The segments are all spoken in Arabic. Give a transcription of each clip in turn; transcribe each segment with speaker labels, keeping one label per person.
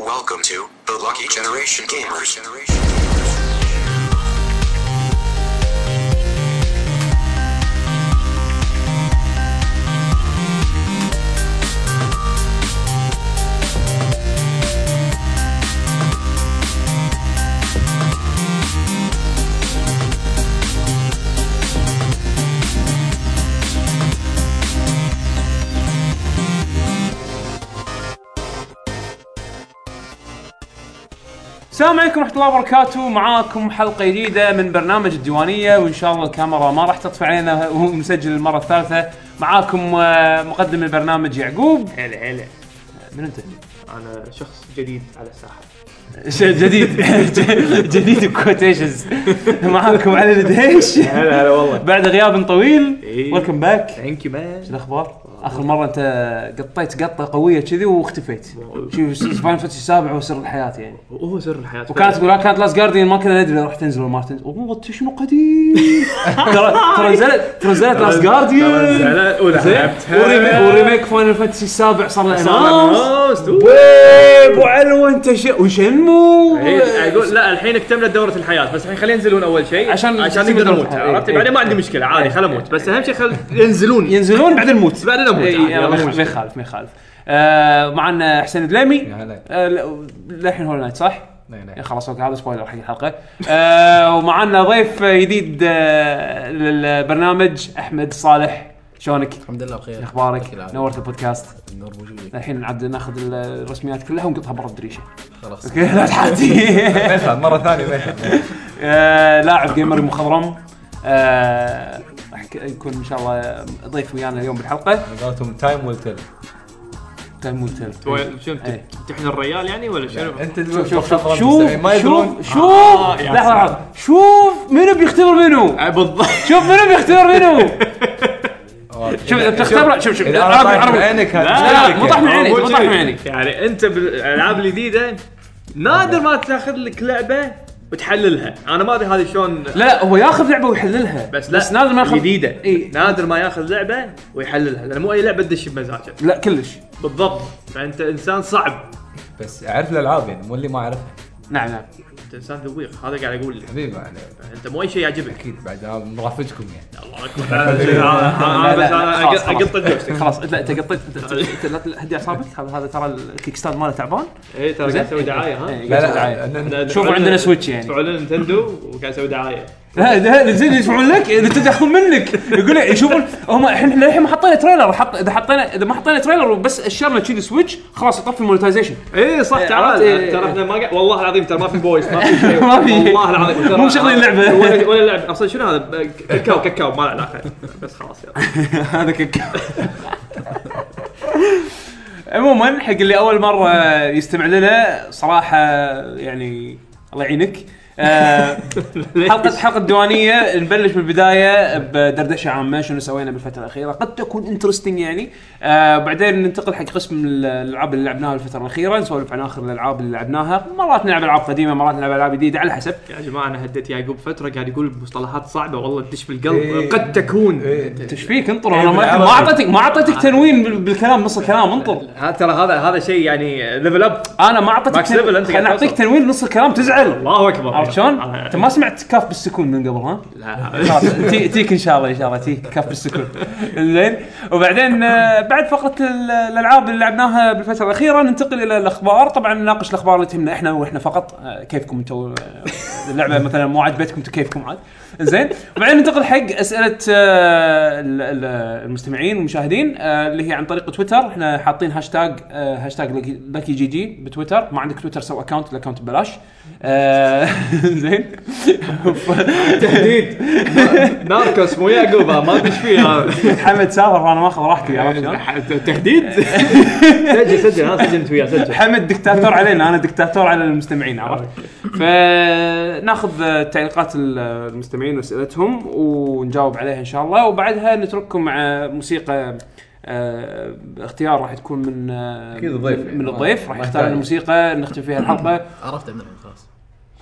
Speaker 1: Welcome to the Lucky Generation Gamers.
Speaker 2: السلام عليكم ورحمة الله وبركاته، معاكم حلقة جديدة من برنامج الديوانية وإن شاء الله الكاميرا ما راح تطفي علينا ونسجل المرة الثالثة، معاكم آه، مقدم البرنامج يعقوب،
Speaker 3: هلا هلا
Speaker 2: من أنت؟
Speaker 3: انا شخص جديد على الساحه
Speaker 2: شيء جديد جديد كوتيشنز معاكم علي الدهيش
Speaker 3: هلا هلا والله
Speaker 2: بعد غياب طويل
Speaker 3: إيه.
Speaker 2: ويلكم باك شو
Speaker 3: ثانك يو مان
Speaker 2: الأخبار؟ آخر مرة أنت قطيت قطة قوية كذي واختفيت، شوف فاين فانتسي السابع هو سر الحياة يعني
Speaker 3: هو سر الحياه
Speaker 2: وكانت تقول "لا، كانت لاست جارديان ما كنا ندري راح تنزل ولا ما راح تنزل اوه شنو قديم ترى ترى نزلت ترى نزلت لاست جارديان وريميك فاينل فانتسي السابع صار له اناونس ابو علو انت ش- وشنمو إيه.
Speaker 3: اقول لا الحين اكتملت دوره الحياه بس الحين خلينا ينزلون اول شيء
Speaker 2: عشان-
Speaker 3: عشان نقدر نموت
Speaker 2: إيه.
Speaker 3: عرفت
Speaker 2: إيه.
Speaker 3: بعدين ما عندي مشكله عادي خل اموت بس اهم شيء خل ينزلون
Speaker 2: ينزلون
Speaker 3: بعدين نموت بعدين اموت
Speaker 2: إي،
Speaker 3: عادي،
Speaker 2: يلا، إيه، ما
Speaker 3: يلا، مو
Speaker 2: يخالف، ما
Speaker 3: مشكلة.
Speaker 2: يخالف ما يخالف آه، معنا حسين دليمي
Speaker 4: هلا.
Speaker 2: آه، لا- للحين هول نايت صح؟
Speaker 4: نعم.
Speaker 2: إيه، خلاص اوكي هذا سبويلر حق الحلقه آه، ومعنا ضيف جديد آه، للبرنامج احمد صالح شلونك؟
Speaker 4: الحمد لله بخير
Speaker 2: اخبارك؟
Speaker 4: كل عام.
Speaker 2: نورت البودكاست
Speaker 4: النور موجود
Speaker 2: الحين نعد ناخذ ال- الرسميات كلها ونقطها برا الدريشه
Speaker 4: خلاص
Speaker 2: اوكي لا تحاتي
Speaker 4: ميحان مره ثانيه ميحان
Speaker 2: آه، لاعب جيمري مخضرم آه، راح يك- يكون ان شاء الله ضيف ويانا اليوم بالحلقه
Speaker 4: قالتهم تايم ويل تيل
Speaker 2: تيمون تيل.
Speaker 3: تو- شنو بت-
Speaker 2: إيه.
Speaker 3: تحن الريال يعني ولا شنو؟
Speaker 4: انت تقول
Speaker 2: شوف
Speaker 4: خطر
Speaker 2: شوف
Speaker 4: المستمعين ما
Speaker 2: شوف
Speaker 4: يدرون آه،
Speaker 2: شوف شوف لحظه لحظه شوف منو بيختبر منو
Speaker 3: آه، بالضبط
Speaker 2: شوف منو بيختبر منو شوف
Speaker 4: إذا-
Speaker 2: بتختبر شوف شوف
Speaker 4: اذا انا
Speaker 2: عربي
Speaker 4: طايح من
Speaker 2: عربي
Speaker 4: عينك
Speaker 2: لا، لا، مو طاح من عيني،
Speaker 3: هو
Speaker 2: مو طاح من
Speaker 3: كذي.
Speaker 2: عيني.
Speaker 3: يعني انت بالالعاب الجديده نادر ما تاخذ لك لعبه وتحللها انا ما ادري هذه شلون
Speaker 2: لا لا هو ياخذ لعبه ويحللها
Speaker 3: بس لا
Speaker 2: بس نادر ما ياخذ
Speaker 3: جديده
Speaker 2: إي.
Speaker 3: نادر ما ياخذ لعبه ويحللها لان مو اي لعبه تدش بمزاجك
Speaker 2: لا كلش
Speaker 3: بالضبط فانت انسان صعب
Speaker 4: بس اعرف الالعاب يعني مو اللي ما اعرفها
Speaker 2: نعم نعم
Speaker 3: انت انسان ذويق هذا قاعد اقول لك
Speaker 4: حبيبي يعني
Speaker 3: انت مو اي شيء يعجبك
Speaker 4: اكيد بعد أنا مرافقكم يعني
Speaker 3: الله اكبر هذا شيء- هذا- هذا
Speaker 2: لا،
Speaker 3: بس
Speaker 2: لا،
Speaker 3: انا
Speaker 2: خلاص،
Speaker 3: أق-
Speaker 2: خلاص.
Speaker 3: اقط الجوستيك
Speaker 2: خلاص انت انت قطيت أنت- أنت- أنت لا- هدي اعصابك هذا هذا ترى الكيك ستاند ماله تعبان
Speaker 3: اي ترى قاعد اسوي دعايه ها
Speaker 2: إيه،
Speaker 4: لا
Speaker 2: قاعد يسوي
Speaker 4: لا
Speaker 2: دعاية.
Speaker 4: أنا-
Speaker 2: شوفوا
Speaker 3: دعاية-
Speaker 2: عندنا سويتش يعني.
Speaker 3: دعاية نينتندو وقاعد اسوي دعايه
Speaker 2: لا لا زين يدفعون لك اذا أنت تاخذون منك يقول لك يشوفون هم الحين إحنا للحين ما حطينا تريلر حط اذا حطينا اذا ما حطينا تريلر وبس اشرنا كذي سويتش خلاص يطفي المونتايزيشن
Speaker 3: اي صح
Speaker 2: إيه،
Speaker 3: تعال
Speaker 2: عرفت؟ إيه،
Speaker 3: ترى
Speaker 2: إيه.
Speaker 3: احنا ما قاعد والله العظيم ترى ما في فويس ما في شيء
Speaker 2: ما في.
Speaker 3: والله العظيم ترى-
Speaker 2: مو مشغلين لعبة.
Speaker 3: ولا ولا لعبه اصلا شنو هذا ب- كاكاو كاكاو ما له علاقه بس خلاص يلا
Speaker 2: هذا كك عموما حق اللي اول مره يستمع لنا صراحه يعني الله يعينك آه، حلقه حلقه الديوانيه نبلش بالبدايه بدردشه عامه شنو سوينا بالفتره الاخيره قد تكون انترستنج يعني آه بعدين ننتقل حق قسم الالعاب اللي لعبناها الفتره الاخيره نسولف عن اخر الالعاب اللي لعبناها مرات نلعب العاب قديمه مرات نلعب العاب جديده على حسب
Speaker 3: يا جماعه انا هديت يعقوب فتره قاعد يقول مصطلحات صعبه والله تدش بالقلب
Speaker 4: إيه.
Speaker 3: قد تكون
Speaker 4: إيه.
Speaker 2: ايش فيك انطر انا ما آه.
Speaker 4: بالعربي.
Speaker 2: ما اعطيتك ما اعطيتك تنوين بال- بالكلام نص الكلام انطر
Speaker 3: ها ترى هذا هذا شيء يعني ليفل اب
Speaker 2: انا ما اعطيتك
Speaker 3: ماكس ليفل أنت قاعد
Speaker 2: انا اعطيك
Speaker 3: توصل.
Speaker 2: تنوين بنص الكلام تزعل
Speaker 3: الله اكبر
Speaker 2: عرفت شلون؟
Speaker 3: أنا-
Speaker 2: انت ما سمعت كاف بالسكون من قبل ها؟
Speaker 3: لا
Speaker 2: خلاص تي- تيك ان شاء الله ان شاء الله تيك كاف بالسكون زين وبعدين آه، بعد فقره ال- الالعاب اللي لعبناها بالفتره الاخيره ننتقل الى الاخبار طبعا نناقش الاخبار اللي تهمنا احنا واحنا فقط آه، كيفكم انتم اللعبه مثلا مو عجبتكم انتم كيفكم عاد زين وبعدين ننتقل حق اسئله آه، ال- ال- المستمعين والمشاهدين آه، اللي هي عن طريق تويتر احنا حاطين هاشتاج آه، هاشتاج لكي- لكي جي جي بتويتر ما عندك تويتر سو اكونت الاكونت ببلاش آه، زين
Speaker 3: تهديد ناركوس مو يعقوب ما تدش فيه هذا
Speaker 2: حمد سافر فانا ماخذ راحتي عرفت شلون؟
Speaker 3: تهديد سجل سجل انا سجلت وياه سجل
Speaker 2: حمد دكتاتور علينا انا دكتاتور على المستمعين عرفت؟ فناخذ تعليقات المستمعين واسئلتهم ونجاوب عليها ان شاء الله وبعدها نترككم مع موسيقى آه، اختيار راح تكون من آه،
Speaker 4: أكيد الضيف
Speaker 2: من-
Speaker 4: يعني.
Speaker 2: من الضيف راح
Speaker 4: ما
Speaker 2: يختار
Speaker 4: يحتاج.
Speaker 2: الموسيقى نختم فيها الحلقه
Speaker 4: عرفت عندنا خلاص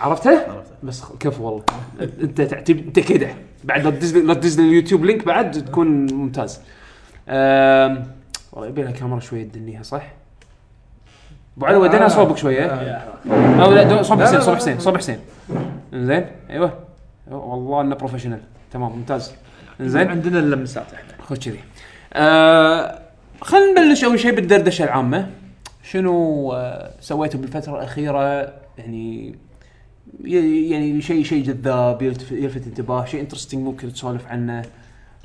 Speaker 2: عرفتها؟
Speaker 4: عرفته.
Speaker 2: بس خ- كفو والله انت تعتب انت كده بعد لا تدز لا تدز اليوتيوب لينك بعد تكون ممتاز. أم، والله يبي لها كاميرا شويه تدنيها صح؟ ابو علي ودينا صوبك شويه او آه. لا دو- صوب حسين صوب حسين صوب حسين انزين ايوه والله انه بروفيشنال تمام ممتاز انزين
Speaker 3: عندنا اللمسات احنا
Speaker 2: خذ كذي آه خلينا نبلش اول شيء بالدردشه العامه شنو آه سويته بالفتره الاخيره يعني ي- يعني شيء شيء جذاب يلتف- يلفت انتباه شيء انترستنج ممكن تسولف عنه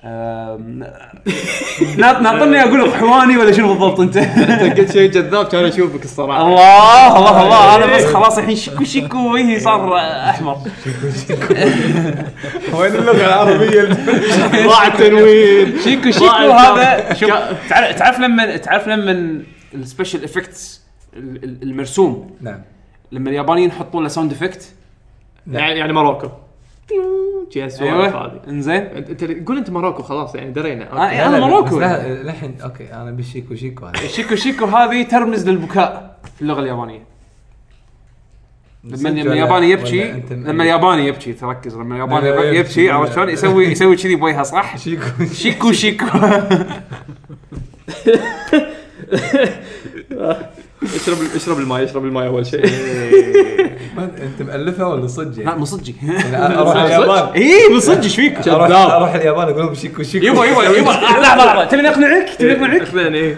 Speaker 2: آم، نا- ناطرني اقول لك حواني ولا شنو بالضبط انت
Speaker 5: كل شيء جذاب كان اشوفك الصراحه
Speaker 2: الله الله الله انا بس خلاص الحين شكو شكو وجهي صار احمر
Speaker 5: وين اللغه العربيه ضاع التنوين
Speaker 2: شيكو شيكو هذا شوف تعرف تعرف لما تعرف لما السبيشل افكتس المرسوم
Speaker 4: نعم
Speaker 2: لما اليابانيين يحطون له ساوند افكت
Speaker 3: يعني يعني موروكو شي
Speaker 5: أيوة.
Speaker 3: هالسوالف هذه
Speaker 2: انزين
Speaker 3: انت أنت- قول انت موروكو خلاص يعني درينا
Speaker 2: آه، إيه، انا موروكو
Speaker 4: الحين اوكي انا بالشيكو شيكو هذا
Speaker 2: شيكو شيكو هذه ترمز للبكاء في اللغه اليابانيه لما
Speaker 4: نسيت
Speaker 2: لما
Speaker 4: ولا-
Speaker 2: الياباني
Speaker 4: ولا
Speaker 2: يبكي
Speaker 4: أنت-
Speaker 2: لما الياباني يبكي تركز لما الياباني
Speaker 4: لما يبكي-
Speaker 2: يبكي عرفت شلون يسوي يسوي كذي بوجهه صح
Speaker 4: شيكو
Speaker 2: شيكو شيكو
Speaker 3: اشرب اشرب الماي اشرب الماي اول شيء
Speaker 4: انت مألفها ولا صدق
Speaker 2: لا
Speaker 4: يعني؟
Speaker 2: من صدقي
Speaker 4: أنا اروح اليابان
Speaker 2: اي من صدقي ايش فيك؟
Speaker 4: أروح- اروح اليابان اقول لهم شيكو شيكو
Speaker 2: يبا يبا يبا لحظه لحظه تبي
Speaker 4: إيه.
Speaker 2: اقنعك تبي اقنعك
Speaker 3: اثنين ايه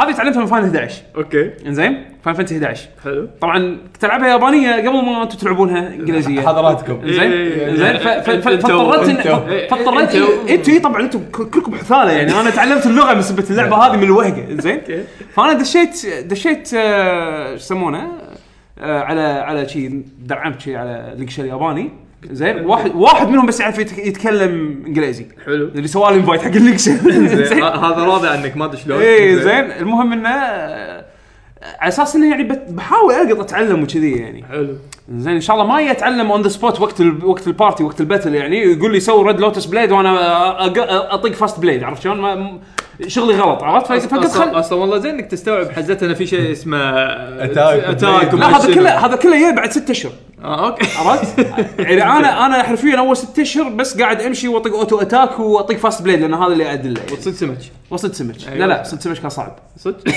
Speaker 2: هذه تعلمتها من فاينل 11
Speaker 3: اوكي
Speaker 2: انزين فاينل فانتسي 11
Speaker 3: حلو
Speaker 2: طبعا تلعبها يابانيه قبل ما انتم تلعبونها انجليزيه
Speaker 4: حضراتكم
Speaker 2: زين
Speaker 3: إيه، إيه،
Speaker 2: زين
Speaker 3: إيه.
Speaker 2: ف- ف- ف-
Speaker 3: أنتوا-
Speaker 2: فاضطريت إن-
Speaker 4: أنتوا.
Speaker 2: فاضطريت
Speaker 3: أنتوا.
Speaker 2: انتوا إيه، طبعا انتم كل- كلكم حثاله يعني انا تعلمت اللغه من سبه
Speaker 3: نعم.
Speaker 2: اللعبه هذه من الوهقه زين فانا دشيت دشيت آه، شو يسمونه آه، على على شيء درعمت شيء على لقشه الياباني زين واحد واحد منهم بس يعرف يتك- يتكلم انجليزي
Speaker 3: حلو
Speaker 2: اللي سوالي انفايت حق اللقشه
Speaker 3: زين آه،
Speaker 2: زين
Speaker 3: ه- هذا راضي عنك ما ادري شلون
Speaker 2: اي زين المهم انه آه، على اساس انه يعني بت- بحاول القط اتعلم وكذي يعني
Speaker 3: حلو
Speaker 2: زين ان شاء الله ما يتعلم اون ذا سبوت وقت ال... وقت البارتي وقت الباتل يعني يقول لي سوي ريد لوتس بليد وانا أق... اطق فاست بليد عرفت شلون ما... م- شغلي غلط عرفت فقلت
Speaker 3: اصلا
Speaker 2: فقلت طيب، خل...
Speaker 3: أصلاً والله زين انك تستوعب حزتنا في شيء اسمه
Speaker 4: أتاك.
Speaker 3: اتاك
Speaker 2: لا هذا كله هذا كله جاي بعد ست اشهر
Speaker 3: اه اوكي
Speaker 2: عرفت؟ يعني انا انا حرفيا اول ست اشهر بس قاعد امشي واطق اوتو اتاك واطق فاست بليد لان هذا اللي اعدل له
Speaker 3: صدق سمك
Speaker 2: وصلت سمج لا
Speaker 3: أيوة.
Speaker 2: لا صدق سمج كان صعب
Speaker 3: صدق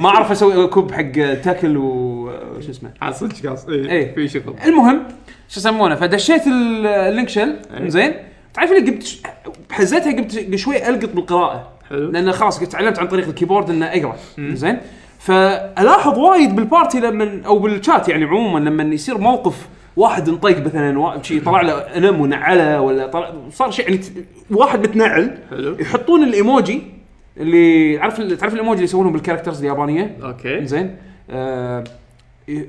Speaker 2: ما اعرف اسوي كوب حق تاكل وش اسمه
Speaker 3: عاد صدق قاص اي
Speaker 2: إيه.
Speaker 3: في شغل
Speaker 2: المهم شو يسمونه فدشيت ال- اللينك شيل زين تعرف اللي قمت ش- بحزتها قمت شوي القط بالقراءه
Speaker 3: حلو.
Speaker 2: لان خلاص قلت تعلمت عن طريق الكيبورد ان اقرا زين فالاحظ وايد بالبارتي لما او بالشات يعني عموما لما يصير موقف واحد انطق مثلا وا- شي طلع له انم ونعله ولا طلع صار شيء يعني ت- واحد متنعل
Speaker 3: حلو.
Speaker 2: يحطون الايموجي اللي عارف ال- تعرف الايموجي اللي يسوونهم بالكاركترز اليابانيه
Speaker 3: اوكي
Speaker 2: إيه؟ زين آه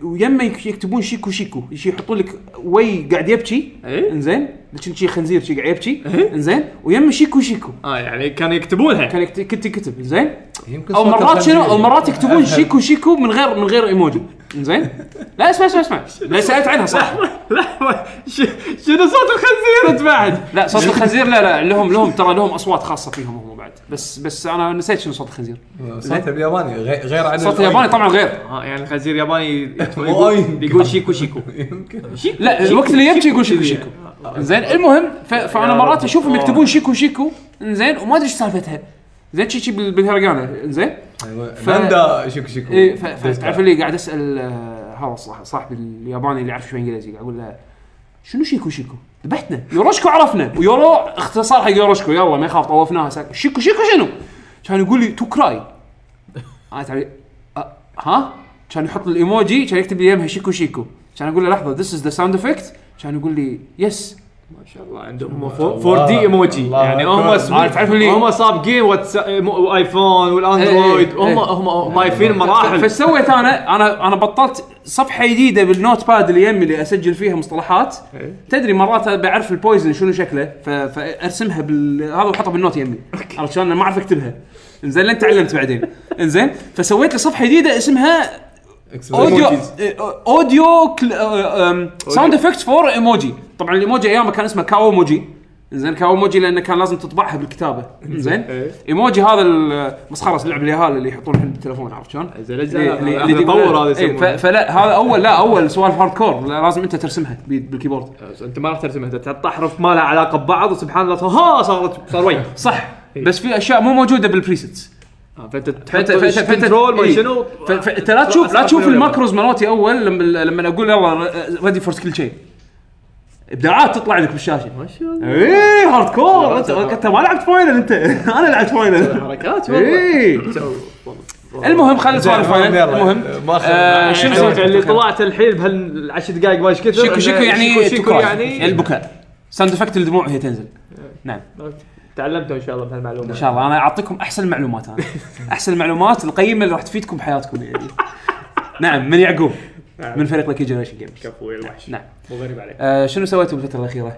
Speaker 2: ويما يك- يكتبون شيكو شيكو يش- يحطون لك وي قاعد يبكي
Speaker 3: إيه.
Speaker 2: انزين لكن شي خنزير شي قاعد يبكي انزين ويما شيكو شيكو
Speaker 3: اه يعني كانوا يكتبونها
Speaker 2: كان يكت- كنت كتب زين
Speaker 4: يمكن
Speaker 2: او
Speaker 4: صوت
Speaker 2: مرات شنو او
Speaker 4: الخنزير.
Speaker 2: مرات يكتبون
Speaker 4: أفهم.
Speaker 2: شيكو شيكو من غير من غير ايموجي زين لا اسمع اسمع اسمع لا سالت عنها صح
Speaker 3: لحظه ش- شنو صوت الخنزير انت بعد
Speaker 2: لا صوت الخنزير لا لا لهم لهم ترى لهم اصوات خاصه فيهم هم بعد بس بس انا نسيت شنو صوت الخنزير
Speaker 4: صوت الياباني غي- غير عن
Speaker 2: صوت الياباني طبعا غير
Speaker 3: اه يعني الخنزير ياباني
Speaker 4: وايد.
Speaker 3: يقول يقول شيكو شيكو
Speaker 4: يمكن
Speaker 3: شيكو
Speaker 2: لا الوقت اللي يبكي يقول شيكو شيكو زين المهم ف... فانا
Speaker 3: يا
Speaker 2: مرات
Speaker 3: رب.
Speaker 2: اشوفهم
Speaker 3: آه.
Speaker 2: يكتبون شيكو شيكو زين وما ادري ايش سالفتها زين شي شي بال- بالهرجانه زين
Speaker 4: يعني
Speaker 2: ف-
Speaker 4: فندا شيكو شيكو
Speaker 3: إيه،
Speaker 2: اي إيه، ف... فتعرف اللي قاعد اسال آه، هذا صاح- صاحبي الياباني اللي يعرف شوي انجليزي قاعد اقول له شنو شيكو شيكو؟ ذبحتنا يوروشكو عرفنا ويورو اختصار حق يوروشكو يلا ما يخاف طوفناها ساك شيكو شيكو شنو؟ كان يقول لي تو كراي انا تعرف أه ها؟ كان يحط لي الايموجي كان يكتب لي يمها شيكو شيكو كان اقول له لحظه ذس از ذا ساوند افكت كان يقول لي يس
Speaker 3: ما شاء الله عندهم 4 دي ايموجي
Speaker 4: الله
Speaker 3: يعني
Speaker 4: أكبر.
Speaker 3: هم
Speaker 2: عارف- عارف اللي-
Speaker 3: هم سابقين واتس ايفون
Speaker 2: إيه،
Speaker 3: والاندرويد
Speaker 2: إيه.
Speaker 3: هم هم هم مايفين مراحل
Speaker 2: فسويت انا انا انا بطلت صفحه جديده بالنوت باد اللي يمي اللي اسجل فيها مصطلحات
Speaker 3: إيه.
Speaker 2: تدري مرات بعرف البويزن شنو شكله ف- فارسمها بال هذا واحطها بالنوت يمي عرفت شلون أنا ما اعرف اكتبها انزين لين تعلمت بعدين انزين فسويت لي صفحه جديده اسمها اوديو اوديو كل- آه، آم، ساوند افكت فور ايموجي طبعا الايموجي ايامه كان اسمه كاوموجي زين كاوموجي لانه كان لازم تطبعها بالكتابه زين
Speaker 3: إيه.
Speaker 2: ايموجي هذا المسخره اللعب اليهال اللي يحطون عند التليفون عرفت شلون؟
Speaker 3: زين، زين،
Speaker 2: اللي- اللي- اللي
Speaker 3: يطور هذا
Speaker 2: إيه،
Speaker 3: يسمونه.
Speaker 2: ف- فلا هذا اول لا اول سوالف هارد كور لازم انت ترسمها بيد- بالكيبورد
Speaker 3: انت ما راح ترسمها تحط احرف ما لها
Speaker 2: اه،
Speaker 3: علاقه ببعض وسبحان الله ها صارت صار وين
Speaker 2: صح بس في اشياء مو موجوده بالبريسيتس
Speaker 3: آه، فانت
Speaker 2: فانت
Speaker 3: تحط
Speaker 2: فانت فانت
Speaker 3: كنترول ما
Speaker 2: إيه.
Speaker 3: شنو
Speaker 2: ف- ف- انت لا تشوف لا تشوف الماكروز مالتي اول لما لما اقول يلا ريدي فور سكيل شيء ابداعات تطلع لك بالشاشه
Speaker 3: ما شاء الله
Speaker 2: ايه هارد كور انت انت ما لعبت فاينل انت انا لعبت فاينل
Speaker 3: حركات والله
Speaker 2: ايه المهم خلينا نسولف
Speaker 4: زين،
Speaker 2: فاينل
Speaker 4: يلا.
Speaker 2: المهم
Speaker 4: ما أخذ-
Speaker 2: آه، شنو
Speaker 3: شنو
Speaker 2: سويت؟
Speaker 3: اللي طلعت الحين بهالعشر دقائق ما ايش كثر
Speaker 2: شيكو شيكو يعني
Speaker 3: يعني شيكو
Speaker 2: تكراي.
Speaker 3: يعني
Speaker 2: البكاء ساوند افكت الدموع وهي تنزل نعم
Speaker 3: تعلمتوا ان شاء الله بهالمعلومه
Speaker 2: ان شاء الله انا اعطيكم احسن المعلومات انا احسن المعلومات القيمه اللي راح تفيدكم بحياتكم يعني نعم من يعقوب من فريق لكي جنريشن جيمز
Speaker 3: كفو الوحش
Speaker 2: نعم
Speaker 3: مو غريب عليك
Speaker 2: آه، شنو سويتوا بالفتره الاخيره؟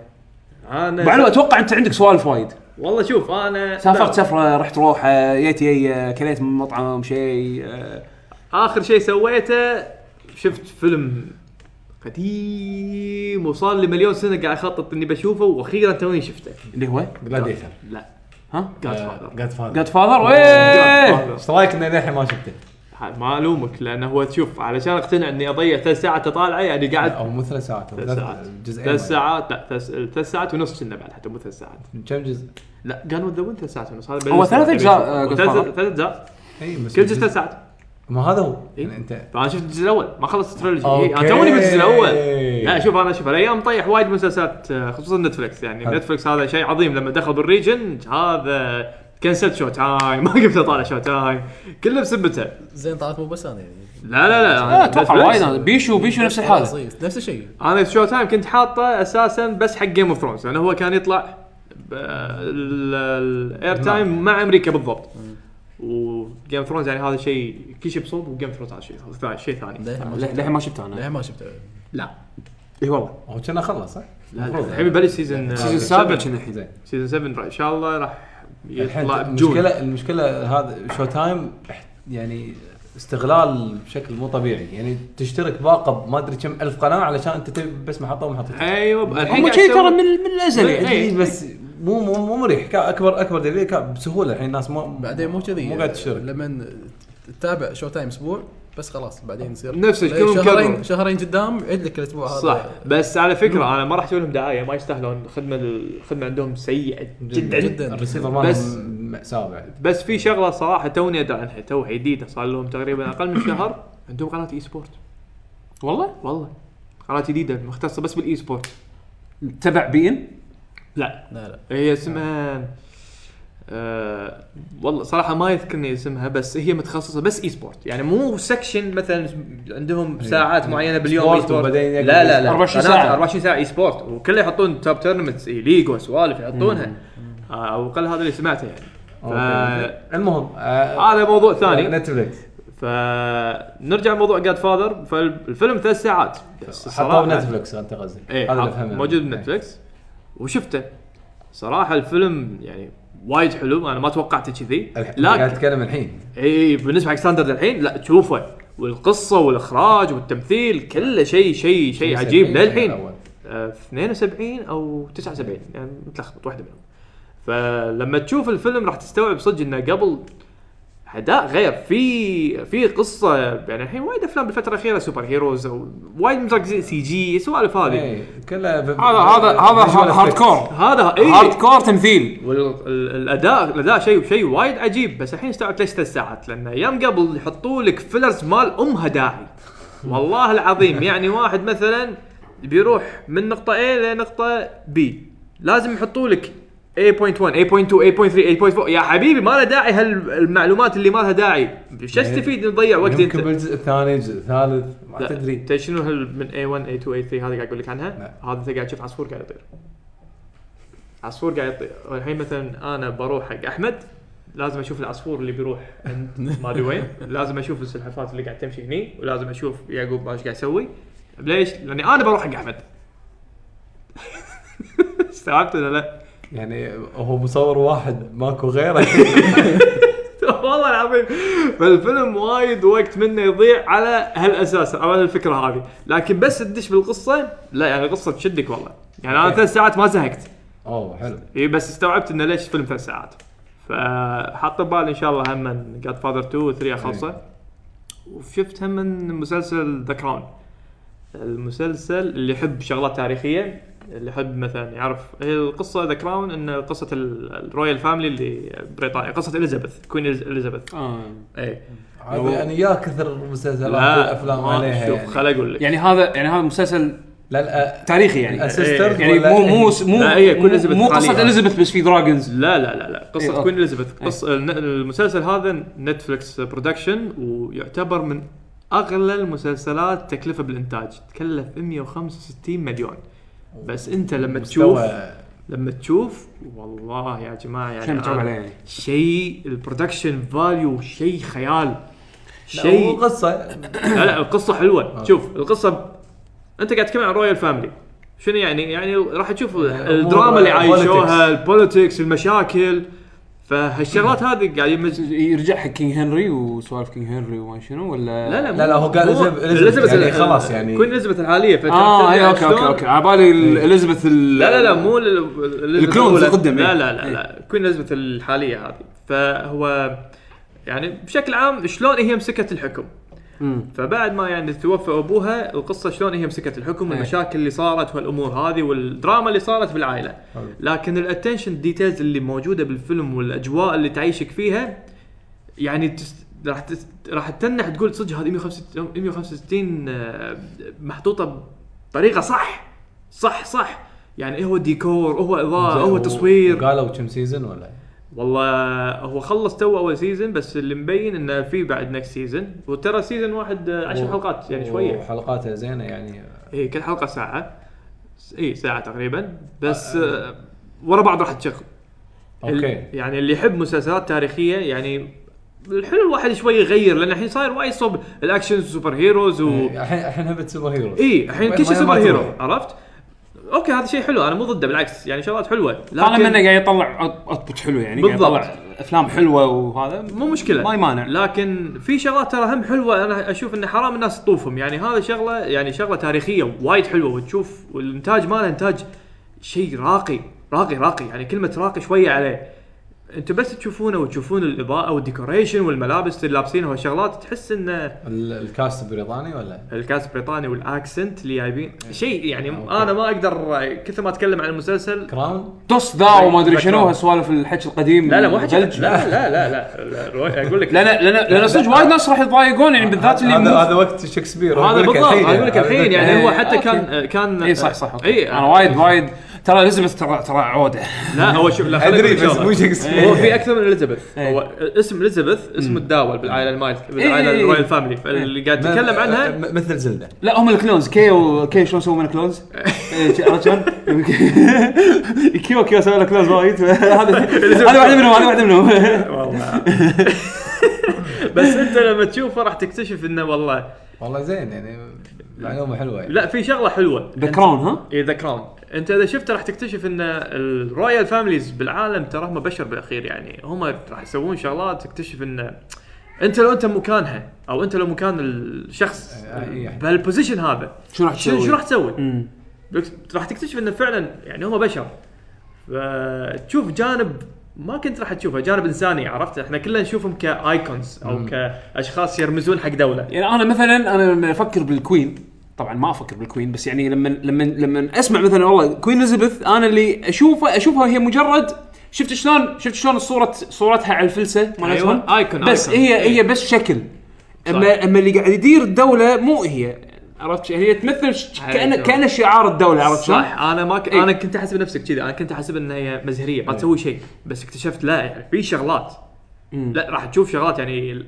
Speaker 3: انا
Speaker 2: بعلو اتوقع انت عندك سوالف وايد
Speaker 3: والله شوف انا
Speaker 2: سافرت سفره رحت روحه جيت جاي آه، كليت من مطعم شيء آه،
Speaker 3: اخر شيء سويته شفت فيلم قديم وصار لي مليون سنه قاعد اخطط اني بشوفه واخيرا توني شفته
Speaker 2: اللي هو
Speaker 4: جلاديتر
Speaker 3: لا
Speaker 2: ها
Speaker 3: جاد فاذر
Speaker 6: جاد فاذر
Speaker 2: جاد فاذر إيه.
Speaker 3: إيه.
Speaker 4: ايش رايك ان للحين ما شفته؟
Speaker 3: ما الومك لانه هو تشوف علشان اقتنع اني اضيع ثلاث ساعات اطالعه يعني قاعد
Speaker 4: او مو ثلاث ساعات أو
Speaker 3: ثلاث ساعات
Speaker 4: جزئين
Speaker 3: ثلاث ساعات لا ثلاث ثلاث ساعات ونص كنا بعد حتى مو ثلاث ساعات
Speaker 4: كم جزء؟
Speaker 3: لا كانوا ذا وين ثلاث ساعات ونص هذا
Speaker 2: هو
Speaker 3: بالنسبة
Speaker 2: ثلاث
Speaker 3: لي
Speaker 2: أجزاء،
Speaker 3: أبي أشوفه.
Speaker 2: آه،
Speaker 3: ثلاث-
Speaker 2: Godfather.
Speaker 3: ثلاث اجزاء
Speaker 4: اي بس
Speaker 3: كل جزء ثلاث ساعات
Speaker 4: إيه، ما هذا هو
Speaker 3: إيه.
Speaker 4: يعني انت
Speaker 3: فانا شفت الجزء الاول ما خلصت التريلوجي إيه، انا
Speaker 4: أوكي.
Speaker 3: توني بالجزء الاول لا شوف انا شوف الايام مطيح وايد مسلسلات آه، خصوصا نتفلكس يعني
Speaker 4: حلو.
Speaker 3: نتفلكس هذا شيء عظيم لما دخل بالريجن هذا كنسلت شو تايم ما قمت اطالع شو تايم كله بسبته
Speaker 6: زين طلعت مو بس انا يعني
Speaker 3: لا لا لا
Speaker 2: آه، اتوقع
Speaker 3: Netflix.
Speaker 2: وايد بيشو بيشو نفس
Speaker 3: آه،
Speaker 2: الحاله
Speaker 6: صحيح، نفس الشيء
Speaker 3: انا شو تايم كنت حاطه اساسا بس حق جيم اوف ثرونز لانه هو كان يطلع آه، الاير
Speaker 2: نعم.
Speaker 3: تايم مع امريكا بالضبط وجيم اوف ثرونز يعني هذا شيء كل شيء بصوب وجيم اوف ثرونز هذا شيء ثاني شيء ثاني
Speaker 6: للحين ما شفته.
Speaker 2: للحين ما شفته انا
Speaker 6: للحين ما شفته
Speaker 3: لا اي والله
Speaker 4: هو كنا خلص صح؟
Speaker 3: لا لا، الحين ببلش آه، سيزون
Speaker 2: السيزون السابع كنا الحين
Speaker 4: زين
Speaker 3: سيزون 7 ان شاء الله راح
Speaker 4: الحين
Speaker 3: يطلع بجون
Speaker 4: المشكله المشكله هذا شو تايم يعني استغلال بشكل مو طبيعي يعني تشترك باقه بما ادري كم الف قناه علشان انت تبي بس محطه ومحطتين
Speaker 3: ايوه الحين
Speaker 2: هم
Speaker 3: قاعد
Speaker 2: كذي
Speaker 3: يسوون-
Speaker 2: ترى من من الازل
Speaker 3: إيه.
Speaker 2: يعني
Speaker 4: إيه، بس مو مو مو مريح كا- اكبر اكبر دليل كا بسهوله الحين الناس مو
Speaker 6: بعدين مو كذي
Speaker 4: مو قاعد تشترك
Speaker 6: لما تتابع شو تايم اسبوع بس خلاص بعدين يصير
Speaker 3: نفس الشيء، كلهم كرروا.
Speaker 6: شهرين شهرين قدام عيد لك الاسبوع هذا
Speaker 3: صح بس على فكره انا ما راح اسوي لهم دعايه ما يستاهلون الخدمه الخدمه عندهم سيئه جدا جدا
Speaker 6: جدا
Speaker 4: الريسيفر
Speaker 3: بس-
Speaker 4: مالهم مأساة بعد
Speaker 3: بس في شغله صراحه توني ادري عنها توها جديده صار لهم تقريبا اقل من شهر عندهم قناه اي سبورت
Speaker 2: والله
Speaker 3: والله قناه جديده مختصه بس بالاي سبورت
Speaker 2: تبع بي ان
Speaker 3: لا
Speaker 6: لا لا
Speaker 3: هي اسمها آه والله صراحه ما يذكرني اسمها بس هي متخصصه بس اي سبورت يعني مو سكشن مثلا عندهم ساعات معينه باليوم
Speaker 4: سبورت
Speaker 3: إي سبورت.
Speaker 4: إيه. وبعدين
Speaker 3: لا
Speaker 4: يقعد
Speaker 3: لا لا
Speaker 2: 24
Speaker 3: 24
Speaker 2: ساعة.
Speaker 3: ساعه 24 ساعه اي سبورت وكله يحطون توب تورنمنتس اي ليج وسوالف يحطونها آه، او اقل هذا اللي سمعته يعني ف-
Speaker 4: أوكي. المهم آه،
Speaker 3: هذا موضوع ثاني
Speaker 4: نتفلكس
Speaker 3: فنرجع لموضوع جاد فاذر فالفيلم ثلاث ساعات بس
Speaker 4: حطوه
Speaker 3: الصراحة-
Speaker 4: بنتفلكس انت قصدك
Speaker 3: ايه
Speaker 4: هذا اللي
Speaker 3: حط-
Speaker 4: أفهمه.
Speaker 3: موجود
Speaker 4: إيه.
Speaker 3: بنتفلكس وشفته صراحه الفيلم يعني وايد حلو انا ما توقعت كذي
Speaker 4: الح- أنت قاعد
Speaker 3: لكن
Speaker 4: تتكلم الحين
Speaker 3: اي بالنسبه حق ستاندرد الحين لا تشوفه والقصه والاخراج والتمثيل كله شيء شيء شيء إيه، عجيب
Speaker 4: 72
Speaker 3: للحين
Speaker 4: الأول.
Speaker 3: آه، 72 او 79 يعني متلخبط واحده منهم فلما تشوف الفيلم راح تستوعب صدق انه قبل اداء غير في في قصه يعني الحين وايد افلام بالفتره الاخيره سوبر هيروز أو وايد مركزين سي جي سوالف هذه
Speaker 4: ايه كله
Speaker 2: هذا هذا هذا هارد كور
Speaker 3: هذا إيه؟ اي
Speaker 2: هارد كور تمثيل
Speaker 3: والاداء الاداء شيء شيء وايد عجيب بس الحين استوعبت ليش ثلاث ساعات لان ايام قبل يحطوا لك فيلرز مال امها داعي والله العظيم يعني واحد مثلا بيروح من نقطه A لنقطه B لازم يحطوا لك A.1 A.2 A.3 A.4 يا حبيبي ما له داعي هالمعلومات اللي ما لها داعي ايش تستفيد نضيع وقت انت
Speaker 4: يمكن بالجزء الثاني الجزء الثالث ما
Speaker 3: لا،
Speaker 4: تدري
Speaker 3: انت شنو هال من A1 A2 A3 هذا قاعد اقول لك عنها؟
Speaker 4: لا.
Speaker 3: هذا انت قاعد تشوف عصفور قاعد يطير. عصفور قاعد يطير، الحين مثلا انا بروح حق احمد لازم اشوف العصفور اللي بيروح عند ما ادري وين، لازم اشوف السلحفات اللي قاعد تمشي هني ولازم اشوف يعقوب ايش قاعد يسوي. ليش؟ لاني انا بروح حق احمد. استوعبت ولا لا؟
Speaker 4: يعني هو مصور واحد ماكو غيره
Speaker 3: والله العظيم فالفيلم وايد وقت منه يضيع على هالاساس او هالفكره هذه لكن بس تدش بالقصه لا يعني القصه تشدك والله يعني انا
Speaker 4: أوكي.
Speaker 3: ثلاث ساعات ما زهقت
Speaker 4: اوه حلو
Speaker 3: اي بس استوعبت انه ليش فيلم ثلاث ساعات فحاط ببالي ان شاء الله هم جاد فاذر 2 و 3 اخلصه وشفت هم من مسلسل ذا كراون المسلسل اللي يحب شغلات تاريخيه اللي يحب مثلا يعرف هي القصه ذا كراون ان قصه ال- الرويال فاميلي اللي بريطانيا قصه اليزابيث كوين إليز- اليزابيث
Speaker 2: آه.
Speaker 3: اي
Speaker 4: عاد يعني يا كثر مسلسلات
Speaker 3: إيه. لا
Speaker 4: والافلام
Speaker 3: ما-
Speaker 4: عليها
Speaker 3: شوف
Speaker 4: يعني
Speaker 3: خل اقول لك
Speaker 2: يعني هذا يعني هذا مسلسل
Speaker 4: لا لا
Speaker 2: تاريخي يعني
Speaker 4: الاسيسترز
Speaker 2: يعني
Speaker 4: ولا
Speaker 2: مو مو
Speaker 4: إيه؟
Speaker 2: مو
Speaker 3: لا، هي كل إليزابيث
Speaker 2: مو قصه
Speaker 3: حاليا.
Speaker 2: اليزابيث بس في دراجونز
Speaker 3: لا لا لا لا
Speaker 2: إيه،
Speaker 3: قصه
Speaker 2: أوكي.
Speaker 3: كوين اليزابيث قصه الن- المسلسل هذا نتفلكس برودكشن ويعتبر من اغلى المسلسلات تكلفه بالانتاج تكلف 165 مليون بس انت لما تشوف
Speaker 4: مستوى-
Speaker 3: لما تشوف والله يا جماعه يعني
Speaker 2: شيء متعوب
Speaker 3: أنا-
Speaker 2: عليه يعني.
Speaker 3: شيء البرودكشن فاليو شيء خيال
Speaker 4: لا،
Speaker 3: شيء
Speaker 4: وقصه
Speaker 3: لا لا القصه حلوه شوف القصه انت قاعد تتكلم عن رويال فاملي شنو يعني يعني راح تشوف الدراما اللي عايشوها البوليتكس المشاكل فهالشغلات هذه قاعد يمز
Speaker 2: يرجع حق كينج هنري وسوالف كينج هنري وما شنو ولا
Speaker 3: لا
Speaker 4: لا، لا، هو قال إليزابيث- إليزابيث يعني خلاص يعني.
Speaker 3: كوين اليزابيث الحاليه فتعرف
Speaker 2: اه
Speaker 3: ترجع
Speaker 2: اي اوكي اوكي
Speaker 3: آه، شلون؟
Speaker 2: اوكي على بالي ال- اليزابيث ال-
Speaker 3: لا لا لا مو ال- ال-
Speaker 2: الكلون
Speaker 3: الأولى.
Speaker 2: القدم، إيه.
Speaker 3: لا لا لا لا كوين اليزابيث الحاليه هذه فهو يعني بشكل عام شلون هي مسكت الحكم
Speaker 2: مم.
Speaker 3: فبعد ما يعني توفى ابوها القصه شلون هي مسكت الحكم والمشاكل اللي صارت والامور هذه والدراما اللي صارت بالعائله لكن الاتنشن ديتيلز اللي موجوده بالفيلم والاجواء اللي تعيشك فيها يعني تس- راح تس- راح تتنح تقول صدق هذه 165 165 آه، محطوطه بطريقه صح صح صح يعني هو ديكور هو اضاءه آه، هو تصوير
Speaker 4: قالوا كم سيزون ولا
Speaker 3: والله هو خلص تو اول سيزون بس اللي مبين انه في بعد نكست سيزون وترى سيزون واحد آه، عشر حلقات يعني شويه
Speaker 4: وحلقاتها زينه يعني
Speaker 3: اي كل حلقه ساعه اي ساعه تقريبا بس آه، ورا بعض راح تشغل ال-
Speaker 4: اوكي
Speaker 3: يعني اللي يحب مسلسلات تاريخيه يعني الحلو الواحد شوي يغير لان الحين صاير وايد صوب الاكشن سوبر هيروز و
Speaker 4: يعني
Speaker 3: إيه.
Speaker 4: الحين الحين هبت سوبر هيرو
Speaker 3: اي الحين
Speaker 4: إيه. ما-
Speaker 3: كل شيء
Speaker 4: ما-
Speaker 3: سوبر
Speaker 4: ما
Speaker 3: هيرو
Speaker 4: تروح.
Speaker 3: عرفت؟ اوكي هذا شيء حلو انا مو ضده بالعكس يعني شغلات حلوه
Speaker 2: طالما انه قاعد يطلع اوتبوت حلو يعني قاعد
Speaker 3: بالضبط.
Speaker 2: يطلع افلام حلوه وهذا
Speaker 3: مو مشكله
Speaker 2: ما يمانع.
Speaker 3: لكن في شغلات ترى هم حلوه انا اشوف انه حرام الناس تطوفهم يعني هذا شغله يعني شغله تاريخيه وايد حلوه وتشوف والانتاج ماله انتاج شيء راقي راقي راقي يعني كلمه راقي شويه عليه انتم بس تشوفونه وتشوفون الاضاءه والديكوريشن والملابس اللي لابسينها والشغلات تحس ان
Speaker 4: ال- الكاست بريطاني ولا
Speaker 3: الكاس بريطاني والاكسنت اللي جايبين شيء يعني انا ما اقدر كثر ما اتكلم عن المسلسل
Speaker 4: كراون
Speaker 2: تص ذا وما ادري
Speaker 3: ذكرهم.
Speaker 2: شنو هالسوالف الحكي القديم
Speaker 3: لا لا مو حكي لا
Speaker 2: البلج.
Speaker 3: لا لا لا, لا اقول لك
Speaker 2: لان لان لان صدق وايد ناس راح يتضايقون يعني بالذات اللي
Speaker 4: هذا
Speaker 2: مو-
Speaker 4: هذا وقت شكسبير
Speaker 3: هذا
Speaker 4: أقول لك
Speaker 3: بالضبط
Speaker 4: الحين
Speaker 3: اقول لك
Speaker 4: يعني.
Speaker 3: الحين يعني هو
Speaker 2: إيه،
Speaker 3: حتى
Speaker 2: أوكي.
Speaker 3: كان كان
Speaker 2: اي إيه، صح صح
Speaker 3: اي
Speaker 2: اي انا وايد وايد ترى اليزابيث ترى ترى عوده
Speaker 3: لا هو شوف لا خليني أقول لك
Speaker 4: ادري بس
Speaker 3: شغلة.
Speaker 4: مو شكسبير
Speaker 3: هو في اكثر من اليزابيث
Speaker 2: إيه.
Speaker 3: هو اسم اليزابيث اسم الداول بالعائله المايل بالعائله
Speaker 2: إيه.
Speaker 3: الرويال فاميلي فاللي قاعد يتكلم عنها
Speaker 4: م- مثل زلده
Speaker 2: لا هم الكلونز كيو كيو شلون سووا من كلونز؟ عرفت شلون؟ كيو كيو سووا له كلونز وايد هذا هذا واحده منهم هذا واحده منهم
Speaker 3: والله بس انت لما تشوفه راح تكتشف انه والله
Speaker 4: والله زين يعني معلومه حلوه يعني.
Speaker 3: لا في شغله حلوه
Speaker 2: ذا كراون ها؟
Speaker 3: اي ذا كراون انت اذا شفته راح تكتشف ان الرويال فاميليز بالعالم ترى هم بشر بالاخير يعني هم راح يسوون شغلات تكتشف ان انت لو انت مكانها او انت لو مكان الشخص
Speaker 2: إيه.
Speaker 4: إي، إي.
Speaker 3: بهالبوزيشن هذا
Speaker 2: شو راح
Speaker 3: شنو
Speaker 2: تسوي؟
Speaker 3: شو راح تسوي؟
Speaker 2: مم.
Speaker 3: بك- راح تكتشف انه فعلا يعني هم بشر فتشوف جانب ما كنت راح تشوفه جانب انساني عرفت احنا كلنا نشوفهم كايكونز او كاشخاص يرمزون حق دوله
Speaker 2: يعني انا مثلا انا لما افكر بالكوين طبعا ما افكر بالكوين بس يعني لما لما لما اسمع مثلا والله كوين اليزابيث انا اللي اشوفه اشوفها هي مجرد شفت شلون شفت شلون صوره صورتها على الفلسه مالتهم
Speaker 3: أيوة، آيكون،
Speaker 2: بس
Speaker 3: آيكون.
Speaker 2: هي
Speaker 3: إيه.
Speaker 2: هي بس شكل اما اما اللي قاعد يدير الدوله مو هي عرفت شي- هي تمثل ش- كانه
Speaker 3: أيوة.
Speaker 2: كانه شعار الدوله عرفت شلون؟
Speaker 3: صح انا ما ك...
Speaker 2: إيه.
Speaker 3: انا كنت احسب نفسك كذي انا كنت احسب انها هي مزهريه ما تسوي شيء بس اكتشفت لا يعني في شغلات
Speaker 2: مم.
Speaker 3: لا راح تشوف شغلات يعني ال-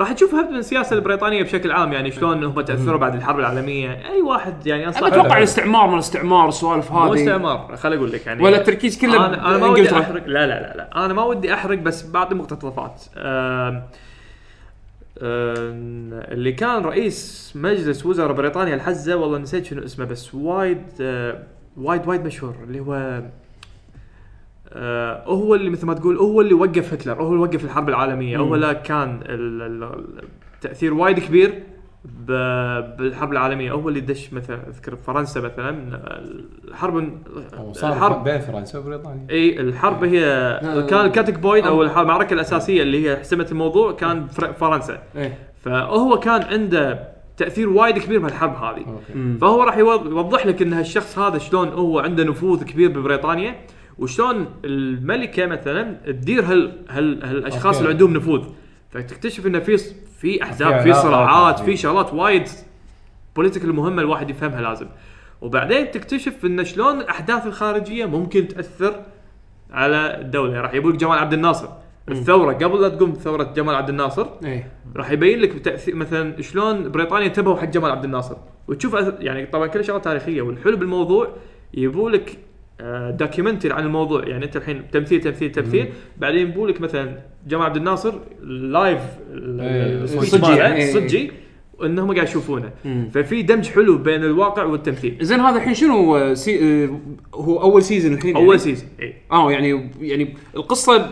Speaker 3: راح تشوف هبد من السياسه البريطانيه بشكل عام يعني شلون هم تاثروا بعد الحرب العالميه اي واحد
Speaker 2: انا
Speaker 3: يعني انصح
Speaker 2: اتوقع الاستعمار ما الاستعمار السوالف
Speaker 3: مو
Speaker 2: هذه
Speaker 3: استعمار خل اقول لك يعني
Speaker 2: ولا التركيز كله
Speaker 3: انا انا ما ودي
Speaker 2: بإنجلترا.
Speaker 3: احرق لا لا لا لا انا ما ودي احرق بس بعطي مقتطفات آم، آم، اللي كان رئيس مجلس وزراء بريطانيا الحزه والله نسيت شنو اسمه بس وايد آه، وايد وايد مشهور اللي هو آه، هو اللي مثل ما تقول هو اللي وقف هتلر هو اللي وقف الحرب العالميه هو لا كان ال- ال- ال- تاثير وايد كبير ب- بالحرب العالميه هو اللي دش مثلا اذكر فرنسا مثلا الحرب
Speaker 4: وصار بين فرنسا وبريطانيا
Speaker 3: اي الحرب هي كان الكاتك بويد او الح- المعركه الاساسيه اللي هي حسمت الموضوع كان فر- فرنسا
Speaker 2: إيه.
Speaker 3: فهو كان عنده تاثير وايد كبير بهالحرب هذه
Speaker 4: آه.
Speaker 3: فهو راح يوض- يوضح لك ان هالشخص هذا شلون هو عنده نفوذ كبير ببريطانيا وشلون الملكه مثلا تدير هال هال هالاشخاص
Speaker 4: أوكي.
Speaker 3: اللي عندهم نفوذ فتكتشف ان في ص- في احزاب في
Speaker 4: علاقات.
Speaker 3: صراعات في شغلات وايد بوليتيكال مهمه الواحد يفهمها لازم وبعدين تكتشف ان شلون الاحداث الخارجيه ممكن تاثر على الدوله يعني راح يبوك جمال عبد الناصر الثوره قبل لا تقوم ثوره جمال عبد الناصر
Speaker 2: ايه
Speaker 3: راح يبين لك تاثير مثلا شلون بريطانيا انتبهوا حق جمال عبد الناصر وتشوف أث- يعني طبعا كل شغله تاريخيه والحلو بالموضوع يبوا لك آه، دوكيومنتري عن الموضوع يعني انت الحين تمثيل تمثيل تمثيل بعدين يبوا لك مثلا جمال عبد الناصر لايف ال-
Speaker 4: إيه،
Speaker 3: السبيتش
Speaker 2: صجي،
Speaker 3: ماله،
Speaker 2: إيه.
Speaker 3: صجي وانهم قاعد يشوفونه ففي دمج حلو بين الواقع والتمثيل
Speaker 7: زين هذا الحين شنو آه، سي... آه، هو اول سيزون
Speaker 2: إيه.
Speaker 7: الحين يعني؟
Speaker 3: اول سيزون اي
Speaker 2: آه،
Speaker 7: اه يعني يعني القصه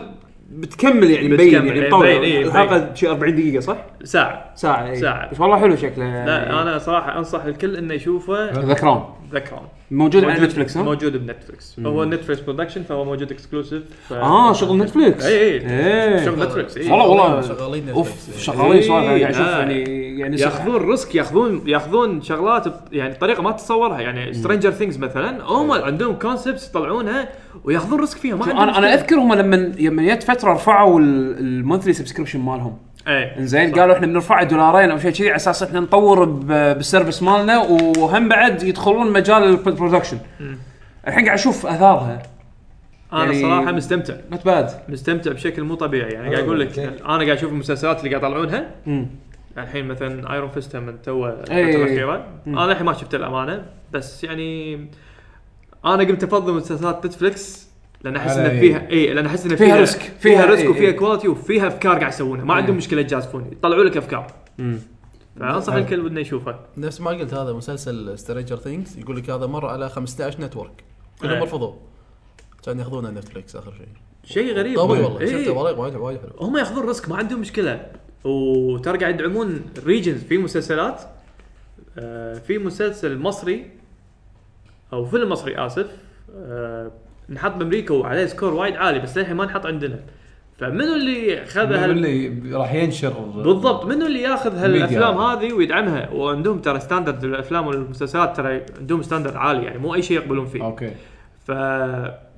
Speaker 7: بتكمل يعني
Speaker 3: بتكمل،
Speaker 7: مبين يعني
Speaker 3: إيه،
Speaker 7: مطوله
Speaker 3: مبين، إيه،
Speaker 7: الحلقه شي 40 دقيقه صح؟
Speaker 3: ساعه
Speaker 7: ساعه إيه.
Speaker 3: ساعة.
Speaker 7: بس والله حلو شكله
Speaker 2: إيه.
Speaker 3: لا انا صراحه انصح الكل انه يشوفه
Speaker 7: ذا كراون
Speaker 3: ذا كراون
Speaker 7: موجود على نتفلكس ها؟
Speaker 3: موجود بنتفلكس هو نتفلكس برودكشن فهو موجود اكسكلوسيف ف...
Speaker 2: آه،
Speaker 7: اه شغل نتفلكس
Speaker 3: اي اي
Speaker 2: ايه
Speaker 3: آه. شغل نتفلكس اي
Speaker 7: والله والله
Speaker 6: شغالين يعني
Speaker 7: اوف
Speaker 6: نتفلكس.
Speaker 7: شغالين صراحه
Speaker 3: إيه،
Speaker 7: قاعد اشوف
Speaker 3: لا.
Speaker 7: يعني يعني سخ-
Speaker 3: ياخذون ريسك ياخذون ياخذون شغلات بط- يعني بطريقه ما تتصورها يعني سترينجر ثينجز مثلا هم عندهم كونسبتس يطلعونها وياخذون ريسك فيها ما عندهم
Speaker 2: انا انا
Speaker 3: مشكلة.
Speaker 2: اذكر هم لما لما جت فتره رفعوا المونثلي سبسكريبشن مالهم
Speaker 3: اي
Speaker 2: زين قالوا احنا بنرفعه دولارين او شيء كذي على اساس احنا نطور ب- بالسيرفس مالنا وهم بعد يدخلون مجال البرودكشن الحين قاعد اشوف اثارها
Speaker 3: انا
Speaker 2: يعني-
Speaker 3: صراحه مستمتع
Speaker 2: نوت باد
Speaker 3: مستمتع بشكل مو طبيعي يعني
Speaker 7: آه،
Speaker 3: قاعد اقول لك
Speaker 4: زين.
Speaker 3: انا قاعد اشوف المسلسلات اللي قاعد يطلعونها الحين مثلا ايرون فيست من تو
Speaker 2: إي.
Speaker 3: الفتره الاخيره انا الحين ما شفت الامانه بس يعني انا قمت افضل مسلسلات نتفلكس لان احس
Speaker 4: على
Speaker 3: ان
Speaker 4: إي.
Speaker 3: فيها إيه، اي لان احس ان
Speaker 2: فيها
Speaker 3: فيها
Speaker 2: ريسك.
Speaker 3: فيها
Speaker 2: فيها
Speaker 3: ريسك
Speaker 2: إي،
Speaker 3: وفيها
Speaker 2: إي.
Speaker 3: كواليتي وفيها افكار قاعد يسوونها ما عندهم مشكله يجازفون يطلعوا لك افكار فانصح الكل انه يشوفه
Speaker 6: نفس ما قلت هذا مسلسل سترينجر ثينجز يقول لك هذا مر على 15 نتورك
Speaker 3: إيه.
Speaker 6: كلهم رفضوه كان ياخذونه نتفلكس اخر شيء
Speaker 3: شيء غريب
Speaker 6: طبي والله
Speaker 3: إي.
Speaker 6: شفته وايد وايد وايد حلو
Speaker 3: هم ياخذون ريسك ما عندهم مشكله وترى قاعد يدعمون ريجنز في مسلسلات آه، في مسلسل مصري او فيلم مصري اسف آه، انحط بامريكا وعليه سكور وايد عالي بس للحين ما انحط عندنا فمنو اللي خذ
Speaker 4: من
Speaker 3: هال...
Speaker 4: اللي راح ينشر
Speaker 3: بالضبط منو اللي ياخذ هالافلام
Speaker 4: ميديا.
Speaker 3: هذه ويدعمها وعندهم ترى ستاندرد الافلام والمسلسلات ترى عندهم ستاندرد عالي يعني مو اي شيء يقبلون فيه
Speaker 4: اوكي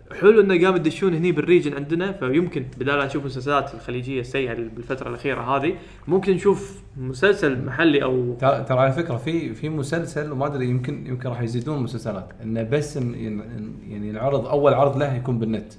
Speaker 3: فحلو انه قام يدشون هني بالريجن عندنا فيمكن بدال لا نشوف مسلسلات الخليجيه السيئه اللي بالفتره الاخيره هذه ممكن نشوف مسلسل محلي او
Speaker 4: ترى ترى على فكره في في مسلسل وما ادري يمكن يمكن راح يزيدون مسلسلات انه بس إن- إن- يعني العرض اول عرض له يكون بالنت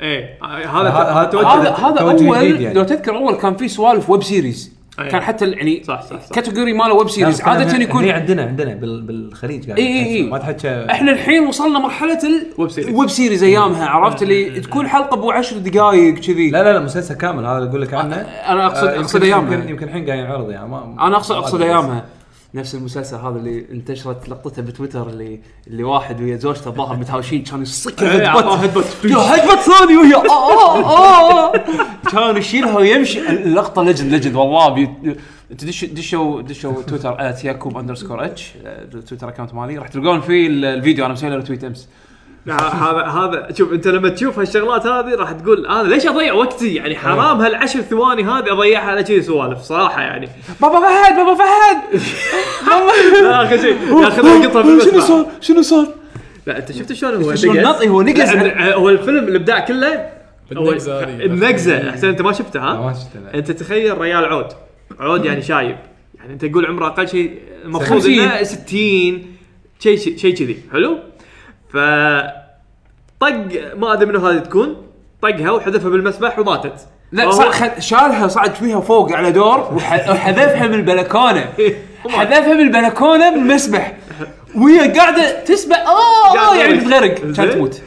Speaker 3: ايه
Speaker 4: هذا-
Speaker 3: هذا
Speaker 4: هذا-
Speaker 3: توجه-
Speaker 2: هذا هذا
Speaker 4: توجه جديد
Speaker 2: اول
Speaker 4: يعني.
Speaker 2: لو تذكر اول كان في سوالف ويب سيريز
Speaker 3: أي.
Speaker 2: كان حتى ال- يعني
Speaker 3: صح- صح- صح.
Speaker 2: كاتيجوري ماله ويب سيريز عاده يكون
Speaker 4: هني عندنا عندنا بال- بالخليج
Speaker 3: إيه،
Speaker 4: قاعد
Speaker 2: إي إي إي.
Speaker 4: ما تحكي
Speaker 2: احنا الحين وصلنا مرحله
Speaker 3: ويب سيريز.
Speaker 2: الويب سيريز ايامها عرفت اللي تكون حلقه ابو عشر دقائق كذي
Speaker 4: لا لا لا مسلسل كامل هذا اقول لك عنه
Speaker 2: انا اقصد
Speaker 4: آه،
Speaker 2: اقصد
Speaker 4: يمكن-
Speaker 2: ايامها
Speaker 4: يمكن يمكن الحين قاعد ينعرض يعني ما
Speaker 2: انا اقصد
Speaker 4: ما
Speaker 2: اقصد
Speaker 4: أدري بس.
Speaker 2: ايامها نفس المسلسل هذا اللي انتشرت لقطته بتويتر اللي اللي واحد ويا زوجته الظاهر متهاوشين كان يصك
Speaker 3: إيه،
Speaker 4: إيه،
Speaker 3: أعطاه
Speaker 2: هيدبوت
Speaker 3: هيدبوت.
Speaker 2: هيدبوت ثاني وهي آه، آه، آه، آه. كان يشيلها ويمشي اللقطه لجن لجن والله بي... تدش دشوا دشوا تويتر ات ياكوب اندرسكور اتش التويتر اكونت آه، مالي راح تلقون فيه ال- الفيديو انا مسوي له تويت امس
Speaker 3: لا، هذا هذا شوف انت لما تشوف هالشغلات هذه راح تقول انا ليش اضيع وقتي يعني حرام هالعشر ثواني هذه اضيعها على كذي سوالف صراحه يعني
Speaker 2: بابا فهد بابا فهد
Speaker 3: لا اخر شيء ياخذ
Speaker 2: شنو
Speaker 3: القطه بالمسرح
Speaker 2: صار شنو صار
Speaker 3: لا انت شفت شلون هو
Speaker 2: شلون
Speaker 3: نقز؟
Speaker 2: نط- هو نقز
Speaker 3: لا، هو الفيلم الابداع كله هو
Speaker 6: بالنقزة هذه.
Speaker 3: النقزه احسن انت ما شفتها
Speaker 4: ما
Speaker 3: ها؟
Speaker 4: شفته لا.
Speaker 3: انت تخيل ريال عود عود يعني شايب يعني انت تقول عمره اقل شيء المفروض
Speaker 2: خمسين.
Speaker 3: انه 60 شيء شيء كذي حلو؟ ف طق ما ادري منو هذه تكون طقها وحذفها بالمسبح وماتت
Speaker 2: لا
Speaker 3: فهو-
Speaker 2: صار خد شالها صعد فيها فوق على دور وح- وحذفها من البلكونه حذفها من البلكونه من المسبح وهي قاعده تسبح اه آه،
Speaker 3: قاعدة
Speaker 2: يعني
Speaker 3: تغرق.
Speaker 2: بتغرق
Speaker 3: زين.
Speaker 2: كانت تموت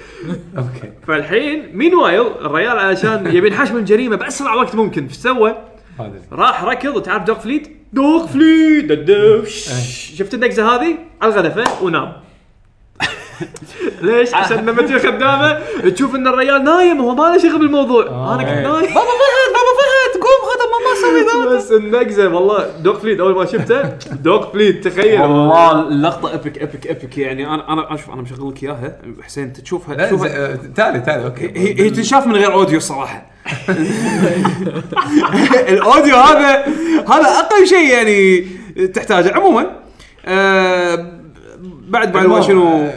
Speaker 4: اوكي
Speaker 3: فالحين مين وايل الريال علشان يبي ينحاش من الجريمه باسرع وقت ممكن ايش سوى؟
Speaker 4: ما ادري
Speaker 3: راح ركض وتعرف دوغ فليت دوغ إيه. فليت ددو، شش. شفت النقزه هذه على الغلفه ونام ليش؟ عشان لما تجي الخدامه تشوف ان الريال نايم وهو ما له شغل بالموضوع انا كنت
Speaker 4: إيه.
Speaker 3: نايم
Speaker 2: بابا فهد بابا فهد قوم غدا ما سوي ذا
Speaker 3: بس النقزه والله دوغ فليت اول ما شفته دوغ فليت تخيل
Speaker 2: والله اللقطه ابيك ابيك ابيك يعني انا انا اشوف انا مشغل لك اياها حسين تشوفها
Speaker 4: لا،
Speaker 2: تشوفها
Speaker 4: ز- آه، تالي تالي اوكي
Speaker 2: هي هي تنشاف من غير اوديو الصراحه
Speaker 8: الاوديو هذا هذا اقل شيء يعني تحتاجه عموما آه بعد بعد ما شنو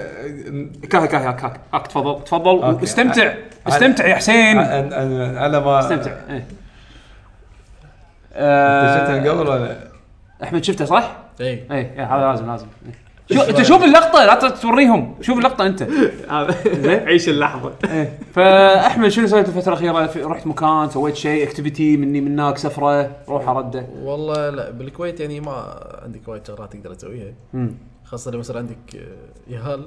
Speaker 8: كاك كاك كاك كاك
Speaker 2: أك، آه، تفضل تفضل
Speaker 4: أوكي.
Speaker 2: استمتع
Speaker 4: أ-
Speaker 2: استمتع يا حسين
Speaker 4: أنا- أنا- على ما
Speaker 2: استمتع إيه.
Speaker 4: أنت
Speaker 2: آه،
Speaker 4: شفتها من قبل ولا
Speaker 2: احمد شفته صح؟
Speaker 6: اي
Speaker 2: اي إي، هذا لازم لازم إي. شو انت شوف اللقطه لا ت- توريهم شوف اللقطه انت
Speaker 3: هذا- عيش اللحظه
Speaker 2: إي. فاحمد إيه. شنو سويت الفتره الاخيره في- رحت مكان سويت شيء اكتيفيتي مني من هناك سفره روح ارده
Speaker 6: والله لا بالكويت يعني ما عندك وايد شغلات تقدر تسويها خاصه لو يصير عندك آه، يهال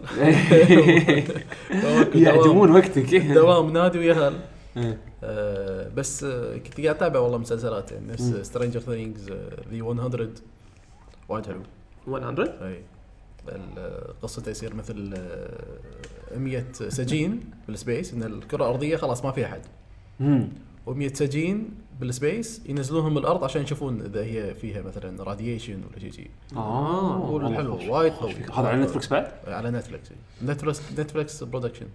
Speaker 6: فواكب
Speaker 2: يعدمون
Speaker 6: دوام-
Speaker 2: وقتك
Speaker 6: دوام نادي ويهال
Speaker 2: إيه.
Speaker 6: آه، بس آه، كنت قاعد اتابع والله مسلسلات يعني نفس سترينجر ثينجز آه، ذي 100 وايد حلو
Speaker 3: 100
Speaker 6: اي ال- آه، قصته يصير مثل آه، 100 سجين بالسبيس ان الكره الارضيه خلاص ما فيها حد
Speaker 2: مم.
Speaker 6: و100 سجين بالسبيس ينزلونهم الارض عشان يشوفون اذا هي فيها مثلا راديشن ولا شيء شيء
Speaker 2: اه
Speaker 6: والله حلو وايد قوي
Speaker 2: هذا على نتفلكس بعد؟
Speaker 6: على نتفلكس إي. نتفلكس نتفلكس برودكشن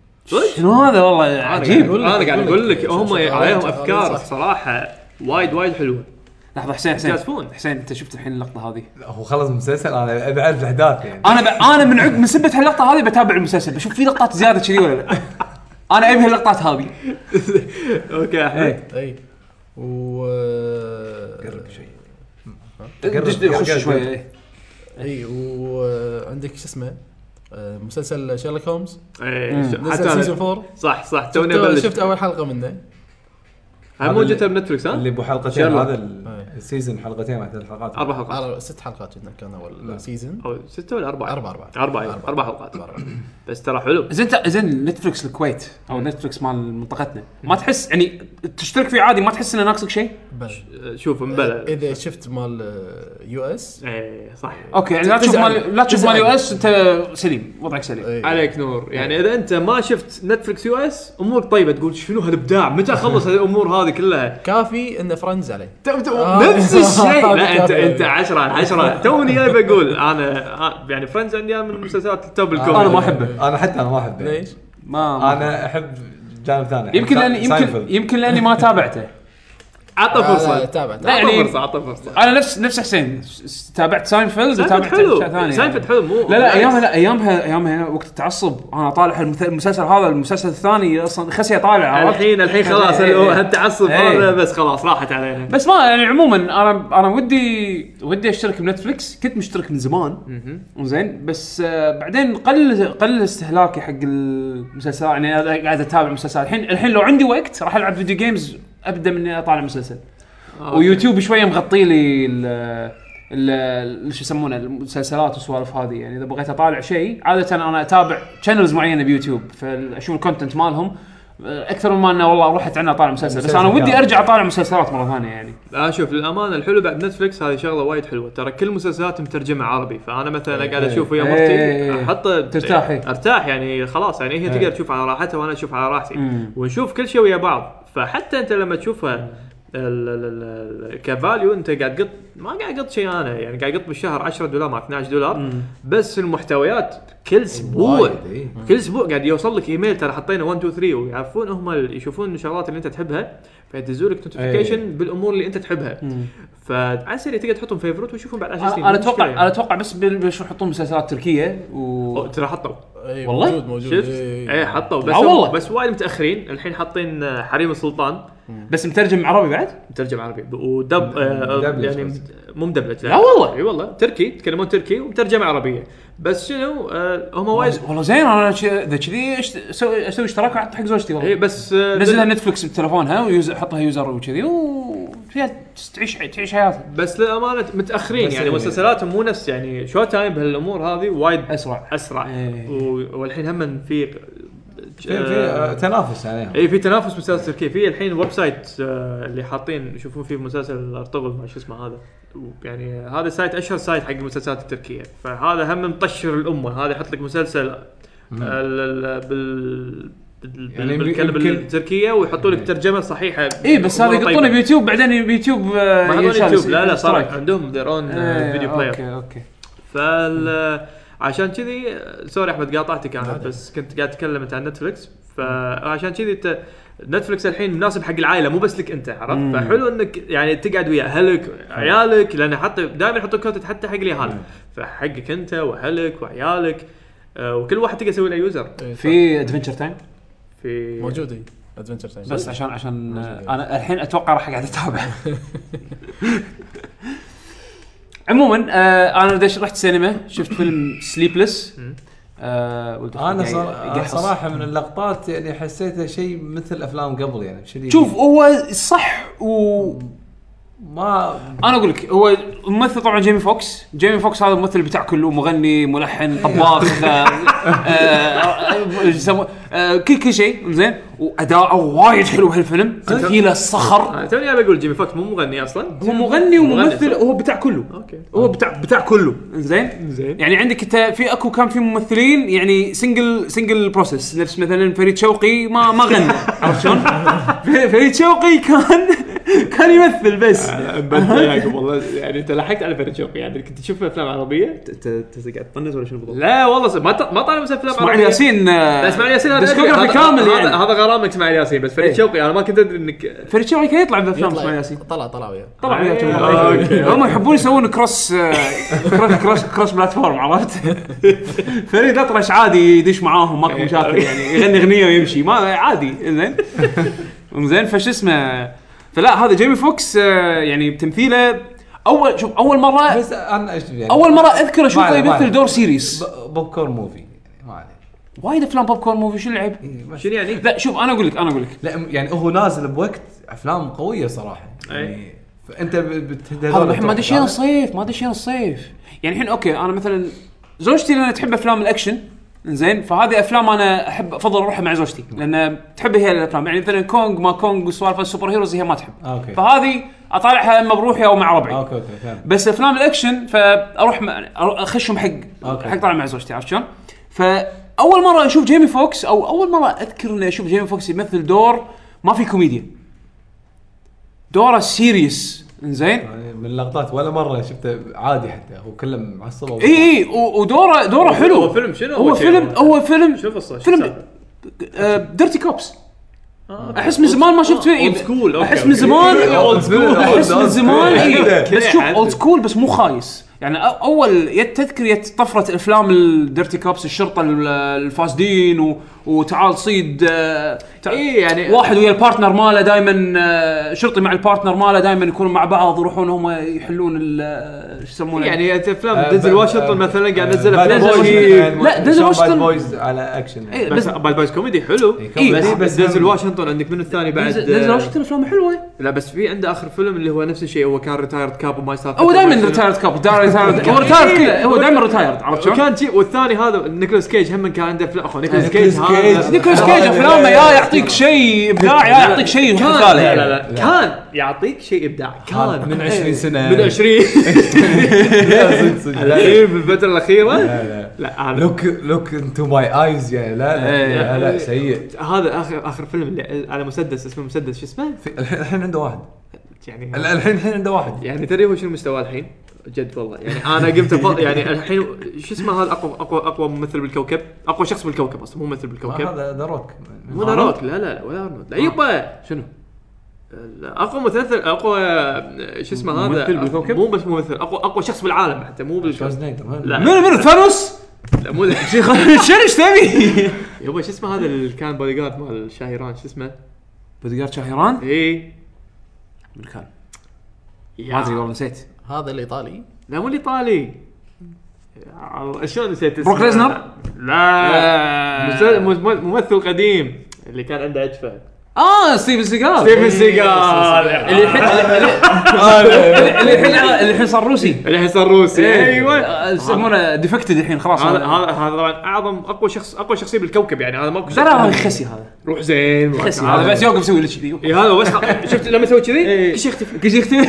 Speaker 2: شنو هذا والله عجيب
Speaker 3: انا قاعد اقول لك هم
Speaker 6: شغلات-
Speaker 3: عليهم
Speaker 6: شغلات
Speaker 3: افكار
Speaker 6: صح.
Speaker 3: صراحه وايد وايد حلوه
Speaker 2: لحظه حسين حسين
Speaker 3: يجازفون.
Speaker 2: حسين انت شفت الحين اللقطه هذه
Speaker 4: لا، هو خلص مسلسل انا ابي اعرف الاحداث يعني
Speaker 2: انا ب... انا من عقب من سبه هاللقطه هذه بتابع المسلسل بشوف في لقطات زياده كذي ولا لا انا ابي هاللقطات هذه
Speaker 3: اوكي احمد
Speaker 6: اي و
Speaker 4: قرب شوي
Speaker 2: دش- خش شوي إيه.
Speaker 6: اي وعندك شو اسمه آه، مسلسل شيرلوك هومز
Speaker 3: إيه، حتى
Speaker 6: نزل سيزون
Speaker 3: أنا-
Speaker 6: 4
Speaker 3: صح صح توني
Speaker 6: شفت,
Speaker 3: ابلش
Speaker 6: شفت اول حلقه منه
Speaker 3: هاي موجوده بنتفلكس
Speaker 4: اللي
Speaker 3: ها؟
Speaker 4: ابو حلقتين
Speaker 3: شيرلوك.
Speaker 4: هذا ال- السيزون حلقتين او ثلاث حلقات
Speaker 3: اربع حلقات
Speaker 6: على ست حلقات كنا- كان اول سيزون
Speaker 3: او ستة ولا أربعة؟
Speaker 6: أربعة، أربعة.
Speaker 3: أربعة أيوة.
Speaker 6: أربعة.
Speaker 3: أربع حلقات
Speaker 6: أربعة.
Speaker 3: بس ترى حلو
Speaker 2: زين تا- زين نتفلكس الكويت او نتفلكس مال منطقتنا ما تحس يعني تشترك فيه عادي ما تحس انه ناقصك شيء؟
Speaker 6: بلى.
Speaker 3: أه، شوف مبلى
Speaker 6: اذا شفت مال آه، يو اس
Speaker 3: ايه صح
Speaker 2: اوكي يعني لا تشوف
Speaker 6: تزعل.
Speaker 2: مال لا تشوف
Speaker 6: تزعل. إيه.
Speaker 2: مال يو اس انت سليم وضعك سليم
Speaker 6: إي.
Speaker 3: عليك نور يعني اذا انت ما شفت نتفلكس يو اس امورك طيبه تقول شنو هالابداع متى اخلص الامور هذه كلها
Speaker 6: كافي ان فرندز عليه
Speaker 3: ت- ت-
Speaker 6: آه.
Speaker 3: نفس الشيء لا انت
Speaker 6: كافي.
Speaker 3: انت 10 على 10 توني جاي بقول انا آه، يعني فريندز عندي من المسلسلات التوب الكوميدي
Speaker 2: انا ما احبه
Speaker 4: انا حتى انا ما احبه
Speaker 6: ليش؟
Speaker 2: ما ما-
Speaker 4: انا احب جانب ثاني
Speaker 2: يمكن
Speaker 4: سا-
Speaker 2: لاني يمكن
Speaker 4: ساينفيلد.
Speaker 2: يمكن لاني ما تابعته
Speaker 3: عطى
Speaker 6: لا، لا،
Speaker 3: فرصه
Speaker 6: تابع
Speaker 2: لا،
Speaker 6: تابع
Speaker 3: عطى
Speaker 2: يعني-
Speaker 3: فرصه عطى فرصه
Speaker 2: انا نفس نفس حسين س- س- تابعت ساينفيلد
Speaker 3: ساينفيد
Speaker 2: وتابعت
Speaker 3: حلو
Speaker 2: أشياء ثانية.
Speaker 3: ساينفيد حلو مو
Speaker 2: لا لا
Speaker 3: بالعكس.
Speaker 2: ايامها لا ايامها ايامها وقت التعصب انا طالع المث- المسلسل هذا المسلسل الثاني اصلا خسي طالع عرفت؟
Speaker 3: الحين الحين خلاص
Speaker 2: إيه، إيه.
Speaker 3: التعصب
Speaker 2: إيه.
Speaker 3: هذا بس خلاص راحت علينا
Speaker 2: بس ما يعني عموما انا انا ودي ودي اشترك بنتفلكس كنت مشترك من زمان زين بس آه، بعدين قل قل استهلاكي حق المسلسلات يعني أنا قاعد اتابع مسلسلات الحين الحين لو عندي وقت راح العب فيديو جيمز ابدا من إني اطالع مسلسل ويوتيوب شويه مغطي لي ال ال- ال- شو يسمونه المسلسلات والسوالف هذه يعني اذا بغيت اطالع شيء عاده انا اتابع شانلز معينه بيوتيوب فاشوف الكونتنت مالهم آه، اكثر من ما انه والله رحت انا اطالع مسلسل بس انا
Speaker 4: مسلسل
Speaker 2: ودي
Speaker 4: كامل.
Speaker 2: ارجع اطالع مسلسلات مره ثانيه يعني
Speaker 3: لا شوف للامانه الحلو بعد نتفلكس هذه شغله وايد حلوه ترى كل مسلسلات مترجمه عربي فانا مثلا قاعد اشوف ويا
Speaker 2: إيه.
Speaker 3: مرتي احطه
Speaker 2: ترتاح، إيه.
Speaker 3: ارتاح يعني خلاص يعني هي تقدر تشوف على راحتها وانا اشوف على راحتي ونشوف كل شيء ويا بعض فحتى انت لما تشوفها ال- ال- ال- ال- كفاليو انت قاعد قط ما قاعد قط شيء انا يعني قاعد قط بالشهر 10 دولار مع 12 دولار بس المحتويات كل اسبوع
Speaker 4: وايد، إيه.
Speaker 3: كل اسبوع قاعد يوصل لك ايميل ترى حطينا 1 2 3 ويعرفون هم ال- يشوفون الشغلات اللي انت تحبها فيدزوا لك نوتيفيكيشن
Speaker 2: إيه.
Speaker 3: بالامور اللي انت تحبها فعلى السريع تقدر تحطهم فيفرت وتشوفهم بعد 10
Speaker 2: انا
Speaker 3: سنين مو مشكلة
Speaker 2: اتوقع
Speaker 3: يعني.
Speaker 2: انا اتوقع بس بال- بيشو يحطون مسلسلات تركيه و
Speaker 3: أو، ترى حطوا
Speaker 6: إي،
Speaker 2: والله؟
Speaker 6: إيه، موجود موجود إيه،
Speaker 3: شفت؟
Speaker 6: إي.
Speaker 3: ايه حطوا بس
Speaker 2: آه، والله.
Speaker 3: بس وايد متاخرين الحين حاطين آه، حريم السلطان
Speaker 2: بس مترجم عربي بعد؟
Speaker 3: مترجم عربي ودب آه،
Speaker 4: مدبلج
Speaker 3: يعني
Speaker 4: بس.
Speaker 3: مد- مو مدبلج
Speaker 2: لا والله.
Speaker 3: اي والله تركي يتكلمون تركي ومترجمه عربيه بس شنو آه، هم وايد
Speaker 2: والله زين انا ش- اذا كذي أشت- اسوي اسوي اشتراك واحط حق زوجتي
Speaker 3: اي
Speaker 2: والله
Speaker 3: بس آه،
Speaker 2: نزلها نتفلكس بتلفونها ويوز- حطها يوزر وكذي وفيها تعيش تعيش حياتها
Speaker 3: بس للامانه متاخرين
Speaker 4: بس
Speaker 3: يعني
Speaker 4: يعني-
Speaker 3: مسلسلاتهم مو نفس يعني شو تايم بهالامور هذه وايد
Speaker 2: اسرع
Speaker 3: اسرع
Speaker 2: إيه.
Speaker 3: و- والحين هم في
Speaker 4: في في آه، تنافس
Speaker 2: إيه.
Speaker 4: عليهم
Speaker 3: اي في تنافس مسلسل تركي في الحين ويب سايت آه، اللي حاطين يشوفون فيه مسلسل ارطغرل ما شو اسمه هذا و- يعني هذا سايت اشهر سايت حق المسلسلات التركيه فهذا هم مطشر الامه هذا يحط لك مسلسل آه، ال- ال- بال بال-
Speaker 4: يعني يمكن-
Speaker 3: بالكلمه
Speaker 4: يمكن- إيه.
Speaker 3: التركيه ويحطوا لك ترجمه صحيحه
Speaker 2: اي إيه، بس هذا
Speaker 3: أموره
Speaker 2: يقطونه
Speaker 3: طيبة.
Speaker 2: بيوتيوب بعدين بيوتيوب آه،
Speaker 3: ما حطوا
Speaker 2: ينشال
Speaker 3: يوتيوب إيه، لا لا صار
Speaker 2: اشتراك.
Speaker 3: عندهم ذير اون
Speaker 2: إيه،
Speaker 3: فيديو بلاير
Speaker 2: اوكي اوكي
Speaker 3: فال آه، عشان كذي سوري احمد قاطعتك انا بس كنت قاعد اتكلم انت عن نتفلكس فعشان كذي انت نتفلكس الحين مناسب حق العائله مو بس لك انت عرفت فحلو انك يعني تقعد ويا اهلك عيالك لان حتى دائما يحطوا كونتنت حتى حق اليهال فحقك انت واهلك وعيالك آه، وكل واحد تقدر تسوي له يوزر
Speaker 6: إيه،
Speaker 2: في ادفنشر تايم
Speaker 3: في
Speaker 6: موجود اي ادفنشر تايم
Speaker 2: بس عشان عشان آه، انا الحين اتوقع راح قاعد اتابع عموما آه انا دش رحت سينما شفت فيلم آه، سليبلس
Speaker 4: انا
Speaker 2: يعني
Speaker 4: صرا-
Speaker 2: آه،
Speaker 4: صراحه من اللقطات يعني حسيتها شيء مثل افلام قبل يعني شديد
Speaker 2: شوف هو صح و
Speaker 4: ما
Speaker 2: انا اقول لك هو الممثل طبعا جيمي فوكس جيمي فوكس هذا الممثل بتاع كله مغني ملحن طباخ آه، آه، آه، يسموه- آه، كل كل شيء زين واداؤه وايد حلو بهالفيلم في له الصخر
Speaker 3: انا آه، توني ابي اقول جيمي فوكس مو مغني اصلا
Speaker 2: هو آه. مغني وممثل
Speaker 3: مغني صح.
Speaker 2: هو بتاع كله
Speaker 3: اوكي
Speaker 2: هو بتاع بتاع كله زين
Speaker 3: زين.
Speaker 2: يعني عندك انت في اكو كان في ممثلين يعني سنجل سنجل بروسس نفس مثلا فريد شوقي ما ما غنى عرفت شلون؟ ف- فريد شوقي كان كان يمثل بس
Speaker 9: مبدع يعقوب والله يعني انت لحقت على فرد شوقي يعني كنت تشوف افلام عربيه ت- ت- ت- قاعد تطنز ولا شنو بالضبط؟
Speaker 3: لا والله صح. ما ط- ما طالع بس افلام
Speaker 2: اسماعيل
Speaker 3: عربية.
Speaker 2: ياسين آه،
Speaker 3: لا اسماعيل ياسين هذا
Speaker 2: ديسكوغرافي
Speaker 3: أدري. هذا-
Speaker 2: كامل
Speaker 3: هذا-
Speaker 2: يعني.
Speaker 3: هذا غرامك اسماعيل ياسين بس فريد
Speaker 2: إيه.
Speaker 3: شوقي انا ما كنت ادري انك
Speaker 2: فريد شوقي كان يطلع بافلام اسماعيل
Speaker 6: يطلع
Speaker 2: ياسين
Speaker 6: طلع طلع وياه
Speaker 2: طلع
Speaker 3: إيه.
Speaker 2: وياه
Speaker 3: آه، أوكي.
Speaker 2: هم يحبون يسوون كروس آه، كروس كروس, كروس بلاتفورم عرفت؟ فريد اطرش عادي يدش معاهم ماكو مشاكل يعني يغني اغنيه ويمشي ما عادي زين زين فش اسمه فلا هذا جيمي فوكس آه، يعني بتمثيله اول شوف اول مره
Speaker 4: بس انا أش- يعني
Speaker 2: اول مره اذكر
Speaker 4: ما
Speaker 2: اشوفه
Speaker 4: عليه، ما عليه.
Speaker 2: يمثل دور سيريس
Speaker 4: ب- بوب كورن موفي يعني ما عليه
Speaker 2: وايد افلام بوب كورن موفي شو العيب؟
Speaker 4: إيه، بس-
Speaker 3: شنو يعني؟
Speaker 2: لا شوف انا اقول لك انا اقول لك
Speaker 4: لا يعني هو نازل بوقت افلام قويه صراحه يعني فانت
Speaker 2: هذا
Speaker 4: بتهدى
Speaker 2: الحين ما دشينا الصيف ما دشينا الصيف يعني الحين اوكي انا مثلا زوجتي لان تحب افلام الاكشن زين فهذه افلام انا احب افضل اروحها مع زوجتي لان تحب هي الافلام يعني مثلا كونغ ما كونغ وسوالف السوبر هيروز هي ما تحب
Speaker 4: اوكي
Speaker 2: فهذه اطالعها اما بروحي او مع ربعي
Speaker 4: اوكي اوكي فهمت
Speaker 2: بس افلام الاكشن فاروح م- أرو- اخشهم حق
Speaker 4: أوكي.
Speaker 2: حق طالع مع زوجتي عرفت شلون؟ فاول مره اشوف جيمي فوكس او اول مره اذكر اني اشوف جيمي فوكس يمثل دور ما في كوميديا دوره سيريس زين
Speaker 4: يعني من اللقطات ولا مره شفته عادي حتى هو كله معصب
Speaker 2: اي اي إيه، و- ودوره دوره حلو
Speaker 3: هو فيلم شنو
Speaker 2: هو
Speaker 3: أول شيء؟
Speaker 2: فيلم هو فيلم
Speaker 3: شوف الصورة، شوف
Speaker 2: فيلم آه،
Speaker 3: السالفة.
Speaker 2: ديرتي كوبس احس من زمان ما شفت فيه
Speaker 3: آه، Old school، أوكي،
Speaker 2: احس
Speaker 3: أوكي.
Speaker 2: من زمان
Speaker 4: Old school.
Speaker 2: احس من زمان إي.
Speaker 4: عدة.
Speaker 2: بس شوف
Speaker 3: عدة.
Speaker 2: اولد سكول بس مو خايس يعني أ- اول يد تذكرية طفرة افلام الديرتي كابس الشرطة ال- الفاسدين و... وتعال صيد آه، تع...
Speaker 3: إي يعني-
Speaker 2: واحد ويا البارتنر ماله دائما شرطي مع البارتنر ماله دائما يكونوا مع بعض يروحون هم يحلون ال- آه، شو يسمونه
Speaker 3: يعني انت افلام
Speaker 4: آه،
Speaker 3: ديزل
Speaker 4: ب-
Speaker 3: واشنطن
Speaker 4: آه،
Speaker 3: مثلا قاعد إيه،
Speaker 4: آه،
Speaker 3: نزل
Speaker 4: باد
Speaker 3: افلام
Speaker 4: بويز.
Speaker 2: واشنطن.
Speaker 4: آه،
Speaker 2: لا،
Speaker 4: شلون
Speaker 2: ديزل
Speaker 4: باد
Speaker 2: واشنطن.
Speaker 4: بويز على اكشن
Speaker 2: إيه،
Speaker 4: يعني.
Speaker 3: بس
Speaker 2: بس
Speaker 3: باد بايز كوميدي حلو
Speaker 4: كوميدي.
Speaker 3: بس
Speaker 4: إيه،
Speaker 3: بس
Speaker 4: بس
Speaker 3: ديزل
Speaker 4: هم-
Speaker 3: واشنطن عندك من الثاني بعد
Speaker 2: ديزل واشنطن افلامه حلوه
Speaker 3: لا بس في عنده اخر فيلم اللي هو نفس الشيء هو كان ريتايرد كاب وما يصير
Speaker 2: هو دائما ريتايرد كاب ريتايرد هو ريتايرد كله هو دائما ريتايرد عرفت شلون؟
Speaker 3: وكان شيء والثاني هذا نيكولاس كيج هم كان عنده افلام اخو نيكولاس كيج
Speaker 4: آه، نيكولاس كيج.
Speaker 3: هذا
Speaker 2: نيكولاس كيج افلامه يا يعطيك شيء ابداع يا يعطيك شيء
Speaker 3: كان
Speaker 2: خيال
Speaker 3: لا
Speaker 2: يعني.
Speaker 3: لا لا كان يعطيك شيء ابداع
Speaker 4: هذا
Speaker 3: كان
Speaker 4: من آه. 20 سنه
Speaker 3: من 20
Speaker 4: صدق، صدق.
Speaker 3: لا إيه، بالفتره الاخيره
Speaker 4: لا لا
Speaker 3: لا هذا
Speaker 4: لوك لوك انتو ماي ايز يعني لا لا
Speaker 3: إيه.
Speaker 4: لا, لا سيء
Speaker 3: هذا اخر اخر فيلم اللي على مسدس اسمه مسدس شو اسمه؟
Speaker 4: في- الحين الحين عنده واحد
Speaker 3: يعني
Speaker 4: ال- الحين الحين عنده واحد
Speaker 3: يعني تدري هو شنو مستواه الحين؟ جد والله يعني انا قمت أفضل يعني الحين شو اسمه هذا اقوى اقوى اقوى ممثل بالكوكب اقوى شخص بالكوكب اصلا مو ممثل
Speaker 4: ما
Speaker 3: بالكوكب
Speaker 4: هذا ذا روك
Speaker 3: مو ذا روك لا لا لا ولا ارنولد لا يبا
Speaker 2: آه. شنو؟
Speaker 3: اقوى ممثل اقوى شو اسمه هذا
Speaker 2: ممثل بالكوكب؟
Speaker 3: مو بس ممثل اقوى اقوى شخص بالعالم حتى مو بالكوكب
Speaker 4: شوزنيجر
Speaker 3: لا.
Speaker 2: منو منو ثانوس؟
Speaker 3: لا مو ذا-
Speaker 2: شيخ، شنو ايش تبي؟
Speaker 3: يبا شو اسمه هذا اللي كان بودي جارد مال شاهيران شو اسمه؟ إيه.
Speaker 2: بوديجارد شهيران؟
Speaker 3: اي
Speaker 2: من كان؟ ما ادري
Speaker 3: لا
Speaker 2: والله نسيت
Speaker 6: هذا الايطالي
Speaker 3: مو الايطالي يا الله، شلون نسيت اسمه؟
Speaker 2: بروك ليزنر؟
Speaker 3: لا مسل- مم- ممثل قديم اللي كان عنده عجفه
Speaker 2: اه ستيفن سيجار
Speaker 3: ستيفن سيجال
Speaker 2: اللي الحين اللي- اللي الحين اللي الحين صار روسي
Speaker 3: الحين صار روسي ايوه
Speaker 2: آه، يسمونه ديفكتد الحين خلاص
Speaker 3: هذا هذا هذا طبعا اعظم اقوى شخص اقوى شخصيه بالكوكب يعني هذا ماكو شخص-
Speaker 2: لا لا هذا خسي هذا
Speaker 3: روح زين روح
Speaker 2: خسي
Speaker 3: تعال.
Speaker 2: هذا بس إيه. يوقف يسوي لي كذي
Speaker 3: اي هذا بس شفت لما يسوي كذي كل شيء يختفي
Speaker 2: كل شيء يختفي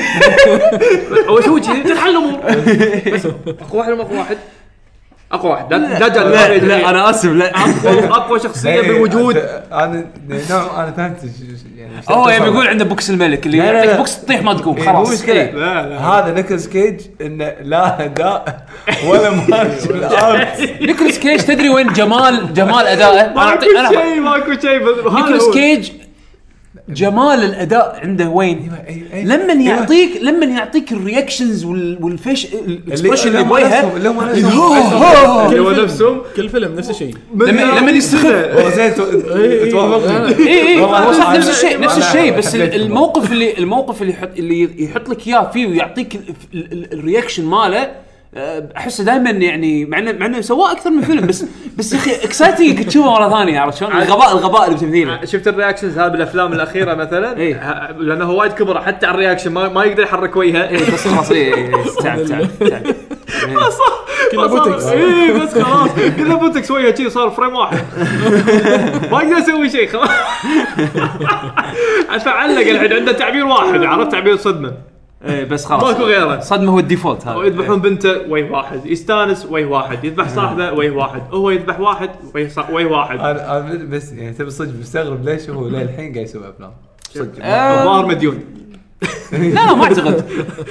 Speaker 3: هو يسوي كذي تنحل الامور بس اقوى واحد ولا اقوى واحد اقوى واحد لا لا جدل،
Speaker 2: لا إيه.
Speaker 3: جدل.
Speaker 2: لا انا اسف لا
Speaker 3: اقوى اقوى شخصيه يعني. بالوجود
Speaker 4: انا نوع انا فهمت ش- ش- يعني شو
Speaker 2: هو
Speaker 4: تصور.
Speaker 2: يبي يقول عنده بوكس الملك اللي
Speaker 4: لا، لا،
Speaker 2: يعطيك
Speaker 4: لا.
Speaker 2: بوكس تطيح ما تقوم
Speaker 4: إيه،
Speaker 2: خلاص
Speaker 4: مو مشكله
Speaker 3: لا لا
Speaker 4: هذا نيكولاس كيج انه لا اداء ولا مارشل ارت
Speaker 2: نيكولاس كيج تدري وين جمال جمال ادائه انا
Speaker 3: ماكو
Speaker 2: اعطيك انا
Speaker 3: شيء ماكو شيء بس- هذا
Speaker 2: نيكولاس
Speaker 3: هو. إيه،
Speaker 2: كيج
Speaker 10: جمال الاداء عنده وين
Speaker 4: أي- أي-
Speaker 10: لما
Speaker 4: أيوة.
Speaker 10: يعطيك لما يعطيك الرياكشنز والفيش الاكسبريشن اللي
Speaker 4: اللي
Speaker 10: يبغيها
Speaker 4: مالسهم- اللي مالسهم.
Speaker 10: اللي هو- هو-
Speaker 3: اللي هو نفسهم
Speaker 6: كل فيلم نفس الشيء
Speaker 2: لما لما يستخدم
Speaker 4: والله زين تو-
Speaker 2: إيه،
Speaker 4: توافقني
Speaker 2: اي اي
Speaker 4: والله
Speaker 2: صح
Speaker 4: أنا-
Speaker 2: إيه، نفس الشيء نفس
Speaker 4: أنا
Speaker 2: الشيء بس
Speaker 4: حبيت
Speaker 2: ال-
Speaker 4: الموضوع.
Speaker 2: الموقف اللي الموقف اللي يحط اللي يحط لك اياه فيه ويعطيك ال- ال- ال- الرياكشن ماله آه، احسه دائما يعني مع انه مع انه سواه اكثر من فيلم بس بس يا اخي اكسايتنج تشوفه مره ثانيه عرفت شلون؟ الغباء الغباء اللي بتمثيله
Speaker 3: شفت الرياكشنز هذا بالافلام الاخيره مثلا
Speaker 2: إيه.
Speaker 3: ه- لانه هو وايد كبر حتى على الرياكشن ما, ما يقدر يحرك وجهه
Speaker 2: إيه، بس خلاص إيه، إيه، إيه، تعب تعب تعب
Speaker 6: كله بوتكس
Speaker 3: اي إيه، بس خلاص كذا بوتكس وجهه شي صار فريم واحد ما اقدر اسوي شيء خلاص فعلق الحين عنده تعبير واحد عرفت تعبير صدمه
Speaker 2: إيه، بس خلاص
Speaker 3: ماكو غيره
Speaker 2: صدمه هو الديفولت هذا
Speaker 3: يذبحون بنته وجه واحد يستانس وجه واحد يذبح صاحبه وجه واحد هو يذبح واحد وجه صا- وجه واحد
Speaker 4: انا أنا بس يعني تبي صدق مستغرب ليش هو للحين قاعد يسوي افلام صدق
Speaker 3: الظاهر مديون
Speaker 2: لا لا آه، ما اعتقد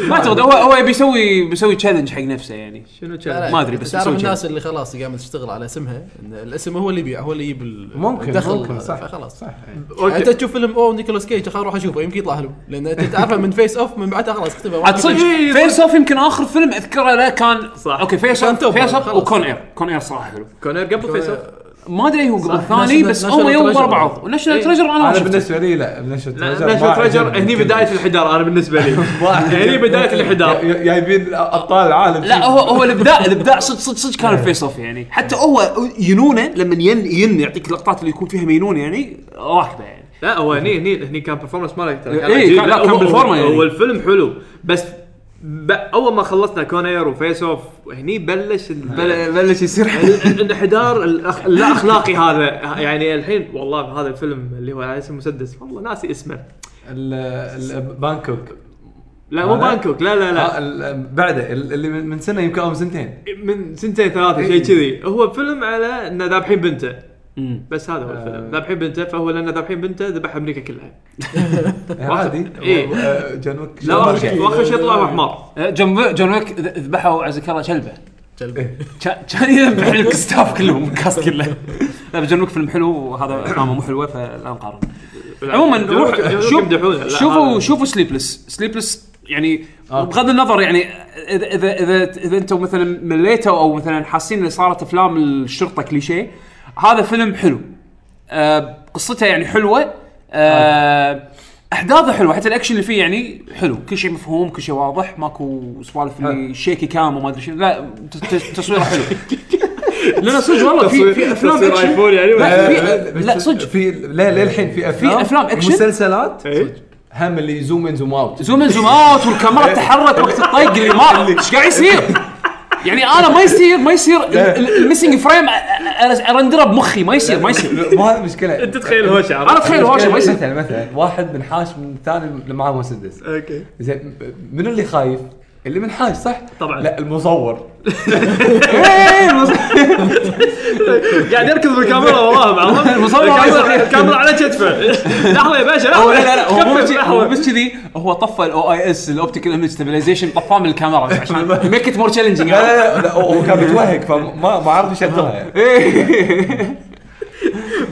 Speaker 2: ما اعتقد هو هو يبي يسوي بيسوي تشالنج حق نفسه يعني
Speaker 3: شنو
Speaker 6: لا،
Speaker 3: كان
Speaker 6: لا،
Speaker 2: ما أدري، بس
Speaker 6: تعرف
Speaker 2: بسوي
Speaker 6: الناس اللي خلاص قامت تشتغل على اسمها ان الاسم هو اللي يبيع هو اللي يجيب ال-
Speaker 4: ممكن
Speaker 6: الدخل
Speaker 4: ممكن صح
Speaker 6: خلاص
Speaker 4: صح
Speaker 6: يعني انت
Speaker 3: اوكي
Speaker 6: تشوف فيلم اوه نيكولاس كيج خلاص روح اشوفه يمكن يطلع حلو لان انت تعرفه من فيس اوف من بعدها خلاص اختفى ما
Speaker 2: عاد صدق
Speaker 6: في-
Speaker 2: فيس اوف يمكن اخر فيلم اذكره له كان
Speaker 3: صح.
Speaker 2: اوكي فيس
Speaker 6: كان
Speaker 2: اوف
Speaker 6: توب
Speaker 2: فيس اوف
Speaker 6: خلاص.
Speaker 2: وكون اير كون اير صراحه حلو
Speaker 3: كونر قبل فيس اوف
Speaker 2: ما ادري هو قبل الثاني
Speaker 6: ناشونال-
Speaker 2: بس
Speaker 6: ناشونال
Speaker 2: هم يوم
Speaker 6: تريجر.
Speaker 2: بعض وناشونال
Speaker 3: إيه.
Speaker 2: تريجر انا ما
Speaker 4: انا
Speaker 2: شفته
Speaker 4: بالنسبه لي لا بالنسبه
Speaker 3: لا لا شوف ريجر هني بدايه الحدار انا بالنسبه لي هني بدايه الحدار
Speaker 4: جايبين ابطال العالم
Speaker 2: لا هو هو الابداع الابداع صدق صدق صدق كان الفيس اوف يعني حتى هو ينونه لما ين ين يعطيك اللقطات اللي يكون فيها مينون يعني راكبه يعني
Speaker 3: لا هو هني هني هني كان برفورمانس ماله ترى
Speaker 2: إيه،
Speaker 3: عجيب.
Speaker 2: كان- لا، كان
Speaker 3: هو-
Speaker 2: بالفورمة
Speaker 3: هو-
Speaker 2: يعني.
Speaker 3: هو الفيلم حلو بس ب- اول ما خلصنا كونير وفيس اوف هني بلش ال-
Speaker 2: بلش يصير
Speaker 3: ال- الانحدار الأخ- اللا اخلاقي هذا يعني الحين والله هذا الفيلم اللي هو على اسم مسدس والله ناسي اسمه
Speaker 4: ال- ال- بانكوك
Speaker 3: لا مو
Speaker 4: هذا؟
Speaker 3: بانكوك لا لا لا
Speaker 4: آه، ال- بعده ال- اللي من من سنه يمكن او من سنتين
Speaker 3: من سنتين ثلاثه
Speaker 2: إيه.
Speaker 3: شيء كذي هو فيلم على انه ذابحين بنته
Speaker 2: مم.
Speaker 3: بس هذا هو الفيلم
Speaker 4: آه.
Speaker 3: ذابحين بنته فهو لانه ذابحين بنته ذبح امريكا كلها
Speaker 4: عادي
Speaker 3: إيه.
Speaker 4: آه، جون ويك
Speaker 3: لا واخر شيء واخر شيء طلع حمار
Speaker 2: جون ويك- جون ويك ذ- ذبحوا عزك الله إيه. كلبه
Speaker 6: جلب.
Speaker 2: كان كان يذبح الستاف كلهم الكاست كله لا بس جون ويك فيلم حلو وهذا افلامه مو حلوه فلا نقارن عموما
Speaker 3: جون ويك- جون
Speaker 2: روح
Speaker 3: ويك
Speaker 2: شوف
Speaker 3: يمدحونه. لا،
Speaker 2: شوفوا
Speaker 3: هذا- آه.
Speaker 2: شوفوا سليبلس سليبلس يعني بغض النظر يعني اذا اذا اذا, إذا انتم مثلا مليتوا او مثلا حاسين ان صارت افلام الشرطه كليشيه هذا فيلم حلو آه، قصته يعني حلوه آه، احداثه حلوه حتى الاكشن اللي فيه يعني حلو كل شيء مفهوم كل شيء واضح ماكو سوالف
Speaker 3: آه.
Speaker 2: اللي شيكي كام وما ادري شنو لا ت- ت- تصويره حلو لان صدق والله في في افلام
Speaker 3: تصوير
Speaker 2: اكشن
Speaker 3: ايفون يعني
Speaker 2: لا،
Speaker 3: ولا-
Speaker 2: في- لا، صدق.
Speaker 4: آه، في لا للحين في افلام
Speaker 2: أفلام أكشن؟
Speaker 4: مسلسلات
Speaker 3: إيه.
Speaker 4: هم اللي زوم ان زوم اوت
Speaker 2: زوم ان زوم اوت والكاميرا تحرك وقت الطق اللي ما ايش قاعد يصير؟ يعني انا ما يصير ما يصير الميسنج فريم ارندره بمخي ما يصير ما يصير
Speaker 4: مو هذه المشكله
Speaker 3: انت تخيل هوشه عرفت؟
Speaker 2: انا اتخيل هوشه ما يصير
Speaker 4: مثلا مثلا واحد منحاش من الثاني اللي معاه مسدس
Speaker 3: اوكي
Speaker 4: زين من اللي خايف؟ اللي منحاش صح؟
Speaker 3: طبعاً.
Speaker 4: لا المصور
Speaker 3: قاعد يركض بالكاميرا والله بعض
Speaker 2: المصور
Speaker 3: الكاميرا
Speaker 2: عايز-
Speaker 3: الكاميرا على كتفه لحظه يا باشا
Speaker 2: هو لا لا لا هو مو
Speaker 3: كمل،
Speaker 2: بس- هو
Speaker 3: لحظة.
Speaker 2: بس كذي هو طفى الاو اي اس الاوبتيكال ايمج ستابلايزيشن طفاه من الكاميرا بس عشان يميك ات مور تشالنجينج
Speaker 4: لا لا لا, لا هو كان متوهق فما ما عرف يشغلها يعني.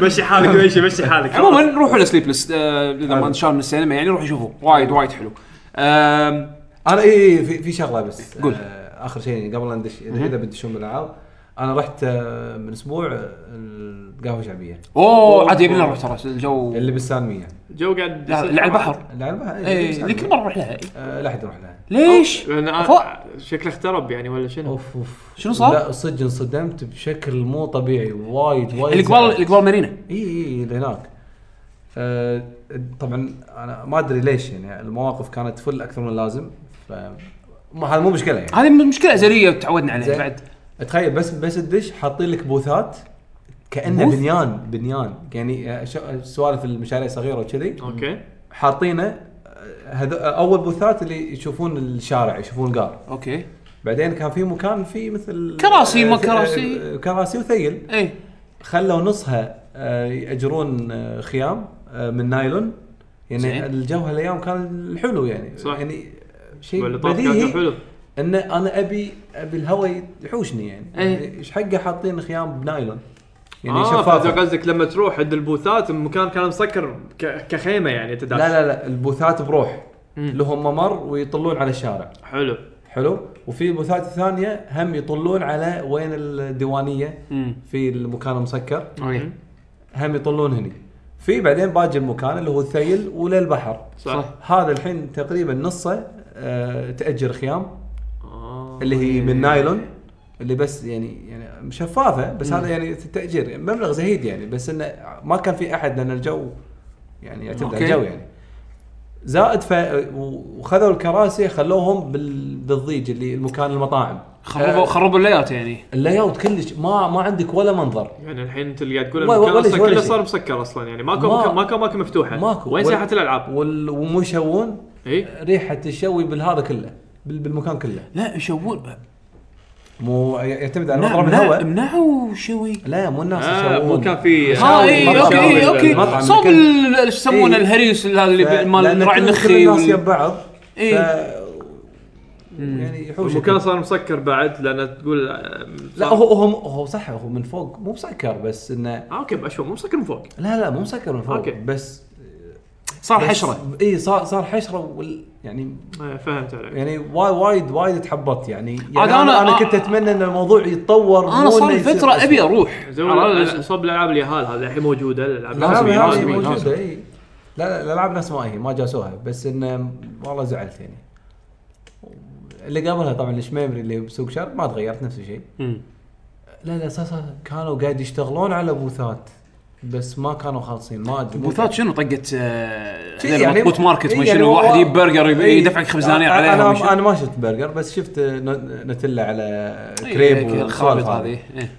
Speaker 3: مشي حالك مشي مشي حالك
Speaker 2: عموما روحوا لسليبلس آه، اذا ما انشال من السينما يعني روحوا شوفوا وايد وايد حلو آم،
Speaker 4: انا اي إي إيه، في, في شغله بس
Speaker 2: قول.
Speaker 4: آه اخر شيء يعني قبل لا ندش اذا اذا بتدشون بالالعاب انا رحت آه من اسبوع آه، القهوه الشعبيه
Speaker 2: اوه عاد يبينا نروح ترى الجو
Speaker 4: اللي بالسالميه
Speaker 3: جو قاعد
Speaker 2: لا اللي على البحر إيه،
Speaker 4: اللي على البحر
Speaker 2: اي اللي كل مره نروح لها
Speaker 4: آه لا حد يروح لها
Speaker 2: ليش؟
Speaker 3: لأن أنا-
Speaker 2: فوق.
Speaker 3: شكله اخترب يعني ولا شنو؟
Speaker 4: اوف اوف
Speaker 2: شنو صار؟
Speaker 4: لا صدق انصدمت بشكل مو طبيعي وايد وايد إيه،
Speaker 2: القبال القبال مارينا
Speaker 4: اي اي اللي هناك فطبعا انا ما ادري ليش يعني المواقف كانت فل اكثر من اللازم ف ما- هذا مو مشكله يعني
Speaker 2: هذه مشكله ازليه تعودنا عليها
Speaker 4: زين.
Speaker 2: بعد
Speaker 4: تخيل بس بس تدش حاطين لك بوثات كانه
Speaker 2: بوث؟
Speaker 4: بنيان بنيان يعني آه، ش- سوالف المشاريع الصغيره وكذي
Speaker 3: اوكي
Speaker 4: حاطينه آه، هذو آه، اول بوثات اللي يشوفون الشارع يشوفون القار
Speaker 2: اوكي
Speaker 4: بعدين كان في مكان فيه مثل
Speaker 2: كراسي، ما
Speaker 4: آه،
Speaker 2: كراسي.
Speaker 4: آه، كراسي وثيل
Speaker 2: اي
Speaker 4: خلوا نصها آه، ياجرون آه، خيام آه، من نايلون
Speaker 2: زين.
Speaker 4: يعني الجو هالايام كان حلو يعني
Speaker 3: صح.
Speaker 4: يعني آه، شيء
Speaker 3: واللطاف كان
Speaker 4: بديهي
Speaker 3: حلو
Speaker 4: ان انا ابي ابي الهواء يحوشني يعني
Speaker 2: إيه.
Speaker 4: ايش حقه حاطين خيام بنايلون يعني
Speaker 3: آه، فهمت
Speaker 4: شفافه
Speaker 3: قصدك لما تروح عند البوثات المكان كان مسكر ك- كخيمه يعني انت
Speaker 4: لا
Speaker 3: داش.
Speaker 4: لا لا البوثات بروح
Speaker 3: مم.
Speaker 4: لهم ممر ويطلون على الشارع
Speaker 3: حلو
Speaker 4: حلو وفي بوثات ثانيه هم يطلون على وين الديوانيه في المكان المسكر
Speaker 3: اوكي
Speaker 4: هم يطلون هني في بعدين باقي المكان اللي هو الثيل وللبحر
Speaker 3: صح
Speaker 4: هذا الحين تقريبا نصه آه، تاجر خيام
Speaker 3: آه.
Speaker 4: اللي هي من نايلون اللي بس يعني يعني شفافه بس هذا يعني تاجير مبلغ زهيد يعني بس انه ما كان في احد لان الجو يعني يعتمد على
Speaker 2: أوكي.
Speaker 4: الجو يعني زائد ف وخذوا الكراسي خلوهم بال... بالضيج اللي المكان المطاعم
Speaker 2: خربوا خربوا الليات يعني
Speaker 4: اللاي اوت كلش ما ما عندك ولا منظر
Speaker 3: يعني الحين انت اللي قاعد تقول
Speaker 4: ولا-
Speaker 3: المكان
Speaker 4: ولا شيء،
Speaker 3: اصلا
Speaker 4: ولا
Speaker 3: كله
Speaker 4: شيء.
Speaker 3: صار مسكر اصلا يعني ماكو
Speaker 4: ما-
Speaker 3: مكان- ماكو ماكو مفتوحه
Speaker 4: ماكو
Speaker 3: وين
Speaker 4: ولا-
Speaker 3: ساحه الالعاب؟
Speaker 4: وال... ومو يشوون
Speaker 3: اي
Speaker 4: ريحه الشوي بالهذا كله بال... بالمكان كله
Speaker 2: لا يشوون
Speaker 4: مو يعتمد على
Speaker 2: منع-
Speaker 4: مضرب
Speaker 2: منع-
Speaker 4: الهواء
Speaker 2: منعوا شوي
Speaker 4: لا مو الناس
Speaker 3: آه،
Speaker 4: يشوون
Speaker 3: مو كان في
Speaker 2: اه اي اوكي اي اوكي
Speaker 4: المطعم
Speaker 2: صوب
Speaker 4: اللي
Speaker 2: ال- ايش يسمونه
Speaker 4: إيه.
Speaker 2: الهريس هذا اللي
Speaker 4: ف-
Speaker 2: ب- مال
Speaker 4: لأن
Speaker 2: راعي
Speaker 4: كل- كل
Speaker 2: النخي
Speaker 4: الناس
Speaker 2: وال-
Speaker 4: يب بعض
Speaker 2: إيه.
Speaker 4: ف... يعني يحوش
Speaker 3: المكان صار مسكر بعد لان تقول آه،
Speaker 4: لا هو هو هو صح هو من فوق مو مسكر بس انه
Speaker 3: آه اوكي بشوف مو مسكر من فوق
Speaker 4: لا لا مو مسكر من فوق
Speaker 3: أوكي.
Speaker 4: بس
Speaker 2: صار حشره
Speaker 4: اي صار صار حشره وال... يعني
Speaker 3: آه، فهمت عليك
Speaker 4: يعني وايد وايد وايد تحبطت يعني, يعني
Speaker 2: عاد
Speaker 4: انا
Speaker 2: أنا-
Speaker 4: انا, كنت اتمنى ان الموضوع يتطور
Speaker 2: انا
Speaker 4: مو
Speaker 2: صار
Speaker 4: إنه
Speaker 2: لي
Speaker 4: يصير
Speaker 2: فتره
Speaker 4: بس.
Speaker 2: ابي اروح
Speaker 3: زي ما قلنا، صوب الالعاب اليهال هذه الحين موجوده الالعاب
Speaker 4: الألعاب
Speaker 2: لازم-
Speaker 4: هذه
Speaker 2: لازم- لازم.
Speaker 4: موجوده اي إيه. لا لا الالعاب ناس ما هي ما جاسوها بس انه والله زعلت يعني اللي قبلها طبعا الشميمري اللي بسوق شرق ما تغيرت نفس الشيء لا لا اساسا كانوا قاعد يشتغلون على بوثات بس ما كانوا خالصين ما ادري
Speaker 2: بوثات شنو طقت آه،
Speaker 4: شي
Speaker 2: هذيل
Speaker 4: يعني-
Speaker 2: مطبوط ماركت
Speaker 4: إي
Speaker 2: ما
Speaker 4: يعني
Speaker 2: شنو
Speaker 4: هو-
Speaker 2: واحد يجيب برجر يب-
Speaker 4: إي.
Speaker 2: يدفعك خمس دنانير
Speaker 4: أنا-
Speaker 2: عليها وما
Speaker 4: انا
Speaker 2: شنو.
Speaker 4: انا ما شفت برجر بس شفت ن- نتله على
Speaker 2: إي،
Speaker 4: كريب
Speaker 2: هيك
Speaker 4: والخوارز
Speaker 2: الخرابيط
Speaker 4: هذه
Speaker 2: إيه، هذه إيه.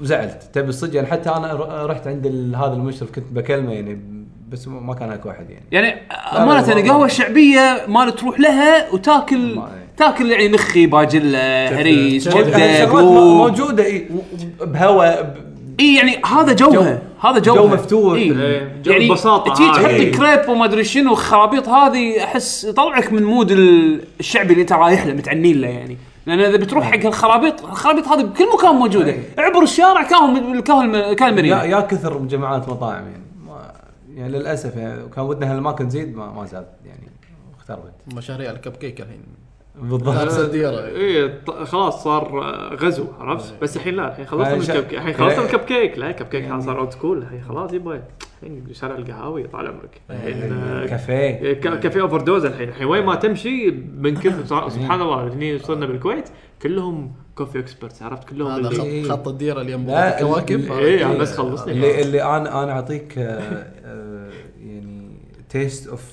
Speaker 4: وزعلت تبي الصدق يعني حتى انا ر- رحت عند ال- هذا المشرف كنت بكلمه يعني بس ما كان اكو احد يعني
Speaker 2: يعني
Speaker 4: لا،
Speaker 2: امانه
Speaker 4: والله.
Speaker 2: القهوه الشعبيه ما تروح لها وتاكل
Speaker 4: ما- إيه.
Speaker 2: تاكل يعني نخي باجله هريس
Speaker 4: شغلات-
Speaker 2: كبده
Speaker 4: شغلات
Speaker 2: قلوب
Speaker 4: موجوده اي بهواء
Speaker 2: اي يعني هذا جوها هذا جوها
Speaker 4: جو مفتوح.
Speaker 2: إي.
Speaker 3: إيه، جو
Speaker 2: يعني
Speaker 3: البساطة
Speaker 2: تجي
Speaker 3: هذه.
Speaker 4: إيه.
Speaker 3: إي.
Speaker 2: تحط كريب وما ادري شنو الخرابيط هذه احس يطلعك من مود ال- الشعبي اللي انت رايح له متعنين له يعني لان اذا بتروح
Speaker 4: نعم.
Speaker 2: حق الخرابيط الخرابيط هذه بكل مكان
Speaker 4: إيه.
Speaker 2: موجوده عبر الشارع كان الكاهل كان
Speaker 4: يا
Speaker 2: مريم
Speaker 4: يا كثر جماعات مطاعم يعني ما يعني للاسف يعني كان ودنا هالاماكن تزيد ما ما زاد يعني اختربت
Speaker 6: مشاريع الكب كيك الحين
Speaker 4: بالضبط
Speaker 6: لابسه الديره
Speaker 3: اي خلاص صار آه، غزو عرفت بس الحين لا الحين خلصنا
Speaker 4: آه،
Speaker 3: من
Speaker 4: شا-
Speaker 3: الكب الحين خلصنا من
Speaker 4: إيه.
Speaker 3: الكب كيك لا الكب كيك صار اولد سكول الحين خلاص يبا الحين شارع القهاوي طال عمرك الحين آه،
Speaker 4: كافيه
Speaker 3: ك- كافيه اوفر دوز الحين الحين وين ما تمشي من كثر صار- سبحان الله هني صرنا بالكويت كلهم كوفي اكسبرتس عرفت كلهم
Speaker 6: هذا
Speaker 3: اللي-
Speaker 4: إيه.
Speaker 6: خط خط الديره اللي ينبغي
Speaker 4: لا،
Speaker 6: الكواكب
Speaker 4: ال-
Speaker 3: ايه يعني
Speaker 6: هذا.
Speaker 3: بس خلصني
Speaker 4: اللي اللي انا انا اعطيك آه، آه، يعني تيست اوف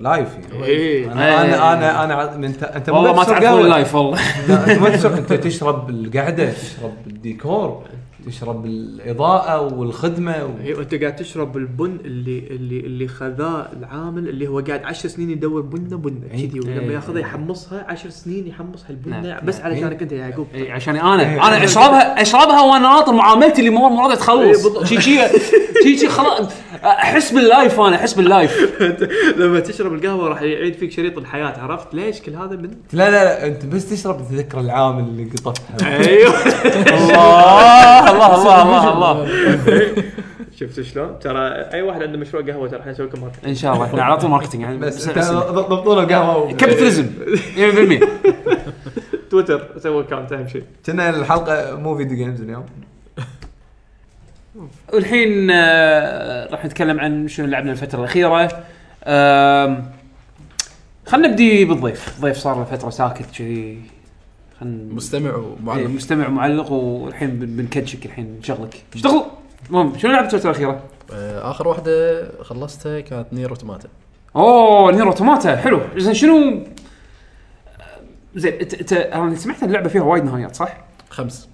Speaker 4: لايف يعني
Speaker 3: ايه
Speaker 4: انا انا انا انا ع- من- انت انت طيب، مو
Speaker 2: والله ما
Speaker 4: بس
Speaker 2: تعرف
Speaker 4: قهوة.
Speaker 2: وين لايف والله
Speaker 4: لا، انت ما تشرب انت تشرب القعده تشرب الديكور تشرب الاضاءه والخدمه و...
Speaker 3: ايوه انت قاعد تشرب البن اللي اللي اللي خذاه العامل اللي هو قاعد 10 سنين يدور بنه بنه
Speaker 4: إيه.
Speaker 3: كذي
Speaker 4: إيه.
Speaker 3: ولما ياخذها يحمصها 10 سنين يحمصها البنه
Speaker 2: نعم.
Speaker 3: بس
Speaker 4: إيه.
Speaker 3: علشانك انت يا يعقوب
Speaker 2: إي، عشان انا انا اشربها اشربها وانا ناطر معاملتي اللي مو راضيه
Speaker 3: إي،
Speaker 2: تخلص
Speaker 3: بالضبط.
Speaker 2: شي شي شي شي خلاص احس باللايف انا احس باللايف
Speaker 3: لما تشرب القهوه راح يعيد فيك شريط الحياه عرفت ليش كل هذا من
Speaker 4: لا لا لا انت بس تشرب تتذكر العامل اللي قطفتها
Speaker 3: ايوه
Speaker 2: الله الله الله الله الله
Speaker 3: شفت شلون ترى اي واحد عنده مشروع قهوه ترى احنا نسوي لكم ماركت
Speaker 2: ان شاء الله احنا على طول ماركتينج يعني
Speaker 4: بس
Speaker 2: بس
Speaker 4: انت ضبطونا القهوه
Speaker 2: كابيتاليزم 100%
Speaker 3: تويتر سووا اكونت اهم شيء
Speaker 4: كنا الحلقه مو فيديو جيمز اليوم
Speaker 2: والحين آه، راح نتكلم عن شنو لعبنا الفتره الاخيره آم، خلنا نبدي بالضيف الضيف صار له فتره ساكت كذي خلنا
Speaker 6: مستمع
Speaker 2: إيه،
Speaker 6: ومعلم
Speaker 2: مستمع معلق والحين بن- بنكتشك الحين شغلك اشتغل المهم شنو لعبت الفتره الاخيره؟
Speaker 6: آه، اخر واحده خلصتها كانت نير اوتوماتا
Speaker 2: اوه نير اوتوماتا حلو زين شنو زين انت انت انا سمعت اللعبه فيها وايد نهايات صح؟
Speaker 6: خمس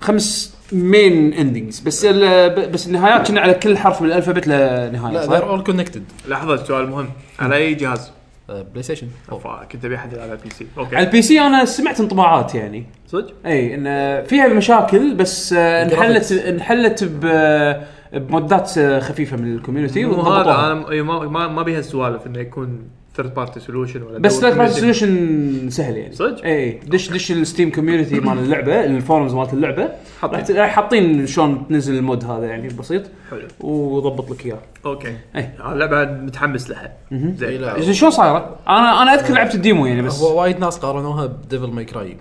Speaker 2: خمس مين اندنجز بس ال- ب- بس النهايات كنا على كل حرف من الالفابت له نهايه
Speaker 6: لا
Speaker 2: صح؟
Speaker 6: ذير اول كونكتد
Speaker 3: لحظه سؤال مهم على اي جهاز؟
Speaker 6: بلاي ستيشن
Speaker 3: أوف، كنت ابي احد يلعب على بي سي
Speaker 2: على
Speaker 3: اوكي
Speaker 2: البي سي انا سمعت انطباعات يعني
Speaker 3: صدق؟
Speaker 2: اي ان فيها المشاكل بس آه، انحلت انحلت ب- بمودات آه، خفيفه من الكوميونتي
Speaker 3: مو هذا
Speaker 2: وضبطوها
Speaker 3: انا م- إي، ما ما ما بيها السوالف انه يكون ثيرد بارتي سولوشن ولا
Speaker 2: بس ثيرد بارتي
Speaker 3: بارتي
Speaker 2: سولوشن سهل يعني
Speaker 3: صدق؟
Speaker 2: اي دش دش الستيم كوميونتي مال اللعبه الفورمز مالت اللعبه راح ت- راح حاطين شلون تنزل المود هذا يعني بسيط
Speaker 3: حلو.
Speaker 2: وضبط لك اياه
Speaker 3: اوكي
Speaker 2: إيه.
Speaker 3: اللعبه متحمس لها زين
Speaker 6: لا،
Speaker 2: إذا شلون صايره؟ انا انا اذكر لعبت الديمو يعني بس
Speaker 6: هو وايد ناس قارنوها بديفل ماي كراي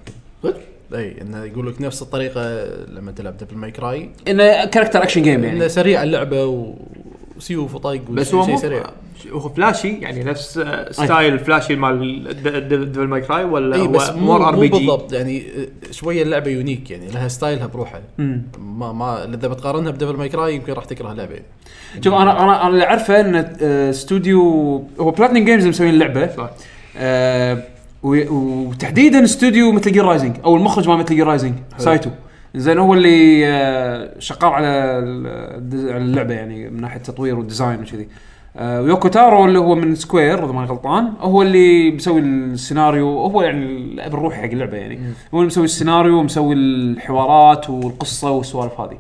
Speaker 6: اي انه يقول لك نفس الطريقه لما تلعب ديفل ماي كراي
Speaker 2: انه كاركتر اكشن جيم
Speaker 6: انه
Speaker 2: يعني
Speaker 6: سريع اللعبه و- وسيوف وطق
Speaker 3: بس هو
Speaker 6: وشي
Speaker 3: مو
Speaker 6: سريع
Speaker 3: هو فلاشي يعني نفس آه، ستايل فلاشي مال ديفل ماي كراي ولا
Speaker 6: اي
Speaker 3: هو
Speaker 6: إيه، بس مو,
Speaker 3: more
Speaker 6: مو
Speaker 3: RPG؟
Speaker 6: بالضبط يعني آه، شويه اللعبه يونيك يعني لها ستايلها بروحها ما ما اذا بتقارنها بديفل ماي كراي يمكن راح تكره اللعبه يعني.
Speaker 2: شوف انا انا انا اللي اعرفه ان آه، استوديو هو بلاتنيوم جيمز مسويين اللعبه آه، و- وتحديدا استوديو مثل جير رايزنج او المخرج مال مثل جير رايزنج سايتو زين هو اللي آه، شغال على ال- على اللعبه يعني من ناحيه تطوير والديزاين وكذي آه، ويوكو تارو اللي هو من سكوير اذا ما أنا غلطان هو اللي مسوي السيناريو هو يعني الاب الروحي حق اللعبه يعني هو اللي مسوي السيناريو ومسوي الحوارات والقصه والسوالف هذه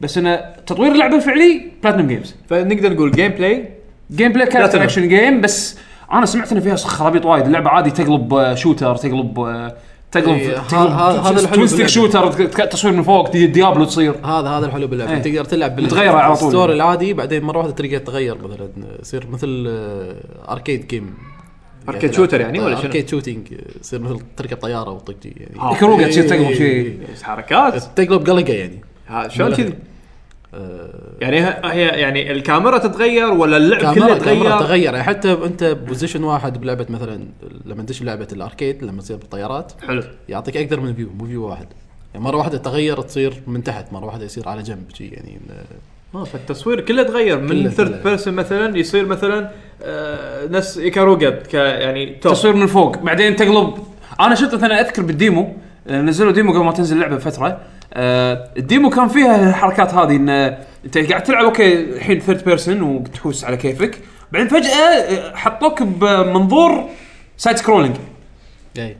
Speaker 2: بس انه تطوير اللعبه الفعلي بلاتنم جيمز
Speaker 3: فنقدر نقول جيم بلاي
Speaker 2: جيم بلاي كاركتر
Speaker 3: تنام.
Speaker 2: اكشن جيم بس انا سمعت ان فيها خرابيط وايد اللعبه عادي تقلب آه، شوتر تقلب آه، تقلب
Speaker 6: إيه، ها-
Speaker 2: تقلب
Speaker 6: ها- هذا الحلو
Speaker 2: توين ستيك
Speaker 6: باللعبة.
Speaker 2: شوتر تك- تصوير من فوق دي- ديابلو تصير
Speaker 6: هذا هذا الحلو باللعبه
Speaker 2: إيه.
Speaker 6: تقدر تلعب
Speaker 2: متغيرة على طول.
Speaker 6: الستوري العادي بعدين مره واحده تلقى تغير مثلا يصير مثل آه، اركيد جيم
Speaker 3: أركيد شوتر يعني ولا شنو؟
Speaker 6: اركيد شوتينج آه، يصير مثل تركب طياره وطقتي يعني
Speaker 2: كروقه تصير
Speaker 6: إيه،
Speaker 2: آه، تقلب
Speaker 6: إيه،
Speaker 2: شيء
Speaker 6: إيه.
Speaker 3: حركات
Speaker 6: تقلب قلقه يعني
Speaker 3: ها، شلون
Speaker 6: بالله.
Speaker 3: كذي؟ يعني ه- هي يعني الكاميرا تتغير ولا اللعب كله
Speaker 6: كاميرا كاميرا
Speaker 3: تغير؟
Speaker 6: تغير يعني حتى انت بوزيشن واحد بلعبه مثلا لما تدش بلعبه الاركيد لما تصير بالطيارات
Speaker 3: حلو
Speaker 6: يعطيك اكثر من فيو مو فيو واحد يعني مره واحده تغير تصير من تحت مره واحده يصير على جنب شي يعني
Speaker 3: اه فالتصوير كله تغير من
Speaker 6: كله
Speaker 3: ثيرد
Speaker 6: تغير.
Speaker 3: بيرسون مثلا يصير مثلا آه نفس ايكاروجا ك يعني
Speaker 6: آه،
Speaker 3: توب
Speaker 2: تصوير من فوق بعدين تقلب انا شفت مثلا اذكر بالديمو آه، نزلوا ديمو قبل ما تنزل اللعبه بفتره آه، الديمو كان فيها الحركات هذه ان آه، انت قاعد تلعب اوكي الحين ثيرد بيرسون وبتحوس على كيفك بعدين فجاه آه، حطوك بمنظور سايد سكرولينج
Speaker 6: اي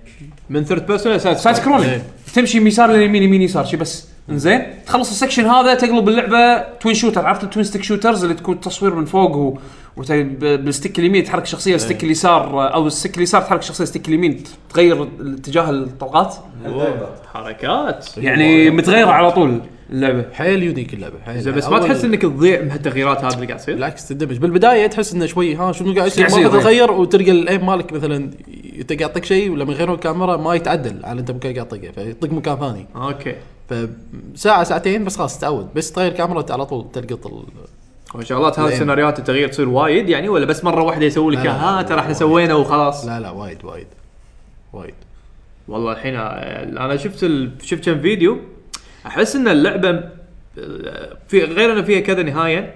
Speaker 3: من ثيرد بيرسون
Speaker 2: سايد سكرولينج
Speaker 6: إيه.
Speaker 2: تمشي يسار لليمين يمين يسار شي بس زين تخلص السكشن هذا تقلب اللعبه توين شوتر عرفت التوين ستيك شوترز اللي تكون تصوير من فوق و... وت- ب- بالستيك اليمين تحرك شخصيه
Speaker 3: إيه.
Speaker 2: الستيك اليسار او الستيك اليسار تحرك شخصيه الستيك اليمين تغير اتجاه الطلقات
Speaker 3: حركات
Speaker 2: يعني متغيره على طول اللعبه
Speaker 6: حيل يونيك اللعبه حيل
Speaker 3: زين بس ما
Speaker 6: أول-
Speaker 3: تحس انك تضيع من هالتغييرات هذه اللي قاعد تصير؟
Speaker 6: بالعكس تندمج بالبدايه تحس انه شوي ها شنو قاعد يصير إيه.
Speaker 2: قاعد يصير،
Speaker 6: ما تتغير وتلقى الايم مالك مثلا انت قاعد تطق شيء ولما يغيرون الكاميرا ما يتعدل على انت مكان قاعد تطقه فيطق مكان ثاني
Speaker 3: اوكي
Speaker 6: فساعه ساعتين بس خلاص تعود بس تغير الكاميرا على طول تلقط ال...
Speaker 3: وشغلات هذه
Speaker 6: لأن-
Speaker 3: سيناريوهات التغيير تصير وايد يعني ولا بس مره واحده يسوي لك
Speaker 6: لا، لا،
Speaker 3: ها
Speaker 6: لا،
Speaker 3: ترى احنا
Speaker 6: وايد.
Speaker 3: سوينا وخلاص
Speaker 6: لا لا وايد وايد وايد
Speaker 3: والله الحين آه، انا شفت ال... شفت كم فيديو احس ان اللعبه آه، في غير ان فيها كذا نهايه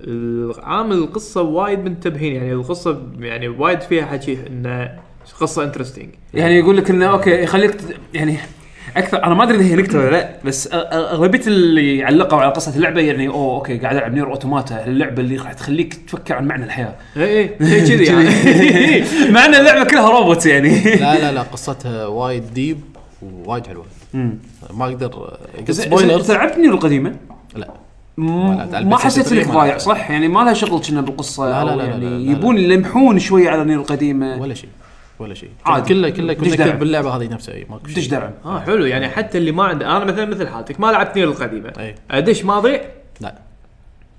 Speaker 3: ال- عامل القصه وايد منتبهين يعني القصه يعني وايد فيها حكي ان قصه انترستنج
Speaker 2: يعني يقول لك انه اوكي يخليك ت- يعني اكثر انا ما ادري اذا هي نكته ولا لا بس أ- أ- اغلبيه اللي علقوا على قصه اللعبه يعني اوه اوكي قاعد العب نير اوتوماتا اللعبه اللي راح تخليك تفكر عن معنى الحياه
Speaker 6: إيه،
Speaker 3: اي اي شيء كذي يعني
Speaker 2: مع ان اللعبه كلها روبوت يعني
Speaker 6: لا لا لا قصتها وايد ديب ووايد حلوه ما اقدر
Speaker 2: سبويلرز
Speaker 6: سبويلرز
Speaker 2: لعبت نير القديمه
Speaker 6: لا
Speaker 2: ما حسيت انك ضايع صح يعني ما لها شغل كنا بالقصه
Speaker 6: لا لا
Speaker 2: أو
Speaker 6: لا لا
Speaker 2: يعني
Speaker 6: لا لا لا.
Speaker 2: يبون يلمحون شويه على نير القديمه
Speaker 6: ولا شيء ولا شيء
Speaker 2: عادي.
Speaker 6: كله كله
Speaker 2: دش درع.
Speaker 6: كونكتد باللعبه هذه نفسها اي ماكو شيء.
Speaker 2: دش درع
Speaker 3: اه حلو يعني حتى اللي ما عنده انا مثلا مثل حالتك ما لعبت نير القديمه
Speaker 6: إي.
Speaker 3: ادش ما اضيع
Speaker 6: لا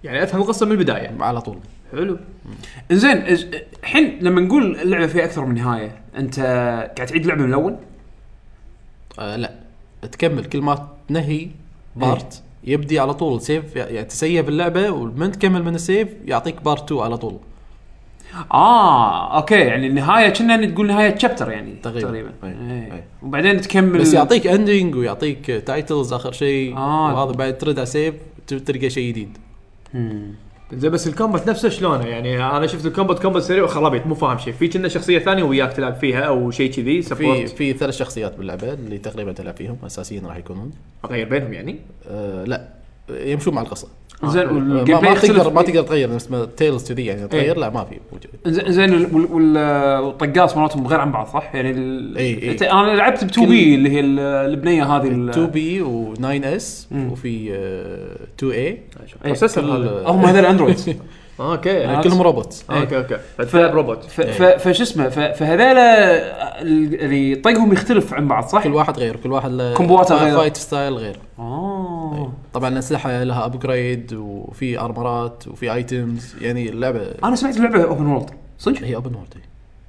Speaker 3: يعني افهم القصه من البدايه
Speaker 6: على طول
Speaker 3: حلو
Speaker 2: زين إز- الحين لما نقول اللعبه فيها اكثر من نهايه انت قاعد تعيد اللعبه من الاول
Speaker 6: آه لا تكمل كل ما تنهي بارت
Speaker 2: إيه.
Speaker 6: يبدي على طول سيف يعني تسيف اللعبه ومن تكمل من السيف يعطيك بارت 2 على طول
Speaker 2: اه اوكي يعني النهايه كنا تقول نهايه تشابتر يعني
Speaker 6: تقريباً.
Speaker 2: تقريبا
Speaker 6: أي.
Speaker 2: إيه.
Speaker 6: أي.
Speaker 2: وبعدين تكمل
Speaker 6: بس يعطيك اندنج ويعطيك تايتلز اخر شيء
Speaker 2: آه.
Speaker 6: وهذا بعد ترد على سيف ت- تلقى شيء جديد
Speaker 3: زين بس الكومبات نفسه شلونه يعني انا شفت الكومبات كومبات سريع وخرابيط مو فاهم شيء في كنا شخصيه ثانيه وياك تلعب فيها او شيء كذي
Speaker 6: في
Speaker 3: سبورت
Speaker 6: في ثلاث شخصيات باللعبه اللي تقريبا تلعب فيهم اساسيين راح يكونون
Speaker 3: اغير بينهم يعني
Speaker 6: آه لا يمشون مع القصه
Speaker 2: زين
Speaker 6: آه، ما,
Speaker 2: والجيم بلاي
Speaker 6: ما تقدر
Speaker 2: يختلف إيه.
Speaker 6: ما تقدر تغير نفس ما تيلز كذي يعني تغير لا ما في
Speaker 2: زين زين وال- وال- والطقاس مراتهم غير عن بعض صح؟ يعني ال...
Speaker 6: إي، إي.
Speaker 2: أنت- انا لعبت ب 2 بي
Speaker 6: كل-
Speaker 2: اللي هي ال- البنيه هذه ال-
Speaker 6: 2 بي و9 اس وفي آه، 2 اي
Speaker 3: بروسيسور هذا آه،
Speaker 2: هم هذول اندرويد
Speaker 3: اوكي
Speaker 6: يعني كلهم روبوتس
Speaker 2: إيه.
Speaker 3: اوكي اوكي فتلعب روبوت
Speaker 2: ف- ف- فشو اسمه ف- فهذيلا ال- اللي طقهم يختلف عن بعض صح؟
Speaker 6: كل واحد غير كل واحد له
Speaker 2: كومبواته غير.
Speaker 6: فايت ستايل غير
Speaker 2: اه
Speaker 6: طبعا الاسلحه لها ابجريد وفي ارمرات وفي ايتمز يعني اللعبه
Speaker 2: انا سمعت اللعبه اوبن وورلد صدق؟
Speaker 6: هي اوبن وورلد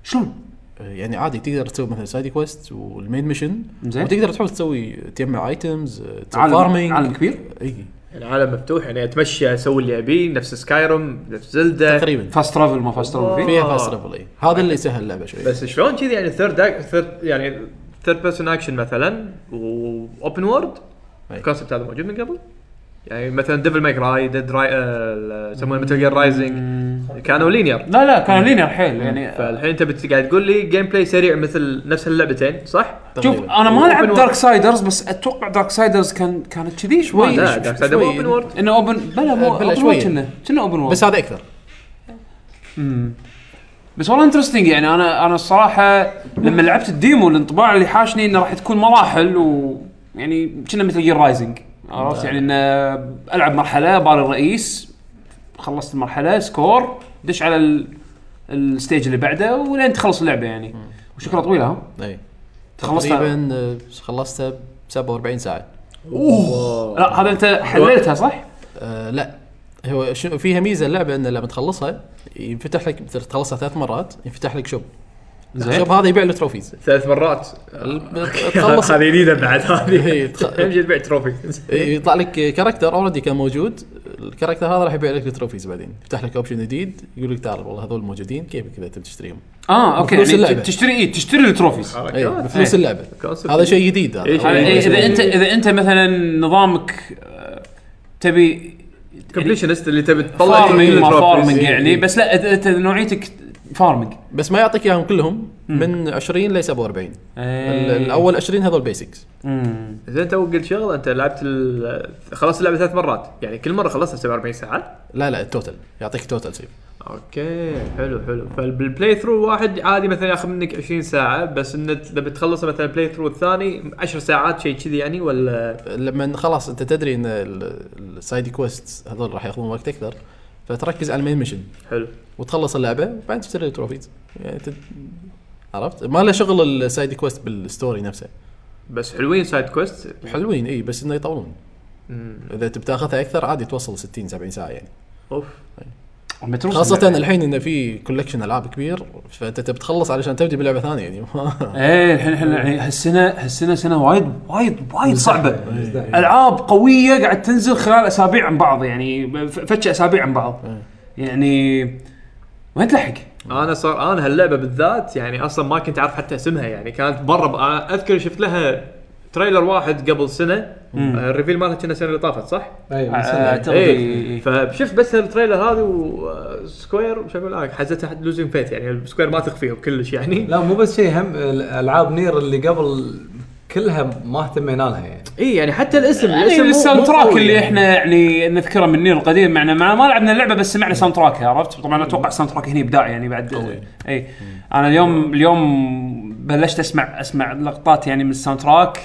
Speaker 2: شلون؟
Speaker 6: يعني عادي تقدر تسوي مثلا سايد كويست والمين ميشن
Speaker 2: زين.
Speaker 6: وتقدر تحاول تسوي تجمع ايتمز تسوي
Speaker 2: عالم-
Speaker 6: فارمينج
Speaker 2: عالم كبير؟
Speaker 6: اي
Speaker 3: العالم مفتوح يعني اتمشى اسوي اللي ابيه نفس سكايروم نفس زلدا
Speaker 6: تقريبا
Speaker 2: فاست ترافل ما فاست ترافل فيه
Speaker 6: فيها فاست ليفل اي هذا اللي يسهل اللعبه شوي
Speaker 3: بس شلون كذي يعني ثيرد ثيرد يعني ثيرد بيرسون اكشن مثلا واوبن وورد
Speaker 6: أي.
Speaker 3: الكونسبت هذا موجود من قبل يعني مثلا ديفل ميك راي ديد راي آه، يسمونه متل جير رايزنج كانوا لينير
Speaker 10: لا لا كان لينير حيل يعني
Speaker 3: فالحين انت بت- قاعد تقول لي جيم بلاي سريع مثل نفس اللعبتين صح؟
Speaker 2: شوف
Speaker 6: تقريباً.
Speaker 2: انا ما لعبت
Speaker 3: Open
Speaker 2: دارك سايدرز بس اتوقع دارك سايدرز كان كانت كذي شوي
Speaker 3: لا دارك سايد
Speaker 6: شوي.
Speaker 3: اوبن وورد
Speaker 2: انه اوبن بلا مو
Speaker 6: بلا
Speaker 2: اوبن
Speaker 6: شوية.
Speaker 2: وورلد كنا كنا اوبن وورلد
Speaker 6: بس هذا اكثر
Speaker 2: بس والله انترستنج يعني انا انا الصراحه لما لعبت الديمو الانطباع اللي حاشني انه راح تكون مراحل و يعني كنا مثل جير رايزنج عرفت يعني انه العب مرحله باري الرئيس خلصت المرحله سكور دش على ال... الستيج اللي بعده ولين تخلص اللعبه يعني وشكلها طويله ها
Speaker 6: اي
Speaker 2: خلصتها؟
Speaker 6: تقريبا آه، خلصتها ب 47 ساعه
Speaker 2: لا هذا انت حللتها صح؟
Speaker 6: أه لا هو شو- فيها ميزه اللعبه انه لما تخلصها ينفتح لك مثل تخلصها ثلاث مرات ينفتح لك شوب
Speaker 2: زين
Speaker 6: الشوب هذا يبيع له تروفيز
Speaker 3: ثلاث مرات
Speaker 6: ال- تخلص
Speaker 3: هذه جديده بعد هذه
Speaker 6: إي، تخ-
Speaker 3: اهم شيء تبيع تروفي
Speaker 6: إي، يطلع لك كاركتر اوريدي كان موجود الكاركتر هذا راح يبيع لك التروفيز بعدين يفتح لك اوبشن جديد يقول لك تعال والله هذول موجودين كيفك اذا تبي تشتريهم
Speaker 2: اه اوكي
Speaker 6: بفلوس
Speaker 2: يعني
Speaker 6: اللعبة.
Speaker 2: تشتري ايه تشتري التروفيز
Speaker 6: اي بفلوس اللعبه
Speaker 3: Concept.
Speaker 6: إيه. هذا شيء جديد هذا.
Speaker 3: إي، إيه، شيء
Speaker 6: هذا
Speaker 3: جديد.
Speaker 6: شيء
Speaker 2: يعني
Speaker 6: جديد.
Speaker 2: اذا انت اذا انت مثلا نظامك آه، تبي
Speaker 3: كومبليشنست اللي تبي
Speaker 6: يعني
Speaker 3: تطلع
Speaker 2: فارمنج
Speaker 3: كل
Speaker 2: ما
Speaker 3: التروفيز.
Speaker 2: فارمنج يعني
Speaker 6: إيه.
Speaker 2: بس لا أنت- انت نوعيتك فارمنج
Speaker 6: بس ما يعطيك اياهم كلهم من 20 ل 47 ال-
Speaker 3: إيه.
Speaker 6: الاول 20 هذول بيسكس
Speaker 2: إيه. مم.
Speaker 3: زين تو قلت شغله انت لعبت ال- خلصت اللعبه ثلاث مرات يعني كل مره خلصتها 47 ساعه
Speaker 6: لا لا التوتال يعطيك توتال سيف
Speaker 3: اوكي حلو حلو فالبلاي ثرو واحد عادي مثلا ياخذ منك 20 ساعه بس انه لما تخلص مثلا البلاي ثرو الثاني 10 ساعات شيء كذي يعني ولا
Speaker 6: لما خلاص انت تدري ان ال- السايد كويست هذول راح ياخذون وقت اكثر فتركز على المين ميشن
Speaker 3: حلو
Speaker 6: وتخلص اللعبه بعدين تشتري التروفيز يعني تد... عرفت؟ ما له شغل السايد كويست بالستوري نفسه
Speaker 3: بس حلوين سايد كويست
Speaker 6: حلوين اي بس انه يطولون اذا تبي تاخذها اكثر عادي توصل 60 70 ساعه يعني
Speaker 3: اوف
Speaker 2: المتروس
Speaker 6: خاصه
Speaker 2: اللعبة.
Speaker 6: الحين انه في كولكشن العاب كبير فانت تبي تخلص علشان تبدي بلعبه ثانيه يعني
Speaker 2: ايه الحين احنا يعني هالسنه هالسنه سنه وايد وايد وايد صعبه
Speaker 6: إيه.
Speaker 2: العاب قويه قاعد تنزل خلال اسابيع عن بعض يعني ف- فتش اسابيع عن بعض
Speaker 6: إيه.
Speaker 2: يعني وين تلحق؟
Speaker 6: طيب،
Speaker 3: انا صار انا هاللعبه بالذات يعني اصلا ما كنت عارف حتى اسمها يعني كانت برا ب- أنا اذكر شفت لها تريلر واحد قبل سنه آه، الريفيل مالها كنا السنه اللي طافت صح؟
Speaker 2: أيوة، آه،
Speaker 4: ايوه
Speaker 2: اعتقد
Speaker 3: ايه
Speaker 2: إيه.
Speaker 3: فشفت بس التريلر هذا آه، وسكوير وش اقول لك حزتها حد لوزين فيت يعني سكوير ما تخفيهم كلش يعني
Speaker 4: لا مو بس شيء هم الالعاب نير اللي قبل كلها ما اهتمينا لها يعني
Speaker 3: اي يعني حتى الاسم
Speaker 2: يعني
Speaker 3: الاسم مو- مو
Speaker 2: الساوند تراك
Speaker 3: قوي
Speaker 2: اللي
Speaker 3: يعني.
Speaker 2: احنا يعني نذكره من نير القديم معنا مع ما لعبنا اللعبه بس سمعنا ساوند تراك عرفت طبعا اتوقع الساوند تراك هنا ابداع يعني بعد اي انا اليوم اليوم بلشت اسمع اسمع لقطات يعني من الساوند تراك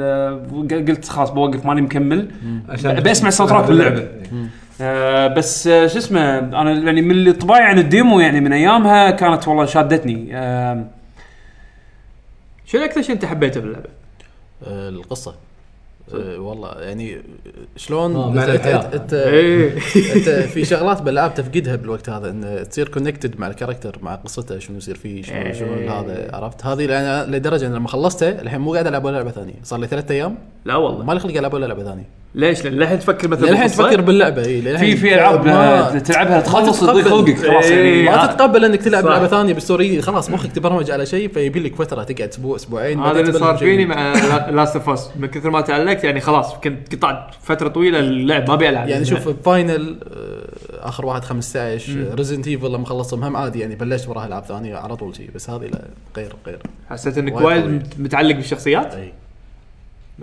Speaker 2: آه، قلت خلاص بوقف ماني مكمل
Speaker 4: عشان
Speaker 2: بسمع الساوند تراك باللعبه آه بس آه شو اسمه انا يعني من اللي طباعي عن الديمو يعني من ايامها كانت والله شادتني آه
Speaker 3: شنو اكثر شيء انت حبيته باللعبه؟
Speaker 6: آه، القصه آه، والله يعني شلون
Speaker 4: آه، معنى
Speaker 6: انت
Speaker 4: الحياة.
Speaker 6: انت,
Speaker 3: ايه
Speaker 6: انت في شغلات بالالعاب تفقدها بالوقت هذا ان تصير كونكتد مع الكاركتر مع قصته شنو يصير فيه شنو شنو هذا عرفت هذه لأن- لدرجه ان لما خلصتها الحين مو قاعد العب ولا لعبه ثانيه صار لي ثلاثة ايام
Speaker 3: لا والله
Speaker 6: ما لي خلق العب ولا لعبه ثانيه
Speaker 3: ليش؟ لأن للحين تفكر مثلا
Speaker 6: للحين
Speaker 3: طيب، بالقصة.
Speaker 6: تفكر باللعبه اي
Speaker 2: في
Speaker 6: للحين
Speaker 2: في العاب
Speaker 6: ما-
Speaker 2: آه، تلعبها تخلص
Speaker 6: تتقبل.
Speaker 2: تضيق خلقك خلاص
Speaker 3: إيه.
Speaker 2: يعني
Speaker 6: ما تتقبل انك تلعب
Speaker 3: صح.
Speaker 6: لعبه ثانيه بالستوري خلاص مخك تبرمج على شيء فيبي لك فتره تقعد اسبوع اسبوعين
Speaker 3: هذا
Speaker 6: بعدين
Speaker 3: اللي
Speaker 6: تبلش
Speaker 3: صار
Speaker 6: شيء
Speaker 3: فيني مع لاست اوف اس من كثر ما تعلقت يعني خلاص كنت قطعت فتره طويله اللعب ما ابي العب
Speaker 6: يعني شوف فاينل آه، اخر واحد 15 ريزنت ايفل لما خلصهم هم عادي يعني بلشت وراها العاب ثانيه على طول شيء بس هذه لا غير غير
Speaker 3: حسيت انك
Speaker 6: وايد
Speaker 3: وايد
Speaker 6: قوي.
Speaker 3: مت- متعلق بالشخصيات
Speaker 6: اي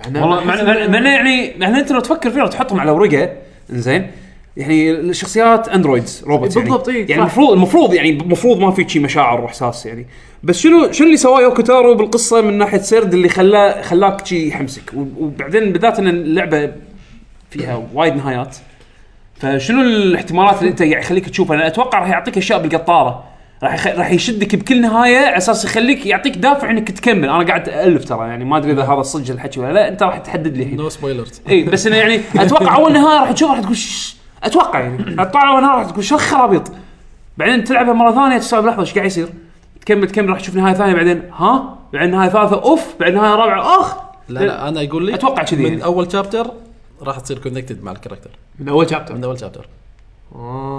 Speaker 2: والله مع مع- مع إنه يعني مع إنه انت لو تفكر فيها وتحطهم على ورقه زين يعني الشخصيات اندرويدز روبوتس يعني
Speaker 3: بالضبط، إيه، صح.
Speaker 2: يعني المفروض المفروض يعني المفروض ما في شي مشاعر واحساس يعني بس شنو شنو اللي سواه يوكوتارو بالقصه من ناحيه سرد اللي خلاه خلاك شي يحمسك و- وبعدين بالذات ان اللعبه فيها وايد نهايات فشنو الاحتمالات اللي انت قاعد يخليك تشوفها؟ انا اتوقع راح يعطيك اشياء بالقطاره راح يخ... راح يشدك بكل نهايه على اساس يخليك يعطيك دافع انك تكمل، انا قاعد الف ترى يعني ما ادري اذا هذا صدق الحكي ولا لا، انت راح تحدد لي الحين.
Speaker 6: نو سبويلرز
Speaker 2: اي بس انه يعني اتوقع اول نهايه راح تشوف راح تقول "ش-" اتوقع يعني اتوقع اول نهايه راح تقول شو خرابيط بعدين تلعبها مره ثانيه تستوعب لحظه ايش قاعد يصير تكمل تكمل راح تشوف نهايه ثانيه بعدين ها بعدين نهايه ثالثه اوف بعدين نهايه رابعه اخ
Speaker 6: لا لا انا اقول لك
Speaker 2: اتوقع كذي
Speaker 6: من
Speaker 2: يعني.
Speaker 6: اول شابتر راح تصير كونكتد مع الكاركتر
Speaker 3: من اول شابتر
Speaker 6: من اول شابتر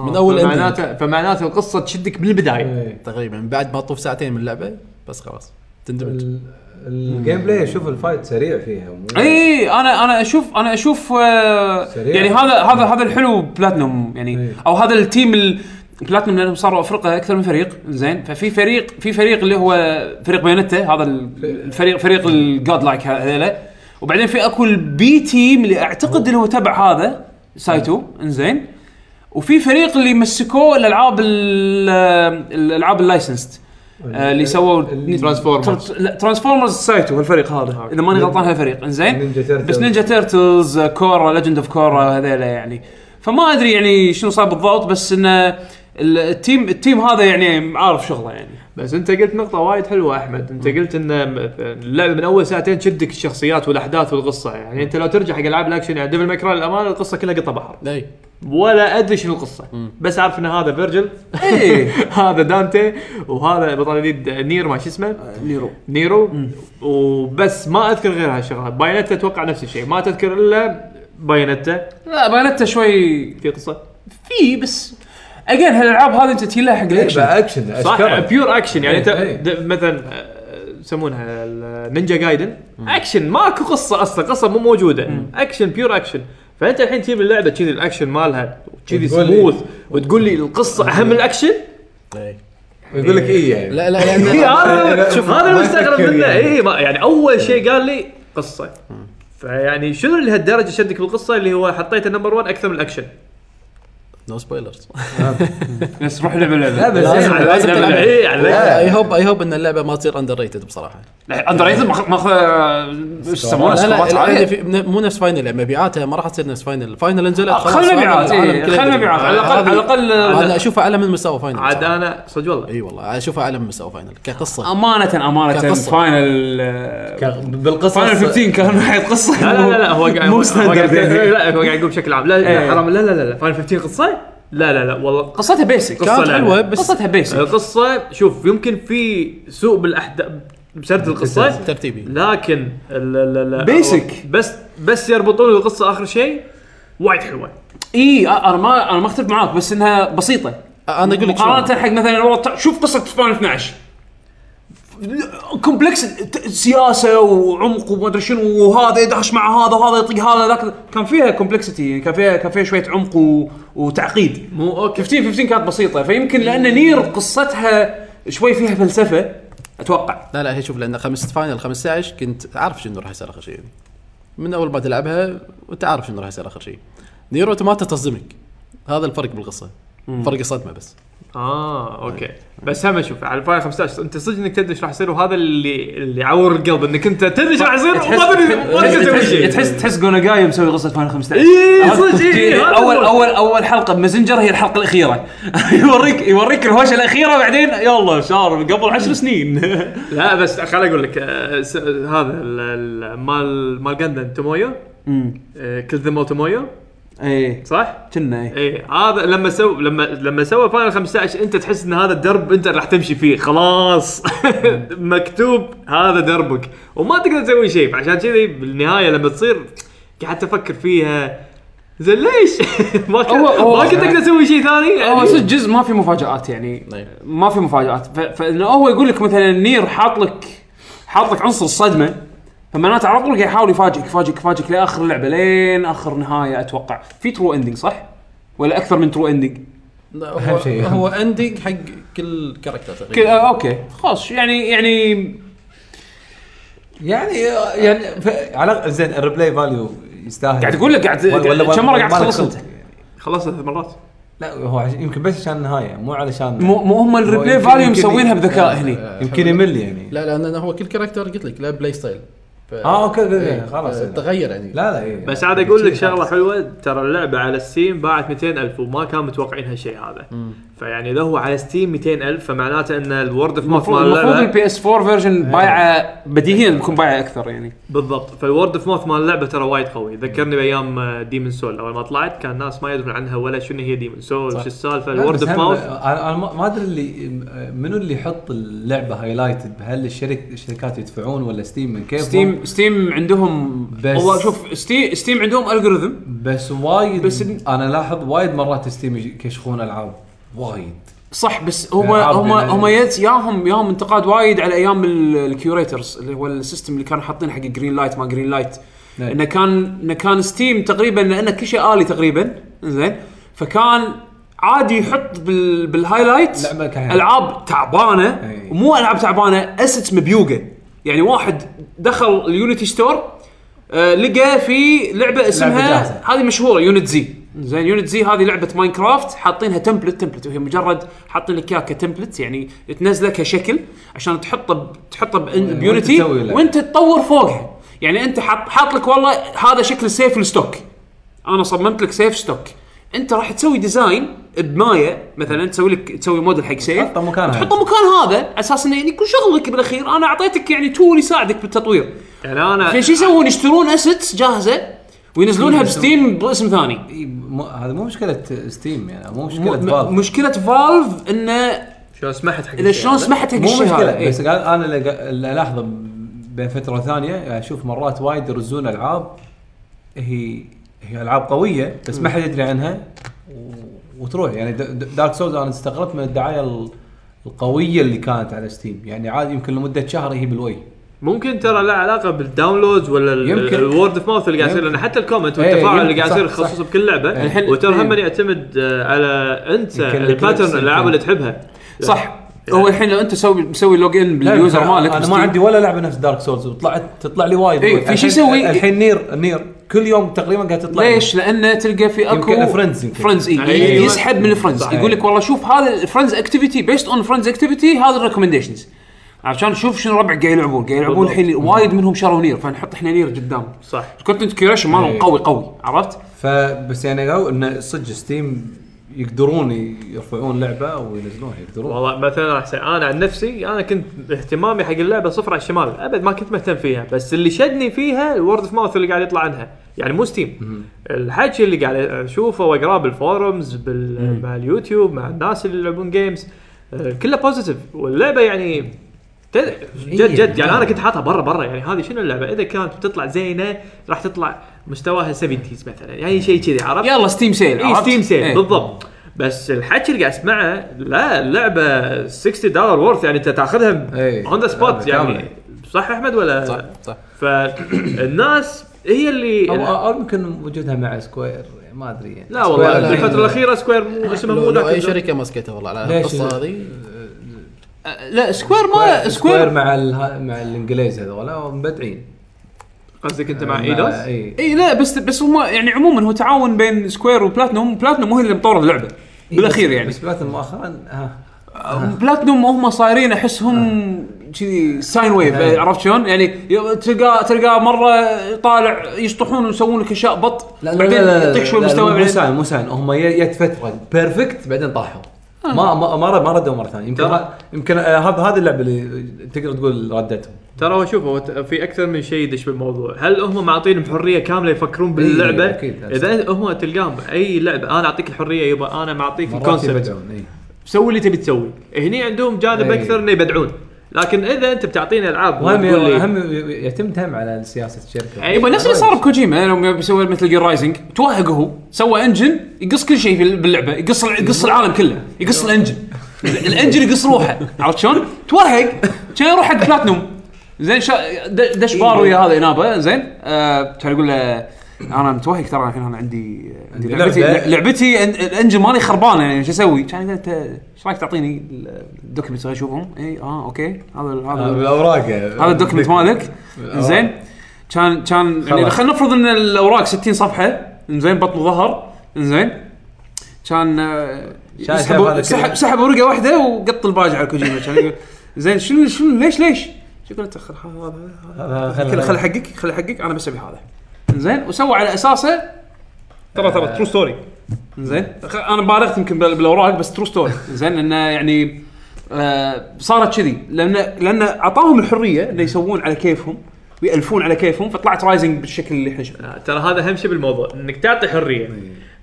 Speaker 6: من أول إيه.
Speaker 3: فمعناته فمعناته القصه تشدك بالبدايه
Speaker 6: تقريبا من بعد ما تطوف ساعتين من اللعبه بس خلاص تندمج
Speaker 4: ال- الجيم بلاي شوف الفايت سريع فيها مو-
Speaker 2: اي انا انا اشوف انا اشوف آه
Speaker 4: سريع.
Speaker 2: يعني هذا هذا هذا الحلو بلاتنوم يعني
Speaker 4: إيه.
Speaker 2: او هذا التيم ال- بلاتنوم لانهم صاروا افرقه اكثر من فريق زين ففي فريق في فريق اللي هو فريق بيانتا هذا ال- الفريق فريق الجاد لايك هذيلا وبعدين في اكو البي تيم اللي اعتقد اللي هو تبع هذا سايتو انزين وفي فريق اللي مسكوه الالعاب ال- الالعاب اللايسنسد اللي سووا
Speaker 3: Transformers.
Speaker 2: تر- لا ترانسفورمرز سايتو الفريق هذا اذا ماني غلطان هالفريق انزين
Speaker 4: نينجا تيرتلز.
Speaker 2: بس نينجا تيرتلز آه، كورا ليجند اوف كورا هذيلا يعني فما ادري يعني شنو صار بالضبط بس انه ال- التيم التيم هذا يعني عارف شغله يعني
Speaker 3: بس انت قلت نقطه وايد حلوه احمد انت قلت ان اللعبه من اول ساعتين تشدك الشخصيات والاحداث والقصه يعني انت لو ترجع حق العاب الاكشن يعني ديفل ماكرا للامانه القصه كلها قطه بحر
Speaker 6: اي
Speaker 3: ولا ادري شنو القصه بس عارف ان هذا فيرجل
Speaker 2: ايه
Speaker 6: إيه.
Speaker 3: هذا دانتي وهذا بطل جديد نير ما شو اسمه
Speaker 2: نيرو
Speaker 4: إيه،
Speaker 3: نيرو وبس ما اذكر غير هالشغلات باينتا اتوقع نفس الشيء ما تذكر الا باينتا
Speaker 2: لا بايونيتا شوي
Speaker 3: في قصه
Speaker 2: في بس اجين هالالعاب هذه انت تجي لها حق
Speaker 4: إيه،
Speaker 2: الاكشن
Speaker 4: بقى اكشن
Speaker 3: صح
Speaker 4: اشكرك
Speaker 3: بيور اكشن يعني انت
Speaker 4: إيه، إيه.
Speaker 3: د- مثلا آه، يسمونها النينجا جايدن اكشن ماكو قصه اصلا قصه مو موجوده اكشن بيور اكشن فانت الحين تجيب اللعبه كذي الاكشن مالها كذي
Speaker 4: وتقول لي-
Speaker 3: سموث وتقول لي القصه اهم من الاكشن
Speaker 6: اي
Speaker 4: يقول لك اي يعني
Speaker 6: لا لا لان
Speaker 3: إيه، هذا
Speaker 4: شوف،
Speaker 3: هذا
Speaker 4: ما
Speaker 3: المستغرب
Speaker 4: يفكر
Speaker 3: منه
Speaker 4: يعني.
Speaker 3: اي يعني اول شيء قال لي قصه فيعني شنو اللي هالدرجه شدك بالقصه اللي هو حطيته نمبر 1 اكثر من الاكشن
Speaker 6: نو سبويلرز
Speaker 2: بس روح لعبه
Speaker 4: لا
Speaker 2: لعبه
Speaker 4: بس
Speaker 6: لازم-
Speaker 4: إيه،
Speaker 6: لازم
Speaker 3: على-
Speaker 6: تلعب.
Speaker 3: إيه، على-
Speaker 6: اي هوب اي هوب ان اللعبه ما تصير اندر ريتد بصراحه
Speaker 2: اندر ريتد ماخ- ماخذ ايش يسمونه
Speaker 6: لا لا
Speaker 2: سكورات
Speaker 6: العادة
Speaker 2: عاليه
Speaker 6: في مو نفس فاينل يعني مبيعاتها ما راح تصير نفس فاينل فاينل نزلت خلاص،
Speaker 2: آه، خلنا
Speaker 6: فاينل
Speaker 2: مبيعات
Speaker 6: العالم
Speaker 2: إيه،
Speaker 6: كله
Speaker 2: خلنا
Speaker 6: يدري.
Speaker 2: مبيعات على آه، الاقل على الاقل
Speaker 6: انا اشوفها اعلى من مستوى فاينل
Speaker 3: عاد انا صدق والله
Speaker 2: إيه.
Speaker 6: اي والله اشوفها اعلى من مستوى فاينل كقصه
Speaker 2: امانه امانه
Speaker 6: كقصة.
Speaker 2: فاينل
Speaker 4: ك- بالقصص
Speaker 2: فاينل 15 كان ناحيه قصه
Speaker 3: لا لا لا لا هو قاعد
Speaker 2: مو
Speaker 3: هو
Speaker 2: ستاندرد
Speaker 3: قاعد-
Speaker 2: يعني
Speaker 3: لا هو قاعد يقول بشكل عام لا
Speaker 2: إيه.
Speaker 3: لا حرام لا لا لا لا فاينل 15 قصه؟ لا لا لا والله
Speaker 2: قصتها بيسك
Speaker 3: قصة
Speaker 6: كانت
Speaker 3: لا.
Speaker 6: حلوه بس
Speaker 2: قصتها بيسك
Speaker 3: القصه شوف يمكن في سوء بالاحداث بسرد القصه
Speaker 6: ترتيبي
Speaker 3: لكن لا لا لا
Speaker 2: Basic.
Speaker 3: بس بس يربطون القصه اخر شيء وايد حلوه
Speaker 2: اي انا ما انا ما اختلف معاك بس انها بسيطه
Speaker 6: انا اقول لك شلون.
Speaker 2: مقارنه حق مثلا والله تع- شوف قصه فاينل 12 كومبلكس ت- سياسه وعمق وما ادري شنو وهذا يدهش مع هذا وهذا يطق هذا ذاك كان فيها كومبلكسيتي يعني كان فيها كان فيها شويه عمق و... وتعقيد
Speaker 3: مو اوكي
Speaker 2: 15 15 كانت بسيطه فيمكن لان نير قصتها شوي فيها فلسفه اتوقع
Speaker 6: لا لا هي شوف لان خمس فاينل 15 كنت عارف شنو راح يصير اخر شيء يعني من اول ما تلعبها وانت عارف شنو راح يصير اخر شيء نير اوتوماتا تصدمك هذا الفرق بالقصه فرق الصدمه بس
Speaker 3: اه اوكي بس هم اشوف على الفاينل 15 انت صدق انك تدري ايش راح يصير وهذا اللي اللي يعور القلب انك انت تدري ايش راح يصير وما تدري ما تقدر تسوي
Speaker 2: تحس
Speaker 3: شيء
Speaker 2: تحس تحس جوناجاي مسوي قصه فاينل 15
Speaker 3: إيه، صدق، إيه،
Speaker 2: تي-
Speaker 3: هذا
Speaker 2: اول
Speaker 3: هو.
Speaker 2: اول اول حلقه بمازنجر هي الحلقه الاخيره يوريك يوريك الهوشه الاخيره بعدين يلا صار قبل 10 سنين
Speaker 3: لا بس خل اقول لك آه، س- هذا ال- ال- مال مال جندن تومويو آه، كل ذم تومويو
Speaker 2: ايه
Speaker 3: صح؟
Speaker 2: كنا ايه
Speaker 3: ايه هذا لما سو لما لما سوى فاينل 15 انت تحس ان هذا الدرب انت راح تمشي فيه خلاص مكتوب هذا دربك وما تقدر تسوي شيء عشان كذي بالنهايه لما تصير قعدت افكر فيها زين ليش؟ ما كنت
Speaker 2: هو- هو-
Speaker 3: ما كنت اقدر اسوي شيء ثاني
Speaker 2: هو
Speaker 3: يعني
Speaker 2: صدق جزء ما في مفاجات يعني
Speaker 6: نعم.
Speaker 2: ما في مفاجات ف- فانه هو يقول لك مثلا نير حاط لك حاط لك عنصر الصدمه فمعناته على طول قاعد يحاول يفاجئك يفاجئك يفاجئك لاخر اللعبه لين اخر نهايه اتوقع في ترو اندنج صح؟ ولا اكثر من ترو اندنج؟
Speaker 6: لا،
Speaker 4: أهم
Speaker 6: هو
Speaker 4: شيء.
Speaker 6: هو اندنج حق كل كاركتر
Speaker 2: كذا
Speaker 6: تقريبا
Speaker 2: آه، اوكي خلاص يعني يعني
Speaker 4: يعني يعني ف- على زين الريبلاي فاليو يستاهل
Speaker 2: قاعد اقول لك قاعد
Speaker 4: ولا- ولا-
Speaker 2: كم مره قاعد
Speaker 4: ما لك
Speaker 2: تخلص
Speaker 4: خلق
Speaker 2: انت؟
Speaker 4: يعني.
Speaker 3: خلصت ثلاث مرات
Speaker 4: لا هو عش- يمكن بس عشان النهايه مو علشان
Speaker 2: مو مو هم الريبلاي
Speaker 4: يمكن-
Speaker 2: فاليو
Speaker 4: يمكن-
Speaker 2: مسوينها بذكاء هني
Speaker 4: يمكن يمل يعني
Speaker 6: لا لان هو كل كاركتر قلت لك له بلاي ستايل ف...
Speaker 4: اه اوكي اوكي اوكي
Speaker 6: إيه،
Speaker 4: خلاص
Speaker 6: آه،
Speaker 4: لا
Speaker 6: تغير يعني
Speaker 4: لا إيه.
Speaker 3: بس عاد اقول لك شغله حلوه ترى اللعبه على ستيم باعت 200000 وما كانوا متوقعين هالشيء هذا فيعني اذا هو على ستيم 200000 فمعناته ان الورد اوف ماوث مال
Speaker 2: المفروض
Speaker 3: اللعبه
Speaker 2: البي اس 4 فيرجن بايعه بديهيا بيكون بايعه اكثر يعني
Speaker 3: بالضبط فالورد اوف ماوث مال اللعبه ترى وايد قوي ذكرني آه، بايام ديمن سول اول ما طلعت كان الناس ما يدرون عنها ولا شنو هي ديمن سول وش السالفه
Speaker 4: لا،
Speaker 3: الورد
Speaker 4: بس
Speaker 3: اوف
Speaker 4: هم-
Speaker 3: ماوث
Speaker 4: انا أنا ما ما ادري اللي منو اللي يحط اللعبه هايلايتد هل الشرك الشركات يدفعون ولا ستيم من كيف
Speaker 2: ستيم ستيم عندهم
Speaker 4: بس-
Speaker 2: هو شوف ستيم ستيم عندهم الجوريثم
Speaker 4: بس وايد
Speaker 2: بس
Speaker 4: بس
Speaker 2: إن-
Speaker 4: انا لاحظ وايد مرات ستيم يكشخون العاب وايد
Speaker 2: صح بس هم
Speaker 4: ألعاب
Speaker 2: هم
Speaker 4: يعني-
Speaker 2: هم يت- ياهم ياهم انتقاد وايد على ايام ال- الكيوريترز اللي هو السيستم اللي كانوا حاطين حق جرين لايت ما جرين لايت
Speaker 4: نعم.
Speaker 2: انه كان انه كان ستيم تقريبا لانه كل شيء الي تقريبا زين فكان عادي يحط بال بالهايلايت
Speaker 4: لعبة إيه. كهيئة.
Speaker 2: العاب تعبانه
Speaker 4: أي.
Speaker 2: ومو العاب تعبانه اسيتس مبيوقه يعني واحد دخل اليونيتي ستور آه، لقى في لعبه
Speaker 4: جاهزة.
Speaker 2: اسمها هذه مشهوره يونت زي زين يونت زي هذه لعبه ماينكرافت حاطينها تمبلت تمبلت وهي مجرد حاطين لك اياها كتمبلت يعني تنزله كشكل عشان تحطه ب- تحطه بإن- بيونتي
Speaker 4: تسوي لعبة.
Speaker 2: وانت تطور فوقها يعني انت حاط حاط لك والله هذا شكل سيف الستوك انا صممت لك سيف ستوك انت راح تسوي ديزاين بمايه مثلا تسوي لك تسوي موديل حق سيف
Speaker 4: تحطه مكان هذا.
Speaker 2: تحطه مكان هذا على اساس انه يعني يكون شغلك بالاخير انا اعطيتك يعني تول يساعدك بالتطوير
Speaker 3: يعني انا
Speaker 2: فشو يسوون يشترون اسيتس جاهزه وينزلونها بستيم باسم ثاني
Speaker 4: إي، إيه، مو- هذا مو مشكله ستيم يعني مو مشكله
Speaker 2: م-
Speaker 4: فالف
Speaker 2: مشكله فالف انه
Speaker 3: شلون سمحت حق
Speaker 2: إذا
Speaker 3: الشيء
Speaker 2: شلون
Speaker 3: هذا؟
Speaker 2: سمحت حق
Speaker 4: مو
Speaker 2: الشيء هذا
Speaker 4: مشكله
Speaker 2: إيه.
Speaker 4: بس قال انا اللي قا- اللي الاحظه بين فتره وثانيه اشوف مرات وايد يرزون العاب هي هي العاب قويه بس ما حد يدري عنها و- وتروح يعني دارك سولز انا استغربت من الدعايه ال- القويه اللي كانت على ستيم يعني عادي يمكن لمده شهر هي بالوي
Speaker 3: ممكن ترى له علاقه بالداونلودز ولا
Speaker 4: يمكن.
Speaker 3: الورد اوف ماوث اللي قاعد يصير
Speaker 4: يمكن.
Speaker 3: لان حتى الكومنت
Speaker 4: إيه،
Speaker 3: والتفاعل اللي
Speaker 4: يمكن.
Speaker 3: قاعد
Speaker 4: صح،
Speaker 3: يصير
Speaker 4: صح. يعني
Speaker 3: خصص بكل لعبه
Speaker 4: الحين- إيه.
Speaker 3: وترى هم يعتمد آه، على انت
Speaker 4: يمكن
Speaker 3: الباترن
Speaker 4: الكليكس
Speaker 3: الالعاب
Speaker 4: يمكن.
Speaker 3: اللي تحبها
Speaker 2: صح
Speaker 4: يعني-
Speaker 2: هو الحين لو انت سوي مسوي لوج ان باليوزر مالك
Speaker 4: انا
Speaker 2: بستيم،
Speaker 4: ما عندي ولا لعبه نفس دارك سولز وطلعت تطلع لي وايد
Speaker 2: إيه،
Speaker 4: وايد.
Speaker 2: في شي
Speaker 4: الحين-
Speaker 2: يسوي-
Speaker 4: الحين نير نير كل يوم تقريبا قاعد تطلع لي.
Speaker 2: ليش؟ لانه تلقى في
Speaker 4: يمكن
Speaker 2: اكو
Speaker 4: friends يمكن.
Speaker 2: فريندز إيه.
Speaker 3: أيوة.
Speaker 2: يسحب من الفريندز
Speaker 4: صحيح.
Speaker 2: يقول لك والله شوف هذا الفريندز اكتيفيتي بيست اون فريندز اكتيفيتي هذا الريكومنديشنز عشان نشوف شنو ربع قاعد يلعبون قاعد يلعبون الحين وايد منهم شروا نير فنحط احنا نير قدام
Speaker 3: صح
Speaker 2: الكونتنت كيوريشن مالهم
Speaker 4: إيه.
Speaker 2: قوي قوي عرفت؟
Speaker 4: فبس يعني قالوا انه صدق ستيم يقدرون يرفعون لعبه وينزلونها يقدرون
Speaker 3: والله مثلا راح أسأل- انا عن نفسي انا كنت اهتمامي حق اللعبه صفر على الشمال ابد ما كنت مهتم فيها بس اللي شدني فيها الورد اوف ماوث اللي قاعد يطلع عنها يعني مو ستيم الحكي اللي قاعد اشوفه واقراه بالفورums بال... مع اليوتيوب مع الناس اللي يلعبون آه، جيمز كلها بوزيتيف واللعبه يعني تد- جد جد يعني انا كنت حاطها برا برا يعني هذه شنو اللعبه اذا كانت بتطلع زينه راح تطلع مستواها 70 مثلا يعني شيء كذي عرفت؟
Speaker 2: يلا ستيم سيل
Speaker 3: اي
Speaker 2: عرفت؟
Speaker 3: ستيم سيل
Speaker 2: إيه.
Speaker 3: بالضبط بس الحكي اللي قاعد اسمعه لا اللعبه 60 دولار وورث يعني انت تاخذها
Speaker 4: إيه.
Speaker 3: اون ذا سبوت
Speaker 4: لعبة
Speaker 3: يعني
Speaker 4: كاملة.
Speaker 3: صح احمد ولا
Speaker 6: صح صح
Speaker 3: فالناس هي اللي
Speaker 4: او او يمكن وجودها مع سكوير ما ادري يعني
Speaker 3: لا والله
Speaker 6: لا،
Speaker 3: بالفتره
Speaker 6: لا.
Speaker 3: الاخيره سكوير مو اسمها
Speaker 6: لو,
Speaker 3: مو
Speaker 6: لو
Speaker 3: ذاك
Speaker 6: اي
Speaker 3: الزود.
Speaker 6: شركه مسكتها والله على
Speaker 4: ليش
Speaker 6: القصه
Speaker 4: لا؟
Speaker 6: هذه
Speaker 2: لا
Speaker 4: يعني
Speaker 2: سكوير ما
Speaker 4: سكوير
Speaker 2: سكوير
Speaker 4: مع الها- مع الانجليز هذول مبدعين
Speaker 3: قصدك انت
Speaker 4: آه،
Speaker 3: مع ايدوس
Speaker 4: اي
Speaker 2: اي لا بس بس هم يعني عموما هو تعاون بين سكوير وبلاتنوم بلاتنوم هو اللي مطور اللعبه بالاخير
Speaker 4: بس-
Speaker 2: يعني
Speaker 4: بس آه. بلاتن مؤخرا ها
Speaker 2: بلاتنوم هم صايرين احسهم كذي ساين ويف
Speaker 4: آه.
Speaker 2: عرفت شلون؟ يعني ي- تلقاه تلقاه مره طالع يشطحون ويسوون لك اشياء بط بعدين يعطيك شوي
Speaker 4: لا،
Speaker 2: مستوى
Speaker 4: مو
Speaker 2: بعدين
Speaker 4: ساين مو ساين هم جت فتره بيرفكت بعدين طاحوا
Speaker 2: آه.
Speaker 4: ما ما ما ما ردوا مره ثانيه يمكن
Speaker 3: ترى-
Speaker 4: يمكن آه، هذا هذه اللعبه اللي تقدر تقول ردتهم
Speaker 3: ترى هو شوف هو ت- في اكثر من شيء يدش بالموضوع، هل هم معطينهم حريه كامله يفكرون باللعبه؟
Speaker 4: أكيد.
Speaker 3: اذا هم تلقاهم اي لعبه انا اعطيك الحريه يبا انا معطيك
Speaker 4: مرات
Speaker 3: الكونسبت
Speaker 4: يبدعون اي
Speaker 3: سوي اللي تبي تسوي هني عندهم جانب
Speaker 4: إيه.
Speaker 3: اكثر انه يبدعون لكن اذا انت بتعطينا العاب
Speaker 4: وهم
Speaker 3: وتقول لي-
Speaker 4: هم يعتمد هم على سياسه الشركه
Speaker 3: أي
Speaker 2: إيه، يبا نفس اللي صار بكوجيما لما بيسوي مثل جير رايزنج توهق هو سوى انجن يقص كل شيء في- باللعبه يقص يقص العالم كله يقص الانجن ال- الانجن يقص روحه عرفت شلون؟ توهق كان يروح حق بلاتنوم زين شا د- دش بار ويا هذا انابه زين آه، كان يقول له انا متوهق ترى الحين انا عندي عندي
Speaker 4: لعبة.
Speaker 2: لعبتي لعبتي إن- الانجن مالي خربانه يعني شو اسوي؟ كان يقول له، انت ايش رايك تعطيني الدوكيومنتس اشوفهم؟ اي اه اوكي هذا هذا
Speaker 4: بالاوراق
Speaker 2: هذا الدوكيمنت مالك زين كان كان يعني
Speaker 4: آه. خلاص.
Speaker 2: خلينا نفرض ان الاوراق 60 صفحه زين بطن ظهر زين كان آه،
Speaker 4: شايف
Speaker 2: يسحب
Speaker 4: هذا
Speaker 2: سحب
Speaker 4: كله؟
Speaker 2: سحب ورقه واحده وقط الباج على كوجيما كان يقول زين شنو شنو ليش ليش؟
Speaker 11: يقول انت خل هذا
Speaker 4: هذا
Speaker 11: خل خل حقك خل حقك انا بسوي هذا
Speaker 2: زين وسوى على اساسه
Speaker 3: ترى ترى ترو ستوري
Speaker 2: زين
Speaker 11: خ- انا بالغت يمكن بال- بالاوراق بس ترو ستوري
Speaker 2: زين انه يعني آه صارت كذي لان لان اعطاهم الحريه انه يسوون على كيفهم ويالفون على كيفهم فطلعت رايزنج بالشكل اللي احنا شفناه
Speaker 3: آه، ترى هذا اهم شيء بالموضوع انك تعطي حريه
Speaker 4: إيه.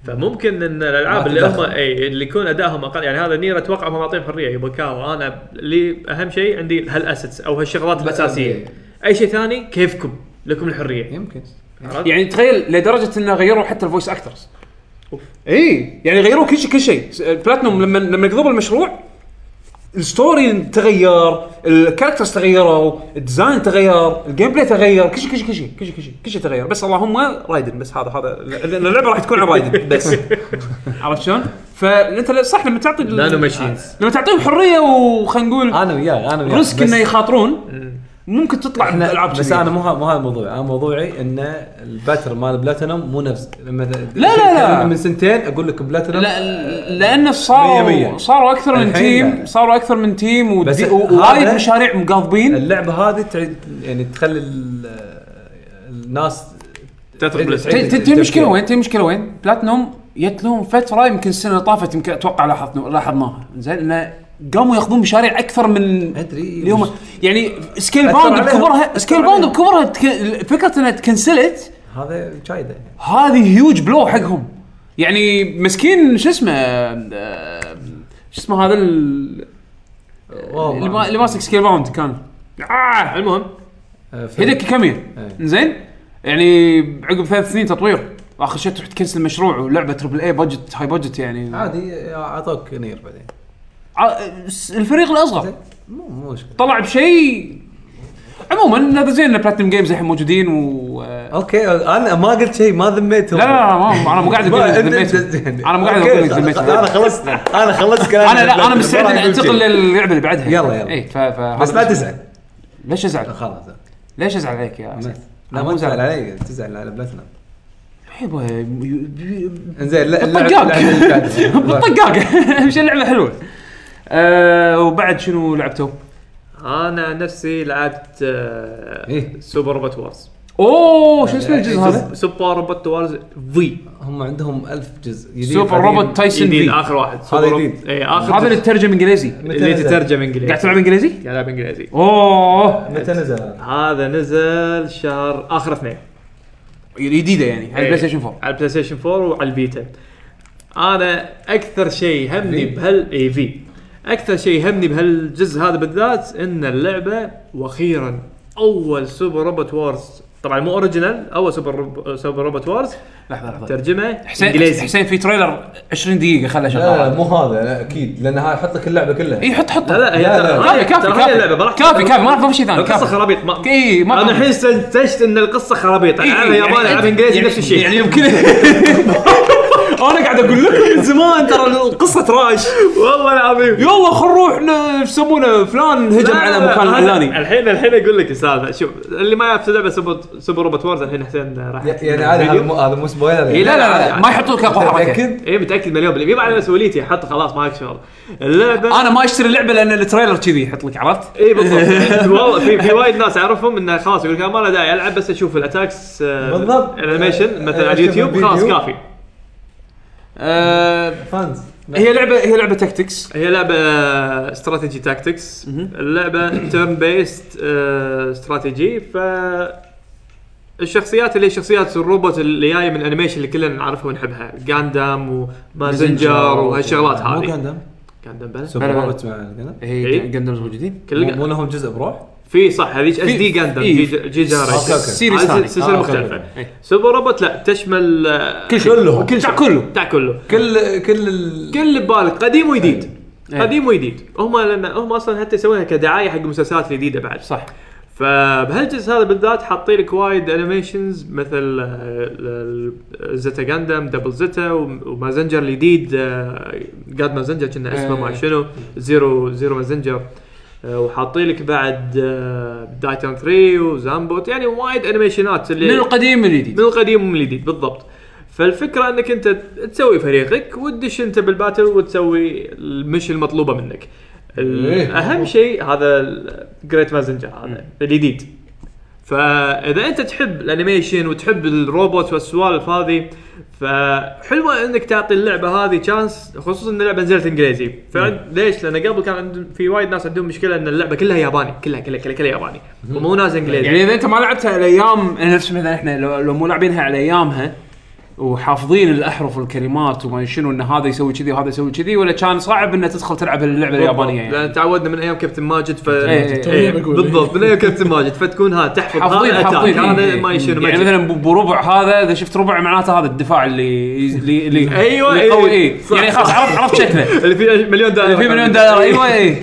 Speaker 3: فممكن ان الالعاب اللي هم اي اللي يكون ادائهم اقل يعني هذا نير اتوقع هم معطيهم حريه يبغى كاو انا لي اهم شيء عندي هالاسيتس او هالشغلات الاساسيه
Speaker 4: إيه.
Speaker 3: اي شيء ثاني كيفكم لكم الحريه
Speaker 4: يمكن
Speaker 2: يعني تخيل لدرجه انه غيروا حتى الفويس اكترز اي يعني غيروا كل شيء كل شيء س- بلاتنوم لما لما قضوا المشروع الستوري تغير الكاركترز تغيروا الديزاين تغير الجيم بلاي تغير كل شيء كل شيء كل شيء كل شيء كل شيء كل شيء تغير بس اللهم رايدن بس هذا هذا لان اللعبه راح تكون عن رايدن بس عرفت شلون؟ فانت صح لما تعطي ال-
Speaker 3: نانو ماشينز
Speaker 2: لما تعطيهم حريه وخلينا نقول
Speaker 4: انا وياه انا وياه
Speaker 2: ريسك انه يخاطرون ممكن تطلع
Speaker 4: احنا
Speaker 2: العاب
Speaker 4: بس انا مو ه- مو هذا موضوعي انا موضوعي ان الباتر مال بلاتينوم مو نفس لما
Speaker 2: لا لا.
Speaker 4: من سنتين اقول لك بلاتينوم
Speaker 2: لا لانه
Speaker 4: مية مية.
Speaker 2: صاروا صاروا اكثر من
Speaker 4: الحين
Speaker 2: تيم
Speaker 4: لا.
Speaker 2: صاروا اكثر من تيم
Speaker 4: بس
Speaker 2: ودي-
Speaker 4: هذا-
Speaker 2: ووايد مشاريع مقاضبين
Speaker 4: اللعبه هذه تعيد يعني تخلي ال- الناس
Speaker 3: تتربلس
Speaker 4: تعيد- تعيد
Speaker 2: تنتهي المشكله
Speaker 4: التفكير.
Speaker 2: وين تنتهي المشكله وين؟ بلاتنوم جت لهم فتره يمكن السنه طافت يمكن اتوقع لاحظنا لاحظناها زين انه قاموا ياخذون مشاريع اكثر من
Speaker 4: أدري.
Speaker 2: اليوم يعني سكيل
Speaker 4: أثر
Speaker 2: باوند
Speaker 4: عليهم.
Speaker 2: بكبرها
Speaker 4: أثر
Speaker 2: سكيل باوند
Speaker 4: عليهم.
Speaker 2: بكبرها تك- فكره انها تكنسلت
Speaker 4: هذا شايده يعني.
Speaker 2: هذه هيوج بلو حقهم يعني مسكين شو اسمه آه، شو اسمه هذا ال-
Speaker 4: واو،
Speaker 2: اللي ما-
Speaker 4: ما-
Speaker 2: اللي ماسك سكيل باوند كان آه المهم
Speaker 4: آه، في-
Speaker 2: هيديك كاميا
Speaker 4: إيه.
Speaker 2: زين يعني عقب ثلاث سنين تطوير اخر شيء تروح تكنسل مشروع ولعبه تربل اي بادجت هاي بادجت يعني
Speaker 4: عادي اعطوك نير بعدين
Speaker 2: ع- س- الفريق الاصغر
Speaker 4: مو مو مشكله
Speaker 2: طلع بشيء عموما هذا زين ان بلاتنم جيمز الحين موجودين و لا
Speaker 4: اوكي انا ما قلت شيء ما ذميتهم
Speaker 2: لا لا ما- انا مو قاعد اقول لك
Speaker 4: ما-
Speaker 2: ذميتهم.
Speaker 4: يعني-
Speaker 2: انا مو قاعد
Speaker 4: أوكي،
Speaker 2: اقول لك
Speaker 4: انا
Speaker 2: ذميتهم.
Speaker 4: خلصت انا خلصت كلامي
Speaker 2: انا لا انا مستعد اني انتقل للعبه اللي بعدها
Speaker 4: يلا، يلا.
Speaker 2: اي ف ف
Speaker 4: بس لا تزعل
Speaker 2: ليش ازعل؟
Speaker 4: خلاص
Speaker 2: ليش ازعل عليك يا أسد؟
Speaker 4: لا مو تزعل علي تزعل على بلاتنا
Speaker 2: حيبا، يو- بي-
Speaker 4: انزين لا
Speaker 2: بالطقاق. بالطقاق اهم شيء اللعبه حلوه آه، وبعد شنو لعبتوا؟
Speaker 3: انا عن نفسي لعبت آه،
Speaker 4: إيه.
Speaker 3: سوبر روبوت وارز
Speaker 2: اوه شو اسمه الجزء هذا؟
Speaker 3: سوبر روبوت وارز في
Speaker 4: هم عندهم ألف جزء جديد
Speaker 2: سوبر
Speaker 4: قديم.
Speaker 2: روبوت طيب. تايسون
Speaker 3: جديد
Speaker 2: في
Speaker 3: اخر واحد إيه،
Speaker 4: هذا جديد.
Speaker 3: اي
Speaker 2: هذا
Speaker 3: اخر
Speaker 2: اللي تترجم انجليزي قاعد
Speaker 4: متى
Speaker 3: اللي
Speaker 4: نزل؟
Speaker 3: تترجم انجليزي
Speaker 2: تلعب انجليزي؟
Speaker 3: قاعد العب انجليزي
Speaker 2: اوه
Speaker 4: متى نزل
Speaker 3: هذا نزل شهر اخر اثنين
Speaker 2: جديده يعني على
Speaker 3: إيه.
Speaker 2: البلاي ستيشن 4
Speaker 3: على البلاي ستيشن 4 وعلى الفيتا انا اكثر شيء يهمني
Speaker 2: إيه.
Speaker 3: بهال اي في اكثر شيء يهمني بهالجزء هذا بالذات ان اللعبه واخيرا اول سوبر روبوت وارز طبعا مو اوريجينال اول سوبر روب... سوبر روبوت وارز
Speaker 2: لحظه لحظه
Speaker 3: ترجمه
Speaker 2: حسين
Speaker 3: انجليزي
Speaker 2: حسين في تريلر 20 دقيقه خله
Speaker 4: لا لا
Speaker 2: شغال
Speaker 4: مو هذا لا اكيد لان هاي حط لك اللعبه كلها
Speaker 2: اي إيه، حط حط
Speaker 3: لا لا هي
Speaker 4: لا، لا.
Speaker 3: ترى-
Speaker 2: كافي كافي
Speaker 3: ترى هي اللعبه ما راح-
Speaker 2: كافي كافي كافي ما راح أفهم شيء ثاني
Speaker 3: القصه
Speaker 2: نعم، كافي
Speaker 3: خرابيط ما
Speaker 2: اي ما
Speaker 3: انا الحين استنتجت ان القصه خرابيط
Speaker 2: إي، إي،
Speaker 3: العب
Speaker 2: يعني-
Speaker 3: ياباني العب انجليزي
Speaker 2: يعني-
Speaker 3: نفس الشيء
Speaker 2: يعني يمكن انا قاعد اقول لكم من زمان ترى القصه تراش
Speaker 3: والله العظيم
Speaker 2: إيه. يلا خل نروح ن- شو يسمونه فلان هجم
Speaker 3: لا،
Speaker 2: على
Speaker 3: لا،
Speaker 2: مكان
Speaker 3: هذا-
Speaker 2: علاني
Speaker 3: الحين الحين اقول لك السالفه شوف اللي ما يعرف لعبه سوبر سوبر روبوت وورز الحين حسين راح
Speaker 4: يعني عادي هذا مو هذا مو سبويلر يعني.
Speaker 3: إي،
Speaker 2: إيه، لا لا لا ما يحطوا لك اقوى حركه
Speaker 4: متأكد؟
Speaker 3: اي متاكد إيه، مليون بالمية ما على مسؤوليتي حط خلاص ما لك شغل اللعبه
Speaker 2: انا ما اشتري اللعبه لان التريلر كذي يحط لك عرفت؟
Speaker 3: اي إيه، بالضبط والله في في وايد ناس اعرفهم انه خلاص يقول لك أنا ما له داعي العب بس اشوف الاتاكس آه،
Speaker 4: بالضبط. آه،
Speaker 3: الانيميشن مثلا على
Speaker 4: أشوف
Speaker 3: اليوتيوب خلاص
Speaker 4: الفيديو.
Speaker 3: كافي
Speaker 2: آه،
Speaker 4: فانز
Speaker 2: هي لعبه هي لعبه تكتكس
Speaker 3: هي لعبه آه، استراتيجي تاكتكس اللعبه تيرن بيست استراتيجي آه، ف الشخصيات اللي هي شخصيات الروبوت اللي جايه من الانيميشن اللي كلنا نعرفها ونحبها جاندام ومازنجر وهالشغلات
Speaker 4: مو
Speaker 3: هذه
Speaker 4: جاندم
Speaker 3: جاندام بلا
Speaker 4: سوبر
Speaker 2: بلا بلا.
Speaker 4: روبوت مع جاندم
Speaker 2: هي
Speaker 3: إيه.
Speaker 2: جندمز موجودين
Speaker 3: كل
Speaker 4: مو لهم جزء بروح
Speaker 3: في صح هذيك اس دي جاندام
Speaker 2: إيه.
Speaker 3: جي جي
Speaker 4: أوكي، أوكي.
Speaker 3: جنريشن
Speaker 2: سيريس ثاني.
Speaker 4: آه،
Speaker 3: سلسله
Speaker 4: أوكي،
Speaker 3: مختلفه
Speaker 4: أوكي. إيه.
Speaker 3: سوبر روبوت لا تشمل آه،
Speaker 2: كل شيء
Speaker 4: كلهم.
Speaker 2: كل شيء كله
Speaker 3: بتاع كله
Speaker 4: كل كل إيه. ال...
Speaker 3: كل اللي ببالك قديم وجديد قديم وجديد هم لان هم اصلا حتى يسوونها كدعايه حق المسلسلات الجديده بعد
Speaker 2: صح
Speaker 3: فبهالجزء هذا بالذات حاطين لك وايد انيميشنز مثل آه، زتا جاندم دبل زتا ومازنجر الجديد آه، قاد مازنجر كنا اسمه
Speaker 2: إيه.
Speaker 3: ما شنو زيرو زيرو مازنجر آه، وحاطين لك بعد آه، دايتان 3 وزامبوت يعني وايد انيميشنات
Speaker 2: من
Speaker 3: اللي
Speaker 2: القديم للجديد
Speaker 3: من القديم ومن الجديد بالضبط فالفكره انك انت تسوي فريقك وتدش انت بالباتل وتسوي المشي المطلوبه منك ال- اهم شيء هذا الجريت مازنجر هذا الجديد فاذا انت تحب الانيميشن وتحب الروبوت والسوالف هذه فحلوه انك تعطي اللعبه هذه تشانس خصوصا ان اللعبه نزلت انجليزي فعند ليش؟ لان قبل كان عندهم في وايد ناس عندهم مشكله ان اللعبه كلها ياباني كلها كلها كلها, كلها ياباني ومو نازل انجليزي
Speaker 2: يعني اذا انت ما لعبتها على ايام نفس مثلا احنا لو, لو مو لاعبينها على ايامها وحافظين الاحرف والكلمات وما شنو ان هذا يسوي كذي وهذا يسوي كذي ولا كان صعب انه تدخل تلعب اللعبه اليابانيه يعني
Speaker 3: لان تعودنا من ايام كابتن ماجد ف
Speaker 2: إيه، إيه،
Speaker 3: إيه، بالضبط من ايام كابتن ماجد فتكون ها تحفظ
Speaker 2: حافظين
Speaker 3: هذا
Speaker 2: حافظين
Speaker 3: اتاك هذا
Speaker 2: إيه.
Speaker 3: ما يشيل
Speaker 2: يعني مثلا ب- بربع هذا اذا شفت ربع معناته هذا الدفاع اللي اللي اللي
Speaker 3: أيوة،
Speaker 2: اللي قوي
Speaker 3: إيه.
Speaker 2: اي
Speaker 3: صح.
Speaker 2: يعني خلاص عرفت عرفت شكله
Speaker 3: اللي فيه مليون دولار
Speaker 2: في مليون دولار
Speaker 3: أيوة.
Speaker 2: ايوه اي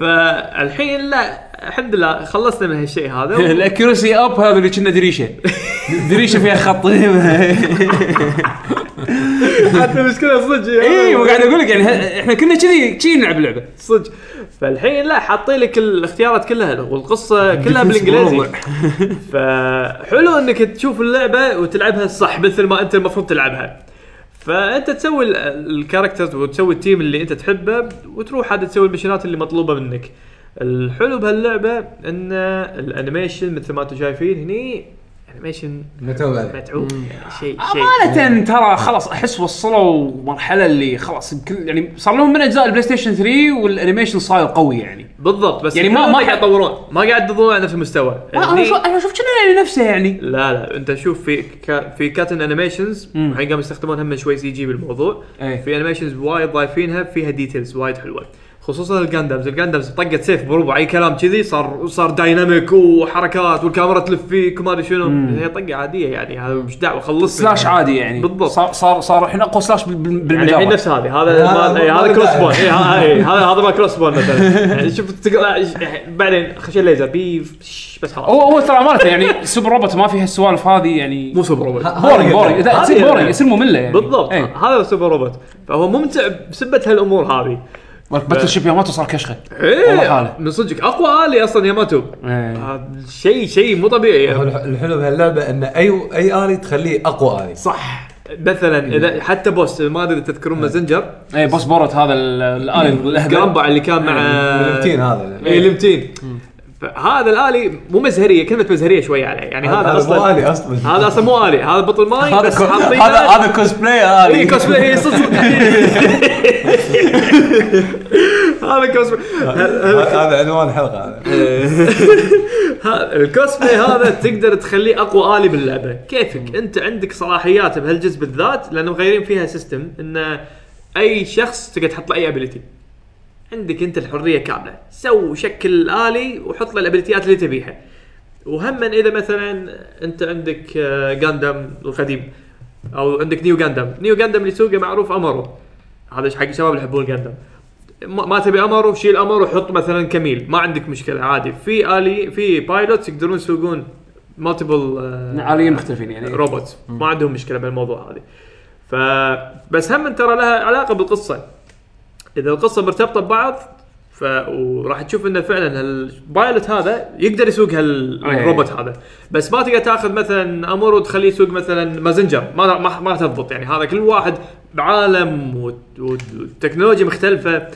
Speaker 3: فالحين لا الحمد لله خلصنا من هالشيء هذا
Speaker 2: الاكيورسي اب هذا اللي كنا دريشه دريشه فيها خط
Speaker 3: حتى المشكله صدق
Speaker 2: اي وقاعد اقول لك يعني ه- احنا كنا كذي كذي نلعب لعبه
Speaker 3: صدق فالحين لا حاطين لك الاختيارات كلها والقصه كلها بالانجليزي فحلو انك تشوف اللعبه وتلعبها صح مثل ما انت المفروض تلعبها فانت تسوي ال- الكاركترز وتسوي التيم اللي انت تحبه وتروح عاد تسوي المشينات اللي مطلوبه منك الحلو بهاللعبه ان الانيميشن مثل ما انتم شايفين هني انيميشن
Speaker 4: متعوب عليه
Speaker 3: متعوب يعني شيء
Speaker 2: آه،
Speaker 3: شيء
Speaker 2: امانه ترى خلاص احس وصلوا مرحله اللي خلاص بكل يعني صار لهم من اجزاء البلاي ستيشن 3 والانيميشن صاير قوي يعني
Speaker 3: بالضبط بس
Speaker 2: يعني ما-
Speaker 3: الحين
Speaker 2: ما
Speaker 3: قاعد يطورون ما قاعد يضلون على نفس المستوى يعني
Speaker 2: ما انا
Speaker 3: هني-
Speaker 2: شو انا اشوف كنا نفسه يعني
Speaker 3: لا لا انت شوف في كا في كاتن انيميشنز الحين قاموا يستخدمون هم شوي سي جي بالموضوع
Speaker 4: إيه.
Speaker 2: ايه.
Speaker 3: في انيميشنز وايد ضايفينها فيها ديتيلز وايد حلوه خصوصا الجاندمز الجاندمز طقت سيف بربع اي كلام كذي صار صار دايناميك وحركات والكاميرا تلف فيك وما ادري شنو هي طقه عاديه يعني هذا مش دعوه خلص
Speaker 2: سلاش عادي يعني
Speaker 3: بالضبط.
Speaker 2: صار صار صار الحين اقوى سلاش بال- بال-
Speaker 3: يعني الحين
Speaker 2: بالمجال
Speaker 3: نفس هذه هذا
Speaker 4: هذا
Speaker 3: ما- إيه،
Speaker 4: ما
Speaker 3: هذا
Speaker 4: له
Speaker 3: كروس
Speaker 4: داعي.
Speaker 3: بون إيه، ها- إيه، هذا هذا ما كروس بون مثلا يعني شوف تقرا إيه، بعدين خش الليزر بيف شش، بس خلاص
Speaker 2: هو هو ترى امانه يعني سوبر روبوت ما فيها السوالف هذه يعني
Speaker 3: مو سوبر روبوت
Speaker 2: بورينج بورينج
Speaker 3: هذه
Speaker 2: تصير
Speaker 3: يعني.
Speaker 2: بورينج يصير ممله يعني
Speaker 3: بالضبط
Speaker 2: اي
Speaker 3: هذا سوبر روبوت فهو ممتع بسبه هالامور هذه آه.
Speaker 2: باتل شيب ياماتو صار كشخه والله
Speaker 3: ايه
Speaker 2: حاله.
Speaker 3: من صدقك اقوى الي اصلا ياماتو
Speaker 2: إيه.
Speaker 3: آه، شيء شيء مو طبيعي
Speaker 4: هو
Speaker 3: يعني.
Speaker 4: الح- الحلو بهاللعبه ان اي اي الي تخليه اقوى الي
Speaker 3: صح مثلا اذا حتى بوس ما ادري إذا تذكرون مازنجر
Speaker 2: اي إيه، بوس بورت هذا ال- الالي الاهبل
Speaker 3: جرامبا اللي كان مع
Speaker 4: الامتين هذا
Speaker 3: إيه، الامتين هذا الالي مو مزهريه كلمه مزهريه شوي عليه يعني هذا
Speaker 4: مو
Speaker 3: اصلا
Speaker 4: الي اصلا
Speaker 3: هذا اصلا مو الي هذا بطل ماي بس حاطينه إيه،
Speaker 4: هذا هذا كوسبلاي
Speaker 3: اي
Speaker 4: الي
Speaker 3: كوسبلاي اي صدق صدق. هذا كوسبلاي
Speaker 4: هذا عنوان الحلقه هذا
Speaker 3: ها- الكوسبلاي هذا تقدر تخليه اقوى الي باللعبه كيفك انت عندك صلاحيات بهالجزء بالذات لانه مغيرين فيها سيستم ان اي شخص تقدر تحط له اي ابيلتي عندك انت الحريه كامله سو شكل الالي وحط له الابيلتيات اللي تبيها وهم اذا مثلا انت عندك جاندم القديم او عندك نيو جاندم نيو جاندم اللي سوقه معروف امرو هذا حق الشباب اللي يحبون جاندم ما ما تبي امر وشيل امر وحط مثلا كميل ما عندك مشكله عادي في الي في بايلوت يقدرون يسوقون آه، مالتيبل
Speaker 2: اليين مختلفين يعني
Speaker 3: روبوت ما عندهم مشكله بالموضوع هذا ف بس هم ترى لها علاقه بالقصه اذا القصه مرتبطه ببعض ف وراح تشوف انه فعلا البايلوت هذا يقدر يسوق
Speaker 2: إيه.
Speaker 3: هالروبوت هذا بس ما تقدر تاخذ مثلا امر وتخليه يسوق مثلا مازنجر ما ما, ما تضبط يعني هذا كل واحد بعالم وت- وت- وتكنولوجيا مختلفه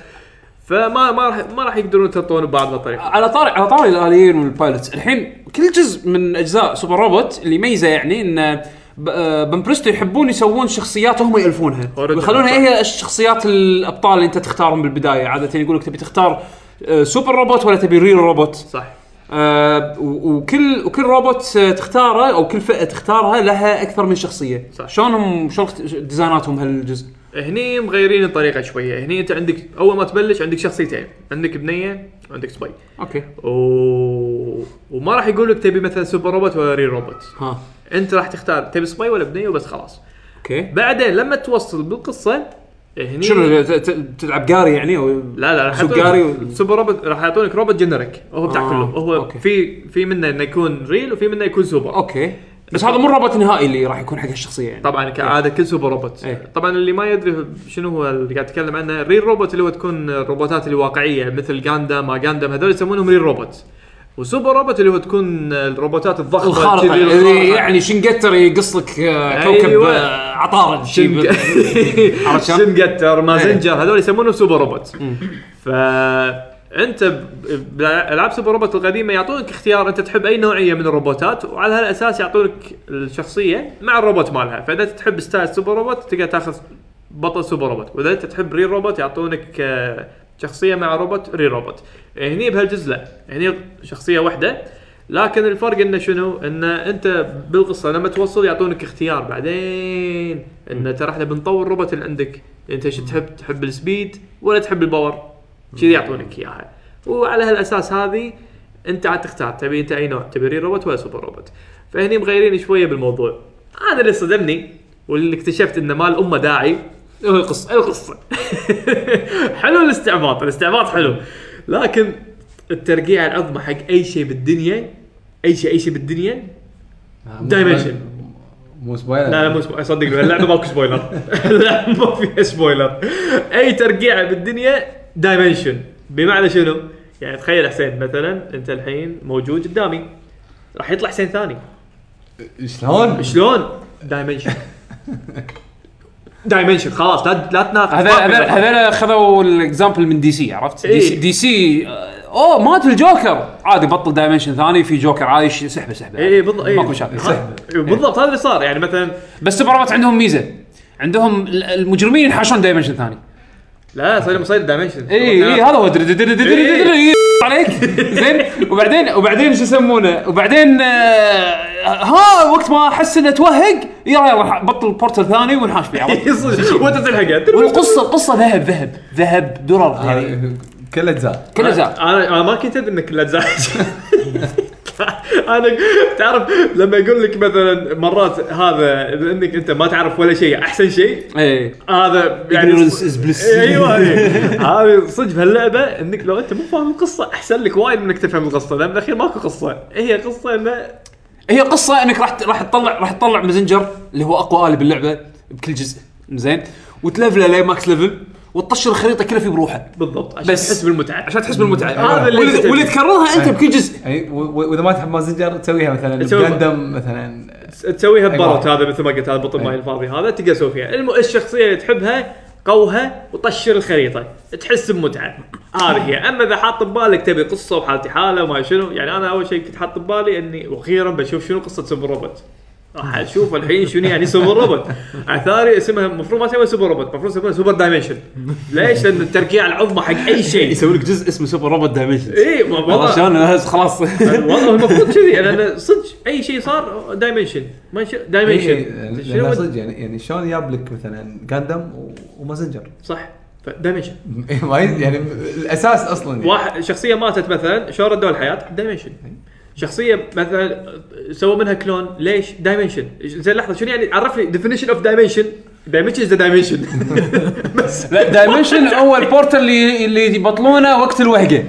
Speaker 3: فما ما راح ما راح يقدرون يتطورون ببعض بهالطريقه
Speaker 2: على طاري على طاري الاليين والبايلوتس الحين كل جزء من اجزاء سوبر روبوت اللي يميزه يعني ان ب- آه، بمبرستو يحبون يسوون شخصيات هم يالفونها
Speaker 3: Original.
Speaker 2: ويخلونها هي الشخصيات الابطال اللي انت تختارهم بالبدايه عاده يقول لك تبي تختار آه، سوبر روبوت ولا تبي ريل روبوت
Speaker 3: صح
Speaker 2: آه، و- وكل وكل روبوت آه، تختاره او كل فئه تختارها لها اكثر من شخصيه
Speaker 3: صح.
Speaker 2: شلونهم شلون اخت- ديزايناتهم هالجزء
Speaker 3: هني مغيرين الطريقه شويه هني انت عندك اول ما تبلش عندك شخصيتين عندك بنيه وعندك سباي
Speaker 2: اوكي
Speaker 3: و... وما راح يقول لك تبي مثلا سوبر روبوت ولا ري روبوت
Speaker 2: ها
Speaker 3: انت راح تختار تبي سباي ولا بنيه وبس خلاص
Speaker 2: اوكي
Speaker 3: بعدين لما توصل بالقصه هني
Speaker 2: شنو ت- ت- تلعب جاري يعني او
Speaker 3: لا لا راح
Speaker 2: سوق
Speaker 3: يعطونك-
Speaker 2: جاري و-
Speaker 3: سوبر روبوت راح يعطونك روبوت جنريك وهو بتاع
Speaker 2: آه،
Speaker 3: كله هو
Speaker 2: أوكي.
Speaker 3: في في منه انه يكون ريل وفي منه يكون سوبر
Speaker 2: اوكي بس هذا مو الرابط النهائي اللي راح يكون حق الشخصيه يعني
Speaker 3: طبعا كعاده كل سوبر روبوت
Speaker 2: إيه.
Speaker 3: طبعا اللي ما يدري شنو هو اللي قاعد اتكلم عنه ريل روبوت اللي هو تكون الروبوتات اللي واقعيه مثل جاندا ما جاندا هذول يسمونهم ريل روبوت وسوبر روبوت اللي هو تكون الروبوتات الضخمه
Speaker 2: الخارطه
Speaker 3: كذي
Speaker 2: اللي
Speaker 3: الخارقة.
Speaker 2: يعني شنقتر يقص لك آه،
Speaker 3: أيوة.
Speaker 2: كوكب آه، عطارد
Speaker 3: شن
Speaker 2: شي- عرفت شلون؟ إيه.
Speaker 3: شن قتر مازنجر هذول يسمونهم سوبر روبوت ف انت ب- بالالعاب سوبر روبوت القديمه يعطونك اختيار انت تحب اي نوعيه من الروبوتات وعلى هالاساس يعطونك الشخصيه مع الروبوت مالها فاذا انت تحب ستايل سوبر روبوت تقدر تاخذ بطل سوبر روبوت واذا انت تحب ري روبوت يعطونك آه، شخصيه مع روبوت ري روبوت هني بهالجزء لا هني شخصيه واحده لكن الفرق انه شنو؟ انه انت بالقصه لما توصل يعطونك اختيار بعدين انه ترى احنا بنطور الروبوت اللي عندك انت شو تحب؟ تحب السبيد ولا تحب الباور؟ كذي يعطونك اياها وعلى هالاساس هذه انت عاد تختار تبي انت اي نوع تبي ري روبوت ولا سوبر روبوت فهني مغيرين شويه بالموضوع هذا اللي صدمني واللي اكتشفت انه مال امه داعي هو القصه القصه حلو الاستعباط الاستعباط حلو لكن الترقيع العظمى حق اي شيء بالدنيا اي شيء اي شيء بالدنيا دايمنشن
Speaker 4: مو سبويلر
Speaker 3: لا لا مو سبويلر صدق اللعبه ماكو سبويلر اللعبه ما فيها سبويلر اي ترقيعه بالدنيا دايمنشن بمعنى شنو؟ يعني تخيل حسين مثلا انت الحين موجود قدامي راح يطلع حسين ثاني
Speaker 4: شلون؟
Speaker 3: شلون؟ دايمنشن دايمنشن خلاص لا لا تناقش
Speaker 2: هذول
Speaker 3: ما في
Speaker 2: هذول
Speaker 3: نقاش.
Speaker 2: هذول خذوا الاكزامبل من دي سي عرفت؟ دي سي,
Speaker 3: إيه.
Speaker 2: دي سي آه، اوه مات الجوكر عادي بطل دايمنشن ثاني في جوكر عايش سحبه سحبه
Speaker 3: اي إي، بالضبط إي.
Speaker 2: ماكو مشاكل.
Speaker 3: إيه، ها، إيه، بالضبط هذا اللي صار يعني مثلا
Speaker 2: بس سوبر روبوت عندهم ميزه عندهم ال- المجرمين ينحاشون دايمنشن ثاني
Speaker 3: لا صاير مصير دايمنشن
Speaker 2: اي
Speaker 3: نعم.
Speaker 2: اي إيه، هذا هو دري- دري- دري- دري- دري- دري- عليك زين وبعدين وبعدين شو يسمونه وبعدين آه، ها وقت ما احس انه توهق يلا يلا بطل بورتل ثاني ونحاش فيه عرفت؟
Speaker 3: إيه، وانت تلحقه
Speaker 2: والقصه القصه ذهب ذهب ذهب درر يعني
Speaker 4: آه. كل اجزاء
Speaker 2: كل زار
Speaker 3: انا انا ما كنت ادري انك لا تزعج انا تعرف لما يقول لك مثلا مرات هذا انك انت ما تعرف ولا شيء احسن شيء
Speaker 2: اي
Speaker 3: هذا يعني
Speaker 2: Ignorance إيه. is bliss.
Speaker 3: ايوه إيه. هذه صدق بهاللعبه انك لو انت مو فاهم القصه احسن لك وايد من انك تفهم القصه لان بالاخير ماكو قصه هي قصه انه
Speaker 2: هي قصه انك راح راح تطلع راح تطلع مازنجر اللي هو اقوى الي باللعبه بكل جزء زين وتلفله لي ماكس ليفل وتطشر الخريطه كلها في بروحه
Speaker 3: بالضبط عشان
Speaker 2: بس.
Speaker 3: تحس بالمتعه عشان
Speaker 2: تحس بالمتعه
Speaker 3: هذا اللي
Speaker 2: واللي, واللي تكررها انت بكل جزء
Speaker 4: يعني و- و- واذا ما تحب مازنجر تسويها مثلا
Speaker 3: تسوي-
Speaker 4: بجندم مثلا
Speaker 3: تسويها
Speaker 4: أيوة.
Speaker 3: ببارت هذا مثل ما قلت هذا بطل ماي الفاضي هذا تقدر تسوي فيها الم... الشخصيه اللي تحبها قوها وطشر الخريطه تحس بمتعه هذه هي اما اذا حاط ببالك تبي قصه وحالتي حاله وما شنو يعني انا اول شيء كنت حاط ببالي اني واخيرا بشوف شنو قصه سوبر روبوت راح اشوف الحين شنو يعني سوبر روبوت عثاري اسمها المفروض ما اسمها سوبر روبوت المفروض اسمها سوبر دايمنشن ليش؟ لان التركيع العظمى حق اي شيء
Speaker 12: يسوي لك جزء اسمه سوبر روبوت دايمنشن
Speaker 3: اي ما- والله-
Speaker 2: والله شلون هز خلاص
Speaker 3: والله المفروض كذي لان صدق اي شيء صار دايمنشن ما يش- دايمنشن
Speaker 4: إيه،
Speaker 3: شنو
Speaker 4: لأن صدق يعني يعني شلون ياب لك مثلا جندم و- ومازنجر
Speaker 3: صح دايمنشن
Speaker 4: ما ي- يعني الاساس اصلا يعني.
Speaker 3: واحد شخصيه ماتت مثلا شلون ردوا الحياه دايمنشن شخصيه مثلا سووا منها كلون ليش دايمنشن زين لحظه شنو يعني عرفني ديفينيشن اوف دايمنشن دايمنشن از دايمنشن بس
Speaker 2: لا دايمنشن هو البورتل اللي اللي يبطلونه وقت الوهقه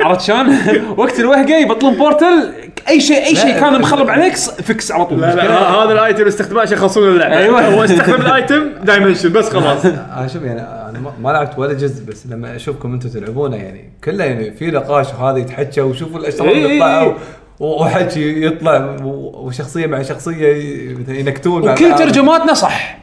Speaker 2: عرفت شلون؟ وقت الوهقه يبطلون بورتل اي شيء اي شيء كان مخرب عليك س- فكس على طول
Speaker 3: لا لا ه- هذا الايتم استخدمه عشان يخلصون اللعبه
Speaker 2: أيوة.
Speaker 3: هو استخدم الايتم دايمنشن بس خلاص
Speaker 4: انا شوف يعني انا ما- ما لعبت ولا جزء بس لما اشوفكم انتم تلعبونه يعني كله يعني في نقاش وهذا يتحكى وشوفوا الاشرار
Speaker 2: إي إي
Speaker 4: اللي
Speaker 2: إي.
Speaker 4: طلعوا و- وحكي يطلع و- وشخصيه مع شخصيه ي- مثلا ينكتون مع
Speaker 2: وكل
Speaker 4: بعض.
Speaker 2: ترجماتنا صح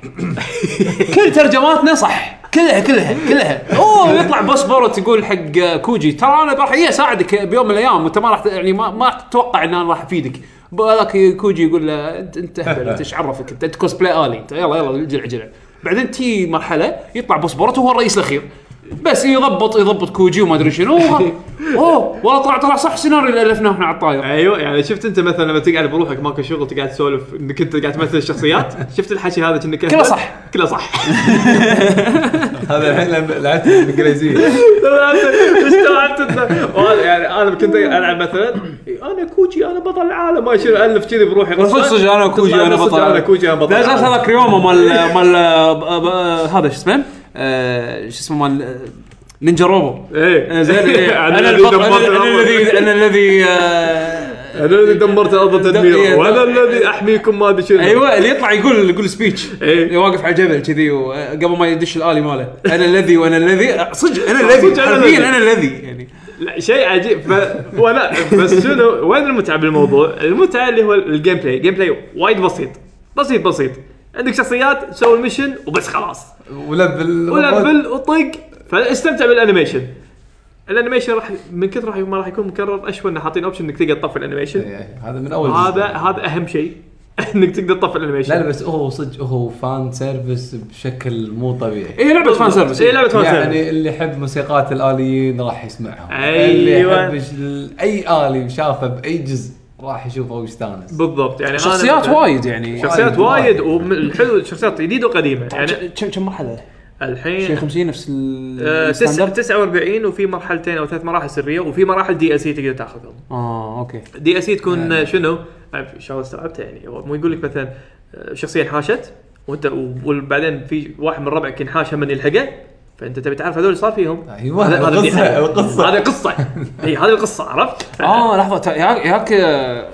Speaker 2: كل ترجماتنا صح كلها كلها كلها اوه يطلع بوسبورت يقول حق كوجي ترى انا راح إيه اساعدك بيوم من الايام وانت ما راح يعني ما, ما راح تتوقع ان انا راح افيدك هذاك كوجي يقول له انت انت اهبل انت ايش عرفك انت انت كوسبلاي الي انت يلا يلا الجل عجله بعدين تي مرحله يطلع بوسبورت وهو الرئيس الاخير بس يضبط يضبط كوجي وما ادري شنو اوه والله طلع طلع صح السيناريو اللي الفناه احنا على الطاير
Speaker 3: ايوه يعني شفت انت مثلا لما تقعد بروحك ماكو شغل تقعد تسولف انك انت قاعد تمثل الشخصيات شفت الحكي هذا كأنك
Speaker 2: كله صح.
Speaker 3: كله صح
Speaker 4: هذا الحين لما لعبت بالانجليزيه
Speaker 3: استوعبت إنه- وهذا يعني انا كنت العب مثلا انا كوجي انا بطل العالم ما شنو الف كذي بروحي
Speaker 2: صدق صدق انا كوجي
Speaker 3: تطلع
Speaker 2: انا
Speaker 3: صدق
Speaker 2: بطل
Speaker 3: انا كوجي انا بطل
Speaker 2: لا لا
Speaker 3: العالم.
Speaker 2: هذاك ريوما مال
Speaker 3: إيه.
Speaker 2: مال ب- ب- هذا شو اسمه آه، شو اسمه مال نينجا روبو
Speaker 3: ايه
Speaker 2: زين إيه، انا
Speaker 3: أنا الذي
Speaker 2: البطل
Speaker 3: دمرت
Speaker 2: انا
Speaker 3: الأرض.
Speaker 2: الذي انا الذي آه،
Speaker 3: انا الذي دمرت الارض تدميرا
Speaker 2: إيه،
Speaker 3: وانا
Speaker 2: دم-
Speaker 3: الذي احميكم ما ادري شنو
Speaker 2: ايوه اللي يطلع يقول يقول سبيتش
Speaker 3: إيه.
Speaker 2: واقف على الجبل كذي وقبل ما يدش الالي ماله انا الذي وانا الذي آه، صدق انا الذي
Speaker 3: صدق أنا
Speaker 2: حرفياً
Speaker 3: الذي.
Speaker 2: انا الذي يعني
Speaker 3: لا، شيء عجيب ف... ولا بس شنو وين المتعه بالموضوع؟ المتعه اللي هو الجيم بلاي، جيم بلاي وايد بسيط بسيط بسيط عندك شخصيات تسوي المشن وبس خلاص
Speaker 4: ولبل
Speaker 3: ولفل وطق فاستمتع بالانيميشن الانيميشن راح من كثر راح ما راح يكون مكرر اشوى انه حاطين اوبشن انك تقدر تطفي الانيميشن
Speaker 4: إيه، هذا من اول جزء.
Speaker 3: هذا هذا اهم شيء انك تقدر تطفي
Speaker 4: لا
Speaker 3: الانيميشن
Speaker 4: لا بس هو صدق هو فان سيرفيس بشكل مو
Speaker 2: إيه،
Speaker 4: طبيعي
Speaker 11: هي لعبه فان سيرفيس
Speaker 3: اي لعبه إيه، فان سيرفيس
Speaker 4: يعني اللي يحب موسيقات الاليين راح يسمعهم
Speaker 3: أيوة.
Speaker 4: اللي يحب ش- اي الي شافه باي جزء راح يشوفه ويستانس
Speaker 3: بالضبط يعني أنا
Speaker 2: شخصيات
Speaker 3: مثلاً-
Speaker 2: وايد يعني
Speaker 3: شخصيات وايد
Speaker 4: وايد.
Speaker 3: والحلو شخصيات جديده وقديمه يعني
Speaker 2: كم كم مرحله؟ شيء
Speaker 3: الحين
Speaker 2: 50 نفس
Speaker 3: إيه. آه، تسعة-
Speaker 2: الستاندرد
Speaker 3: 49 وفي مرحلتين او ثلاث مراحل سريه وفي مراحل دي ال سي تقدر تاخذهم
Speaker 2: اه اوكي
Speaker 3: دي ال سي تكون شنو؟ ان شاء الله استوعبتها يعني هو مو يقول لك مثلا آه، شخصيه انحاشت وانت وبعدين في واحد من ربعك ينحاش هم يلحقه فانت تبي تعرف هذول ايش صار فيهم
Speaker 4: ايوه
Speaker 3: هذا- يعني. هذا
Speaker 4: القصه
Speaker 3: دي-
Speaker 4: القصه
Speaker 3: هذه قصه اي هذه القصه عرفت؟
Speaker 2: اه لحظه تا- ياك ياك آه،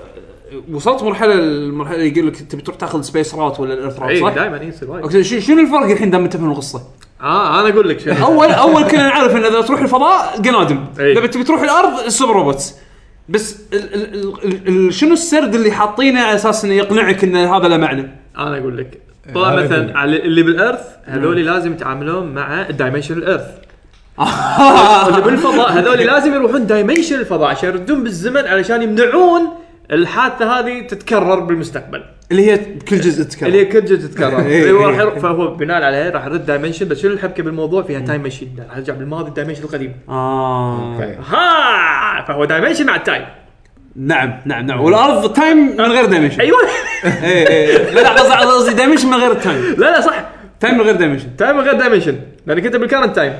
Speaker 2: وصلت مرحله المرحله اللي يقول لك تبي تروح تاخذ سبيس رات ولا الايرث رات
Speaker 3: اي
Speaker 2: صح؟
Speaker 3: دائما يصير وايد
Speaker 2: أوكي، شو- شنو الفرق الحين دام انت فاهم القصه؟
Speaker 3: اه انا اقول لك شنو
Speaker 2: اول اول كنا نعرف ان اذا تروح الفضاء قنادم
Speaker 3: إي.
Speaker 2: لما تبي تروح الارض السوبر روبوتس بس ال ال ال ال شنو السرد اللي حاطينه على اساس انه يقنعك ان هذا له معنى؟
Speaker 3: انا اقول لك طلع
Speaker 4: هذا
Speaker 3: مثلا
Speaker 4: الدنيا.
Speaker 3: على اللي بالارث هذول لازم يتعاملون مع الدايمنشن الارث اللي بالفضاء هذول لازم يروحون دايمنشن الفضاء عشان يردون بالزمن علشان يمنعون الحادثه هذه تتكرر بالمستقبل
Speaker 2: اللي هي بكل جزء تتكلم
Speaker 3: اللي هي كل جزء تتكرر إيه. اللي هو راح يروح- فهو بناء عليه راح يرد دايمنشن بس شنو الحبكه بالموضوع فيها تايم ماشين راح يرجع بالماضي الدايمنشن القديم
Speaker 2: اه
Speaker 3: ها فهو دايمنشن مع التايم
Speaker 2: نعم نعم نعم والارض تايم من غير دايمنشن
Speaker 3: ايوه
Speaker 2: اي اي إيه. لا لا قصدي- قصدي دايمنشن من غير تايم
Speaker 3: لا لا صح
Speaker 2: تايم من غير دايمنشن
Speaker 3: تايم غير دايمنشن لانك انت بالكارنت تايم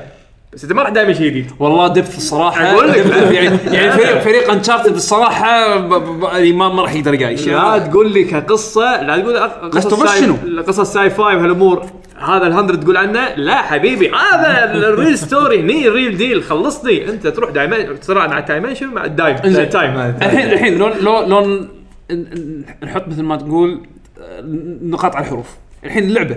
Speaker 3: بس انت ما راح دايمنشن جديد
Speaker 2: والله دبث الصراحه
Speaker 3: أقول لك.
Speaker 2: دبث يعني يعني فريق فريق انشارتد الصراحه ب- ب- ب- ما ما راح يقدر يقايش
Speaker 3: لا تقول لي كقصه لا تقول أق-
Speaker 2: Last of Us
Speaker 3: ساي-
Speaker 2: شنو؟
Speaker 3: قصص ساي فاي وهالامور هذا الهندرد تقول عنه لا حبيبي هذا الريل ستوري هني الريل ديل خلصني انت تروح دايما صراع مع الدايمنشن مع الدايم
Speaker 2: انزين.
Speaker 3: التايم
Speaker 2: الحين الحين لو لو لو ن- ن- نحط مثل ما تقول آه، نقاط على الحروف الحين اللعبه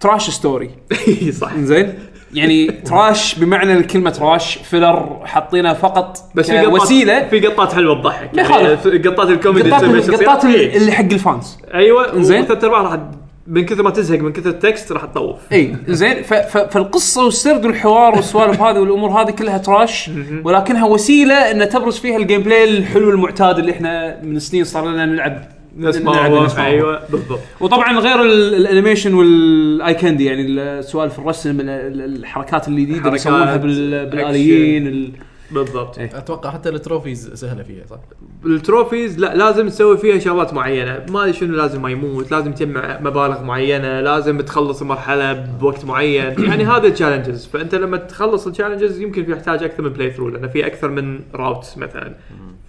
Speaker 2: تراش ستوري
Speaker 3: إي إيه، صح
Speaker 2: زين يعني تراش بمعنى الكلمه تراش فيلر حاطينه فقط
Speaker 3: بس في قطات
Speaker 2: وسيله
Speaker 3: في قطات حلوه تضحك
Speaker 2: ما يخالف.
Speaker 3: يعني قطات الكوميدي
Speaker 2: قطات
Speaker 3: اللي تسويها
Speaker 2: قطات
Speaker 3: شخصيات. إيه.
Speaker 2: اللي حق الفانز
Speaker 3: ايوه
Speaker 2: إنزين.
Speaker 3: زين ثلاث ارباع راح من كثر ما تزهق من كثر التكست راح تطوف
Speaker 2: اي إيه، زين ف- ف- فالقصه والسرد والحوار والسوالف هذه والامور هذه كلها تراش ولكنها وسيله ان تبرز فيها الجيم بلاي الحلو المعتاد اللي احنا من سنين صار لنا نلعب
Speaker 3: نفس ما
Speaker 2: نلعب
Speaker 3: هو
Speaker 2: نفس ما هو.
Speaker 3: ايوه بالضبط
Speaker 2: وطبعا غير ال- الانيميشن والاي كاندي يعني ال- سوالف الرسم ال- ال- الحركات الجديده اللي
Speaker 3: حركات،
Speaker 2: يسوونها بال- بالاليين ال-
Speaker 3: بالضبط
Speaker 6: اتوقع حتى التروفيز سهله فيها صح؟
Speaker 3: التروفيز لا لازم تسوي فيها شغلات معينه ما ادري شنو لازم ما يموت لازم تجمع مبالغ معينه لازم تخلص المرحله بوقت معين يعني هذا تشالنجز فانت لما تخلص التشالنجز يمكن في يحتاج اكثر من بلاي ثرو لان في اكثر من راوت مثلا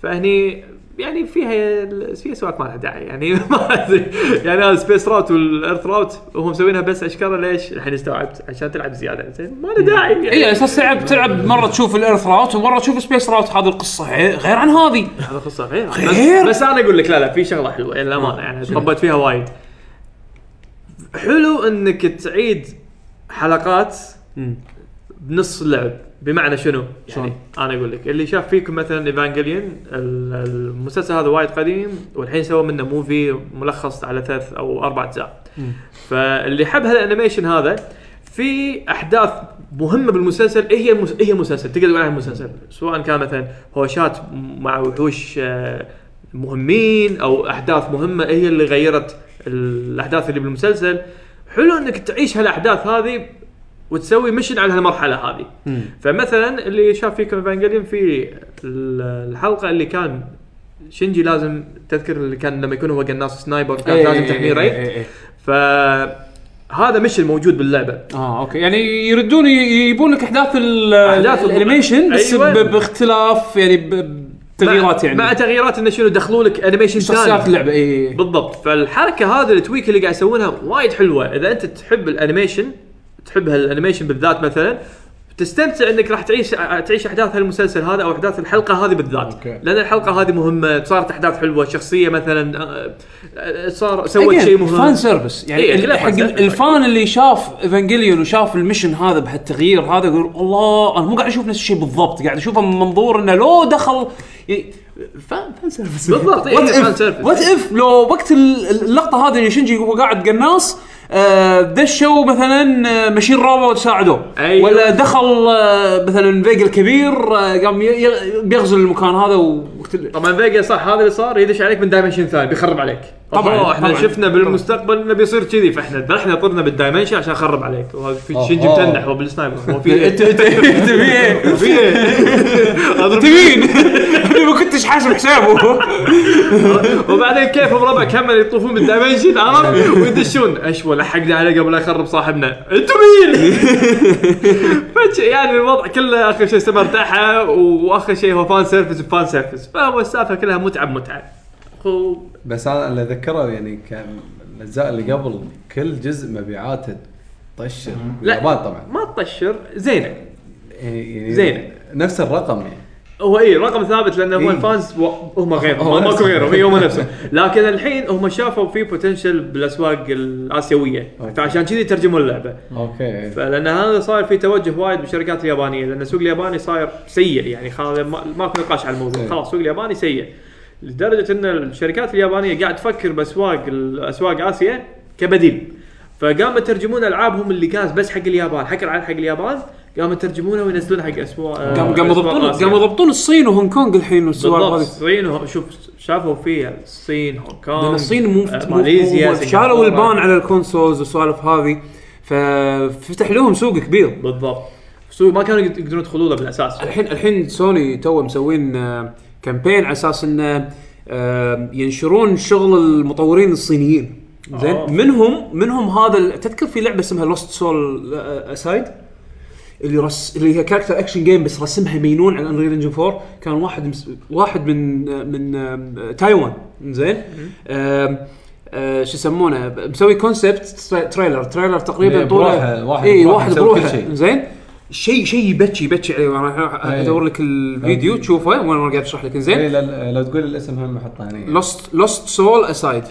Speaker 3: فهني يعني فيها فيها سوالف ما لها داعي يعني ما ادري يعني هذا سبيس راوت والارث راوت وهم مسوينها بس اشكاله ليش؟ الحين استوعبت عشان تلعب زياده زين ما له داعي
Speaker 2: اي
Speaker 3: يعني
Speaker 2: إيه، على اساس تلعب تلعب مره تشوف الارث راوت ومره تشوف سبيس راوت هذه القصه عي- غير عن هذه
Speaker 3: هذا قصه غير
Speaker 2: غير؟
Speaker 3: بس, بس انا اقول لك لا لا في شغله حلوه يعني للامانه يعني طبت فيها وايد حلو انك تعيد حلقات بنص اللعب بمعنى شنو؟ يعني انا اقول لك اللي شاف فيكم مثلا ايفانجليون المسلسل هذا وايد قديم والحين سووا منه موفي ملخص على ثلاث او اربع اجزاء. فاللي حب هالانيميشن هذا في احداث مهمه بالمسلسل إيه هي المس... إيه هي المسلسل تقدر تقول عنها المسلسل سواء كان مثلا هوشات مع وحوش آه، مهمين او احداث مهمه إيه هي اللي غيرت الاحداث اللي بالمسلسل حلو انك تعيش هالاحداث هذه وتسوي مشن على هالمرحله هذه فمثلا اللي شاف فيكم ايفانجليون في ال- الحلقه اللي كان شينجي لازم تذكر اللي كان لما يكون هو قناص سنايبر كان
Speaker 2: إيه،
Speaker 3: لازم تحميه ري فهذا مش الموجود باللعبه
Speaker 2: اه اوكي يعني يردون ي- يجيبون لك احداث ال-
Speaker 3: أحداث ال-
Speaker 2: الانيميشن بس
Speaker 3: أيوة.
Speaker 2: ب- باختلاف يعني ب- بتغييرات
Speaker 3: مع- مع
Speaker 2: يعني
Speaker 3: تغييرات انه شنو دخلوا لك انيميشن
Speaker 2: شخصيات إيه.
Speaker 3: ثاني
Speaker 2: اللعبه اي
Speaker 3: بالضبط فالحركه هذا التويك اللي قاعد يسوونها وايد حلوه اذا انت تحب الانيميشن تحب هالانيميشن بالذات مثلا تستمتع انك راح تعيش تعيش احداث هالمسلسل هذا او احداث الحلقه هذه بالذات
Speaker 4: أوكي.
Speaker 3: لان الحلقه هذه مهمه صارت احداث حلوه شخصيه مثلا آه، آه، صار سوت شيء
Speaker 2: Again, فان
Speaker 3: مهم
Speaker 2: سيرفيس يعني
Speaker 3: إيه،
Speaker 2: ال-
Speaker 3: كلها
Speaker 2: حق
Speaker 3: فان سيرفيس.
Speaker 2: الفان اللي شاف ايفانجيليون وشاف المشن هذا بهالتغيير هذا يقول الله انا مو قاعد اشوف نفس الشيء بالضبط قاعد اشوفه من منظور انه لو دخل يعني فان فان سيرفيس
Speaker 3: بالضبط إيه،
Speaker 2: وات
Speaker 3: فان سيرفيس.
Speaker 2: اف وات اف لو وقت ال- اللقطه هذه اللي شنجي هو قاعد قناص
Speaker 10: آه، دشوا مثلا آه، ماشين روبوت ساعدوه
Speaker 3: أيوة.
Speaker 10: ولا دخل آه، مثلا فيجل كبير آه، قام ي- ي- بيغزل المكان هذا وقتل
Speaker 3: طبعا فيجا صح هذا اللي صار يدش عليك من دايمنشن ثاني بيخرب عليك
Speaker 10: طبعاً،
Speaker 3: أوه، احنا
Speaker 10: طبعاً.
Speaker 3: شفنا بالمستقبل انه بيصير كذي فاحنا احنا طرنا بالدايمنشن عشان اخرب عليك شنجي
Speaker 4: أوه.
Speaker 3: متنح وبالسنايبر هو في إيه؟
Speaker 10: تبي ايه؟
Speaker 3: في إيه؟ أضرب-
Speaker 10: مين؟ انا ما كنتش حاسب حسابه
Speaker 3: وبعدين كيف بربع كمل يطوفون بالدايمنشن عرفت ويدشون اشوى لحقنا عليه قبل لا يخرب صاحبنا انتوا مين؟ فج- يعني الوضع كله اخر شيء استمر تحت واخر شيء هو فان سيرفيس وفان سيرفيس فهو السالفه كلها متعه متعه
Speaker 4: بس انا اللي اتذكره يعني كان الاجزاء اللي قبل كل جزء مبيعاته طشر باليابان طبعا
Speaker 3: ما تطشر زينه
Speaker 4: يعني يعني
Speaker 3: زين.
Speaker 4: نفس الرقم يعني
Speaker 3: هو اي رقم ثابت لانه هو
Speaker 4: إيه.
Speaker 3: الفانز و- هم غيرهم
Speaker 4: هو
Speaker 3: ما- ماكو
Speaker 4: نفسه.
Speaker 3: غيرهم اي هم نفسهم لكن الحين هم شافوا في بوتنشل بالاسواق الاسيويه
Speaker 4: أوكي.
Speaker 3: فعشان كذي ترجموا اللعبه
Speaker 4: اوكي
Speaker 3: فلان هذا صاير في توجه وايد بالشركات اليابانيه لان السوق الياباني صاير سيء يعني خلاص ما- ماكو نقاش على الموضوع
Speaker 4: إيه.
Speaker 3: خلاص السوق الياباني سيء لدرجه ان الشركات اليابانيه قاعد تفكر باسواق الاسواق اسيا كبديل فقاموا يترجمون العابهم اللي كانت بس حق اليابان حق العاب حق اليابان قاموا يترجمونها وينزلونها حق اسواق
Speaker 2: قاموا قاموا
Speaker 3: أسواق
Speaker 2: يضبطون
Speaker 3: آسيا.
Speaker 2: قاموا يضبطون الصين وهونغ كونغ الحين والسوالف
Speaker 3: بالضبط
Speaker 2: هذه
Speaker 3: الصين وه- شوف شافوا فيها الصين هونغ كونغ
Speaker 2: لان الصين مو
Speaker 3: آه،
Speaker 2: مو-
Speaker 3: ماليزيا
Speaker 2: مو-
Speaker 3: سنغافورة.
Speaker 2: شالوا البان على الكونسولز والسوالف هذه ففتح لهم سوق كبير
Speaker 3: بالضبط سوق ما كانوا يقد- يقدرون يدخلوا له بالاساس
Speaker 2: الحين الحين سوني تو مسوين آه، كامبين على اساس انه آه، ينشرون شغل المطورين الصينيين زين
Speaker 3: آه.
Speaker 2: منهم منهم هذا ال- تذكر في لعبه اسمها لوست سول اسايد آه، اللي رس اللي هي كاركتر اكشن جيم بس رسمها مينون على انريل انجن 4 كان واحد مس... واحد من آه، من آه، تايوان زين آم، آه، شو يسمونه مسوي كونسبت تريلر تريلر تقريبا
Speaker 4: إيه،
Speaker 2: طوله
Speaker 4: بروحه، واحد
Speaker 2: اي
Speaker 4: بروحه
Speaker 2: واحد
Speaker 4: يسوي كل
Speaker 2: بروحه
Speaker 4: شيء.
Speaker 2: زين شيء شيء يبكي يبكي عليه انا راح
Speaker 4: إيه.
Speaker 2: ادور لك الفيديو
Speaker 4: أوكي.
Speaker 2: تشوفه وانا وانا قاعد اشرح لك
Speaker 4: إيه،
Speaker 2: زين
Speaker 4: لا- لو تقول الاسم هم حطه هنا
Speaker 2: لوست لوست سول اسايد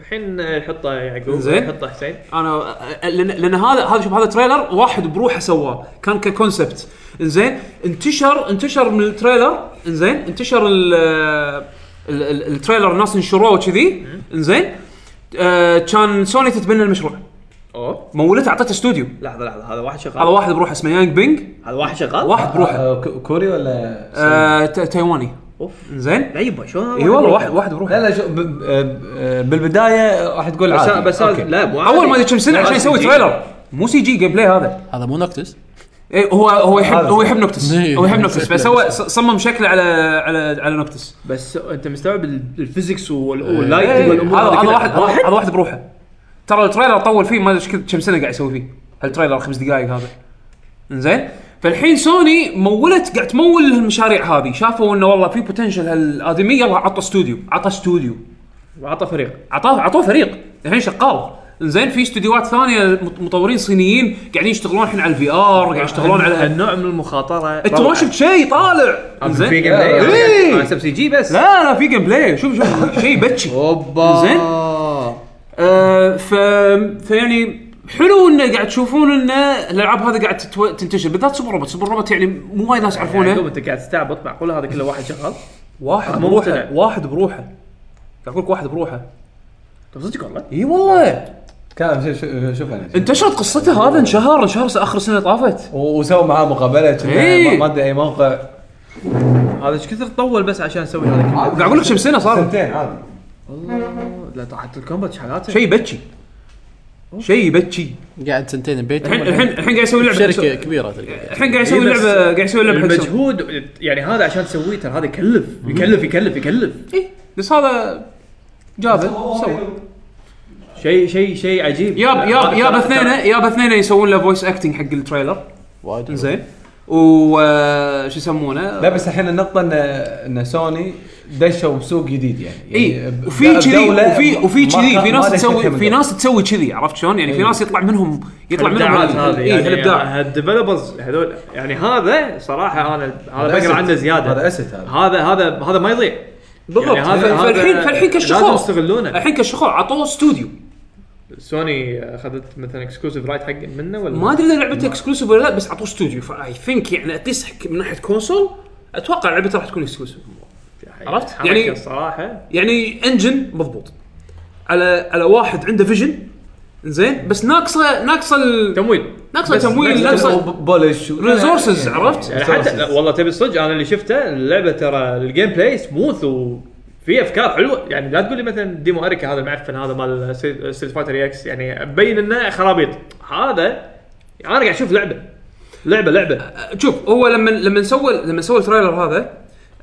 Speaker 3: الحين يحطها يعقوب
Speaker 2: زين.
Speaker 3: يحطها حسين
Speaker 2: انا لان, لأن هذا هذا شوف هذا تريلر واحد بروحه سواه كان ككونسبت انزين انتشر انتشر من التريلر انزين انتشر ال ال- ال- التريلر الناس نشروه وكذي انزين آه كان سوني تتبنى المشروع
Speaker 3: اوه
Speaker 2: مولته اعطته استوديو
Speaker 3: لحظه لحظه هذا واحد شغال
Speaker 2: هذا واحد بروحه اسمه يانج بينج
Speaker 3: هذا واحد شغال
Speaker 2: واحد بروحه
Speaker 4: آه، ك- كوري ولا
Speaker 2: آه تا- تايواني
Speaker 3: اوف
Speaker 2: انزين
Speaker 3: لعيبه شلون هذا
Speaker 2: اي والله
Speaker 3: بروحه؟
Speaker 2: واحد واحد بروحه
Speaker 4: لا لا شو ب- ب- آه، بالبدايه راح تقول
Speaker 3: بس
Speaker 4: عادي
Speaker 3: بس هذا- لا مو عادي.
Speaker 2: اول ما ادري كم سنه
Speaker 3: لا،
Speaker 2: عشان يسوي
Speaker 3: CG.
Speaker 2: تريلر مو سي جي جيم بلاي هذا
Speaker 6: هذا مو نوكتس
Speaker 2: إيه هو هو يحب
Speaker 4: هذا
Speaker 2: هو يحب نوكتس
Speaker 6: إيه.
Speaker 2: هو يحب نوكتس بس هو ص- صمم شكله على على على نوكتس
Speaker 3: بس انت مستوعب ال- الفيزكس وال- واللايت
Speaker 2: إيه. هذا
Speaker 3: والامور
Speaker 2: هذا
Speaker 3: كلها.
Speaker 2: واحد هذا واحد بروحه ترى التريلر طول فيه ما ادري إيش كد- كم سنه قاعد يسوي فيه هالتريلر خمس دقائق هذا انزين فالحين سوني مولت قاعد تمول المشاريع هذه شافوا انه والله في بوتنشل هالادمي يلا عطى استوديو عطى استوديو
Speaker 3: وعطى فريق
Speaker 2: عطاه عطوه فريق الحين شغال زين في استديوهات ثانيه مط- مطورين صينيين قاعدين يشتغلون الحين على الفي ار قاعدين يشتغلون على
Speaker 3: النوع من المخاطره
Speaker 2: انت ما شفت شيء طالع
Speaker 3: زين في
Speaker 2: زين
Speaker 3: جيم بلاي
Speaker 2: إيه.
Speaker 3: على حسب سي جي بس
Speaker 2: لا لا في جيم بلاي شوف شوف شيء بتشي
Speaker 3: اوبا
Speaker 2: زين. آه ف فيعني حلو انه قاعد تشوفون ان الالعاب هذه قاعد تتو... تنتشر بالذات سوبر روبوت سوبر روبوت يعني مو وايد ناس
Speaker 3: يعقوب
Speaker 2: يعرفونه
Speaker 3: انت قاعد تستعبط معقول هذا كله واحد شغال
Speaker 2: واحد
Speaker 3: مو
Speaker 2: بروحه
Speaker 3: مقتنع.
Speaker 2: واحد بروحه قاعد اقول لك واحد بروحه
Speaker 3: طب صدق والله
Speaker 2: اي والله
Speaker 4: كان شوف- شوف- شوف انا
Speaker 2: انتشرت قصته هذا انشهر انشهر اخر سنه طافت
Speaker 4: وسووا معاه مقابله كنا
Speaker 2: إيه.
Speaker 4: ما- ما ادري اي موقع
Speaker 3: هذا ايش كثر طول بس عشان اسوي هذا كله
Speaker 2: قاعد اقول لك كم سنه صارت
Speaker 4: سنتين عادي
Speaker 3: لا تحت الكومبات شحالاته
Speaker 2: شيء بتشي شيء بتشي
Speaker 6: قاعد سنتين ببيت
Speaker 2: الحين الحين الحين قاعد يسوي لعبه
Speaker 6: شركه كبيره تلقى
Speaker 2: الحين قاعد يسوي لعبه قاعد يسوي لعبه حق سوني.
Speaker 3: المجهود يعني هذا عشان تسويه ترى هذا يكلف يكلف يكلف يكلف
Speaker 2: إيه، بس هذا جابه سوى
Speaker 3: شيء شيء شيء عجيب
Speaker 2: ياب ياب
Speaker 3: هذا
Speaker 2: ياب
Speaker 3: ترى-
Speaker 2: اثنين
Speaker 3: ترى-
Speaker 2: ياب اثنين يسوون له فويس اكتنج حق التريلر
Speaker 6: وايد
Speaker 2: زين و آه، شو يسمونه
Speaker 4: لا بس الحين النقطه ان ان سوني دشوا بسوق جديد يعني
Speaker 2: اي
Speaker 4: يعني
Speaker 2: إيه، وفي كذي
Speaker 4: بدولة
Speaker 2: وفي وفي
Speaker 4: ما
Speaker 2: كذي
Speaker 4: كان-
Speaker 2: في
Speaker 4: ما
Speaker 2: ناس
Speaker 4: دشت فيها
Speaker 2: تسوي
Speaker 4: من
Speaker 2: في
Speaker 4: قبل.
Speaker 2: ناس تسوي كذي عرفت شلون؟ يعني في
Speaker 4: إيه.
Speaker 2: ناس يطلع منهم يطلع إيه، منهم
Speaker 3: الابداعات هذه يعني
Speaker 2: اي الابداع
Speaker 3: الديفلوبرز هذول يعني هذا صراحه انا هذا
Speaker 4: هذا
Speaker 3: بقرا
Speaker 4: asset.
Speaker 3: عنه زياده
Speaker 4: هذا asset هذا.
Speaker 3: هذا هذا هذا ما يضيع
Speaker 2: بالضبط
Speaker 3: يعني هذا-
Speaker 2: ف- فالحين
Speaker 3: هذا
Speaker 2: فالحين كشخور
Speaker 3: لازم يستغلونه.
Speaker 2: الحين كشخور عطوه استوديو
Speaker 3: سوني اخذت مثلا اكسكلوسيف رايت حق منه ولا
Speaker 2: ما ادري اذا لعبته اكسكلوسيف ولا لا بس عطوه استوديو فاي ثينك يعني اتليست من ناحيه كونسول اتوقع لعبته راح تكون اكسكلوسيف عرفت؟
Speaker 3: حركة
Speaker 2: يعني-
Speaker 3: الصراحه
Speaker 2: يعني انجن مضبوط على على واحد عنده فيجن زين بس ناقصه ناقصه ال-
Speaker 3: تمويل
Speaker 2: ناقصه
Speaker 3: بس-
Speaker 2: تمويل
Speaker 3: بس-
Speaker 2: ناقصه
Speaker 4: بولش
Speaker 2: ريسورسز عرفت؟
Speaker 3: يعني حتى لا، والله تبي الصدق انا اللي شفته اللعبه ترى الجيم بلاي سموث وفي افكار حلوه يعني لا تقول لي مثلا ديمو اريكا هذا المعفن هذا مال ستريت فايتر اكس يعني مبين انه خرابيط هذا انا قاعد اشوف لعبه لعبه لعبه
Speaker 2: شوف هو لما لما سوى لما سوى التريلر هذا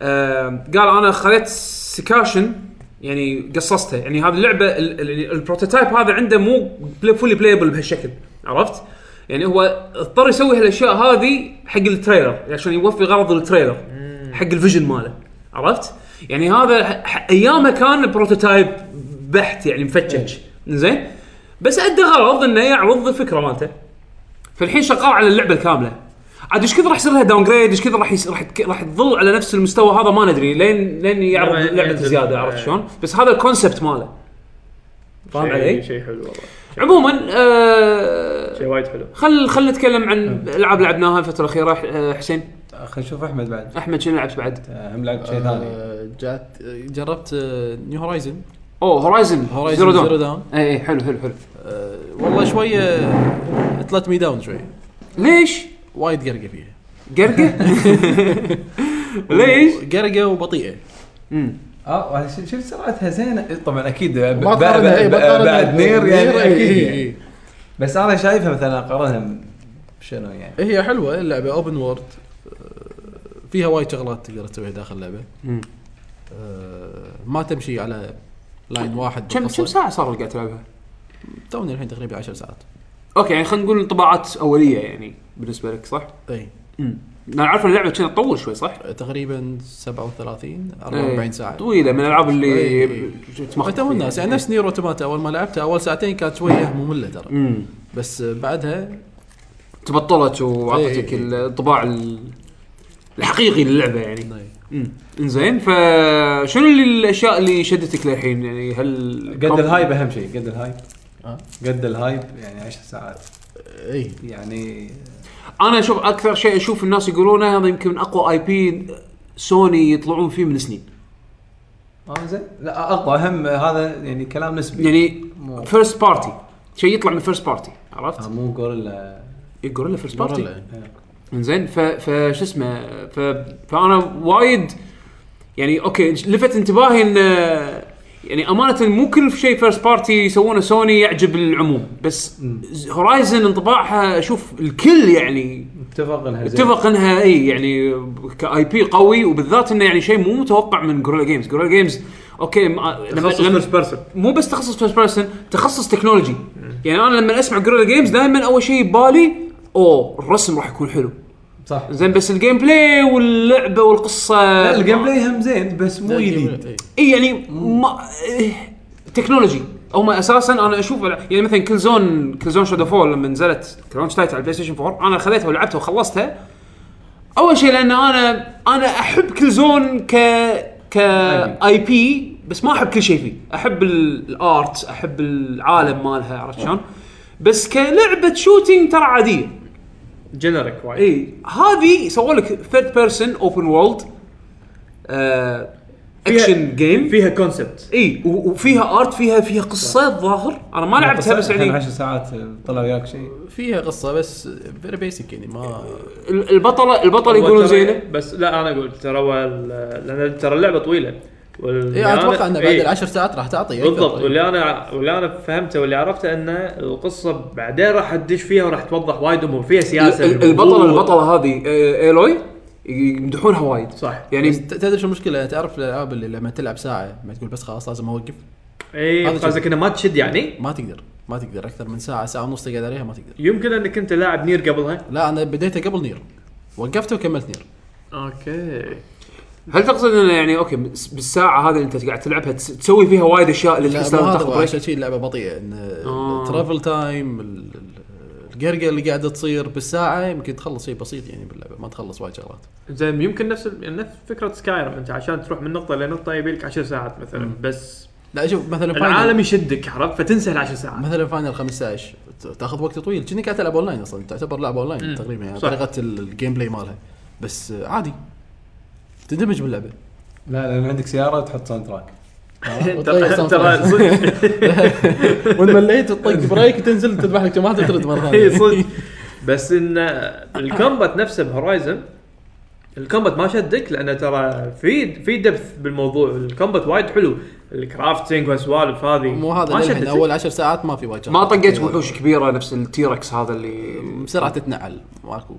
Speaker 2: آه قال انا خليت سكاشن يعني قصصته يعني هذه اللعبه ال- ال- البروتوتايب هذا عنده مو فولي بلايبل بهالشكل عرفت؟ يعني هو اضطر يسوي هالاشياء هذه حق التريلر عشان يوفي غرض التريلر حق الفيجن ماله عرفت؟ يعني هذا ح- ح- ايامه كان بروتوتايب بحت يعني مفتش زين بس ادى غرض انه يعرض الفكره مالته فالحين شغال على اللعبه الكامله عاد ايش كثر راح يصير لها داون جريد ايش كثر راح يص- راح تك- راح تظل على نفس المستوى هذا ما ندري لين لين يعرض
Speaker 3: لما
Speaker 2: لعبه
Speaker 3: ينزل.
Speaker 2: زياده عرفت
Speaker 3: إيه.
Speaker 2: شلون؟ بس هذا الكونسبت ماله فاهم علي؟
Speaker 3: شيء حلو والله
Speaker 2: عموما آه
Speaker 3: شيء آه. وايد حلو
Speaker 2: خل خل نتكلم عن العاب لعبناها الفتره الاخيره ح- آه، حسين
Speaker 4: خلينا نشوف احمد بعد
Speaker 2: احمد شنو لعبت بعد؟
Speaker 4: آه، هم لعب شيء ثاني
Speaker 6: جات جربت آه، نيو هورايزن
Speaker 2: اوه هورايزن
Speaker 6: هورايزن زيرو
Speaker 2: دون
Speaker 6: داون
Speaker 2: اي اي إيه، حلو حلو حلو
Speaker 6: آه، والله آه، شويه اتلت مي داون شوي
Speaker 2: ليش؟
Speaker 6: وايد قرقه فيها
Speaker 2: قرقه؟ ليش؟
Speaker 6: قرقه وبطيئه
Speaker 4: اه وعلى شو- شوف سرعتها زينه طبعا اكيد ب-
Speaker 6: ما
Speaker 4: ب-
Speaker 6: تقارنها، إيه،
Speaker 4: ب-
Speaker 6: ما تقارنها.
Speaker 4: بعد نير يعني
Speaker 6: إيه،
Speaker 4: اكيد
Speaker 6: إيه،
Speaker 4: يعني.
Speaker 6: إيه.
Speaker 4: بس انا شايفها مثلا اقارنها شنو يعني
Speaker 6: هي حلوه اللعبه اوبن وورد فيها وايد شغلات تقدر تسويها داخل اللعبه آه، ما تمشي على لاين واحد
Speaker 2: كم
Speaker 6: بالقصة.
Speaker 2: كم ساعه صار قاعد تلعبها؟
Speaker 6: توني الحين تقريبا 10 ساعات
Speaker 2: اوكي يعني خلينا نقول انطباعات اوليه يعني بالنسبه لك صح؟
Speaker 6: اي
Speaker 2: انا عارف إن اللعبه كانت تطول شوي صح؟
Speaker 6: تقريبا 37
Speaker 2: إيه.
Speaker 6: 44 ساعه
Speaker 2: طويله من الالعاب اللي
Speaker 6: إيه.
Speaker 2: تمخ
Speaker 6: متى الناس يعني نفس نير اوتوماتا اول ما لعبتها اول ساعتين كانت شويه ممله ترى
Speaker 2: امم
Speaker 6: بس بعدها
Speaker 2: تبطلت وعطتك
Speaker 6: إيه.
Speaker 2: الطباع ال- الحقيقي للعبه يعني
Speaker 6: إيه.
Speaker 2: امم انزين فشنو اللي الاشياء اللي شدتك للحين يعني هل
Speaker 4: قد الهايب اهم شيء قد الهايب
Speaker 6: آه.
Speaker 4: قد الهايب يعني 10 ساعات
Speaker 6: اي
Speaker 4: يعني
Speaker 2: انا اشوف اكثر شيء اشوف الناس يقولونه هذا يمكن اقوى اي بي سوني يطلعون فيه من سنين
Speaker 4: اه زين لا اقوى اهم هذا يعني كلام نسبي
Speaker 2: يعني
Speaker 4: مو-
Speaker 2: فيرست بارتي شيء يطلع من فيرست بارتي
Speaker 4: آه،
Speaker 2: عرفت؟
Speaker 4: مو آه، غوريلا
Speaker 2: يقول له فيرست بارتي
Speaker 6: مرة
Speaker 2: انزين ف فش اسمه ف فانا وايد يعني اوكي لفت انتباهي ان آه، يعني امانه مو كل شيء فيرست بارتي يسوونه سوني يعجب العموم بس هورايزن انطباعها اشوف الكل يعني
Speaker 4: متفق انها زين.
Speaker 2: اتفق انها اي يعني كاي بي قوي وبالذات انه يعني شيء مو متوقع من جوريلا جيمز جوريلا جيمز اوكي ما- لما لما-
Speaker 3: بيرسون
Speaker 2: مو بس تخصص فيرست بيرسون تخصص تكنولوجي يعني انا لما اسمع جوريلا جيمز دائما اول شيء ببالي اوه الرسم راح يكون حلو
Speaker 4: صح
Speaker 2: زين بس الجيم بلاي واللعبه والقصه
Speaker 4: لا، الجيم بلاي هم زين بس مو يليد
Speaker 6: إيه.
Speaker 2: اي يعني ما إيه، تكنولوجي هم اساسا انا اشوف يعني مثلا كل زون كل زون شادو فول لما نزلت كلونش تايت على البلاي ستيشن 4 انا خذيتها ولعبتها وخلصتها اول شيء لان انا انا احب كل زون ك ك اي بي بس ما احب كل شيء فيه احب ال- الارت احب العالم مالها عرفت شلون بس كلعبه شوتينج ترى عاديه
Speaker 3: جنريك وايد
Speaker 2: اي إيه، هذه سووا لك ثيرد بيرسون اوبن وورلد آه، اكشن جيم
Speaker 3: فيها كونسبت
Speaker 2: اي إيه، و- وفيها ارت فيها فيها قصه الظاهر انا ما لعبتها بس
Speaker 4: الحين
Speaker 2: يعني
Speaker 4: 10 ساعات آه، طلع وياك شيء
Speaker 6: فيها قصه بس فيري بيسك يعني ما
Speaker 2: ال- البطله البطله يقولون زينه
Speaker 3: بس لا انا اقول ترى هو ال- لان ترى اللعبه طويله
Speaker 2: إيه،
Speaker 3: وال-
Speaker 6: اي
Speaker 3: أنا-
Speaker 6: اتوقع انه بعد
Speaker 3: إيه.
Speaker 6: العشر ساعات راح تعطي أكثر.
Speaker 2: طيب.
Speaker 3: بالضبط واللي انا واللي انا فهمته واللي عرفته ان القصه بعدين راح تدش فيها وراح توضح وايد امور فيها
Speaker 2: ال-
Speaker 3: سياسه
Speaker 2: ال- البطله البطله هذه آه، ايلوي يمدحونها وايد
Speaker 3: صح
Speaker 6: بس
Speaker 2: يعني
Speaker 6: ت- تدري شو المشكله تعرف الالعاب اللي لما تلعب ساعه ما تقول بس خلاص لازم اوقف
Speaker 3: اي
Speaker 6: هذا
Speaker 3: قصدك انه ما تشد يعني
Speaker 6: ما تقدر ما تقدر اكثر من ساعه ساعه ونص تقعد عليها ما تقدر
Speaker 3: يمكن انك انت لاعب نير قبلها
Speaker 6: لا انا بديتها قبل نير وقفته وكملت نير
Speaker 3: اوكي
Speaker 2: هل تقصد انه يعني اوكي بس- بالساعه هذه اللي انت قاعد تلعبها تس- تسوي فيها وايد اشياء اللي
Speaker 6: لا
Speaker 2: تحس
Speaker 6: مو
Speaker 2: لازم
Speaker 6: هذا
Speaker 2: تاخذ
Speaker 6: هو،
Speaker 2: بريك؟
Speaker 6: عشان شيء اللعبه بطيئه ان
Speaker 2: آه.
Speaker 6: الترافل تايم ال- ال- القرقه اللي قاعده تصير بالساعه يمكن تخلص شيء بسيط يعني باللعبه ما تخلص وايد شغلات
Speaker 3: زين يمكن نفس ال- نفس فكره سكايرم انت عشان تروح من نقطه لنقطه يبي لك 10 ساعات مثلا بس
Speaker 6: لا شوف مثلا فاينل
Speaker 3: العالم يشدك عرفت فتنسى ال 10 ساعات
Speaker 6: مثلا فاينل 15 ت- تاخذ وقت طويل كأنك قاعد تلعب اونلاين اصلا تعتبر لعبه اونلاين تقريبا يعني
Speaker 3: صح.
Speaker 6: طريقه ال- الجيم بلاي مالها بس آه، عادي تندمج باللعبه
Speaker 4: لا لان عندك سياره وتحط ساوند تراك
Speaker 6: وتطيح صوت
Speaker 3: ترى
Speaker 6: واحد.
Speaker 3: صدق
Speaker 6: وان مليت تطق بريك تنزل تذبح لك جماعه ترد مره
Speaker 3: اي
Speaker 6: ثانيه
Speaker 3: إيه، صدق بس ان الكومبات نفسه بهورايزن الكومبات ما شدك لان ترى في في دبث بالموضوع الكومبات وايد حلو الكرافتنج والسوالف هذه
Speaker 6: مو هذا
Speaker 3: ما
Speaker 6: للحين
Speaker 3: شدك
Speaker 6: اول عشر ساعات ما في يعني وايد
Speaker 2: ما طقيت وحوش كبيره نفس التيركس هذا اللي
Speaker 6: بسرعه تتنعل ماكو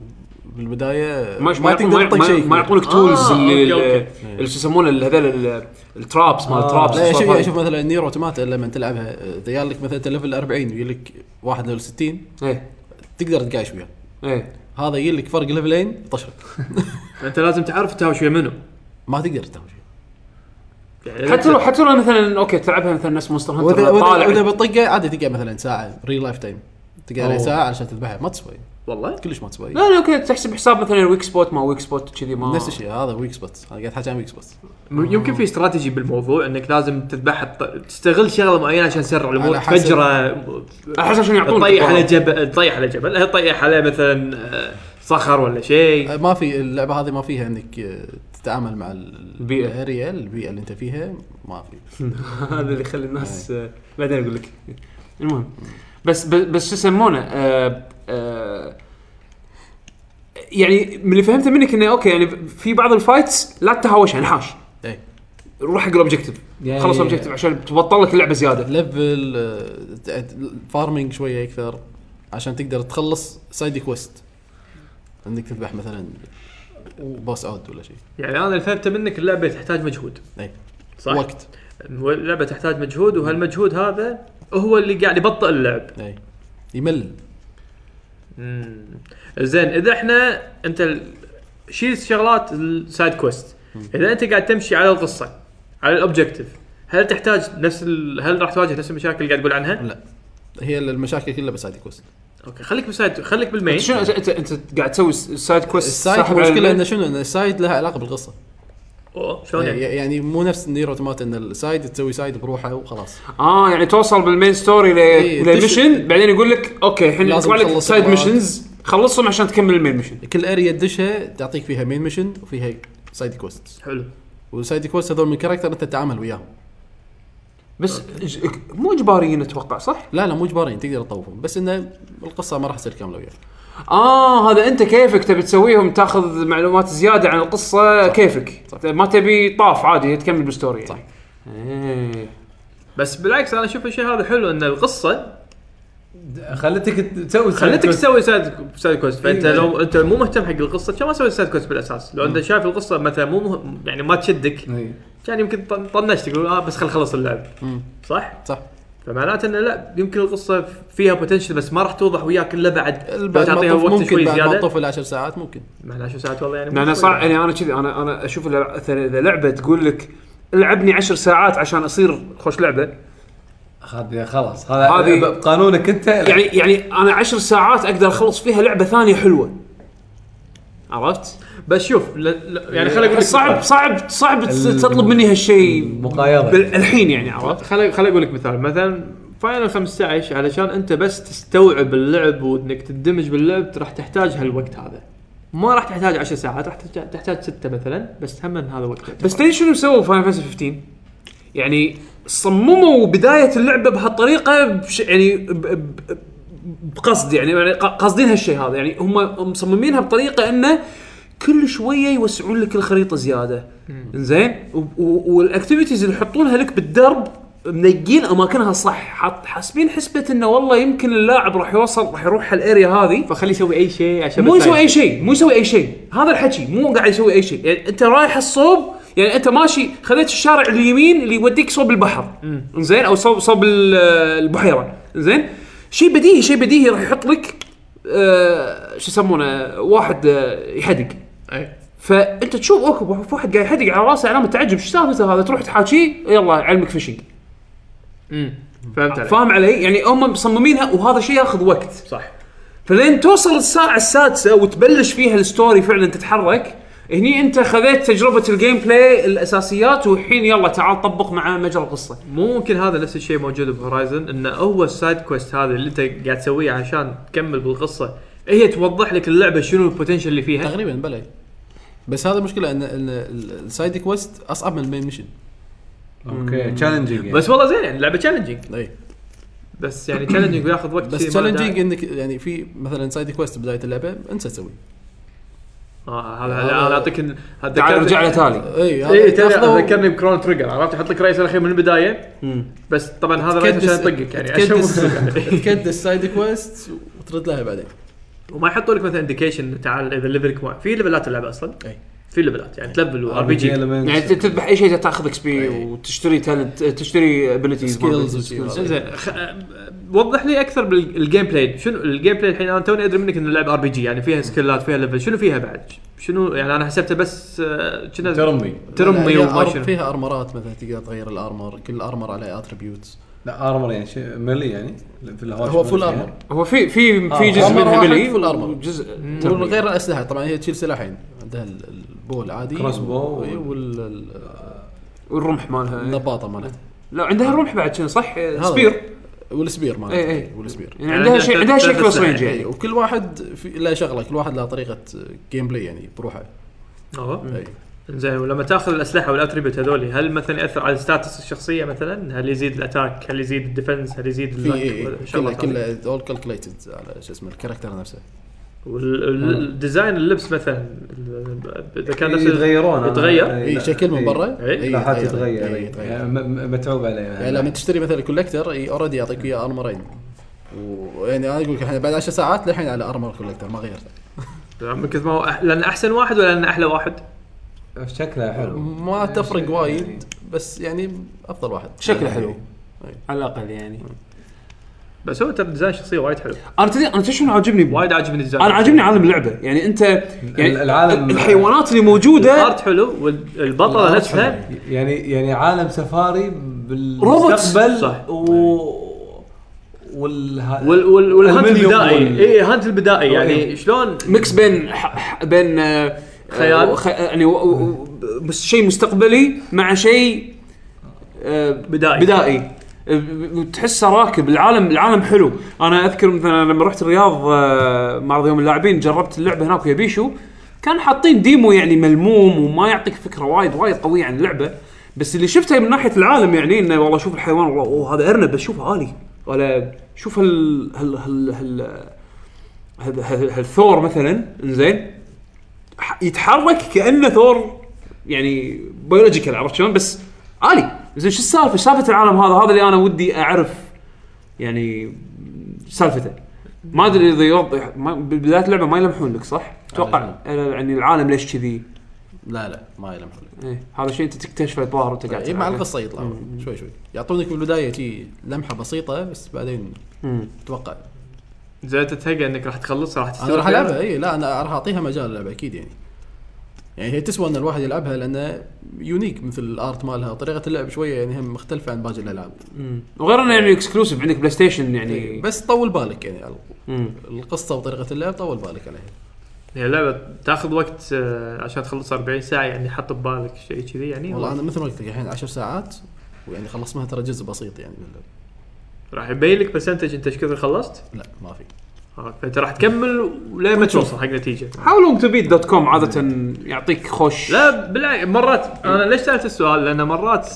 Speaker 6: بالبدايه
Speaker 2: ما ما
Speaker 6: تقدر
Speaker 2: يعطونك-
Speaker 6: تطق
Speaker 2: ما
Speaker 6: شيء
Speaker 2: ما يعطونك تولز
Speaker 3: آه،
Speaker 2: اللي
Speaker 3: أوكي،
Speaker 2: اللي-
Speaker 3: أوكي.
Speaker 2: اللي شو يسمونه اللي هذول ال- الترابس مال
Speaker 6: آه. لا شوف
Speaker 2: ترابس
Speaker 6: شوف مثلا نير اوتوماتا لما تلعبها آه، يقول لك مثلا أنت ليفل 40 ويقول لك واحد ليفل 60
Speaker 2: ايه
Speaker 6: تقدر تقايش وياه
Speaker 2: ايه
Speaker 6: هذا يقول لك فرق ليفلين طشرك
Speaker 3: انت لازم تعرف تهاوش ويا منو
Speaker 6: ما تقدر تهاوش وياه.
Speaker 3: يعني
Speaker 2: حتى لو حتى لو مثلا اوكي تلعبها مثلا نفس مونستر
Speaker 6: واذا
Speaker 2: هانتر
Speaker 6: واذا واذا
Speaker 2: طالع
Speaker 6: بطقه عادي تقع مثلا ساعه ريل لايف تايم تقع عليه
Speaker 2: أوه.
Speaker 6: ساعه علشان تذبحها ما تسوي
Speaker 3: والله
Speaker 6: كلش ما تسوي
Speaker 2: لا لا اوكي تحسب حساب مثلا ويك سبوت ما ويك سبوت كذي ما
Speaker 6: نفس الشيء هذا ويك سبوت انا قاعد احكي عن ويك سبوت
Speaker 3: يمكن في استراتيجي بالموضوع انك لازم تذبحها بط- تستغل شغله معينه عشان تسرع الامور
Speaker 6: على حسب-
Speaker 3: تفجره
Speaker 2: احس عشان يعطونك
Speaker 3: تطيح على
Speaker 2: الظاهر.
Speaker 3: جبل تطيح على جبل تطيح على مثلا آه، صخر ولا
Speaker 2: إيه.
Speaker 3: شيء
Speaker 6: ما في اللعبه هذه ما فيها انك آه، تتعامل مع ال-
Speaker 2: البيئة.
Speaker 6: الاريا البيئه اللي انت فيها ما في
Speaker 2: هذا اللي يخلي الناس آه، بعدين اقول لك المهم بس بس بس شو يسمونه آه، آه، يعني من اللي فهمته منك انه اوكي يعني في بعض الفايتس لا تتهاوش انحاش
Speaker 6: إيه.
Speaker 2: روح حق الاوبجيكتيف
Speaker 4: يعني-
Speaker 2: خلص الاوبجيكتيف عشان تبطل لك اللعبه زياده
Speaker 6: ليفل آه، ت- فارمينج شويه اكثر عشان تقدر تخلص سايد كويست انك تذبح مثلا بوس اود ولا شيء
Speaker 3: يعني انا اللي فهمته منك اللعبه تحتاج مجهود
Speaker 6: اي
Speaker 3: صح؟
Speaker 6: وقت
Speaker 3: اللعبه تحتاج مجهود وهالمجهود هذا هو اللي قاعد يبطئ اللعب
Speaker 6: اي إيه. يمل
Speaker 3: زين اذا احنا انت ال- شيل شغلات السايد كويست اذا انت قاعد تمشي على القصه على الاوبجيكتيف هل تحتاج نفس ال... هل راح تواجه نفس المشاكل اللي قاعد تقول عنها؟
Speaker 6: لا هي المشاكل كلها بسايد كويست
Speaker 3: اوكي خليك بالسايد خليك
Speaker 6: إيه.
Speaker 3: بالمين
Speaker 2: شنو انت انت أنت قاعد تسوي السايد كويست
Speaker 6: السايد المشكله انه شنو ان السايد لها علاقه بالقصه
Speaker 3: أوه، شلون يعني؟
Speaker 6: يعني يعني مو نفس نير اوتوماتا ان السايد تسوي سايد بروحه وخلاص
Speaker 2: اه يعني توصل بالمين ستوري
Speaker 6: إيه، تش-
Speaker 2: لميشن بعدين يقول لك اوكي الحين
Speaker 6: لازم
Speaker 2: يطلع لك
Speaker 6: تخلص
Speaker 2: سايد
Speaker 6: الخطوات.
Speaker 2: ميشنز خلصهم عشان تكمل المين ميشن
Speaker 6: كل اريا تدشها تعطيك فيها مين ميشن وفيها سايد كويست
Speaker 3: حلو
Speaker 6: والسايد كويست هذول من كاركتر انت تتعامل وياهم
Speaker 2: بس ج- مو اجباريين اتوقع صح؟
Speaker 6: لا لا مو اجباريين تقدر تطوفهم بس انه القصه ما راح تصير كامله وياك
Speaker 2: اه هذا انت كيفك تبي تسويهم تاخذ معلومات زياده عن القصه صح. كيفك صح. ما تبي طاف عادي تكمل بالستوري يعني.
Speaker 6: صح.
Speaker 2: إيه.
Speaker 3: بس بالعكس انا اشوف الشيء هذا حلو ان القصه
Speaker 4: خلتك تسوي
Speaker 3: خلتك
Speaker 4: سايد
Speaker 3: تسوي سايد سايد كويست فانت
Speaker 4: إيه.
Speaker 3: لو انت مو مهتم حق القصه كان ما سويت سايد كويست بالاساس لو انت شايف القصه مثلا مو مهم يعني ما تشدك
Speaker 4: كويست. إي.
Speaker 3: كان يمكن طن- طنشت تقول اه بس خل خلص اللعب
Speaker 6: مم.
Speaker 3: صح؟
Speaker 6: صح
Speaker 3: فمعناته انه لا يمكن القصه فيها بوتنشل بس ما راح توضح وياك الا بعد لو
Speaker 6: بعد ما
Speaker 3: تعطيها
Speaker 6: تطوف
Speaker 3: وقت
Speaker 6: ممكن
Speaker 3: شوي
Speaker 6: بعد ما
Speaker 3: زياده
Speaker 6: تطوف العشر ساعات ممكن
Speaker 3: معناها شو ساعات والله يعني مو
Speaker 2: لان
Speaker 3: شوي.
Speaker 2: صار يعني انا كذي انا انا اشوف الع- مثلا اذا لعبه تقول لك العبني عشر ساعات عشان اصير خوش لعبه
Speaker 4: هذه خلاص هذا
Speaker 2: هذه-
Speaker 4: هذه بقانونك انت
Speaker 2: يعني يعني انا عشر ساعات اقدر اخلص فيها لعبه ثانيه حلوه عرفت؟
Speaker 3: بس شوف لا لا يعني خليني اقول لك
Speaker 2: صعب صعب صعب تطلب مني هالشيء بال-
Speaker 4: مقايضه
Speaker 2: الحين يعني عرفت؟
Speaker 3: خليني خليني اقول لك مثال مثلا فاينل 15 علشان انت بس تستوعب اللعب وانك تندمج باللعب راح تحتاج هالوقت هذا ما راح تحتاج 10 ساعات راح تحتاج- تحتاج 6 مثلا بس هم إن هذا وقت
Speaker 2: بس تدري شنو سووا فاين فانتسي 15؟ يعني صمموا بدايه اللعبه بهالطريقه بش يعني ب- ب- ب- بقصد يعني يعني ق- قاصدين هالشيء هذا يعني هم مصممينها بطريقه انه كل شويه يوسعون لك الخريطه زياده زين والاكتيفيتيز اللي يحطونها لك بالدرب منقين اماكنها صح حاط حاسبين حسبه انه والله يمكن اللاعب راح يوصل راح يروح هالاريا هذه
Speaker 3: فخليه يسوي اي شيء عشان
Speaker 2: مو
Speaker 3: بس
Speaker 2: يسوي اي شيء مو يسوي اي شيء هذا الحكي مو قاعد يسوي اي شيء يعني انت رايح الصوب يعني انت ماشي خذيت الشارع اليمين اللي يوديك صوب البحر زين او صوب صوب ال- البحيره زين شيء بديهي شيء بديهي راح يحط لك آه شو يسمونه واحد آه يحدق
Speaker 3: أي.
Speaker 2: فانت تشوف اوكي في واحد قاعد يحدق على راسه علامه تعجب شو سالفته هذا تروح تحاكيه يلا علمك فيشنج
Speaker 3: فهمت علي
Speaker 2: فاهم علي؟ يعني هم مصممينها وهذا شيء ياخذ وقت
Speaker 3: صح
Speaker 2: فلين توصل الساعة السادسة وتبلش فيها الستوري فعلا تتحرك هني انت خذيت تجربة الجيم بلاي الاساسيات والحين يلا تعال طبق مع مجرى القصة.
Speaker 3: مو ممكن هذا نفس الشيء موجود بهورايزن انه هو السايد كويست هذا اللي انت قاعد تسويه عشان تكمل بالقصه هي توضح لك اللعبه شنو البوتنشل اللي فيها
Speaker 6: تقريبا بلا بس هذا مشكله ان ان السايد كويست اصعب من المين ميشن
Speaker 4: اوكي تشالنجينج
Speaker 3: بس والله زين يعني لعبه تشالنجينج
Speaker 6: اي
Speaker 3: بس يعني تشالنجينج وياخذ وقت
Speaker 6: إيه. بس
Speaker 3: شي ما له
Speaker 6: تشالنجينج انك يعني في مثلا سايد كويست بدايه اللعبه انسى تسوي
Speaker 3: داعي. آه، هذا هذا- انا اعطيك
Speaker 2: تعال
Speaker 3: تعال
Speaker 2: رجع له تالي
Speaker 6: اي إيه، هذا
Speaker 3: اي إيه، ترى
Speaker 6: تاخذه
Speaker 3: ذكرني بكرون تريجر عرفت يحط لك رئيس الاخير من البدايه بس طبعا هذا رئيس
Speaker 6: تكدس-
Speaker 3: عشان يطقك يعني عشان
Speaker 6: تكدس
Speaker 3: مو-
Speaker 6: تكدس سايد كويست وترد لها بعدين
Speaker 3: وما يحطوا لك مثلا انديكيشن تعال اذا ليفلك مع في ليفلات اللعبه اصلا
Speaker 6: إي.
Speaker 3: في ليفلات يعني تلفل
Speaker 4: آه،
Speaker 3: وار بي جي
Speaker 2: يعني ت- تذبح اي شيء تاخذ اكس بي وتشتري talent- تشتري ابيلتيز
Speaker 6: سكيلز وشي.
Speaker 3: زين خ... وضح لي اكثر بالجيم بلاي شنو الجيم بلاي الحين انا توني ادري منك انه اللعبه ار بي جي يعني فيها سكيلات فيها ليفل شنو فيها بعد شنو يعني انا حسبتها بس آه، كنا
Speaker 4: ترمي
Speaker 3: ترمي
Speaker 6: لا،
Speaker 3: وما
Speaker 6: أر-
Speaker 3: شنو
Speaker 6: فيها ارمرات مثلا تقدر تغير الارمر كل ارمر عليه اتربيوتس
Speaker 4: لا ارمر يعني شيء ملي يعني في الهواء
Speaker 6: هو
Speaker 4: شو
Speaker 6: فول
Speaker 4: ملي يعني.
Speaker 6: ارمر
Speaker 2: هو في في في جزء
Speaker 6: أرمر
Speaker 2: منها
Speaker 6: آه. واحد
Speaker 2: ملي
Speaker 6: full armor.
Speaker 2: جزء
Speaker 6: وغير الاسلحه طبعا هي تشيل سلاحين عندها ال- البو العادي
Speaker 4: Cross bow.
Speaker 2: والرمح مالها
Speaker 6: والنباطه مالتها
Speaker 2: لا عندها رمح بعد شنو صح
Speaker 6: هذا.
Speaker 2: سبير
Speaker 6: والسبير مالتها
Speaker 2: إي، إي.
Speaker 6: إي، والسبير
Speaker 2: يعني عندها شيء عندها شيء كروس رينج
Speaker 6: إي،
Speaker 2: يعني
Speaker 6: وكل واحد في له شغله كل واحد له طريقه جيم بلاي يعني بروحه إيه،
Speaker 3: أوه.
Speaker 6: إي.
Speaker 3: زين ولما تاخذ الاسلحه والاتريبيوت هذول هل مثلا ياثر على الستاتس الشخصيه مثلا هل يزيد الاتاك هل يزيد الديفنس هل يزيد
Speaker 6: في
Speaker 3: اللك؟
Speaker 6: إي، إي، كله
Speaker 3: شغلات هذه.
Speaker 6: كله اول كالكوليتد على شو اسمه الكاركتر نفسه
Speaker 3: وال- ال-
Speaker 6: آه.
Speaker 3: الديزاين اللبس مثلا ال- اذا كان نفس
Speaker 4: يتغيرون
Speaker 3: يتغير؟
Speaker 4: إيه،
Speaker 6: اي إيه، شكل من برا
Speaker 3: إي،
Speaker 6: إي، أيوة،
Speaker 4: لا حتى
Speaker 6: إي،
Speaker 4: يتغير يعني
Speaker 6: يتغير.
Speaker 4: م- م- متعوب عليه
Speaker 6: يعني لما تشتري مثلا كولكتر اوريدي يعطيك اياه ارمرين ويعني انا اقول يعني لك الحين بعد 10 ساعات للحين على ارمر كولكتر ما غيرت
Speaker 3: يعني من كثر ما هو أح- لان احسن واحد ولا لان احلى واحد؟
Speaker 4: أه، شكله حلو أه،
Speaker 6: ما تفرق وايد بس يعني افضل واحد
Speaker 2: شكله حلو على الاقل يعني
Speaker 3: بس هو ترى ديزاين شخصيه وايد حلو
Speaker 2: انا تدري انا تدري شنو عاجبني ب-
Speaker 3: وايد عاجبني الديزاين
Speaker 2: انا عاجبني عالم اللعبه يعني انت يعني
Speaker 4: العالم-
Speaker 2: الحيوانات اللي موجوده
Speaker 3: الارت حلو والبطله نفسها
Speaker 4: يعني يعني عالم سفاري
Speaker 2: روبوتس.
Speaker 4: بالمستقبل
Speaker 3: صح.
Speaker 4: و والها...
Speaker 3: وال وال والهانت
Speaker 4: المليون
Speaker 3: البدائي
Speaker 4: وال-
Speaker 3: اي هانت البدائي يعني
Speaker 4: إيه.
Speaker 3: شلون
Speaker 2: ميكس بين ح- ح- بين آه،
Speaker 3: خيال.
Speaker 2: آه، وخ- يعني و- و- بس شيء مستقبلي مع شيء آه،
Speaker 3: بدائي
Speaker 2: بدائي وتحسه راكب العالم العالم حلو انا اذكر مثلا لما رحت الرياض آه، معرض يوم اللاعبين جربت اللعبه هناك ويا بيشو كان حاطين ديمو يعني ملموم وما يعطيك فكره وايد وايد قويه عن اللعبه بس اللي شفته من ناحيه العالم يعني انه والله شوف الحيوان والله أوه هذا ارنب بس شوفه عالي ولا شوف هال هال هال هال هال- هال- هالثور مثلا زين ح- يتحرك كانه ثور يعني بيولوجيكال عرفت شلون بس عالي زين شو السالفه؟ شو سالفه العالم هذا؟ هذا اللي انا ودي اعرف يعني سالفته. ما ادري اذا يوضح ما- ببدايه اللعبه ما يلمحون لك صح؟ اتوقع يعني العالم ليش كذي؟
Speaker 6: لا لا ما يلمح لك
Speaker 2: إيه، هذا شيء انت تكتشفه الظاهر وانت قاعد
Speaker 6: اي
Speaker 2: تلعب.
Speaker 6: إيه، مع القصه يطلع شوي شوي يعطونك بالبدايه شي لمحه بسيطه بس بعدين اتوقع
Speaker 3: زين تتهيأ انك راح تخلص راح
Speaker 6: انا
Speaker 3: تستمتع
Speaker 6: راح العبها اي لا انا راح اعطيها مجال اللعبه اكيد يعني يعني هي تسوى ان الواحد يلعبها لانه يونيك مثل الارت مالها طريقه اللعب شويه يعني هم مختلفه عن باقي الالعاب
Speaker 2: وغير انه يعني اكسكلوسيف عندك بلاي ستيشن يعني
Speaker 6: بس طول بالك يعني على
Speaker 2: مم.
Speaker 6: القصه وطريقه اللعب طول بالك عليها
Speaker 3: هي لعبه تاخذ وقت آه، عشان تخلص 40 ساعه يعني حط ببالك شيء كذي يعني
Speaker 6: والله انا مثل ما قلت لك الحين 10 ساعات ويعني خلص منها ترى جزء بسيط يعني من اللعب.
Speaker 3: راح يبين لك برسنتج انت ايش كثر خلصت
Speaker 6: لا ما في
Speaker 3: آه، فانت راح تكمل لين ما توصل حق نتيجه
Speaker 2: هاو لونج تو بيت دوت كوم عاده يعطيك خوش
Speaker 3: لا بالعكس مرات انا ليش سالت السؤال لان مرات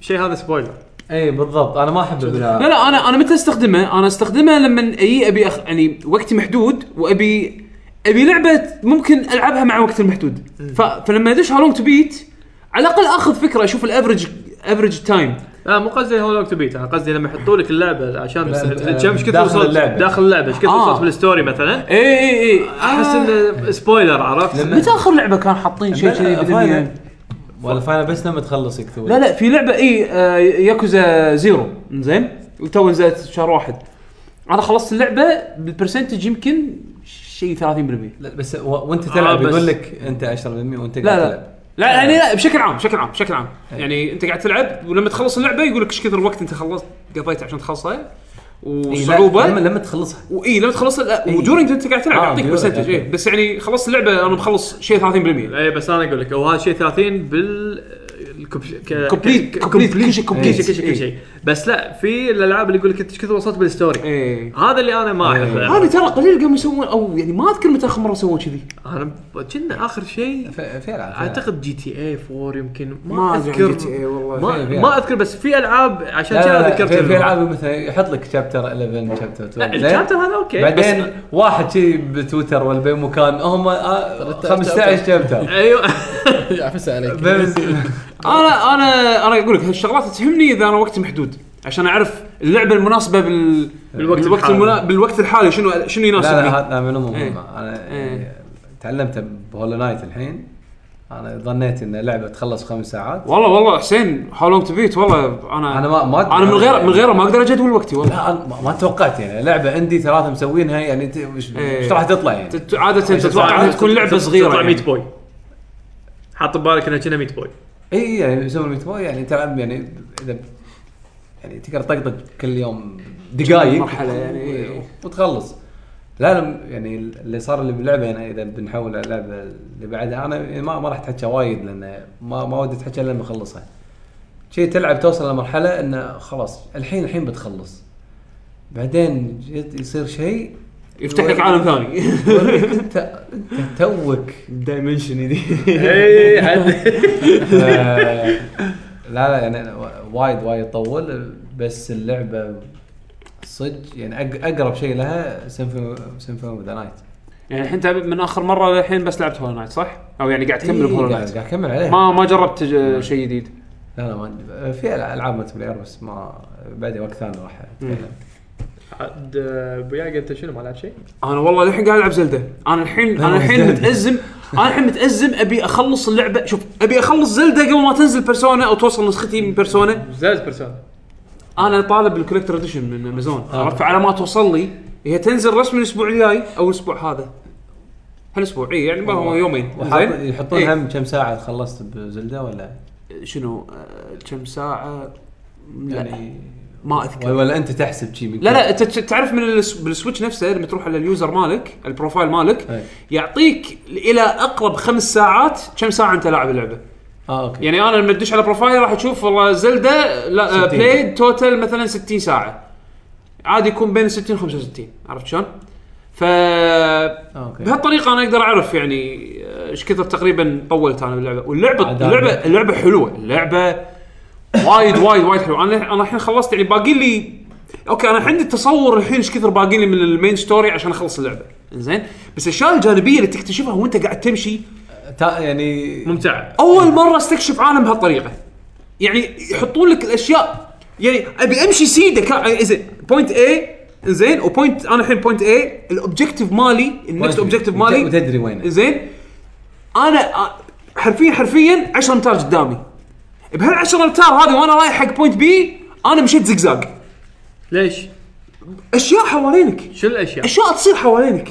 Speaker 3: شيء هذا سبويلر
Speaker 4: اي بالضبط انا ما احب
Speaker 2: لا
Speaker 4: البلاء
Speaker 2: لا انا انا متى استخدمه؟ انا استخدمه لما اي ابي أخ... يعني وقتي محدود وابي ابي لعبه ممكن العبها مع وقت المحدود ف... فلما ادش هالونج تو بيت على الاقل اخذ فكره اشوف الافرج افرج تايم
Speaker 3: لا آه، مو قصدي هو لونج تو بيت انا قصدي لما يحطوا لك اللعبه عشان
Speaker 4: لا،
Speaker 3: بس- تشوف ايش كثر
Speaker 4: داخل
Speaker 3: وصلت
Speaker 4: اللعبة.
Speaker 3: داخل اللعبه ايش كثر
Speaker 2: آه.
Speaker 3: وصلت بالستوري مثلا
Speaker 2: اي اي اي
Speaker 3: احس انه سبويلر عرفت؟
Speaker 2: آه، متى اخر لعبه كان حاطين شيء كذي بالدنيا؟
Speaker 4: ولا فاينل بس لما تخلص يكتب
Speaker 2: لا لا في لعبه اي آه، ياكوزا زيرو زين وتو نزلت شهر واحد انا خلصت اللعبه بالبرسنتج يمكن شيء 30%
Speaker 4: لا بس و... وانت تلعب
Speaker 3: آه، بس-
Speaker 4: يقول لك انت 10% وانت قاعد
Speaker 2: لا
Speaker 4: تلعب
Speaker 2: لا لا
Speaker 4: آه.
Speaker 2: يعني لا بشكل عام بشكل عام بشكل عام يعني انت قاعد تلعب ولما تخلص اللعبه يقول لك ايش كثر وقت انت خلصت قضيت عشان تخلصها
Speaker 4: إي، لا، لما
Speaker 2: وصعوبه
Speaker 4: لما تخلصها
Speaker 2: واي لما تخلص لا
Speaker 4: إي.
Speaker 2: ودورنج انت قاعد تلعب
Speaker 4: آه،
Speaker 2: يعطيك
Speaker 4: during،
Speaker 2: برسنتج اي
Speaker 4: أوكي.
Speaker 2: بس
Speaker 3: إيه،
Speaker 2: يعني خلصت اللعبه انا مخلص شيء 30%
Speaker 3: اي بس انا اقول لك هو هذا شيء 30 بال كومبليت
Speaker 11: complete.
Speaker 3: كل شيء
Speaker 11: إيه.
Speaker 3: كل شيء كل شيء كل شيء بس لا في الالعاب اللي يقول لك انت ايش كثر وصلت
Speaker 4: إيه.
Speaker 3: بالستوري
Speaker 4: آه.
Speaker 11: ايه
Speaker 3: هذا اللي انا ما احبه
Speaker 11: هذا ترى قليل قاموا يسوون او يعني ما اذكر متى اخر مره سووا كذي
Speaker 3: انا كنا اخر شيء
Speaker 4: ف- في العاب في ألعاب.
Speaker 3: اعتقد جي تي اي 4 يمكن
Speaker 11: ما
Speaker 3: ما
Speaker 11: أدري عن
Speaker 3: اذكر
Speaker 11: GTA والله.
Speaker 3: ما,
Speaker 4: في- في
Speaker 3: ما
Speaker 4: ألعاب.
Speaker 3: اذكر بس في العاب عشان
Speaker 4: يعني. لا، لا،
Speaker 3: كذا
Speaker 4: لا،
Speaker 3: ذكرت
Speaker 4: في, في
Speaker 3: الألعاب.
Speaker 4: العاب مثلا يحط لك شابتر 11 شابتر 12 زين؟
Speaker 3: الشابتر هذا اوكي بس
Speaker 4: بعدين واحد شي بتويتر ولا باي مكان هم آه، 15 شابتر
Speaker 3: ايوه
Speaker 6: عفسه عليك
Speaker 4: بس
Speaker 2: انا انا انا اقول لك هالشغلات تهمني اذا انا وقتي محدود عشان اعرف اللعبه المناسبه بال
Speaker 3: بالوقت
Speaker 2: بالوقت
Speaker 3: الحالي.
Speaker 2: المنا... بالوقت الحالي شنو شنو
Speaker 4: لا
Speaker 2: يناسبني
Speaker 4: لا هذا من مهمه
Speaker 2: إيه.
Speaker 4: انا
Speaker 2: إيه.
Speaker 4: تعلمت بهولو نايت الحين انا ظنيت ان لعبه تخلص خمس ساعات
Speaker 2: والله والله حسين هاو لونج تو بيت والله انا
Speaker 4: انا ما ما
Speaker 2: انا من غير من غيره ما اقدر اجدول وقتي والله
Speaker 4: لا أنا ما- ما توقعت يعني لعبه عندي ثلاثه مسوينها يعني انت وش
Speaker 2: إيه.
Speaker 4: وش راح تطلع يعني
Speaker 2: تت- عاده تتوقع انها تكون لعبه صغيره
Speaker 3: تطلع
Speaker 2: يعني.
Speaker 3: 100 بوي حاط ببالك انها كنا 100 بوي
Speaker 4: اي يعني يسوون الميت بوي يعني تلعب يعني اذا يعني تقدر طقطق كل يوم دقائق
Speaker 2: مرحلة يعني، إيه.
Speaker 4: وتخلص لا أنا يعني اللي صار اللي باللعبه انا اذا بنحول على اللعبه اللي بعدها انا ما, ما راح اتحكى وايد لان ما ما ودي اتحكى الا لما اخلصها. شيء تلعب توصل لمرحله انه خلاص الحين الحين بتخلص. بعدين جت- يصير شيء
Speaker 2: يفتح لك عالم ثاني
Speaker 4: يوريك انت انت توك دايمنشن جديد
Speaker 3: اي حد
Speaker 4: آه، لا لا يعني و- وايد وايد طول بس اللعبه صدق يعني أق- اقرب شيء لها سيمفوني ذا نايت
Speaker 2: يعني الحين تعب- من اخر مره للحين بس لعبت هولو نايت صح؟ او يعني قاعد تكمل بهولو نايت
Speaker 4: إيه، قاعد قاعد اكمل عليها
Speaker 2: ما ما جربت ج- شيء جديد
Speaker 4: لا لا ما في العاب ملتي بلاير بس ما بعدي وقت ثاني راح اتكلم
Speaker 3: عاد ابو يعقوب انت شنو ما لعبت شيء؟
Speaker 2: انا والله الحين قاعد العب زلده انا الحين انا الحين متازم انا الحين متازم ابي اخلص اللعبه شوف ابي اخلص زلده قبل ما تنزل بيرسونا او توصل نسختي من بيرسونا
Speaker 3: زلز بيرسونا
Speaker 2: انا طالب الكوليكتر اديشن من امازون
Speaker 4: آه.
Speaker 2: عرفت فعلى ما توصل لي هي تنزل رسمي الاسبوع الجاي او الاسبوع هذا هالاسبوع اي يعني ما هو يومين
Speaker 4: وحاط-
Speaker 2: زين
Speaker 4: يحطون
Speaker 2: إيه.
Speaker 4: هم كم ساعه خلصت بزلده ولا
Speaker 2: شنو آه، كم ساعه لا
Speaker 4: يعني
Speaker 2: ما اذكر
Speaker 4: ولا- ولا انت تحسب شيء
Speaker 2: لا لا انت ت- تعرف من الس- بالسويتش نفسه لما تروح على اليوزر مالك البروفايل مالك
Speaker 4: أي.
Speaker 2: يعطيك الى اقرب خمس ساعات كم ساعه انت لاعب اللعبه
Speaker 4: اه اوكي
Speaker 2: يعني انا لما تدش على بروفايلي راح تشوف والله زلده لا آه،
Speaker 4: ستين.
Speaker 2: بلاي توتال مثلا 60 ساعه عادي يكون بين 60 و 65 عرفت شلون؟ ف
Speaker 4: آه، اوكي
Speaker 2: بهالطريقه انا اقدر اعرف يعني آه، ايش كثر تقريبا طولت انا باللعبه واللعبه
Speaker 4: عاد
Speaker 2: اللعبه
Speaker 4: أنا-
Speaker 2: اللعبه حلوه اللعبه وايد وايد وايد حلوه انا انا الحين خلصت يعني باقي لي اوكي انا عندي تصور الحين ايش كثر باقي لي من المين ستوري عشان اخلص اللعبه زين بس الاشياء الجانبيه اللي تكتشفها وانت قاعد تمشي
Speaker 4: تا- يعني
Speaker 3: ممتع
Speaker 2: اول مره استكشف عالم بهالطريقه يعني يحطون لك الاشياء يعني ابي امشي سيده كا... إيه، زين بوينت اي زين وبوينت انا الحين بوينت اي الاوبجيكتيف مالي النكست اوبجيكتيف مالي
Speaker 4: تدري وين
Speaker 2: زين انا أ- حرفيا حرفيا 10 امتار قدامي بهال 10 امتار هذه وانا رايح حق بوينت بي انا مشيت زقزاق
Speaker 3: ليش؟
Speaker 2: اشياء حوالينك
Speaker 3: شو الاشياء؟
Speaker 2: اشياء تصير حوالينك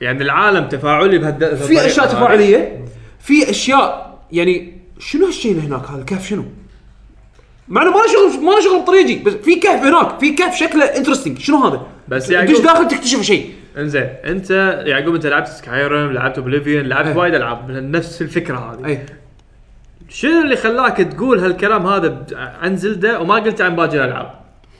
Speaker 3: يعني العالم تفاعلي بهالد
Speaker 2: في اشياء
Speaker 3: طيب.
Speaker 2: تفاعليه في اشياء يعني شنو هالشيء اللي هناك هذا الكهف شنو؟ مع انه ما له شغل ما له شغل بطريقي بس في كهف هناك في كهف شكله انترستنج شنو هذا؟
Speaker 3: بس
Speaker 2: تدش
Speaker 3: يعقوب
Speaker 2: داخل تكتشف شيء
Speaker 3: انزين انت يعقوب انت لعبت سكايرم لعبت اوبليفيون
Speaker 2: إيه.
Speaker 3: لعبت وايد العاب من نفس الفكره هذه
Speaker 2: اي
Speaker 3: شنو اللي خلاك تقول هالكلام هذا ب- عن زلده وما قلت عن باقي الالعاب؟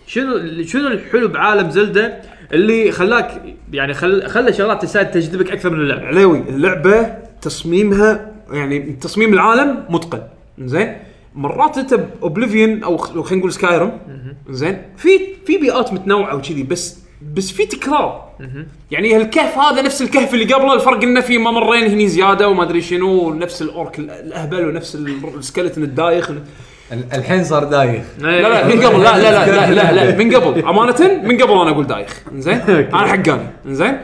Speaker 3: شنو شنو الحلو بعالم زلده اللي خلاك يعني خل خلى شغلات تساعد تجذبك اكثر من اللعبه؟
Speaker 2: علاوي اللعبه تصميمها يعني تصميم العالم متقن زين مرات انت باوبليفيون او خ- خلينا نقول سكايرم زين في في بيئات متنوعه وكذي بس بس في تكرار يعني هالكهف هذا نفس الكهف اللي قبله الفرق انه في ممرين هني زياده وما ادري شنو نفس الاورك ال- الاهبل ونفس ال- السكلتن الدايخ
Speaker 4: ال- الحين صار دايخ
Speaker 2: لا لا من قبل لا لا لا لا لا, لا من قبل امانه من قبل انا اقول دايخ زين انا حقاني زين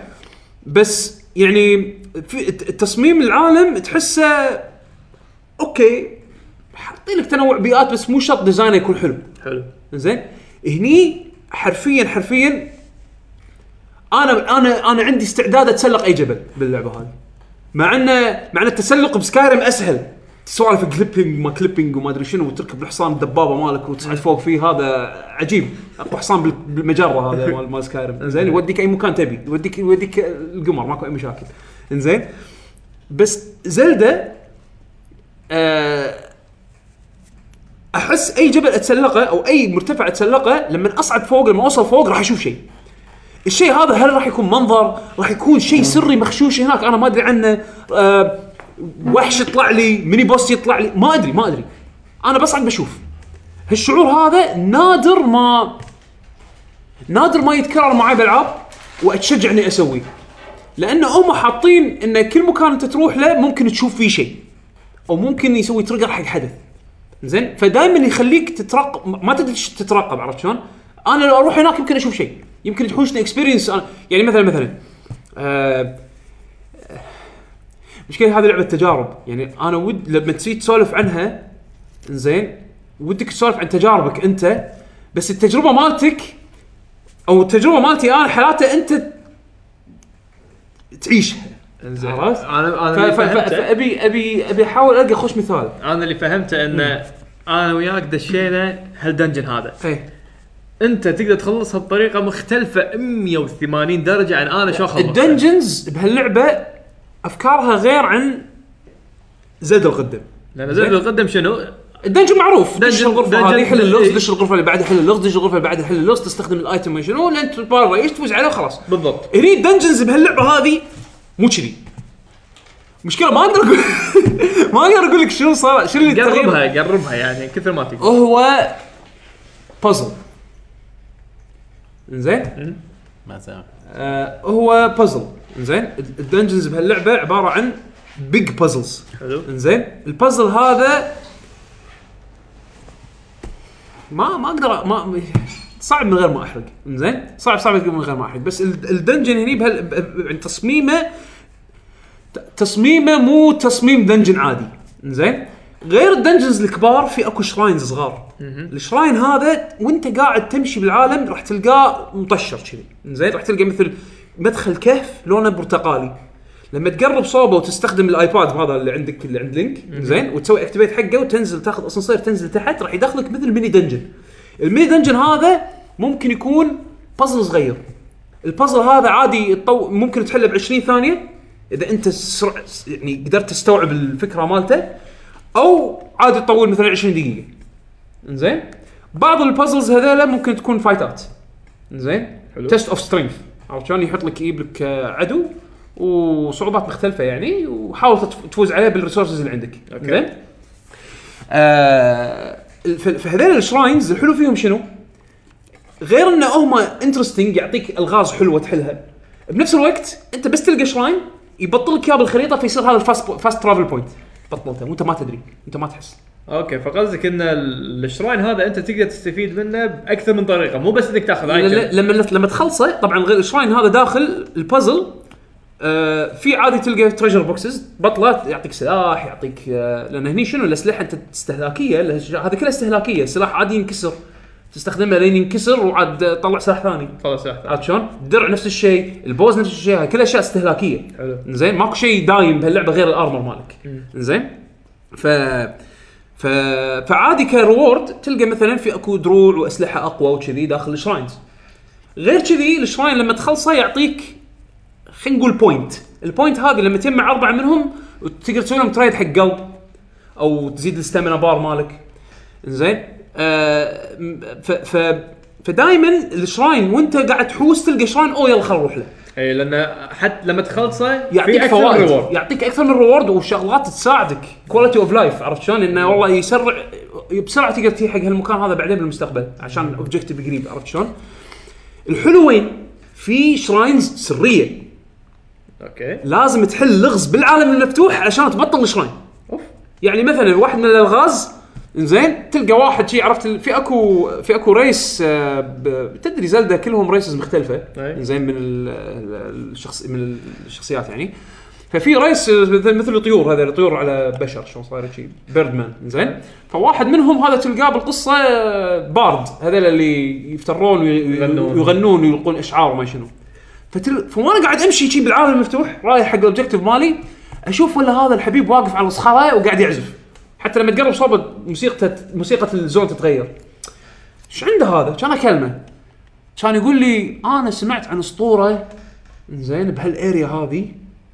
Speaker 2: بس يعني في الت- تصميم العالم تحسه اوكي حاطين لك تنوع بيئات بس مو شرط ديزاينه يكون حلو
Speaker 3: حلو
Speaker 2: زين هني حرفيا حرفيا انا انا انا عندي استعداد اتسلق اي جبل باللعبه هذه مع ان مع ان التسلق بسكايرم اسهل سوالف كليبنج ما كليبنج وما ادري شنو وتركب الحصان الدبابه مالك وتصعد فوق فيه هذا عجيب اقوى حصان بال- بالمجره هذا مال مال سكايرم زين يوديك اي مكان تبي يوديك يوديك القمر ماكو اي مشاكل انزين بس زلده آه احس اي جبل اتسلقه او اي مرتفع اتسلقه لما اصعد فوق لما اوصل فوق راح اشوف شيء الشيء هذا هل راح يكون منظر راح يكون شيء سري مخشوش هناك انا ما ادري عنه أه وحش يطلع لي ميني بوس يطلع لي ما ادري ما ادري انا بصعد بشوف هالشعور هذا نادر ما نادر ما يتكرر معي بالعاب واتشجع اني اسويه لان هم حاطين ان كل مكان انت تروح له ممكن تشوف فيه شيء او ممكن يسوي تريجر حق حدث زين فدائما يخليك تترقب ما تدري ايش تترقب عرفت شلون؟ انا لو اروح هناك يمكن اشوف شيء يمكن تحوشني اكسبيرينس يعني مثلا مثلا آه مشكلة هذه لعبة تجارب يعني انا ود لما تجي تسولف عنها زين ودك تسولف عن تجاربك انت بس التجربة مالتك او التجربة مالتي انا حالاته انت تعيشها
Speaker 3: انزين
Speaker 2: عرفت؟
Speaker 3: انا
Speaker 2: ف-
Speaker 3: انا اللي
Speaker 2: ف- ف-
Speaker 3: فهمته
Speaker 2: فابي ابي ابي احاول القى خوش مثال
Speaker 3: انا اللي فهمته انه انا وياك دشينا هالدنجن هذا
Speaker 2: ايه
Speaker 3: انت تقدر تخلصها بطريقه مختلفه 180 درجه عن انا شو اخلص
Speaker 2: الدنجنز بهاللعبه افكارها غير عن زد القدم
Speaker 3: لان زين القدم شنو؟
Speaker 2: الدنجن معروف دش
Speaker 3: دنجن-
Speaker 2: الغرفه
Speaker 3: دنجن-
Speaker 2: هذه حل اللغز
Speaker 3: إيه.
Speaker 2: دش الغرفه اللي بعدها حل اللغز دش الغرفه اللي بعدها حل اللغز تستخدم الايتم ما شنو لين تبارى ايش تفوز عليه وخلاص
Speaker 3: بالضبط
Speaker 2: هني الدنجنز بهاللعبه هذه مو كذي مشكله ما اقدر اقول ما اقدر اقول لك شنو صار شنو اللي تغير
Speaker 3: قربها قربها يعني كثر ما تقدر
Speaker 2: هو بازل زين
Speaker 6: ما سامع.
Speaker 2: آه، هو بازل زين الدنجنز بهاللعبه عباره عن بيج بازلز
Speaker 3: حلو.
Speaker 2: زين البازل هذا ما ما اقدر أ- ما صعب من غير ما احرق زين صعب صعب من غير ما احرق بس ال- الدنجن هني بهال ب- ب- يعني تصميمه ت- تصميمه مو تصميم دنجن عادي زين غير الدنجنز الكبار في اكو شراينز صغار الشراين هذا وانت قاعد تمشي بالعالم راح تلقاه مطشر كذي زين راح تلقى مثل مدخل كهف لونه برتقالي لما تقرب صوبه وتستخدم الايباد هذا اللي عندك اللي عند لينك زين وتسوي اكتيفيت حقه وتنزل تاخذ اسانسير تنزل تحت راح يدخلك مثل ميني دنجن الميني دنجن هذا ممكن يكون بازل صغير البازل هذا عادي يطو... ممكن تحله ب 20 ثانيه اذا انت سرع يعني قدرت تستوعب الفكره مالته او عادي تطول مثلا 20 دقيقه زين بعض البازلز هذيلا ممكن تكون فايتات زين تيست اوف سترينث عرفت شلون يحط لك يجيب لك آه، عدو وصعوبات مختلفه يعني وحاول تف- تفوز عليه بالريسورسز اللي عندك زين آه ف- فهذيل الشراينز الحلو فيهم شنو؟ غير انه هم انترستنج يعطيك الغاز حلوه تحلها بنفس الوقت انت بس تلقى شراين يبطل لك اياه بالخريطه فيصير هذا الفاست فاست ترافل بوينت بطلته وانت ما تدري انت ما تحس
Speaker 3: اوكي فقصدك ان ال- الشراين هذا انت تقدر تستفيد منه باكثر من طريقه مو بس انك تاخذ
Speaker 2: ل- ل-
Speaker 3: ايتم
Speaker 2: لما لما تخلصه طبعا غير الشراين هذا داخل البازل آه في عادي تلقى تريجر بوكسز بطله يعطيك سلاح يعطيك آه لان هني شنو الاسلحه انت استهلاكيه الهش- هذا كله استهلاكيه سلاح عادي ينكسر تستخدمه لين ينكسر وعاد آه، طلع سلاح ثاني
Speaker 3: خلاص واحدة.
Speaker 2: عرفت شلون؟ الدرع نفس الشيء، البوز نفس الشيء، هاي كلها اشياء استهلاكيه.
Speaker 3: حلو.
Speaker 2: زين ماكو شيء دايم بهاللعبه غير الارمر مالك. زين؟ ف ف فعادي كريورد تلقى مثلا في اكو دروع واسلحه اقوى وكذي داخل الشراينز. غير كذي الشراين لما تخلصه يعطيك خلينا نقول بوينت، البوينت هذه لما تجمع اربعه منهم تقدر تسوي لهم تريد حق قلب او تزيد الستامينا بار مالك. زين؟ آه م- ف ف فدائما الشراين وانت قاعد تحوس تلقى شراين او يلا خل نروح له
Speaker 3: اي لان إيه، حتى لما تخلصه في
Speaker 2: يعطيك
Speaker 3: اكثر من
Speaker 2: فوائد
Speaker 3: reward.
Speaker 2: يعطيك اكثر من ريورد وشغلات تساعدك كواليتي اوف لايف عرفت شلون انه والله يسرع بسرعه تقدر تجي حق هالمكان هذا بعدين بالمستقبل عشان الاوبجيكتيف قريب عرفت شلون؟ الحلو وين؟ في شراينز سريه
Speaker 3: اوكي
Speaker 2: لازم تحل لغز بالعالم المفتوح عشان تبطل الشراين يعني مثلا واحد من الالغاز زين تلقى واحد شي عرفت ال- في اكو في اكو ريس آه، ب- تدري زلدا كلهم ريسز مختلفه
Speaker 3: أي.
Speaker 2: زين من ال- ال- الشخص من الشخصيات يعني ففي ريس آه، مثل مثل الطيور هذا الطيور على بشر شلون صاير شي بيردمان زين فواحد منهم هذا تلقاه بالقصه آه، بارد هذول اللي يفترون
Speaker 3: يغنون.
Speaker 2: ويغنون ويغنون ويلقون اشعار وما شنو فتل... فوانا قاعد امشي شي بالعالم المفتوح رايح حق الاوبجيكتيف مالي اشوف ولا هذا الحبيب واقف على الصخره وقاعد يعزف حتى لما تقرب صوبه موسيقته موسيقى الزون تتغير ايش عنده هذا؟ كان اكلمه كان يقول لي انا سمعت عن اسطوره زين بهالاريا هذه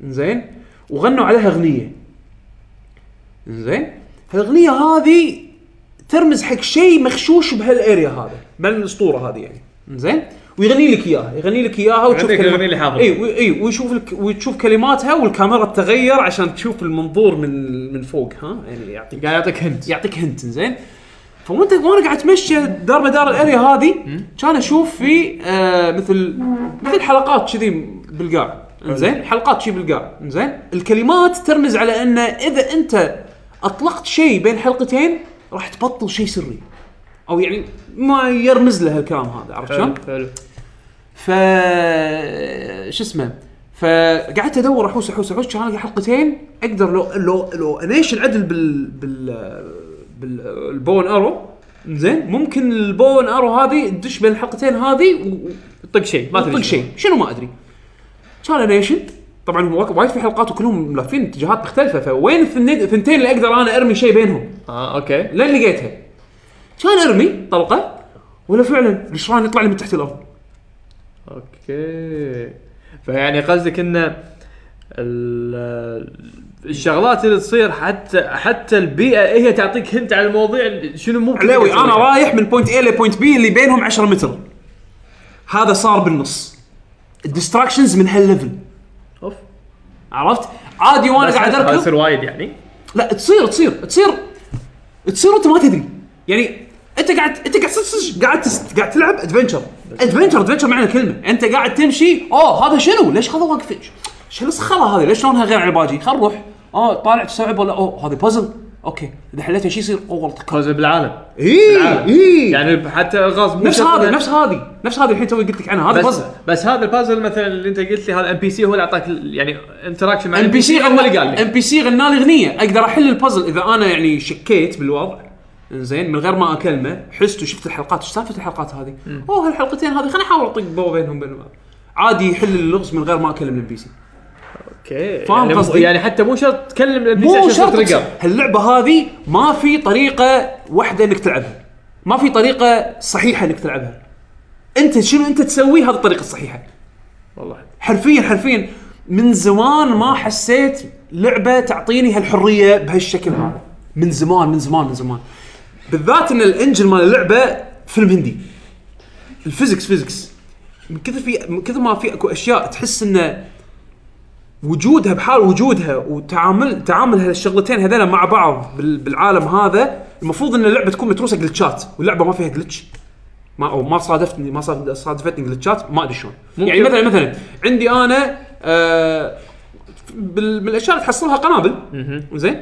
Speaker 2: زين وغنوا عليها اغنيه زين هالاغنيه هذه ترمز حق شيء مخشوش بهالاريا هذا بهالاسطوره هذه يعني زين ويغني لك اياها يغني لك اياها وتشوف
Speaker 3: عندك
Speaker 2: كلمات-
Speaker 3: الأغنية اللي حاضرة.
Speaker 2: اي وي- اي ويشوف لك وتشوف كلماتها والكاميرا تتغير عشان تشوف المنظور من من فوق ها يعني يعطيك
Speaker 3: قاعد يعطيك هنت
Speaker 2: يعطيك هنت زين فوانت وانا قاعد اتمشى دار بدار الاريا هذه كان اشوف في آه مثل مثل حلقات كذي بالقاع زين حلقات شي بالقاع زين الكلمات ترمز على انه اذا انت اطلقت شيء بين حلقتين راح تبطل شيء سري او يعني ما يرمز له الكلام هذا عرفت شلون؟
Speaker 3: حلو
Speaker 2: ف شو اسمه فقعدت ادور احوس احوس احوس كان الاقي حلقتين اقدر لو لو لو انيش العدل بال بال بالبون ارو زين ممكن البون ارو هذه تدش بين الحلقتين هذه
Speaker 3: طق شيء ما
Speaker 2: وتطق
Speaker 3: تدري
Speaker 2: شيء شنو ما ادري كان انيشن طبعا هو وايد في حلقات وكلهم لافين اتجاهات مختلفه فوين الثنين- الثنتين اللي اقدر انا ارمي شيء بينهم
Speaker 3: اه اوكي
Speaker 2: لين لقيتها كان ارمي طلقه ولا فعلا الشران يطلع لي من تحت الارض
Speaker 3: اوكي فيعني قصدك انه ال- الشغلات اللي تصير حتى حتى البيئه هي تعطيك هنت على المواضيع شنو ممكن
Speaker 2: علاوي انا
Speaker 3: تسويها.
Speaker 2: رايح من بوينت A لبوينت B اللي بينهم 10 متر هذا صار بالنص الديستراكشنز من هالليفل
Speaker 3: اوف
Speaker 2: عرفت عادي وانا
Speaker 3: بس
Speaker 2: قاعد
Speaker 3: هذا يصير
Speaker 2: اركض
Speaker 3: وايد يعني
Speaker 2: لا تصير تصير تصير تصير وانت ما تدري يعني انت قاعد انت قاعد صج- صج- قاعد تس- قاعد تلعب ادفنشر ادفنشر ادفنشر معنى كلمه انت قاعد تمشي اوه هذا شنو ليش هذا واقف شو الصخره هذه ليش لونها غير عن الباجي خل نروح اه طالع تستوعب ولا اوه هذه بازل اوكي اذا حليتها شو يصير اوه والله
Speaker 3: كوزب بالعالم
Speaker 2: اي
Speaker 3: بالعالم.
Speaker 2: اي
Speaker 3: يعني حتى الغاز مو
Speaker 2: إيه. نفس
Speaker 3: شرط
Speaker 2: هذه
Speaker 3: إنه-
Speaker 2: نفس هذه نفس هذه الحين توي قلت لك عنها هذا
Speaker 3: يعني بس
Speaker 2: بازل
Speaker 3: بس هذا البازل مثلا اللي انت قلت لي هذا ام بي سي هو اللي اعطاك ال- يعني انتراكشن مع
Speaker 2: ام بي سي
Speaker 3: هو اللي قال
Speaker 2: ام
Speaker 3: لي
Speaker 2: بي سي غنى لي اغنيه اقدر احل البازل اذا انا يعني شكيت بالوضع زين من غير ما اكلمه حست وشفت الحلقات ايش سالفه الحلقات هذه؟ اوه هالحلقتين هذه خليني احاول اطق بو بينهم بين بعض. عادي يحل اللغز من غير ما اكلم الام بي سي
Speaker 3: اوكي
Speaker 2: فاهم
Speaker 3: يعني مو-
Speaker 2: قصدي؟
Speaker 3: يعني حتى مو شرط تكلم الام بي سي
Speaker 2: مو
Speaker 3: عشان
Speaker 2: شرط
Speaker 3: ترقى.
Speaker 2: تصير. هاللعبه هذه ما في طريقه واحده انك تلعبها ما في طريقه صحيحه انك تلعبها انت شنو انت تسوي هذه الطريقه الصحيحه
Speaker 3: والله
Speaker 2: حرفيا حرفيا من زمان ما حسيت لعبه تعطيني هالحريه بهالشكل هذا من زمان من زمان من زمان بالذات ان الانجن مال اللعبه فيلم هندي الفيزكس فيزكس من كثر في من كثر ما في اكو اشياء تحس انه وجودها بحال وجودها وتعامل تعامل هالشغلتين هذول مع بعض بال- بالعالم هذا المفروض ان اللعبه تكون متروسه جلتشات واللعبه ما فيها جلتش ما او ما صادفتني ما صاد- صادفتني جلتشات ما ادري شلون يعني مثلا مثلا عندي انا آه بال- بالاشياء اللي تحصلها قنابل زين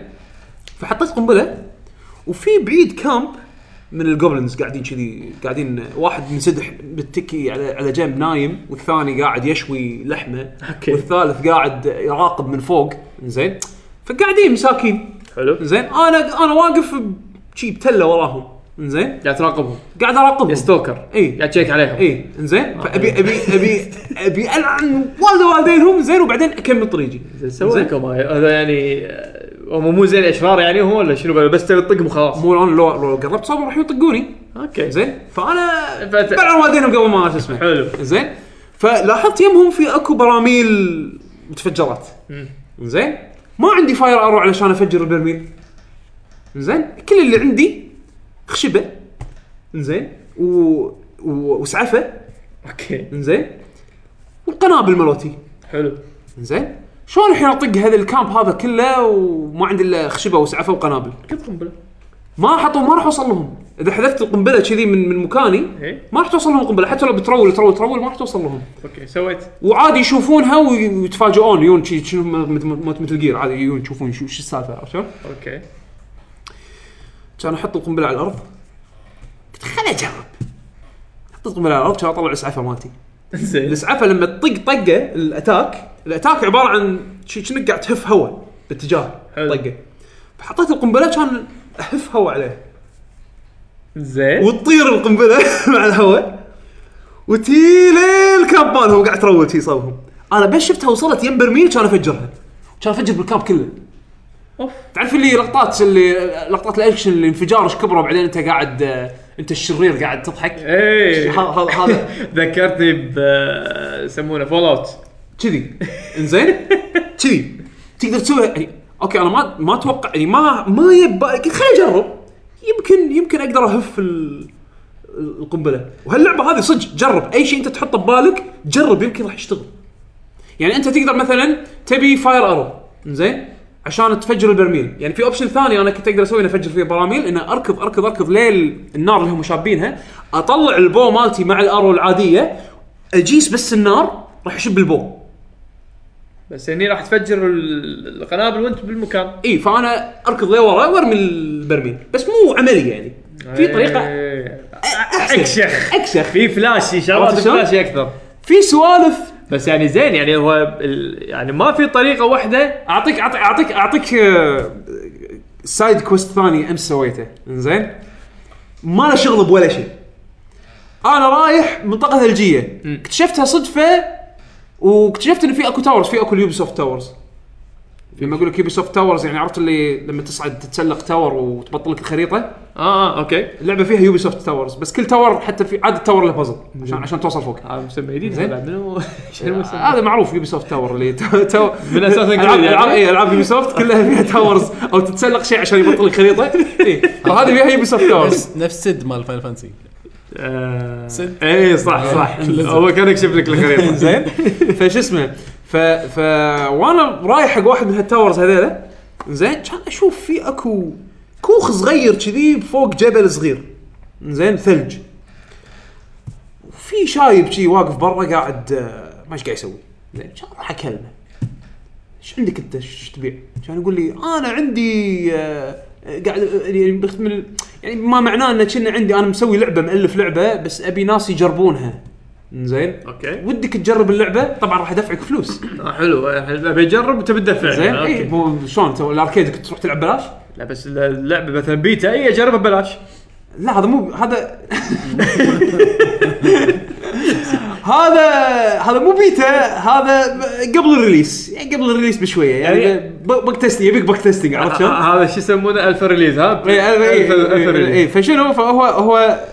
Speaker 2: فحطيت قنبله وفي بعيد كامب من الجوبلنز قاعدين كذي قاعدين واحد منسدح متكي على على جنب نايم والثاني قاعد يشوي لحمه
Speaker 3: أوكي.
Speaker 2: والثالث قاعد يراقب من فوق زين فقاعدين مساكين
Speaker 3: حلو
Speaker 2: زين انا انا واقف ب- شي بتله وراهم زين
Speaker 3: قاعد تراقبهم
Speaker 2: قاعد اراقبهم
Speaker 3: يا ستوكر
Speaker 2: إي.
Speaker 3: قاعد تشيك عليهم
Speaker 2: اي انزين فابي ابي ابي ابي العن والد والدينهم زين وبعدين اكمل طريقي
Speaker 3: سوى لكم هاي. هذا يعني آه، هم مو زين اشرار يعني هو ولا شنو بس تبي تطقهم خلاص
Speaker 2: مو لو لو لو قربت صوب راح يطقوني
Speaker 3: اوكي زين
Speaker 2: زين فانا
Speaker 3: فت-
Speaker 2: بلعن والدينهم قبل ما شو اسمه
Speaker 3: حلو
Speaker 2: زين فلاحظت يمهم في اكو براميل متفجرات زين ما عندي فاير ارو علشان افجر البرميل زين كل اللي عندي خشبه زين و... و... وسعفه
Speaker 3: اوكي
Speaker 2: زين والقنابل مالتي
Speaker 3: حلو
Speaker 2: زين شلون الحين اطق هذا الكامب هذا كله وما عندي الا خشبه وسعفه وقنابل
Speaker 3: كيف قنبله
Speaker 2: ما حطوا ما راح اوصل لهم اذا حذفت القنبله كذي من من مكاني
Speaker 3: إيه.
Speaker 2: ما راح توصل لهم القنبله حتى لو بترول ترول ترول ما راح توصل لهم
Speaker 3: اوكي سويت
Speaker 2: وعادي يشوفونها وي- ويتفاجئون يون شي شنو مثل جير عادي يون يشوفون شو شو السالفه عرفت شلون؟
Speaker 3: اوكي
Speaker 2: كان احط القنبله على الارض قلت خليني اجرب حطيت القنبله على الارض كان اطلع الاسعفه مالتي
Speaker 3: زين
Speaker 2: الاسعفه لما تطق طقه الاتاك الاتاك عباره عن شي- شنو قاعد تهف هواء باتجاه
Speaker 3: حلو.
Speaker 2: طقه فحطيت القنبله كان اهف هواء عليه
Speaker 3: زين
Speaker 2: وتطير القنبله مع الهواء وتي للكاب مالهم قاعد ترول تي صوبهم انا بس شفتها وصلت يم برميل كان افجرها كان افجر بالكاب كله
Speaker 3: أوف.
Speaker 2: تعرف اللي لقطات اللي لقطات الاكشن اللي انفجار ايش كبره بعدين انت قاعد آه، انت الشرير قاعد تضحك
Speaker 3: ايه
Speaker 2: ه- ه- هذا
Speaker 3: ذكرتني ب آه، يسمونه فول اوت
Speaker 2: كذي انزين كذي تقدر تسوي يعني اوكي انا ما ما اتوقع يعني ما ما يب خليني اجرب يمكن يمكن اقدر اهف ال- القنبله وهاللعبه هذه صدق جرب اي شيء انت تحطه ببالك جرب يمكن راح يشتغل يعني انت تقدر مثلا تبي فاير ارو زين عشان تفجر البرميل يعني في اوبشن ثاني انا كنت اقدر اسوي اني افجر فيه براميل ان اركض اركض اركض ليل النار اللي هم شابينها اطلع البو مالتي مع الارو العاديه اجيس بس النار راح يشب البو
Speaker 3: بس هني راح تفجر ال- القنابل وانت بالمكان
Speaker 2: اي فانا اركض لورا وارمي البرميل بس مو عملي يعني في طريقه
Speaker 3: إيه.
Speaker 2: احسن
Speaker 3: اكشخ
Speaker 2: اكشخ
Speaker 3: في فلاشي شغلات
Speaker 2: عرفت شلون؟
Speaker 3: فلاشي اكثر
Speaker 2: في سوالف
Speaker 3: بس يعني زين يعني هو ال- يعني ما في طريقه واحده
Speaker 2: اعطيك اعطيك اعطيك, أعطيك آه، سايد كويست ثاني امس سويته انزين ما له شغل بولا شيء انا رايح منطقه ثلجيه اكتشفتها صدفه واكتشفت ان في اكو تاورز في اكو اليوبي سوفت تاورز لما اقول لك يوبي سوفت تاورز يعني عرفت اللي لما تصعد تتسلق تاور وتبطل لك الخريطه
Speaker 3: اه اه اوكي
Speaker 2: اللعبه فيها يوبي سوفت تاورز بس كل تاور حتى في عاد التاور له بازل عشان عشان توصل فوق
Speaker 3: هذا مسمى جديد
Speaker 2: زين.
Speaker 3: هذا منو شنو مسمى؟
Speaker 2: هذا معروف يوبي سوفت تاور اللي تو- تو
Speaker 3: من أساس
Speaker 2: العاب
Speaker 3: نقول يعني.
Speaker 2: العاب اي العاب يوبي سوفت كلها فيها تاورز او تتسلق شيء عشان يبطل الخريطه اي
Speaker 3: إيه.
Speaker 2: فهذه فيها يوبي سوفت تاورز
Speaker 6: نفس- نفس سد مال فاينل فانسي
Speaker 3: آه،
Speaker 6: سد.
Speaker 3: اي صح صح هو كان يكشف لك الخريطه
Speaker 2: زين فش اسمه ف ف وانا رايح حق واحد من هالتاورز هذيلا زين كان اشوف في اكو كوخ صغير كذي فوق جبل صغير زين ثلج وفي شايب كذي واقف برا قاعد آه، ما ايش قاعد يسوي زين كان راح اكلمه ايش عندك انت ايش تبيع؟ كان يقول لي انا عندي آه، آه، قاعد آه، يعني بخت- من ال- يعني ما معناه انه كنا عندي انا مسوي لعبه مالف لعبه بس ابي ناس يجربونها زين
Speaker 3: اوكي
Speaker 2: ودك تجرب اللعبه طبعا راح ادفعك فلوس
Speaker 3: آه، حلو آه، ابي اجرب وانت بتدفع
Speaker 2: زين إيه.
Speaker 3: آه،
Speaker 2: اي
Speaker 3: اوكي
Speaker 2: مو شلون تسوي الاركيد تروح تلعب ببلاش
Speaker 3: لا بس اللعبه مثلا بيتا اي اجربها ببلاش
Speaker 2: لا هذا مو هذا هذا هذا مو بيتا هذا قبل الريليس يعني قبل الريليس بشويه يعني
Speaker 3: يعني-
Speaker 2: بق تيستنج يبيك بق تيستنج عرفت شلون؟ إيه،
Speaker 3: آه، هذا شو يسمونه الف ريليز ها
Speaker 2: اي اي
Speaker 3: ألف- ألف
Speaker 2: اي
Speaker 3: ريليز.
Speaker 2: اي إيه، فشنو فهو هو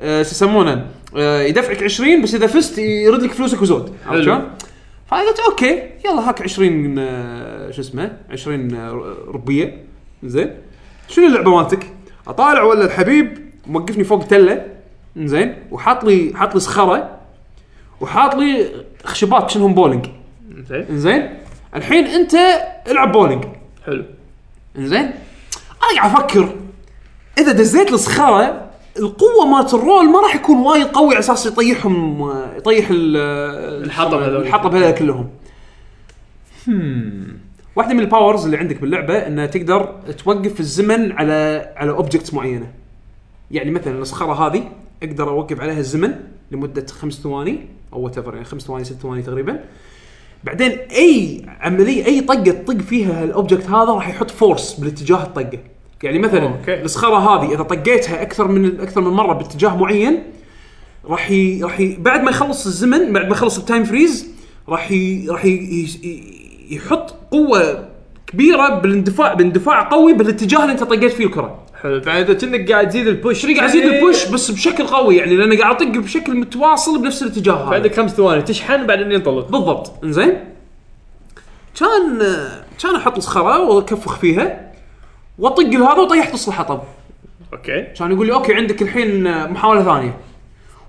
Speaker 2: آه، شو يسمونه آه، يدفعك 20 بس اذا فزت يرد لك فلوسك وزود عرفت
Speaker 3: حلو.
Speaker 2: شلون؟ فانا قلت اوكي يلا هاك 20 آه، شو اسمه 20 آه، ربيه زين شنو اللعبه مالتك؟ اطالع ولا الحبيب موقفني فوق تله زين وحاط لي حاط لي صخره وحاط لي خشبات شنهم بولينج إيه.
Speaker 3: زين
Speaker 2: زين الحين انت العب بولينج
Speaker 3: حلو
Speaker 2: زين انا قاعد افكر اذا دزيت الصخره القوه مالت الرول ما راح يكون وايد قوي على اساس يطيحهم يطيح ال-
Speaker 3: الحطب هذول.
Speaker 2: الحطب هذول كلهم هم واحده من الباورز اللي عندك باللعبه انها تقدر توقف الزمن على على اوبجكتس معينه يعني مثلا الصخره هذه اقدر اوقف عليها الزمن لمده خمس ثواني او وات يعني خمس ثواني ست ثواني تقريبا بعدين اي عمليه اي طقه تطق فيها الاوبجكت هذا راح يحط فورس بالاتجاه الطقه يعني مثلا
Speaker 3: أوكي.
Speaker 2: الصخره هذه اذا طقيتها اكثر من اكثر من مره باتجاه معين راح ي... راح ي... بعد ما يخلص الزمن بعد ما يخلص التايم فريز راح ي... راح ي... ي- ي... يحط قوه كبيره بالاندفاع باندفاع قوي بالاتجاه اللي انت طقيت فيه الكره
Speaker 3: حلو فاذا كأنك قاعد تزيد البوش
Speaker 2: شري قاعد ازيد البوش بس بشكل قوي يعني لان قاعد اطق بشكل متواصل بنفس الاتجاه هذا
Speaker 3: عندك خمس ثواني تشحن بعدين ينطلق
Speaker 2: بالضبط انزين كان كان احط الصخره واكفخ فيها واطق لهذا وطيحت نص الحطب
Speaker 3: اوكي
Speaker 2: كان يقول لي اوكي عندك الحين محاوله ثانيه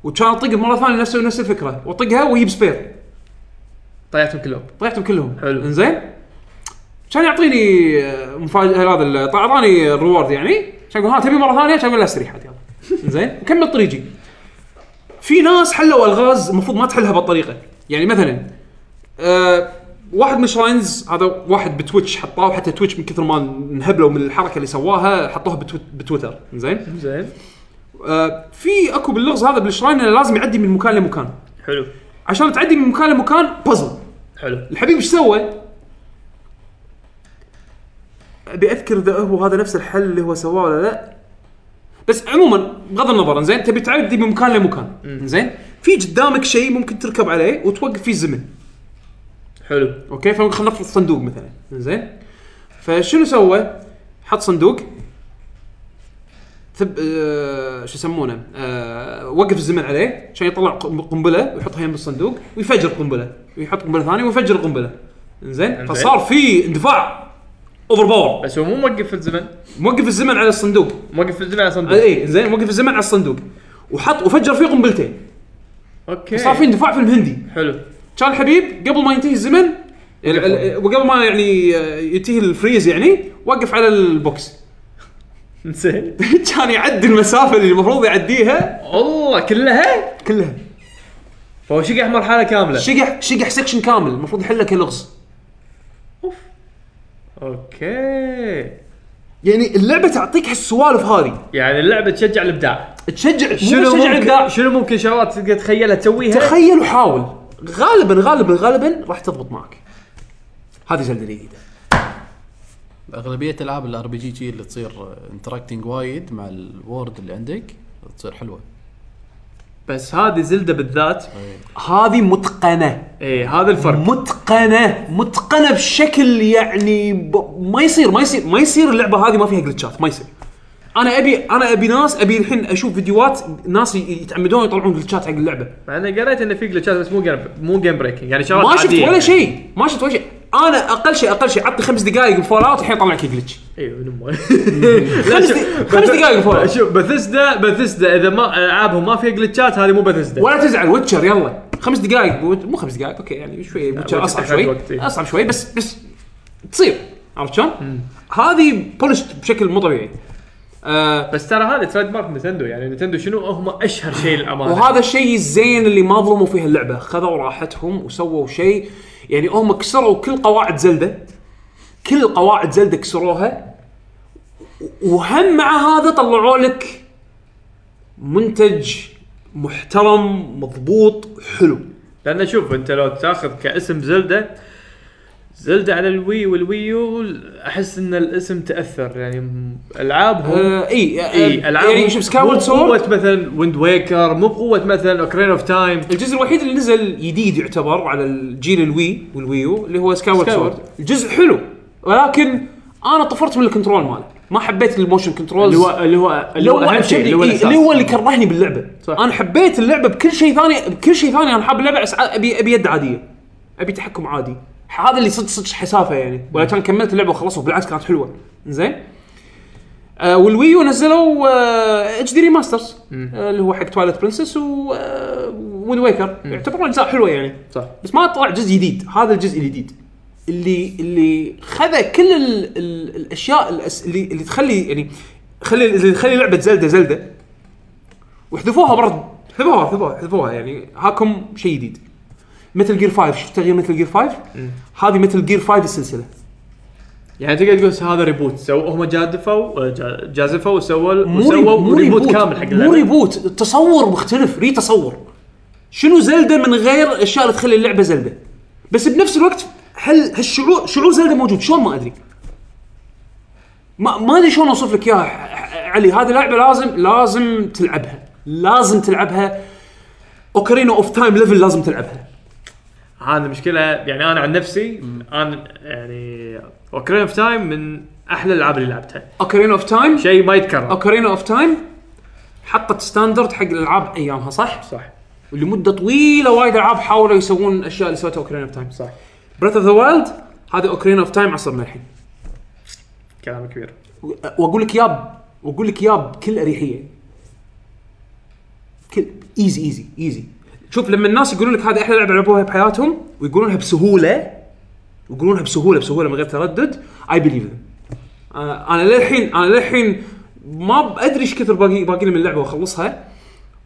Speaker 2: وكان اطق مره ثانيه نفس نفس الفكره واطقها ويجيب سبير
Speaker 3: طيحتهم كلهم
Speaker 2: طيحتهم كلهم
Speaker 3: حلو.
Speaker 2: انزين كان يعطيني آه، مفاجاه هذا ال- طبعاً اعطاني الريورد يعني كان يقول ها تبي مره ثانيه كان اقول لا استريح عاد يلا انزين وكمل طريقي في ناس حلوا الغاز المفروض ما تحلها بالطريقه يعني مثلا آه واحد من الشراينز هذا واحد بتويتش حطاه حتى تويتش من كثر ما انهبلوا من الحركه اللي سواها حطوها بتويت بتويتر زين
Speaker 3: زين
Speaker 2: آه، في اكو باللغز هذا بالشراين انه لازم يعدي من مكان لمكان
Speaker 3: حلو
Speaker 2: عشان تعدي من مكان لمكان بازل
Speaker 3: حلو
Speaker 2: الحبيب ايش سوى؟ ابي اذكر اذا هو هذا نفس الحل اللي هو سواه ولا لا بس عموما بغض النظر زين تبي تعدي من مكان لمكان زين في قدامك شيء ممكن تركب عليه وتوقف فيه الزمن
Speaker 3: حلو
Speaker 2: اوكي فخلينا نفرض صندوق مثلا زين فشنو سوى؟ حط صندوق ثب آه شو يسمونه؟ آه وقف الزمن عليه عشان يطلع قم- قنبله ويحطها يم الصندوق ويفجر قنبله ويحط قنبله ثانيه ويفجر القنبله زين فصار في اندفاع اوفر باور
Speaker 3: بس هو مو موقف الزمن
Speaker 2: موقف الزمن على الصندوق
Speaker 3: موقف الزمن على صندوق
Speaker 2: اي زين موقف الزمن على الصندوق وحط وفجر فيه قنبلتين
Speaker 3: اوكي
Speaker 2: صار في اندفاع في الهندي
Speaker 3: حلو
Speaker 2: كان الحبيب قبل ما ينتهي الزمن ال- ال- وقبل ما يعني آه، ينتهي الفريز يعني وقف على البوكس
Speaker 3: زين
Speaker 2: كان يعدي المسافه اللي المفروض يعديها
Speaker 3: والله كلها
Speaker 2: كلها
Speaker 3: فهو شقح مرحله كامله
Speaker 2: شقح شقح سكشن كامل المفروض يحله كلغز
Speaker 3: اوكي
Speaker 2: يعني اللعبه تعطيك هالسوالف هذه
Speaker 3: يعني اللعبه تشجع الابداع
Speaker 2: تشجع شنو تشجع الابداع
Speaker 3: شنو ممكن شغلات تقدر تخيلها تسويها
Speaker 2: تخيل وحاول غالبا غالبا غالبا راح تضبط معك هذه زلده جديده
Speaker 6: اغلبيه العاب الار بي جي اللي تصير انتراكتنج وايد مع الوورد اللي عندك تصير حلوه
Speaker 3: بس هذه زلده بالذات
Speaker 2: هذه متقنه
Speaker 3: اي هذا الفرق
Speaker 2: متقنه متقنه بشكل يعني ب... ما يصير ما يصير ما يصير اللعبه هذه ما فيها جلتشات ما يصير انا ابي انا ابي ناس ابي الحين اشوف فيديوهات ناس ي- يتعمدون يطلعون جلتشات حق اللعبه
Speaker 3: مع اني قريت انه في جلتشات بس مو جيم مو جيم بريكنج يعني شغلات
Speaker 2: ما شفت
Speaker 3: عادية.
Speaker 2: ولا شيء ما شفت ولا شيء انا اقل شيء اقل شيء عطني خمس دقائق بفول اوت الحين يطلع لك جلتش
Speaker 3: ايوه من أمه.
Speaker 2: خمس
Speaker 3: شوف،
Speaker 2: دق- خمس دقايق فوق.
Speaker 3: شوف بثسدا بثسدا اذا ما العابهم ما فيها جلتشات هذه مو بثسدا
Speaker 2: ولا تزعل ويتشر يلا خمس دقائق بو- مو خمس دقائق اوكي يعني شوي ويتشر
Speaker 3: Witcher
Speaker 2: اصعب
Speaker 3: أخذ
Speaker 2: شوي
Speaker 3: وقت، إيه.
Speaker 2: اصعب شوي بس بس تصير عرفت شلون؟ هذه بولشت بشكل مو طبيعي آه
Speaker 3: بس ترى هذا تريد مارك نتندو يعني نتندو شنو هم اشهر شيء للامانه
Speaker 2: وهذا الشيء الزين اللي ما ظلموا فيه اللعبه خذوا راحتهم وسووا شيء يعني هم كسروا كل قواعد زلده كل قواعد زلده كسروها وهم مع هذا طلعوا لك منتج محترم مضبوط حلو
Speaker 3: لان شوف انت لو تاخذ كاسم زلدة زلدة على الوي والويو احس ان الاسم تاثر يعني م- العابهم
Speaker 2: آه اي آه
Speaker 3: اي العابهم
Speaker 2: يعني شوف سكاورد
Speaker 3: مو
Speaker 2: سورد
Speaker 3: بقوه مثلا ويند ويكر مو بقوه مثلا اوكرين اوف تايم
Speaker 2: الجزء الوحيد اللي نزل جديد يعتبر على الجيل الوي والويو اللي هو سكاورد
Speaker 3: Skyward.
Speaker 2: سورد الجزء حلو ولكن انا طفرت من الكنترول ماله ما حبيت الموشن كنترولز
Speaker 3: اللي هو اللي هو
Speaker 2: اللي هو
Speaker 3: أهم
Speaker 2: أهم شيء اللي هو,
Speaker 3: الأساس.
Speaker 2: إيه، اللي هو اللي كرهني باللعبه صح. انا حبيت اللعبه بكل شيء ثاني بكل شيء ثاني انا حاب اللعبه بس ابي ابي يد عاديه ابي تحكم عادي هذا اللي صدق صدق حسافه يعني ولكن كملت اللعبه وخلصوا بالعكس كانت حلوه زين آه والويو نزلوا اتش دي ريماسترز آه اللي هو حق تواليت برنسس و ويند ويكر يعتبرون اجزاء حلوه يعني
Speaker 3: صح.
Speaker 2: بس ما طلع جزء جديد هذا الجزء الجديد اللي اللي خذ كل ال ال الاشياء الأس- اللي اللي تخلي يعني خلي اللي تخلي لعبه زلده زلده وحذفوها برد حذفوها حذفوها حذفوها يعني هاكم شيء جديد مثل جير 5 شفت تغيير مثل جير 5 هذه مثل جير 5 السلسله
Speaker 3: يعني تقدر تقول هذا ريبوت سو هم جادفوا جا- جازفوا وسووا
Speaker 2: مو ري-
Speaker 3: وسووا
Speaker 2: مو
Speaker 3: ريبوت كامل حق
Speaker 2: مو
Speaker 3: اللعبه
Speaker 2: ريبوت التصور مختلف ري تصور شنو زلده من غير الاشياء اللي تخلي اللعبه زلده بس بنفس الوقت هل هالشعور شعور زلده موجود شلون ما ادري ما ما ادري شلون اوصف لك اياها ح- ح- علي هذه لعبه لازم لازم تلعبها لازم تلعبها اوكرينا اوف تايم ليفل لازم تلعبها
Speaker 3: هذا المشكله يعني انا عن نفسي انا يعني اوكرين اوف تايم من احلى الالعاب اللي لعبتها
Speaker 2: اوكرينا اوف تايم
Speaker 3: شيء ما يتكرر
Speaker 2: اوكرينا اوف تايم حطت ستاندرد حق الالعاب ايامها صح؟
Speaker 3: صح
Speaker 2: لمده طويله وايد العاب حاولوا يسوون الاشياء اللي سوتها اوكرين اوف تايم صح بريث اوف ذا وايلد هذا اوكرين اوف تايم عصرنا الحين
Speaker 3: كلام كبير
Speaker 2: و- واقول لك ياب واقول لك ياب بكل اريحيه كل ايزي ايزي ايزي شوف لما الناس يقولون لك هذه احلى لعبه لعبوها بحياتهم ويقولونها بسهوله يقولونها بسهوله بسهوله من غير تردد اي بليف انا آه، للحين انا للحين ما ادري ايش كثر باقي باقي لي من اللعبه واخلصها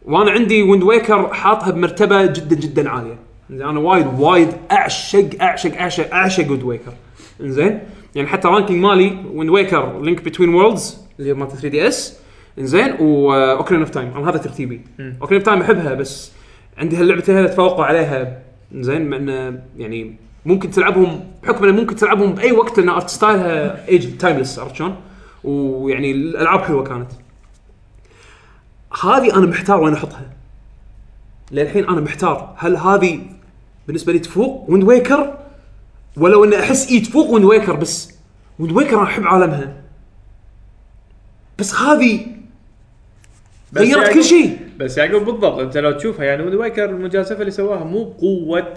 Speaker 2: وانا عندي ويند ويكر حاطها بمرتبه جدا جدا عاليه زين، انا وايد وايد اعشق اعشق اعشق اعشق ويند ويكر زين يعني حتى رانكينج مالي ويند ويكر لينك بتوين وورلدز اللي هي مالت 3 دي اس زين واوكرين اوف تايم انا هذا ترتيبي اوكرين اوف تايم احبها بس عندي هاللعبتين هذه اتفوقوا عليها زين مع انه يعني ممكن تلعبهم بحكم انه ممكن تلعبهم باي وقت لان ارت ستايلها ايج تايمليس عرفت شلون؟ ويعني الالعاب حلوه كانت. هذه انا محتار وين احطها. للحين انا محتار هل هذه بالنسبه لي تفوق ويند ويكر ولو اني احس اي تفوق ويند ويكر بس ويند ويكر انا احب عالمها. بس هذه
Speaker 3: بس
Speaker 2: غيرت
Speaker 3: يعني-
Speaker 2: كل شيء
Speaker 3: بس يعقوب بالضبط انت لو تشوفها يعني ويند ويكر المجازفه اللي سواها مو بقوه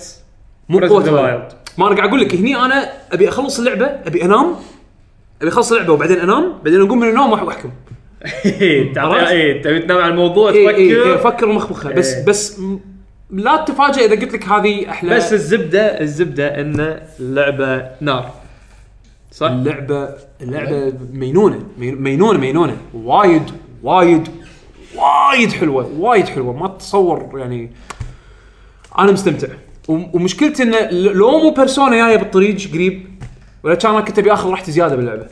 Speaker 2: مو
Speaker 3: Breath of the
Speaker 2: قوة
Speaker 3: Wild.
Speaker 2: ما انا قاعد اقول لك هني انا ابي اخلص اللعبه ابي انام ابي اخلص اللعبه وبعدين انام بعدين اقوم من النوم وأح- واحكم
Speaker 3: إيه، تعطي اي تبي تنام على الموضوع
Speaker 2: إي- إي- إي،
Speaker 3: تفكر
Speaker 2: افكر ومخمخه بس
Speaker 3: إيه.
Speaker 2: بس م- لا تتفاجئ اذا قلت لك هذه احلى
Speaker 3: بس الزبده الزبده ان اللعبه نار صح؟
Speaker 2: اللعبه اللعبه مينونه مي- مينونه مينونه وايد وايد وايد حلوه وايد حلوه ما تتصور يعني انا مستمتع وم- ومشكلتي انه ل- لو مو بيرسونا جايه بالطريق قريب ولا كان انا كنت ابي اخذ راحتي زياده باللعبه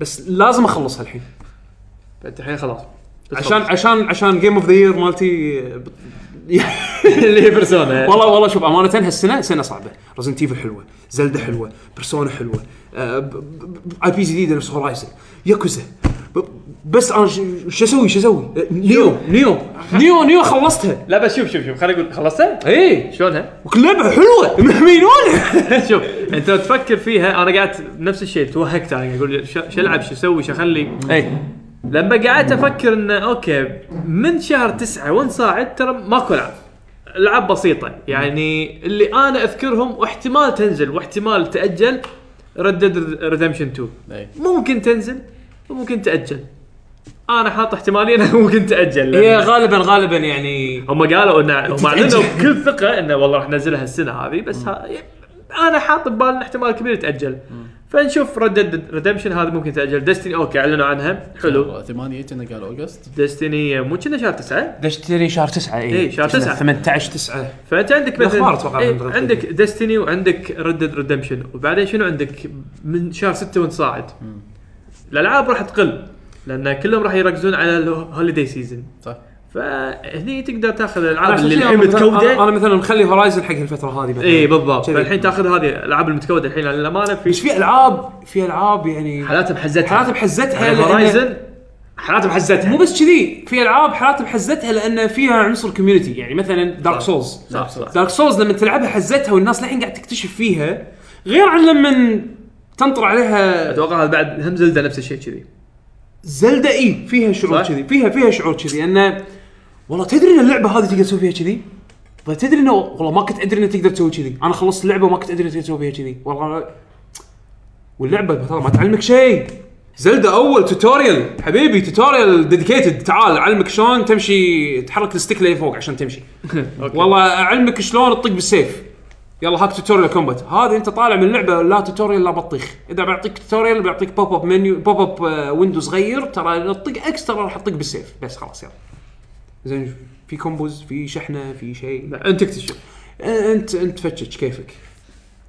Speaker 2: بس لازم اخلصها الحين
Speaker 3: انت الحين خلاص
Speaker 2: عشان عشان عشان جيم اوف ذا يير مالتي
Speaker 3: اللي هي بيرسونا
Speaker 2: والله والله شوف امانه هالسنه سنه صعبه رزنت ايفل حلوه زلدة حلوه بيرسونا حلوه آه، اي بي جديده نفس هورايزن ياكوزا ب- بس انا ش- شو اسوي شو اسوي آه، نيو نيو نيو نيو خلصتها إيه.
Speaker 3: لا بس شوف شوف شوف خليني اقول خلصتها؟
Speaker 2: اي
Speaker 3: شلونها؟
Speaker 2: لعبه حلوه مينونه
Speaker 3: شوف انت لو تفكر فيها انا قاعد نفس الشيء توهقت انا قاعد اقول ش- شو العب شو اسوي شو اخلي
Speaker 2: اي
Speaker 3: لما قعدت افكر انه اوكي من شهر تسعة وين صاعد ترى ماكو العاب العاب بسيطه يعني اللي انا اذكرهم واحتمال تنزل واحتمال تاجل ردد ريدمشن 2
Speaker 6: إي.
Speaker 3: ممكن تنزل وممكن تاجل انا حاط احتماليه انها ممكن تاجل
Speaker 13: هي غالبا غالبا يعني
Speaker 3: هم قالوا ان هم اعلنوا بكل ثقه انه والله راح ننزلها السنه هذه بس ها انا حاط ببالنا احتمال كبير تاجل فنشوف ردد ريدمشن هذه ممكن تاجل ديستني اوكي اعلنوا عنها حلو
Speaker 6: ثمانية كنا قال اوغست
Speaker 3: ديستني مو كنا شهر تسعة
Speaker 2: دشتري إيه، شهر 9
Speaker 3: إي، شهر تسعة.
Speaker 2: 18 9
Speaker 3: فانت عندك
Speaker 2: الأخبار
Speaker 3: مثلا
Speaker 2: أتوقع
Speaker 3: إيه،
Speaker 2: عندنا.
Speaker 3: عندك ديستني وعندك ردد ريدمشن وبعدين شنو عندك من شهر ستة وانت صاعد الالعاب راح تقل لان كلهم راح يركزون على الهوليدي سيزون
Speaker 6: صح.
Speaker 3: فهني تقدر تاخذ الالعاب
Speaker 2: عشان
Speaker 3: اللي
Speaker 2: كذا
Speaker 3: الحين
Speaker 2: مثلاً
Speaker 3: متكوده
Speaker 2: انا أنا مثلا مخلي هورايزن حق الفتره هذه مثلا
Speaker 3: اي إيه، بالضبط
Speaker 2: إيه، كذي.
Speaker 3: فالحين تاخذ هذه الالعاب المتكوده الحين للامانه
Speaker 2: بس
Speaker 3: في
Speaker 2: في العاب في العاب يعني
Speaker 3: حالات بحزتها
Speaker 2: حالات
Speaker 3: يعني
Speaker 2: بحزتها لأن-
Speaker 3: هورايزن حالات بحزتها
Speaker 2: مو بس كذي في العاب حالات بحزتها لان فيها عنصر كوميونتي يعني مثلا دارك سولز
Speaker 3: صح صح
Speaker 2: دارك سولز لما تلعبها حزتها والناس للحين قاعد تكتشف فيها غير عن لما تنطر عليها
Speaker 3: اتوقع هذا بعد هم زلده نفس الشيء كذي
Speaker 2: زلدة اي فيها شعور
Speaker 3: صح.
Speaker 2: كذي فيها فيها شعور كذي انه والله تدري ان اللعبه هذه تقدر تسوي فيها كذي فتدري انه والله ما كنت ادري انه تقدر تسوي كذي انا خلصت اللعبه وما كنت ادري إنه تقدر تسوي فيها كذي والله واللعبه ترى ما تعلمك شيء زلدة اول توتوريال حبيبي توتوريال ديديكيتد تعال اعلمك شلون تمشي تحرك الستيك لفوق عشان تمشي والله اعلمك شلون تطق بالسيف يلا هاك توتوريال كومبات هذه انت طالع من اللعبه لا توتوريال لا بطيخ اذا بعطيك توتوريال بيعطيك بوب اب منيو بوب اب آه، ويندو صغير ترى تطق اكسترا راح تطق بالسيف بس خلاص يلا زين في كومبوز في شحنه في شيء
Speaker 3: انت تكتشف
Speaker 2: آه، انت انت فتش كيفك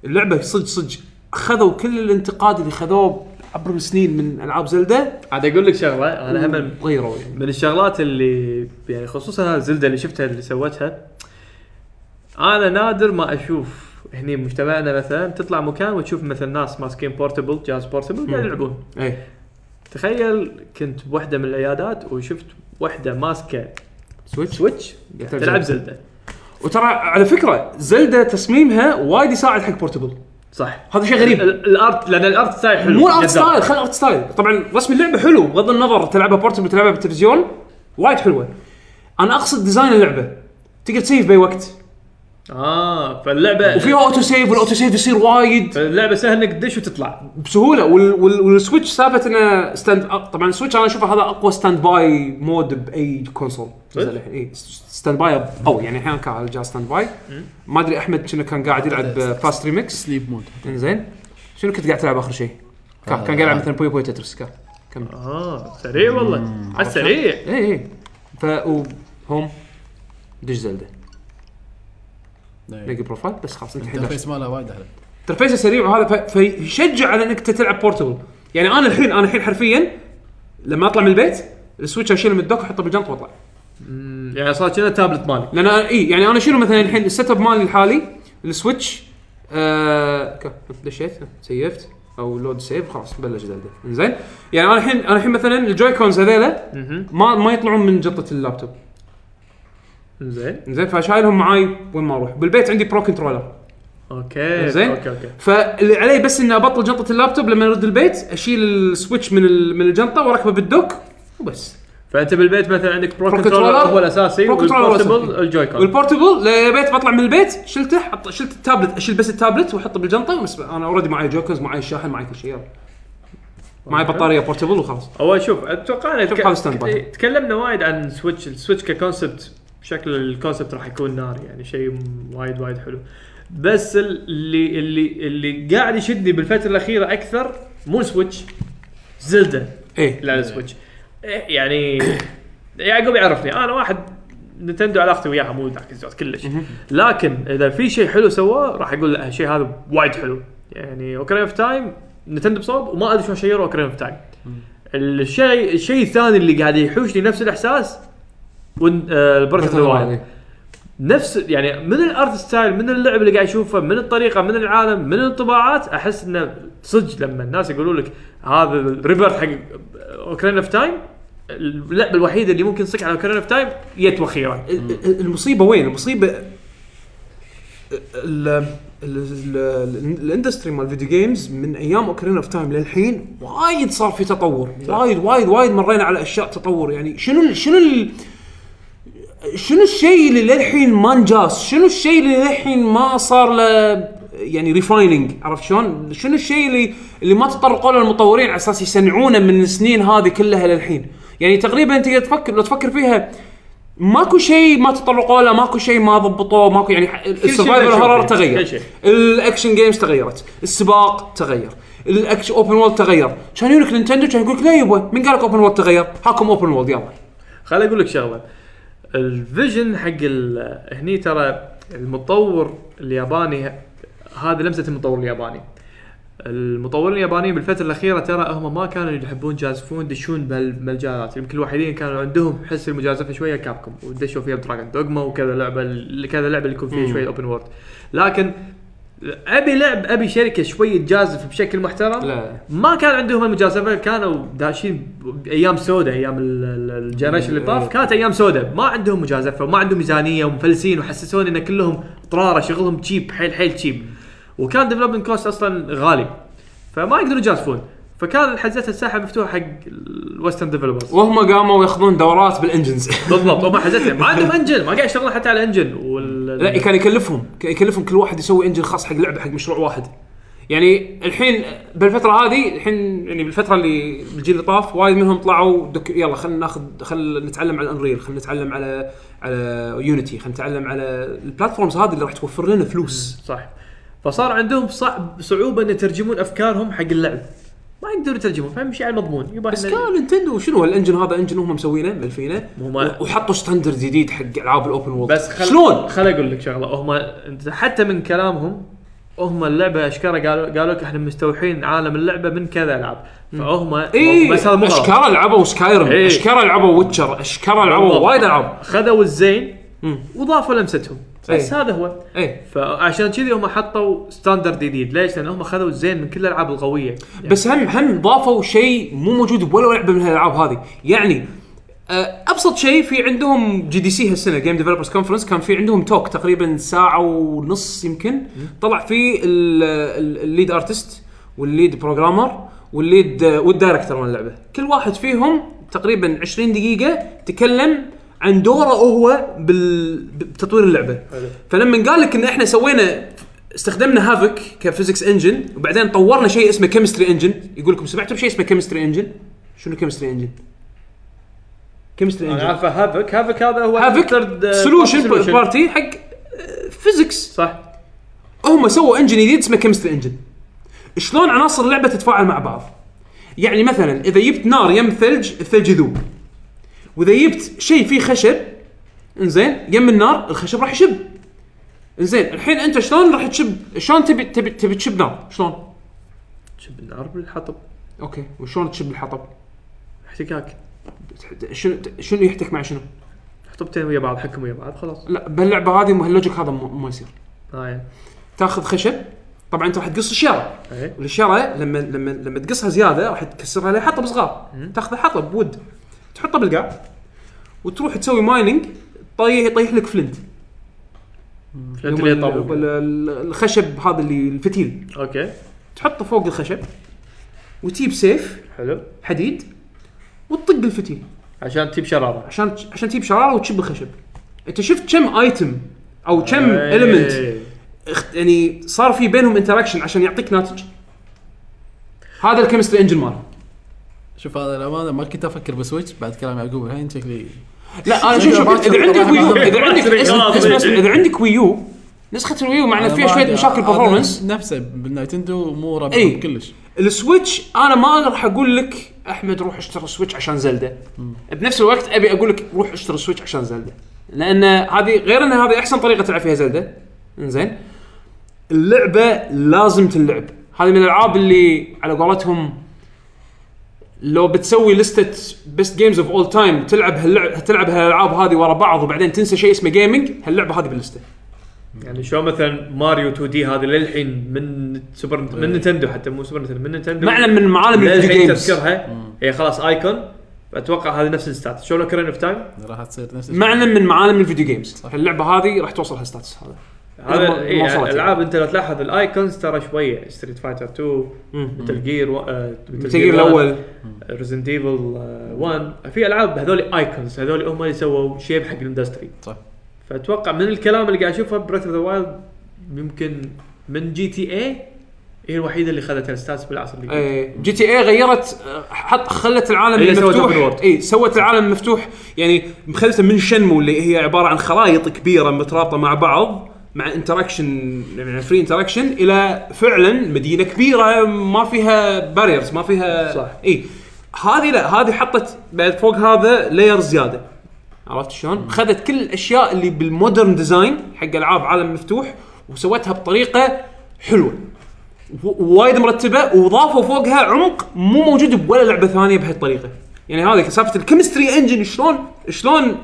Speaker 2: اللعبه صدق صدق اخذوا كل الانتقاد اللي خذوه عبر السنين من العاب زلده
Speaker 3: عاد اقول لك شغله انا هم
Speaker 2: غيروا يعني
Speaker 3: من الشغلات اللي يعني خصوصا الزلده اللي شفتها اللي سوتها انا نادر ما اشوف هني مجتمعنا مثلا تطلع مكان وتشوف مثلا ناس ماسكين بورتبل جهاز بورتبل قاعد يلعبون
Speaker 2: اي
Speaker 3: تخيل كنت بوحده من العيادات وشفت وحده ماسكه
Speaker 2: سويتش
Speaker 3: سويتش تلعب زلده
Speaker 2: وترى على فكره زلده تصميمها وايد يساعد حق بورتبل
Speaker 3: صح
Speaker 2: هذا شيء غريب
Speaker 3: ال- الارت لان الارت ستايل حلو
Speaker 2: مو الارت
Speaker 3: جذاب.
Speaker 2: ستايل خلي الارت ستايل طبعا رسم اللعبه حلو بغض النظر تلعبها بورتبل تلعبها بالتلفزيون وايد حلوه انا اقصد ديزاين اللعبه تقدر تسيف باي وقت
Speaker 3: اه فاللعبه
Speaker 2: وفيها اوتو سيف والاوتو سيف يصير وايد
Speaker 3: اللعبه سهل انك تدش وتطلع
Speaker 2: بسهوله وال وال والسويتش ثابت انه ستاند طبعا السويتش انا اشوفه هذا اقوى ستاند باي مود باي كونسول نزل الحين اي ستاند باي قوي إيه. يعني الحين كان على الجهاز ستاند باي ما ادري احمد شنو كان قاعد يلعب فاست ريمكس
Speaker 6: سليب مود
Speaker 2: انزين شنو كنت قاعد تلعب اخر شيء؟ كان كان قاعد يلعب مثلا بوي بوي تترس كان كمل
Speaker 3: اه سريع والله على السريع
Speaker 2: اي اي إيه، ف و- هم دش زلده
Speaker 6: إيه.
Speaker 2: نلقى بروفايل بس خلاص انت الحين داش.
Speaker 6: الانترفيس إيه. مالها وايد احلى
Speaker 2: انترفيسه سريع وهذا ف- فيشجع على انك تلعب بورتبل يعني انا الحين انا الحين حرفيا لما اطلع من البيت السويتش اشيله من الدوك واحطه بالجنط واطلع
Speaker 3: يعني صار كذا تابلت مالك
Speaker 2: لان أنا- اي يعني انا شنو مثلا الحين السيت اب مالي الحالي السويتش آه ك- دشيت سيفت او لود سيف خلاص بلش زلده زين يعني انا الحين انا الحين مثلا الجوي كونز هذيلا ما ما يطلعون من جنطه اللابتوب
Speaker 3: زين
Speaker 2: زين فشايلهم معاي وين ما اروح بالبيت عندي برو كنترولر
Speaker 3: اوكي
Speaker 2: زين.
Speaker 3: اوكي اوكي
Speaker 2: فاللي علي بس اني ابطل جنطه اللابتوب لما ارد البيت اشيل السويتش من ال- من الجنطه واركبه بالدوك وبس
Speaker 3: فانت بالبيت مثلا عندك برو
Speaker 2: برو
Speaker 3: كنترولر
Speaker 2: كنترولر.
Speaker 3: هو الاساسي
Speaker 2: برو كنترولر هو
Speaker 3: والبورتبل
Speaker 2: الأساسي.
Speaker 3: الجويكون
Speaker 2: والبورتبل للبيت بطلع من البيت شلته حط شلت التابلت اشيل بس التابلت واحطه بالجنطه وبس انا اوريدي معي جوكرز معي الشاحن معي كل شيء يلا معي بطاريه بورتبل وخلاص
Speaker 3: اول شوف اتوقع
Speaker 2: شوف حال stand by.
Speaker 3: تك... إيه، تكلمنا وايد عن سويتش السويتش ككونسبت شكل الكونسبت راح يكون نار يعني شيء م- وايد وايد حلو بس اللي اللي اللي قاعد يشدني بالفتره الاخيره اكثر مو سويتش زلدة
Speaker 2: ايه
Speaker 3: لا سويتش إيه، يعني يعقوب يعرفني انا واحد نتندو علاقتي وياها مو ذاك الزود كلش لكن اذا في شيء حلو سواه راح اقول لا الشيء هذا وايد حلو يعني اوكرين اوف تايم نتندو بصوب وما ادري شلون شيروا اوكرين اوف تايم الشيء الشيء الثاني اللي قاعد يحوشني نفس آه، الاحساس بريث اوف ذا وايلد نفس يعني من الارت ستايل من اللعب اللي قاعد اشوفه من الطريقه من العالم من الانطباعات احس انه صدق لما الناس يقولوا لك هذا الريبرت حق اوكرين اوف تايم اللعبه الوحيده اللي ممكن تصك على اوكرين اوف تايم جت واخيرا
Speaker 2: ال- ال- المصيبه وين؟ المصيبه ال- ال- ال- ال- الاندستري مال الفيديو جيمز من ايام اوكرين اوف تايم للحين وايد صار في تطور وايد وايد وايد مرينا على اشياء تطور يعني شنو ال- شنو ال- شنو الشيء اللي للحين ما انجاز؟ شنو الشيء اللي للحين ما صار له يعني ريفايننج عرفت شلون؟ شنو الشيء اللي اللي ما تطرقوا له المطورين على اساس يصنعونه من السنين هذه كلها للحين؟ يعني تقريبا تقدر تفكر لو تفكر فيها ماكو شيء ما تطرقوا له ماكو شيء ما ضبطوه ماكو يعني ح- السرفايفل
Speaker 3: مشهور. يعني،
Speaker 2: هورر
Speaker 3: كل شيء.
Speaker 2: تغير الاكشن جيمز تغيرت السباق تغير الاكشن اوبن وولد تغير كان يقول لك نينتندو كان يقول لك لا يبا من قال لك اوبن وولد تغير هاكم اوبن وولد يلا
Speaker 3: خليني اقول لك شغله الفيجن حق ال- هني ترى المطور الياباني ه- هذه لمسه المطور الياباني المطورين اليابانيين بالفتره الاخيره ترى هم ما كانوا يحبون يجازفون يدشون بالمجالات يمكن الوحيدين كانوا عندهم حس المجازفه شويه كابكم ودشوا فيها بدراجون دوغما وكذا لعبه ال- كذا لعبه اللي يكون فيها شويه اوبن وورد لكن ابي لعب ابي شركه شويه تجازف بشكل محترم
Speaker 2: لا.
Speaker 3: ما كان عندهم المجازفه كانوا داشين بايام سوداء ايام ال- ال- الجنريشن اللي طاف كانت ايام سوداء ما عندهم مجازفه وما عندهم ميزانيه ومفلسين وحسسوني ان كلهم طراره شغلهم تشيب حيل حيل تشيب وكان ديفلوبمنت كوست اصلا غالي فما يقدرون يجازفون فكان حزتها الساحه مفتوحه حق الويسترن ديفلوبرز
Speaker 2: وهم قاموا ياخذون دورات بالانجنز
Speaker 3: بالضبط هم حزتها ما عندهم انجن ما قاعد يشتغلون حتى على انجن وال
Speaker 2: لا كان يكلفهم كان يكلفهم كل واحد يسوي انجن خاص حق لعبه حق مشروع واحد يعني الحين بالفتره هذه الحين يعني بالفتره اللي الجيل اللي طاف وايد منهم طلعوا دك يلا خلينا ناخذ خلينا نتعلم على انريل خلينا نتعلم على على يونيتي خلينا نتعلم على البلاتفورمز هذه اللي راح توفر لنا فلوس
Speaker 3: صح فصار عندهم صعب صعوبه ان يترجمون افكارهم حق اللعب ما يقدرون يترجمون فمشي على المضمون يبا
Speaker 2: بس
Speaker 3: إحنا-
Speaker 2: كان نتندو شنو الانجن هذا انجن هم مسوينه ملفينه
Speaker 3: هم-
Speaker 2: وحطوا ستاندرد جديد حق العاب الاوبن وورلد
Speaker 3: بس خل...
Speaker 2: شلون؟
Speaker 3: خل اقول لك شغله هم انت حتى من كلامهم هم اللعبه اشكره قالوا قالوا لك احنا مستوحين عالم اللعبه من كذا العاب فهم
Speaker 2: اي
Speaker 3: بس هذا مو غلط.
Speaker 2: اشكال إيه، لعبوا سكايرم
Speaker 3: إيه.
Speaker 2: اشكال لعبوا ويتشر اشكال لعبوا
Speaker 3: بالضبط.
Speaker 2: وايد العاب
Speaker 3: خذوا الزين وضافوا لمستهم بس هذا هو
Speaker 2: اي
Speaker 3: فعشان كذي هم حطوا ستاندرد جديد ليش؟ لان هم خذوا الزين من كل الالعاب القويه
Speaker 2: بس هم هم ضافوا شيء مو موجود بولا لعبه من هالالعاب هذه يعني آه، ابسط شيء في عندهم جي دي سي هالسنه جيم ديفلوبرز كونفرنس كان في عندهم توك تقريبا ساعه ونص يمكن طلع فيه ال- ال- الليد ارتست والليد بروجرامر والليد آه، والدايركتور مال اللعبه كل واحد فيهم تقريبا 20 دقيقه تكلم عن دوره هو بال- بتطوير اللعبه فلما قال لك ان احنا سوينا استخدمنا هافك كفيزكس انجن وبعدين طورنا شيء اسمه كيمستري انجن يقول لكم سمعتوا بشيء اسمه كيمستري انجن شنو كيمستري انجن كيمستري
Speaker 3: انا
Speaker 2: انجن
Speaker 3: عارفه هافك هافك هذا هو third-
Speaker 2: هافك
Speaker 3: آه،
Speaker 2: سولوشن
Speaker 3: يعني- solution.
Speaker 2: بارتي حق uh, فيزكس
Speaker 3: صح
Speaker 2: هم سووا انجن جديد اسمه كيمستري انجن شلون عناصر اللعبه تتفاعل مع بعض يعني مثلا اذا جبت نار يم ثلج الثلج يذوب واذا جبت شيء فيه خشب انزين يم النار الخشب راح يشب انزين الحين انت شلون راح تشب شلون تبي تبي تبي تشب نار شلون
Speaker 3: شب النار بالحطب
Speaker 2: اوكي وشلون تشب الحطب؟
Speaker 3: احتكاك
Speaker 2: تحت- شنو شنو يحتك مع شنو؟
Speaker 3: حطبتين ويا بعض حكم ويا بعض خلاص آه،
Speaker 2: لا باللعبه هذه هاللوجيك هذا ما ما يصير
Speaker 3: هاي
Speaker 2: تاخذ خشب طبعا انت راح تقص الشاره
Speaker 3: ايه
Speaker 2: والشاره لما لما لما تقصها زياده راح تكسرها لحطب صغار تاخذ حطب بود تحطه بالقاع وتروح تسوي مايننج طيح يطيح لك فلنت
Speaker 3: فهمت ليه طابو
Speaker 2: ولا ال- الخشب هذا اللي الفتيل
Speaker 3: اوكي
Speaker 2: تحطه فوق الخشب وتجيب سيف
Speaker 3: حلو
Speaker 2: حديد وتطق الفتيل
Speaker 3: عشان تجيب شراره
Speaker 2: عشان عشان تجيب شراره وتشب الخشب انت شفت كم ايتم او كم
Speaker 3: إيه.
Speaker 2: المنت يعني صار في بينهم انتراكشن عشان يعطيك ناتج هذا الكيمستري انجن مال
Speaker 6: شوف هذا الامانه ما كنت افكر بسويتش بعد كلام يعقوب الحين شكلي
Speaker 2: لا انا شوف شوف اذا عندك ويو اذا عندك اسمع اسمع اسمع، اذا عندك ويو نسخه الويو مع ان فيها شويه مشاكل إيه. برفورمنس
Speaker 6: نفسه بالنايتندو مو
Speaker 2: إي.
Speaker 6: رابط كلش
Speaker 2: السويتش انا ما راح اقول لك احمد روح اشتري سويتش عشان زلده بنفس الوقت ابي اقول لك روح اشتري سويتش عشان زلده لان هذه غير ان هذه احسن طريقه تلعب فيها زلده انزين اللعبه لازم تلعب هذه من الالعاب اللي على قولتهم لو بتسوي لستة بيست جيمز اوف اول تايم تلعب هاللعب تلعب هالالعاب هذه ورا بعض وبعدين تنسى شيء اسمه جيمنج هاللعبه هذه باللسته
Speaker 3: يعني شو مثلا ماريو 2 دي هذه للحين من سوبر من نتندو حتى مو سوبر نتندو من نتندو
Speaker 2: معلم من معالم الفيديو
Speaker 3: للحين
Speaker 2: جيمز
Speaker 3: تذكرها هي خلاص ايكون اتوقع هذه نفس الستات شو كرين اوف تايم
Speaker 6: راح تصير نفس الشيء
Speaker 2: معلم من معالم الفيديو جيمز اللعبه هذه راح توصل هالستاتس هذا ما-
Speaker 3: هذا
Speaker 2: ما
Speaker 3: إيه،
Speaker 2: وصلت.
Speaker 3: الالعاب انت لو تلاحظ الايكونز ترى شويه ستريت فايتر 2 متل جير
Speaker 2: مثل جير الاول
Speaker 3: ريزنت ايفل 1 uh, في العاب هذول ايكونز هذول هم اللي سووا شيب حق الاندستري
Speaker 6: صح.
Speaker 3: فاتوقع من الكلام اللي قاعد اشوفه بريث اوف ذا وايلد يمكن من جي تي اي هي الوحيده اللي اخذت الستاتس بالعصر اللي قبل.
Speaker 2: إيه، جي تي اي غيرت آه، حط خلت العالم
Speaker 3: هي إيه، سوت open
Speaker 2: المفتوح
Speaker 3: world.
Speaker 2: اي سوت العالم مفتوح يعني مخلته من شنمو اللي هي عباره عن خرائط كبيره مترابطه مع بعض مع انتراكشن يعني فري انتراكشن الى فعلا مدينه كبيره ما فيها باريرز ما فيها
Speaker 3: صح.
Speaker 2: اي هذه لا هذه حطت بعد فوق هذا لاير زياده عرفت شلون؟ خذت كل الاشياء اللي بالمودرن ديزاين حق العاب عالم مفتوح وسوتها بطريقه حلوه و- وايد مرتبه وضافوا فوقها عمق مو موجود بولا لعبه ثانيه بهالطريقه يعني هذه سالفه الكيمستري انجن شلون شلون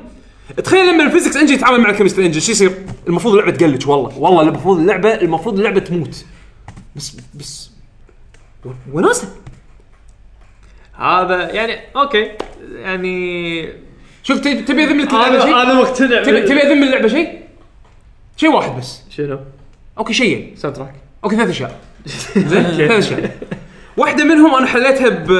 Speaker 2: تخيل لما الفيزكس انجن يتعامل مع الكيمستري انجن شو يصير؟ المفروض اللعبه تقلج والله والله المفروض اللعبه المفروض اللعبه تموت بس بس و- وناسه
Speaker 3: هذا يعني اوكي يعني
Speaker 2: شوف تبي تبي اذم لك اللعبه
Speaker 3: انا
Speaker 2: شيء؟
Speaker 3: انا مقتنع
Speaker 2: تبي
Speaker 3: بال-
Speaker 2: تبي اذم اللعبه شيء؟ شيء واحد بس
Speaker 3: شنو؟
Speaker 2: اوكي شيئين
Speaker 3: ساوند تراك
Speaker 2: اوكي ثلاث اشياء زين ثلاث اشياء واحده منهم انا حليتها ب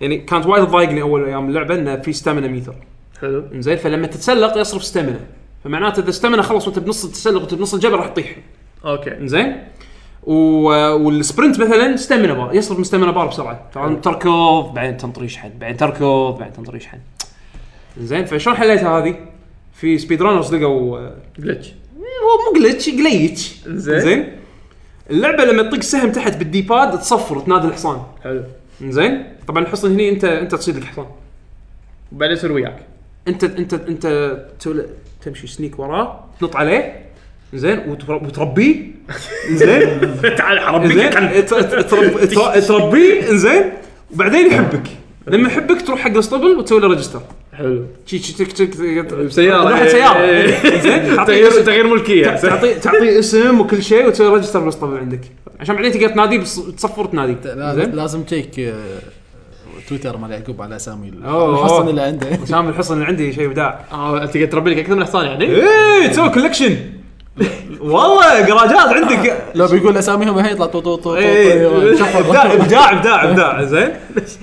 Speaker 2: يعني كانت وايد تضايقني اول ايام اللعبه انه في ستامنا ميتر
Speaker 3: حلو
Speaker 2: زين فلما تتسلق يصرف ستامنا فمعناته اذا ستامنا خلص وانت بنص التسلق وانت بنص الجبل راح تطيح
Speaker 3: اوكي
Speaker 2: زين و... والسبرنت مثلا ستامنا بار يصرف من ستامنا بار بسرعه طبعا تركض بعدين تنطر يشحن بعدين تركض بعدين تنطر يشحن زين فشلون حليتها هذه؟ في سبيد رانرز لقوا آه،
Speaker 3: جلتش
Speaker 2: هو مو جلتش جليتش
Speaker 3: زين.
Speaker 2: زين اللعبه لما تطق سهم تحت بالدي باد تصفر تنادي الحصان
Speaker 3: حلو
Speaker 2: زين طبعا الحصن هني انت انت تصيد لك حصان
Speaker 3: وبعدين يصير وياك
Speaker 2: انت انت انت تول- تمشي سنيك وراه تنط عليه زين وتر- وتربيه زين
Speaker 3: تعال
Speaker 2: زين ت- ت- ترب- تر- تربيه زين وبعدين يحبك لما يحبك تروح حق الاسطبل وتسوي له ريجستر
Speaker 3: حلو
Speaker 2: شي شي تك تك تك-
Speaker 3: بسياره
Speaker 2: واحد سياره
Speaker 3: إيه.
Speaker 2: زين تعطيه
Speaker 3: تغيير تغيير ملكيه
Speaker 2: تعطي تعطي اسم وكل شيء وتسوي ريجستر بالاسطبل عندك عشان بعدين تقدر تنادي بص- تصفر تنادي
Speaker 6: لازم- لازم تشيك آه، تويتر مال يعقوب على اسامي
Speaker 2: أوه.
Speaker 6: الحصن اللي عنده
Speaker 2: سام الحصن اللي عندي شيء ابداع
Speaker 3: اه انت قاعد تربي لك اكثر من حصان يعني؟
Speaker 2: ايه تسوي كولكشن والله جراجات عندك
Speaker 6: لو بيقول اساميهم الحين يطلع طو طو طو طو-
Speaker 2: إيه،
Speaker 3: طيب،
Speaker 6: طو-
Speaker 2: ابداع ابداع ابداع ابداع زين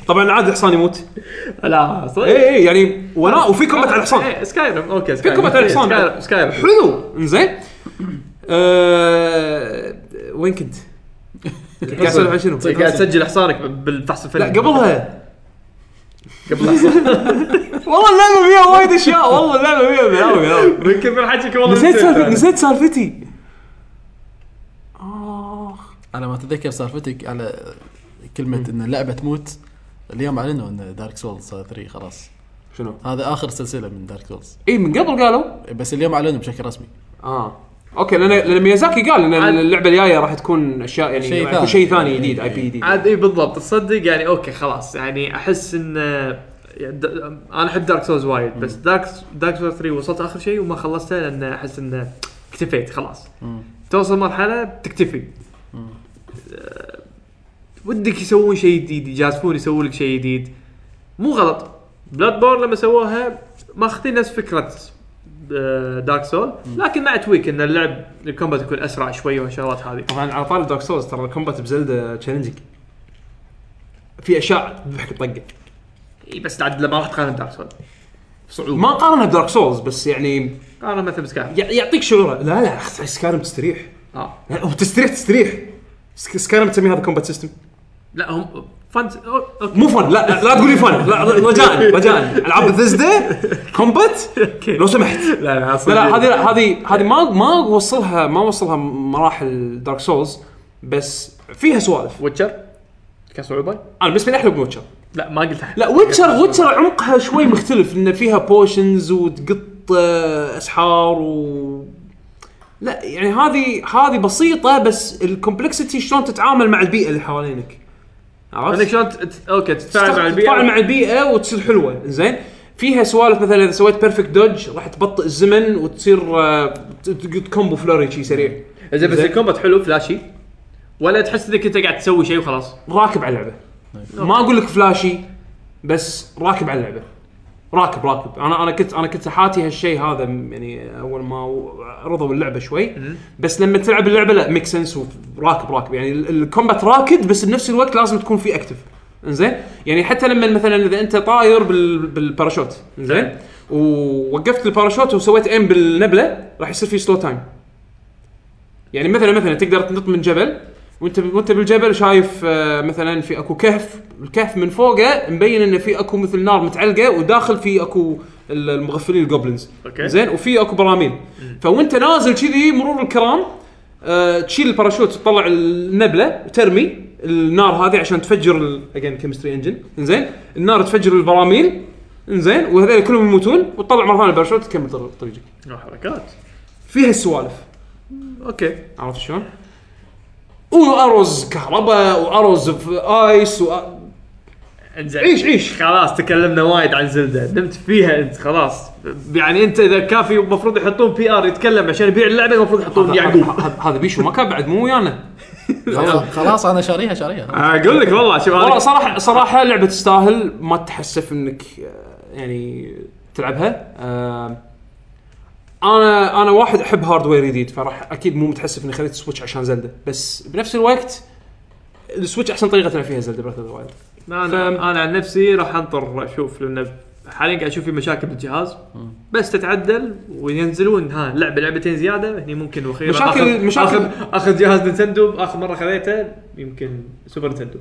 Speaker 2: طبعا عاد الحصان يموت
Speaker 3: لا إيه،
Speaker 2: اي اي يعني وراء وفي كومبات على الحصان
Speaker 3: سكايرم اوكي سكايرم
Speaker 2: كومبات على الحصان.
Speaker 3: سكايرم
Speaker 2: حلو انزين آه، وين كنت؟ قاعد اسولف عن شنو؟
Speaker 3: قاعد تسجل حصانك بالفحص الفني
Speaker 2: لا قبلها
Speaker 3: قبل حصان
Speaker 2: والله اللعبه فيها وايد اشياء والله اللعبه فيها بلاوي بلاوي
Speaker 3: من كثر حكيك والله
Speaker 2: نسيت سالفتي
Speaker 3: أنا.
Speaker 2: نسيت سالفتي
Speaker 6: على ما اتذكر سالفتك على كلمه ان اللعبه تموت اليوم اعلنوا ان دارك سولز 3 خلاص
Speaker 2: شنو؟
Speaker 6: هذا اخر سلسله من دارك سولز
Speaker 2: اي من قبل قالوا
Speaker 6: بس اليوم اعلنوا بشكل رسمي
Speaker 2: اه اوكي لان لان ميازاكي قال ان
Speaker 3: عاد-
Speaker 2: اللعبه الجايه راح تكون اشياء يعني
Speaker 6: شيء
Speaker 2: راح يكون
Speaker 6: ثاني.
Speaker 2: شيء ثاني جديد اي بي جديد
Speaker 3: عاد اي بالضبط تصدق يعني اوكي خلاص يعني احس ان يعني د- انا احب دارك سولز وايد بس دارك دارك سولز 3 وصلت اخر شيء وما خلصته لان احس ان اكتفيت خلاص توصل مرحله بتكتفي أه، ودك يسوون شيء جديد يجازفون يسوون لك شيء جديد مو غلط بلاد بورن لما سووها ماخذين نفس فكره دارك سول لكن مع تويك ان اللعب الكومبات يكون اسرع شوي والشغلات هذه
Speaker 2: طبعا على طار دارك سولز ترى الكومبات بزلدا تشالنجينج في اشياء تذبحك طقه
Speaker 3: اي بس عاد لما راح تقارن دارك سول صعوبه
Speaker 2: ما قارنها بدارك سولز بس يعني
Speaker 3: قارن مثلا بسكاي
Speaker 2: ي- يعطيك شعور لا لا سكارم تستريح
Speaker 3: اه
Speaker 2: لا، وتستريح تستريح سك- سكارم تسمي هذا كومبات سيستم
Speaker 3: لا هم فانز أو- أوكي.
Speaker 2: مو فن لا لا تقول لي فن لا رجاء رجاء العاب بثزدا كومبات لو سمحت
Speaker 3: لا لا
Speaker 2: لا
Speaker 3: أصلاً
Speaker 2: لا هذه هذه هذه ما ما وصلها ما وصلها مراحل دارك سولز بس فيها سوالف
Speaker 3: ويتشر كصعوبه
Speaker 2: انا بالنسبه لي احلى من ويتشر
Speaker 3: لا ما قلت أحد.
Speaker 2: لا ويتشر ويتشر عمقها شوي مختلف ان فيها بوشنز وتقط آه، اسحار و لا يعني هذه هذه بسيطه بس الكومبلكسيتي شلون تتعامل مع البيئه اللي حوالينك
Speaker 3: انك
Speaker 2: عرفت؟
Speaker 3: شلون تت- اوكي تتفاعل مع
Speaker 2: تتفاعل
Speaker 3: البيئه
Speaker 2: مع البيئه وتصير حلوه زين فيها سوالف مثلا اذا سويت بيرفكت دوج راح تبطئ الزمن وتصير آه، ت- ت- كومبو فلوري شي سريع
Speaker 3: زين بس الكومبات حلو فلاشي ولا تحس انك انت قاعد تسوي شيء وخلاص
Speaker 2: راكب على اللعبه ما اقول لك فلاشي بس راكب على اللعبه راكب راكب انا انا كنت انا كنت حاتي هالشيء هذا م- يعني اول ما و- رضوا اللعبه شوي بس لما تلعب اللعبه لا ميك سنس وراكب راكب يعني ال- الكومبات راكد بس بنفس الوقت لازم تكون في اكتف انزين يعني حتى لما مثلا اذا انت طاير بال بالباراشوت انزين ووقفت الباراشوت وسويت ام بالنبله راح يصير في سلو تايم يعني مثلا مثلا تقدر تنط من جبل وانت وانت بالجبل شايف آه، مثلا في اكو كهف الكهف من فوقه مبين انه في اكو مثل نار متعلقه وداخل في اكو ال- المغفلين الجوبلنز
Speaker 3: اوكي.
Speaker 2: زين وفي اكو براميل فوانت نازل كذي مرور الكرام آه، تشيل الباراشوت تطلع النبله وترمي النار هذه عشان تفجر اجين كيمستري انجن زين النار تفجر البراميل زين وهذول كلهم يموتون وتطلع مره ثانيه الباراشوت تكمل طر- طريقك
Speaker 3: حركات
Speaker 2: فيها السوالف
Speaker 3: اوكي
Speaker 2: عرفت شلون؟ واروز كهرباء واروز في ايس و...
Speaker 3: انزين
Speaker 2: عيش عيش
Speaker 3: خلاص تكلمنا وايد عن زلدة نمت فيها انت خلاص يعني انت اذا كان في المفروض يحطون بي ار يتكلم عشان يبيع اللعبه المفروض يحطون يعقوب
Speaker 2: هذا- يعني هذا بيشو ما كان بعد مو ويانا
Speaker 6: خلاص- خلاص انا شاريها شاريها
Speaker 3: اقول لك والله شوف
Speaker 2: والله
Speaker 3: انا
Speaker 2: صراحه صراحه لعبه تستاهل ما تحسف انك آه، يعني تلعبها آه، انا انا واحد احب هاردوير جديد فراح اكيد مو متحسف اني خليت سويتش عشان زلده بس بنفس الوقت السويتش احسن طريقه تلعب فيها زلده براث اوف ذا وايلد
Speaker 3: انا انا عن نفسي راح انطر اشوف لانه حاليا قاعد اشوف في مشاكل بالجهاز بس تتعدل وينزلون ها لعبه لعبتين زياده هني ممكن واخيرا
Speaker 2: مشاكل-
Speaker 3: آخذ-
Speaker 2: مشاكل-
Speaker 3: اخذ اخذ جهاز نينتندو اخر مره خذيته يمكن سوبر نينتندو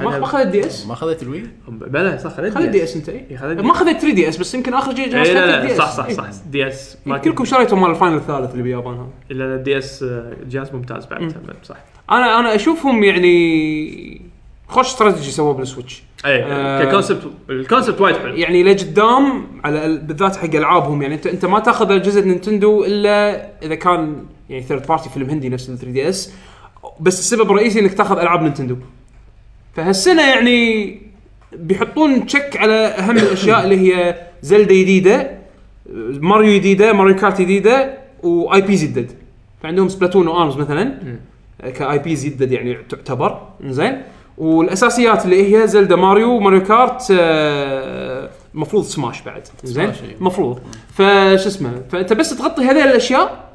Speaker 2: ما ما خذيت دي اس
Speaker 6: ما خذيت الوي
Speaker 3: بلا صح خذيت
Speaker 2: خذيت دي اس انت اي
Speaker 3: إي، خذيت
Speaker 2: ما خذيت 3 دي اس بس يمكن اخر شيء
Speaker 3: إي،
Speaker 2: جهاز
Speaker 3: إيه، لا
Speaker 2: خذيت
Speaker 3: لا
Speaker 2: DS.
Speaker 3: صح صح
Speaker 2: إي.
Speaker 3: صح دي اس ما
Speaker 2: ما كلكم شريتوا مال الفاينل الثالث اللي باليابان هذا
Speaker 3: الا الدي اس آه، جهاز ممتاز بعد تمام، صح
Speaker 2: انا انا اشوفهم يعني خوش استراتيجي سووه بالسويتش
Speaker 3: اي
Speaker 2: آه،
Speaker 3: ككونسبت الكونسبت وايد حلو
Speaker 2: يعني لقدام على ال- بالذات حق العابهم يعني انت انت ما تاخذ اجهزه نينتندو الا اذا كان يعني ثيرد بارتي فيلم هندي نفس ال 3 دي اس بس السبب الرئيسي انك تاخذ العاب نينتندو فهالسنه يعني بيحطون تشك على اهم الاشياء اللي هي زلده جديده ماريو جديده ماريو كارت جديده واي بيز جدد فعندهم سبلاتون وارمز مثلا كاي بيز جدد يعني تعتبر زين والاساسيات اللي هي زلدا ماريو ماريو كارت آه، المفروض سماش بعد زين
Speaker 6: سماش، أيوة.
Speaker 2: المفروض فش اسمه فانت بس تغطي هذه الاشياء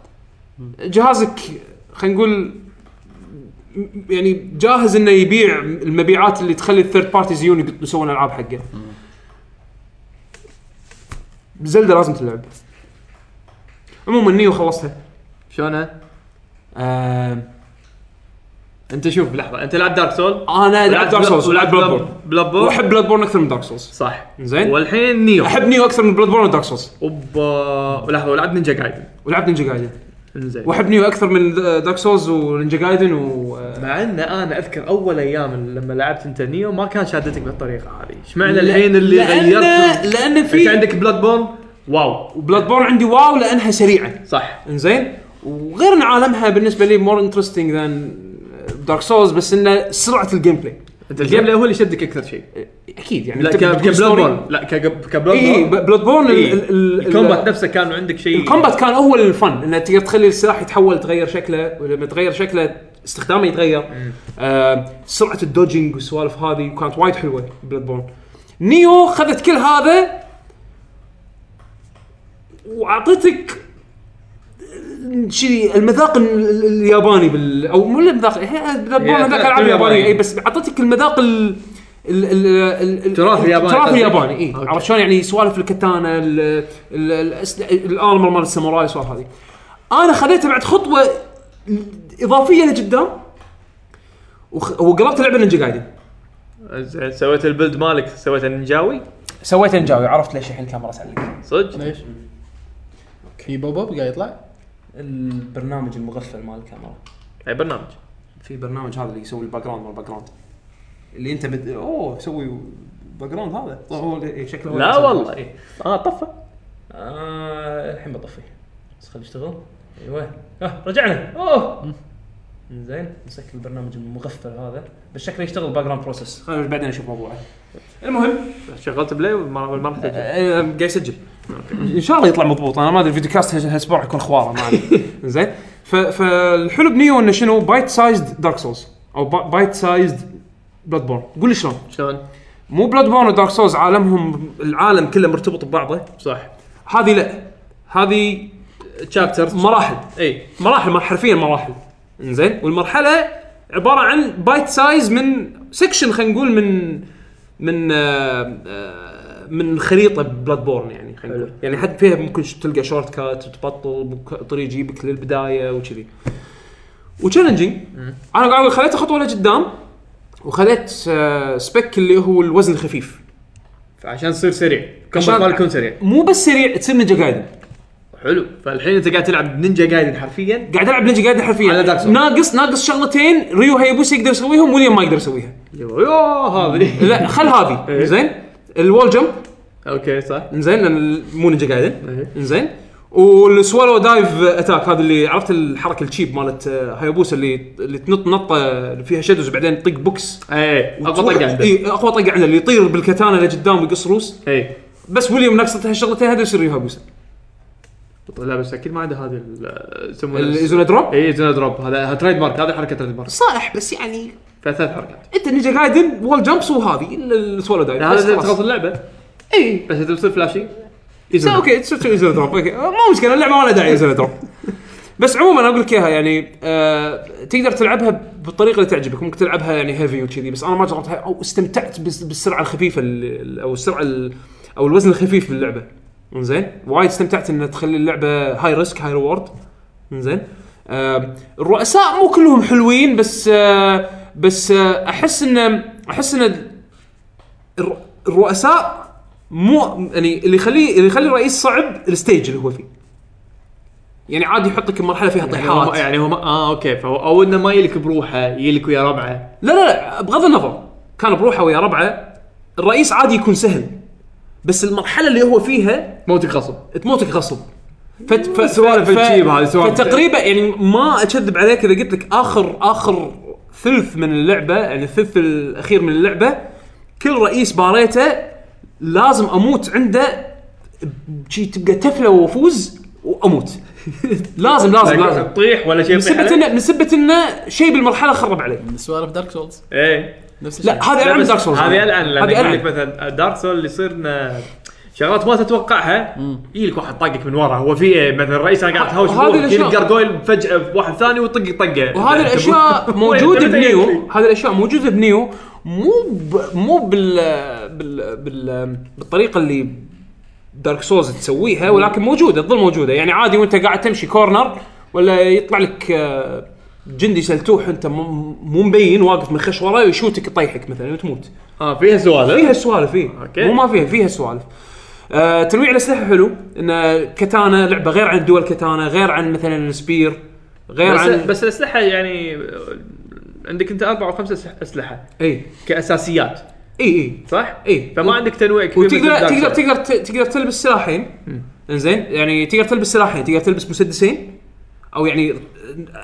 Speaker 2: جهازك خلينا نقول م- يعني جاهز انه يبيع المبيعات اللي تخلي الثيرد بارتيز يجون يقط- يسوون العاب حقه زلدا لازم تلعب عموما نيو خلصتها
Speaker 3: شلونها؟
Speaker 2: آه
Speaker 3: انت شوف لحظه انت لعب دارك سول
Speaker 2: انا لعبت دارك سولز ولعبت بلاد بورن
Speaker 3: بلاد بورن
Speaker 2: واحب بلاد بورن اكثر من دارك سولز
Speaker 3: صح
Speaker 2: زين
Speaker 3: والحين نيو
Speaker 2: احب نيو اكثر من بلاد بورن ودارك سولز
Speaker 3: اوبا لحظه ولعب نينجا جايدن
Speaker 2: ولعبت نينجا جايدن
Speaker 3: انزين
Speaker 2: واحب نيو اكثر من دارك سولز ونينجا جايدن و آه،
Speaker 3: مع ان انا اذكر اول ايام لما لعبت انت نيو ما كان شادتك بالطريقه هذه اشمعنى الحين اللي غيرت
Speaker 2: لان لان
Speaker 3: انت
Speaker 2: في
Speaker 3: عندك بلاد بورن واو
Speaker 2: بلاد بورن عندي واو لانها سريعه
Speaker 3: صح
Speaker 2: انزين وغير ان عالمها بالنسبه لي مور انترستنج ذان دارك سولز uh, بس انه سرعه الجيم بلاي
Speaker 3: انت الجيم بلاي هو اللي شدك اكثر شيء
Speaker 2: اكيد يعني
Speaker 3: لا
Speaker 2: أنت
Speaker 3: ك-
Speaker 2: بتقول
Speaker 3: كبلاد
Speaker 2: ستوري.
Speaker 3: بورن لا ك- كبلاد
Speaker 2: اي
Speaker 3: بورن
Speaker 2: بلاد بورن إيه، ال- ال-
Speaker 3: إي.
Speaker 2: ال-
Speaker 3: الكومبات نفسه كان عندك شيء
Speaker 2: الكومبات كان هو الفن انه تقدر تخلي السلاح يتحول تغير شكله ولما تغير شكله استخدامه يتغير آه سرعه الدوجنج والسوالف هذه كانت وايد حلوه بلاد بورن نيو خذت كل هذا واعطتك شي المذاق ال- ال- الياباني بال او مو المذاق هي بلاد بورن
Speaker 3: هي
Speaker 2: هذاك العاب
Speaker 3: الياباني.
Speaker 2: يابانيه اي بس اعطتك المذاق ال ال- ال- ال-
Speaker 3: التراث الياباني
Speaker 2: التراث
Speaker 3: قصدك؟
Speaker 2: الياباني
Speaker 14: إيه.
Speaker 2: اي
Speaker 3: أوكي.
Speaker 2: عرفت شلون يعني سوالف الكتانا ال- ال- الأسل- الارمر مال الساموراي السوالف هذه انا خذيتها بعد خطوه اضافيه لقدام وخ- وقربت لعبه نينجا جايدن
Speaker 3: زين سويت البلد مالك سويته نينجاوي
Speaker 2: سويت نجاوي عرفت ليش الحين الكاميرا تعلق
Speaker 3: صدق؟
Speaker 6: ليش؟ في بوب بوب قاعد يطلع؟
Speaker 14: البرنامج المغفل مال الكاميرا
Speaker 3: اي برنامج
Speaker 14: في برنامج هذا اللي يسوي الباك جراوند مال الباك جراوند اللي انت بت... اوه سوي باك جراوند هذا طيب هو إيه، شكله هو اللي
Speaker 3: لا
Speaker 14: يسوي.
Speaker 3: والله إيه. اه طفى
Speaker 14: آه الحين بطفيه بس خليه يشتغل
Speaker 2: أيوة.
Speaker 14: ايوه آه رجعنا اوه زين مسك البرنامج المغفل هذا بس شكله يشتغل باك جراوند بروسس خلينا بعدين نشوف موضوعه المهم
Speaker 3: شغلت بلاي وما ما راح تجي
Speaker 2: أه، قاعد يسجل ان شاء الله يطلع مضبوط انا ما ادري الفيديو كاست هال- هالاسبوع يكون خواره ما ادري زين ف- فالحلو بنيو انه شنو بايت سايزد دارك سولز او با- بايت سايزد بلاد بورن قول لي شلون
Speaker 3: شلون؟
Speaker 2: مو بلاد بورن ودارك سولز عالمهم العالم كله مرتبط ببعضه
Speaker 3: صح
Speaker 2: هذه لا هذه
Speaker 3: تشابترز
Speaker 2: مراحل
Speaker 3: اي
Speaker 2: مراحل مر- حرفيا مراحل زين والمرحله عباره عن بايت سايز من سكشن خلينا نقول من من آه، آه، من خريطه بلاد بورن يعني خلينا نقول يعني حد فيها ممكن ش- تلقى شورت كات وتبطل ممكن طريق يجيبك للبدايه وكذي وتشالنجينج انا قاعد أقول خليته خطوه لقدام وخليت آه، سبيك اللي هو الوزن الخفيف
Speaker 3: فعشان تصير سريع
Speaker 2: عشان-
Speaker 3: كمبل مالكم سريع
Speaker 2: مو بس سريع تصير نينجا جايدن
Speaker 3: حلو فالحين انت قاعد تلعب نينجا جايدن حرفيا
Speaker 2: قاعد العب نينجا جايدن حرفيا
Speaker 3: على Dark Souls.
Speaker 2: ناقص ناقص شغلتين ريو هيبوسي يقدر يسويهم وليم ما يقدر يسويها
Speaker 3: يو يو هذه
Speaker 2: لا خل
Speaker 3: إيه.
Speaker 2: هذه زين الوول جمب
Speaker 3: اوكي صح
Speaker 2: زين لان ال- مو نينجا جايدن
Speaker 3: إيه.
Speaker 2: زين والسوالو دايف اتاك هذا اللي عرفت الحركه التشيب مالت آه، هايبوسا اللي اللي تنط نطه فيها شادوز وبعدين تطق بوكس
Speaker 3: اي اقوى طقه عنده
Speaker 2: اي اقوى طقه عنده اللي يطير بالكتانه لقدام ويقص روس
Speaker 3: اي
Speaker 2: بس ويليام ناقصته هالشغلتين هذا يصير ريو هايبوسا
Speaker 3: لا بس اكيد ما عنده هذه ال- يسمونها
Speaker 2: الايزولا دروب
Speaker 3: اي زون دروب هذا تريد مارك هذه حركه تريد مارك
Speaker 2: صالح بس يعني
Speaker 3: فيها ثلاث حركات
Speaker 2: انت نينجا جايدن وول جمبس وهذه ال- السوالو دايف بس
Speaker 3: هذا
Speaker 2: خلاص.
Speaker 3: تخلص اللعبه
Speaker 2: اي
Speaker 3: بس اذا بتصير فلاشي
Speaker 2: بس اوكي تسوي تسوي زر دروب اوكي مو مشكله اللعبه ما لها داعي زر دروب بس عموما انا اقول لك اياها يعني آه تقدر تلعبها بالطريقه اللي تعجبك ممكن تلعبها يعني هيفي وكذي بس انا ما جربتها او استمتعت بس- بالسرعه الخفيفه ال- او السرعه ال- او الوزن الخفيف باللعبه زين وايد استمتعت ان تخلي اللعبه هاي ريسك هاي ريورد زين آه الرؤساء مو كلهم حلوين بس آه بس آه احس ان احس ان الر- الرؤساء مو يعني اللي يخليه اللي يخلي الرئيس صعب الستيج اللي هو فيه يعني عادي يحطك بمرحله فيها
Speaker 3: يعني هو ما-
Speaker 2: طيحات
Speaker 3: يعني هو ما- اه اوكي فهو او انه ما يلك بروحه يلك ويا ربعه
Speaker 2: لا لا لا بغض النظر كان بروحه ويا ربعه الرئيس عادي يكون سهل بس المرحله اللي هو فيها
Speaker 3: موتك غصب
Speaker 2: تموتك غصب فت ف...
Speaker 3: سوالف الجيب هذه، سوالف-
Speaker 2: فتقريبا يعني ما اكذب عليك اذا قلت لك اخر اخر ثلث من اللعبه يعني الثلث الاخير من اللعبه كل رئيس باريته لازم اموت عنده شي تبقى تفله وافوز واموت لازم لازم لازم
Speaker 3: تطيح طيب. ولا شيء
Speaker 2: من سبه انه من سبه انه شيء بالمرحله خرب عليه
Speaker 6: سوالف دارك سولز
Speaker 3: ايه
Speaker 6: نفس الشيء
Speaker 2: لا هذا
Speaker 3: لا،
Speaker 2: العب
Speaker 3: بس
Speaker 2: دارك سولز
Speaker 3: هذه العن لما
Speaker 2: هذه
Speaker 3: يقول
Speaker 2: ألعن.
Speaker 3: لك مثلا دارك سول اللي يصير لنا شغلات ما تتوقعها يجيك واحد طاقك من ورا هو في إيه، مثلا الرئيس انا قاعد
Speaker 2: ه-
Speaker 3: تهاوش
Speaker 2: وهذه
Speaker 3: بروحه، يجيك
Speaker 2: الأشياء.
Speaker 3: جرجويل فجاه في واحد ثاني ويطق طقه
Speaker 2: وهذه الاشياء موجوده
Speaker 3: وين-
Speaker 2: بنيو هذه الاشياء موجوده بنيو مو ب... مو بال... بال... بال... بالطريقه اللي دارك سولز تسويها ولكن موجوده تظل موجوده يعني عادي وانت قاعد تمشي كورنر ولا يطلع لك آه، جندي سلتوح انت مو مو مبين واقف من خش وراه يشوتك يطيحك مثلا وتموت
Speaker 3: اه فيها سوالف
Speaker 2: فيها سوالف فيه
Speaker 3: أوكي.
Speaker 2: مو ما فيها فيها سوالف آه تنويع الاسلحه حلو ان كتانا لعبه غير عن دول كتانا غير عن مثلا سبير غير
Speaker 3: بس,
Speaker 2: عن
Speaker 3: بس الاسلحه يعني آه، عندك انت اربع او خمسه أسلح- اسلحه
Speaker 2: اي
Speaker 3: كاساسيات
Speaker 2: اي اي
Speaker 3: صح؟
Speaker 2: إيه.
Speaker 3: فما عندك تنويع كبير
Speaker 2: وتقدر
Speaker 3: مثل Dark
Speaker 2: تقدر
Speaker 3: Souls.
Speaker 2: تقدر ت- تقدر تلبس سلاحين انزين يعني تقدر تلبس سلاحين تقدر تلبس مسدسين او يعني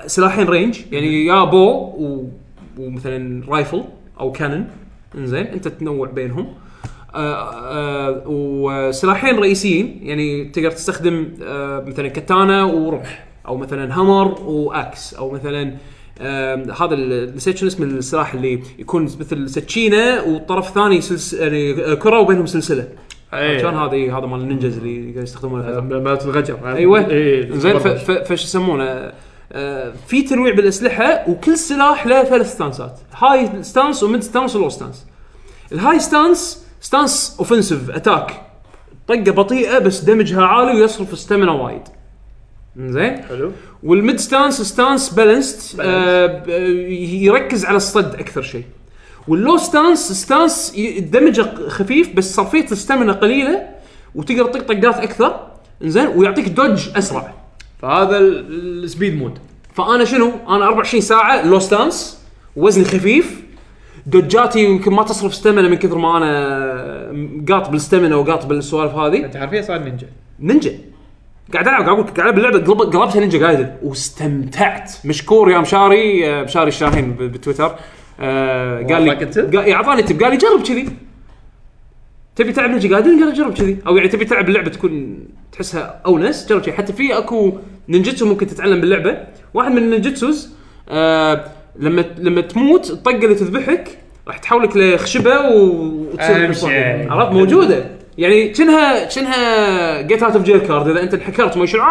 Speaker 2: سلاحين رينج يعني يا بو و... ومثلا رايفل او كانون انزين انت تنوع بينهم آه، آه، وسلاحين رئيسيين يعني تقدر تستخدم آه، مثلا كتانا ورمح او مثلا همر واكس او مثلا آم، آه، هذا ال- نسيت شنو اسم السلاح اللي يكون مثل سكينه والطرف الثاني سلس... يعني كره وبينهم سلسله
Speaker 3: إيه. آه،
Speaker 2: كان هذه هذا مال النينجز اللي قاعد يستخدمونه
Speaker 3: مالت الغجر
Speaker 2: ايوه
Speaker 3: إيه،
Speaker 2: زين ف-
Speaker 3: برضه.
Speaker 2: ف- فش يسمونه آه، في تنويع بالاسلحه وكل سلاح له ثلاث ستانسات هاي ستانس وميد ستانس ولو ستانس الهاي ستانس ستانس اوفنسيف اتاك طقه بطيئه بس دمجها عالي ويصرف ستامنا وايد زين
Speaker 3: حلو
Speaker 2: آه، والميد ستانس ستانس بالانسد يركز على الصد اكثر شيء واللو ستانس ستانس ي- دمجه خفيف بس صرفيه الستامنا قليله وتقدر تطق طقات اكثر زين ويعطيك دوج اسرع
Speaker 3: فهذا ال- السبيد مود
Speaker 2: فانا شنو؟ انا 24 ساعه لو ستانس وزني خفيف دوجاتي يمكن ما تصرف ستامنا من كثر ما انا قاط بالستامنا وقاط بالسوالف هذه
Speaker 3: انت حرفيا صار نينجا
Speaker 2: آه، نينجا قاعد العب قاعد اقول لك، قاعد العب اللعبه قلب- قلبتها نينجا قايدن واستمتعت مشكور يا مشاري آه، مشاري الشاهين ب- بتويتر آه، قال لي
Speaker 3: والله كنت؟
Speaker 2: قا- اعطاني تب قال لي جرب كذي تبي تلعب نينجا قايدن قال لي جرب كذي او يعني تبي تلعب اللعبه تكون تحسها اونس جرب كذي حتى في اكو نينجتسو ممكن تتعلم باللعبه واحد من النينجتسوز آه لما لما تموت الطقه اللي تذبحك راح تحولك لخشبه وتصير
Speaker 3: أهم شيء.
Speaker 2: عرفت موجوده يعني كأنها كأنها جيت اوت اوف جيل كارد اذا انت انحكرت ما شنو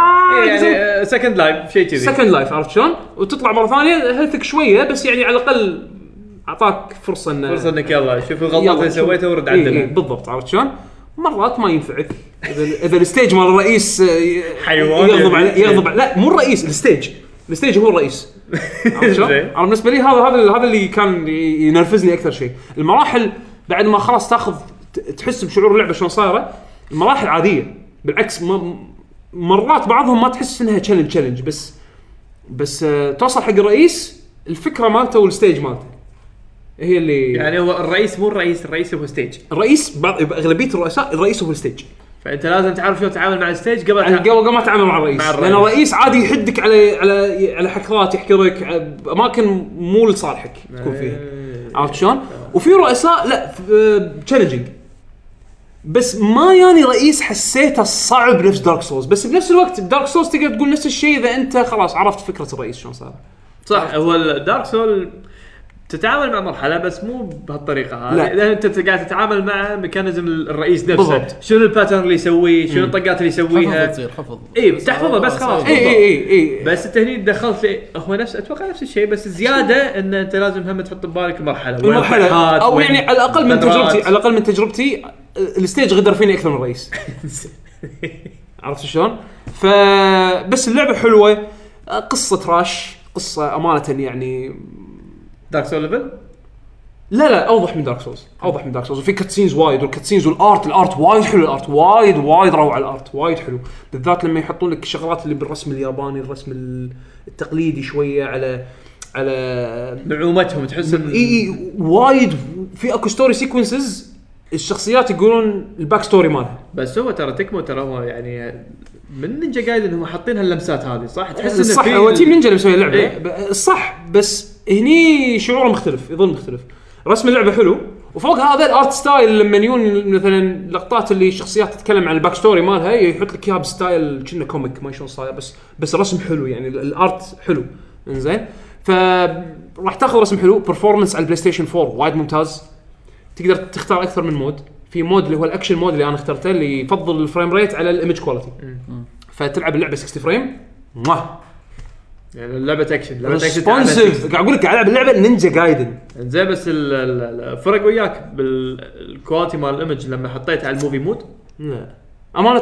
Speaker 2: يعني
Speaker 3: يعني سكند لايف شيء كذي
Speaker 2: سكند لايف عرفت شلون؟ وتطلع مره ثانيه هيلثك شويه بس يعني على الاقل اعطاك فرصه انه
Speaker 3: فرصه انك يلا شوف
Speaker 2: يلا،
Speaker 3: الغلطات اللي
Speaker 2: شوف.
Speaker 3: سويتها ورد
Speaker 2: إيه، إيه،
Speaker 3: عدلها
Speaker 2: بالضبط عرفت شلون؟ مرات ما ينفعك اذا اذا الستيج مال الرئيس آه، ي-
Speaker 3: حيوان
Speaker 2: يغضب
Speaker 3: يعني.
Speaker 2: عليه يغضب عليه لا مو الرئيس الستيج الستيج هو الرئيس عرفت شلون؟
Speaker 3: زين.
Speaker 2: انا بالنسبه لي هذا هذا هذا اللي كان ي- ينرفزني اكثر شيء المراحل بعد ما خلاص تاخذ ت- تحس بشعور اللعبه شلون صايره المراحل عاديه بالعكس ما مرات بعضهم ما تحس انها تشالنج تشالنج بس بس آه، توصل حق الرئيس الفكره مالته والستيج مالته هي اللي
Speaker 3: يعني هو الرئيس مو الرئيس الرئيس هو ستيج
Speaker 2: الرئيس بعض اغلبيه الرؤساء الرئيس هو الستيج
Speaker 3: فانت لازم تعرف شلون تتعامل مع الستيج قبل
Speaker 2: يعني
Speaker 3: تع-
Speaker 2: قبل قبل ما تعامل مع الرئيس
Speaker 3: مع الرئيس.
Speaker 2: لان الرئيس عادي يحدك على على على حكرات يحكرك على اماكن مو لصالحك تكون فيها
Speaker 3: إيه.
Speaker 2: عرفت شلون؟ وفي رؤساء لا تشالنجينج بس ما ياني رئيس حسيته صعب نفس دارك سولز بس بنفس الوقت بدارك سولز تقدر تقول نفس الشيء اذا انت خلاص عرفت فكره الرئيس شلون صار
Speaker 3: صح هو الدارك سول تتعامل مع مرحله بس مو بهالطريقه هذه
Speaker 2: لا.
Speaker 3: لان انت قاعد تتعامل مع ميكانيزم الرئيس نفسه
Speaker 2: بالضبط.
Speaker 3: شنو الباترن اللي يسويه شنو الطقات اللي
Speaker 6: حفظ
Speaker 3: يسويها
Speaker 6: تصير حفظ
Speaker 3: اي تحفظها بس خلاص
Speaker 6: إيه.
Speaker 2: اي
Speaker 3: بالضبط.
Speaker 2: اي اي اي
Speaker 3: بس انت هني دخلت لي- هو نفس اتوقع نفس الشيء بس زياده ان انت لازم هم تحط ببالك المرحله وين
Speaker 2: المرحله
Speaker 3: الطقات،
Speaker 2: او
Speaker 3: وين
Speaker 2: يعني على الاقل من
Speaker 3: القدرات.
Speaker 2: تجربتي على الاقل من تجربتي آه، الستيج غدر فيني اكثر من الرئيس عرفت شلون؟ فبس اللعبه حلوه قصه تراش قصه امانه يعني
Speaker 3: دارك سول ليفل
Speaker 2: لا لا اوضح من دارك سولز اوضح من دارك سولز وفي كاتسينز وايد والكاتسينز والارت الارت وايد حلو الارت وايد وايد روعه الارت وايد حلو بالذات لما يحطون لك شغلات اللي بالرسم الياباني الرسم التقليدي شويه على على
Speaker 3: نعومتهم تحس إن-
Speaker 2: اي اي وايد في اكو ستوري سيكونسز الشخصيات يقولون الباك ستوري مالها
Speaker 3: بس هو ترى تكمو ترى هو يعني من نينجا قايد انهم حاطين هاللمسات هذه صح تحس انه
Speaker 2: الصح
Speaker 3: في
Speaker 2: إيه، هو تيم نينجا اللي مسوي اللعبه
Speaker 3: إيه.
Speaker 2: ب- الصح بس هني شعوره مختلف يظل مختلف رسم اللعبه حلو وفوق هذا الارت ستايل لما يجون مثلا لقطات اللي الشخصيات تتكلم عن الباك ستوري مالها يحط لك اياها بستايل كنا كوميك ما شلون صاير بس بس رسم حلو يعني ال- الارت حلو انزين ف راح تاخذ رسم حلو برفورمنس على البلاي ستيشن 4 وايد ممتاز تقدر تختار اكثر من مود في مود اللي هو الاكشن مود اللي انا اخترته اللي يفضل الفريم ريت على الايمج كواليتي فتلعب اللعبه 60 فريم مواه
Speaker 3: يعني لعبه اكشن لعبه اكشن
Speaker 2: ريسبونسيف قاعد اقول لك قاعد العب اللعبه نينجا جايدن
Speaker 3: زين بس ال- ال- الفرق وياك بالكواليتي مال الايمج لما حطيته على الموفي مود
Speaker 2: لا. امانه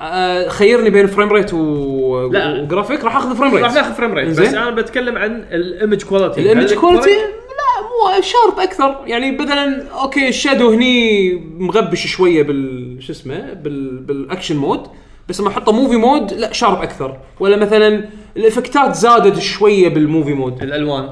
Speaker 2: آه، خيرني بين فريم ريت و...
Speaker 3: لا.
Speaker 2: وجرافيك راح اخذ فريم
Speaker 3: راح
Speaker 2: ريت
Speaker 3: ناخذ فريم ريت بس
Speaker 2: إنزين.
Speaker 3: انا بتكلم عن الايمج كواليتي
Speaker 2: الايمج كواليتي لا مو شارب اكثر يعني بدلا اوكي الشادو هني مغبش شويه بال شو اسمه بال... بالاكشن مود بس لما احطه موفي مود لا شارب اكثر ولا مثلا الافكتات زادت شويه بالموفي مود
Speaker 3: الالوان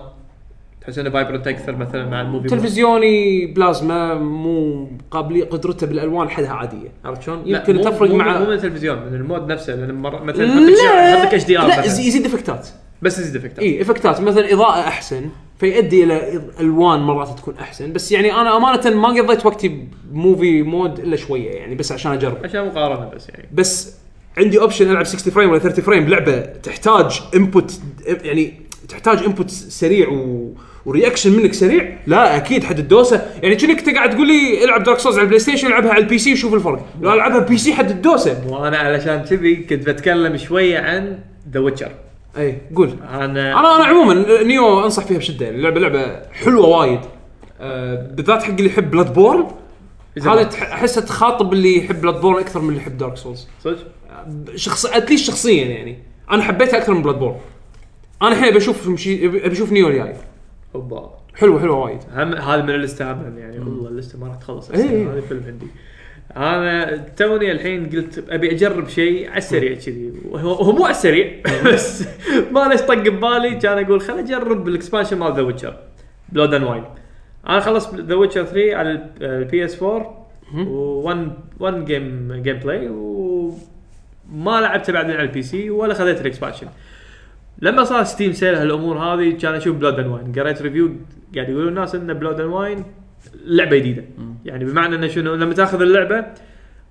Speaker 3: تحس انه فايبرنت اكثر مثلا مع الموفي مود
Speaker 2: تلفزيوني بلازما مو قابليه قدرته بالالوان حدها عاديه عرفت شلون؟
Speaker 3: لا،
Speaker 2: يمكن
Speaker 3: مو-
Speaker 2: تفرق
Speaker 3: مو-
Speaker 2: مع
Speaker 3: مو من التلفزيون من المود نفسه لان مر- مثلا يحط لك شيء-
Speaker 2: لا
Speaker 3: يحط لك اتش دي
Speaker 2: لا
Speaker 3: ار
Speaker 2: يز- يزيد افكتات
Speaker 3: بس يزيد افكت
Speaker 2: اي افكتات مثلا اضاءه احسن فيؤدي الى إض- الوان مرات تكون احسن بس يعني انا امانه ما قضيت وقتي بموفي مود الا شويه يعني بس عشان اجرب
Speaker 3: عشان مقارنه بس يعني
Speaker 2: بس عندي اوبشن العب 60 فريم ولا 30 فريم لعبه تحتاج انبوت يعني تحتاج انبوت سريع و... ورياكشن منك سريع لا اكيد حد الدوسه يعني كأنك انت قاعد تقول لي العب دارك سولز على البلاي ستيشن العبها على البي سي وشوف الفرق لا العبها بي سي حد الدوسه
Speaker 3: وانا علشان كذي كنت بتكلم شويه عن ذا ويتشر
Speaker 2: اي قول
Speaker 3: انا
Speaker 2: انا انا عموما نيو انصح فيها بشده يعني اللعبه لعبه حلوه وايد آه، بالذات حق اللي يحب بلاد بورن هذه تح- احسها تخاطب اللي يحب بلاد بورن اكثر من اللي يحب دارك سولز
Speaker 3: صدق
Speaker 2: شخص اتليست شخصيا يعني انا حبيتها اكثر من بلاد بورن انا الحين بشوف مشي... ابي اشوف نيو الجاي
Speaker 3: هوبا
Speaker 2: حلوه حلوه وايد
Speaker 3: هم هذا من اللسته هم يعني والله اللسته ما راح تخلص
Speaker 2: إيه، إيه.
Speaker 3: السنة، هذا فيلم عندي انا توني الحين قلت ابي اجرب شيء على السريع كذي وهو هو مو على السريع بس ما ليش طق ببالي كان اقول خل اجرب الاكسبانشن مال ذا ويتشر بلود اند واين انا خلصت ذا ويتشر 3 على البي اس 4 وون ون جيم جيم بلاي وما لعبته بعدين على البي سي ولا خذيت الاكسبانشن لما صار ستيم سيل هالامور هذه كان اشوف بلود اند واين قريت ريفيو قاعد يقولون الناس ان بلود اند واين لعبه جديده يعني بمعنى انه شنو لما تاخذ اللعبه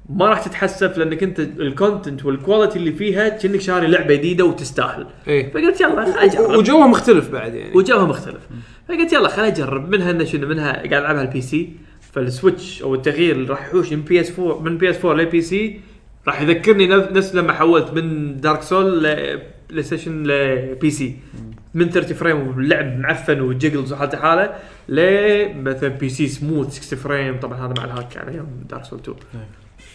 Speaker 3: ما راح تتحسف لانك انت الكونتنت والكواليتي اللي فيها كأنك شاري لعبه جديده وتستاهل
Speaker 2: إيه.
Speaker 3: فقلت يلا خل اجرب
Speaker 2: وجوها مختلف بعد يعني
Speaker 3: وجوها مختلف فقلت يلا خل اجرب منها انه شنو منها قاعد العبها البي سي فالسويتش او التغيير اللي راح يحوش من بي اس 4 من بي اس 4 لبي سي راح يذكرني نف- نفس لما حولت من دارك سول لبلاي ستيشن لبي سي من 30 فريم واللعب معفن وجيجلز وحالته حاله ل مثلا بي سي سموث 60 فريم طبعا هذا مع الهاك على يوم دارك سول 2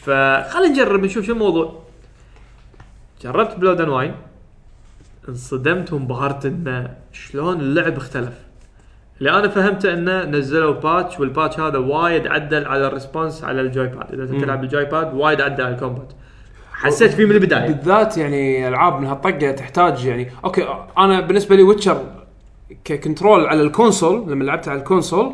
Speaker 3: فخلينا نجرب نشوف شو الموضوع جربت بلود اند واين انصدمت وانبهرت انه شلون اللعب اختلف اللي انا فهمته انه نزلوا باتش والباتش هذا وايد عدل على الريسبونس على الجوي باد اذا انت تلعب الجوي باد وايد عدل على الكومبات حسيت فيه من البدايه
Speaker 2: بالذات يعني العاب من هالطقه تحتاج يعني اوكي انا بالنسبه لي ويتشر ككنترول على الكونسول لما لعبت على الكونسول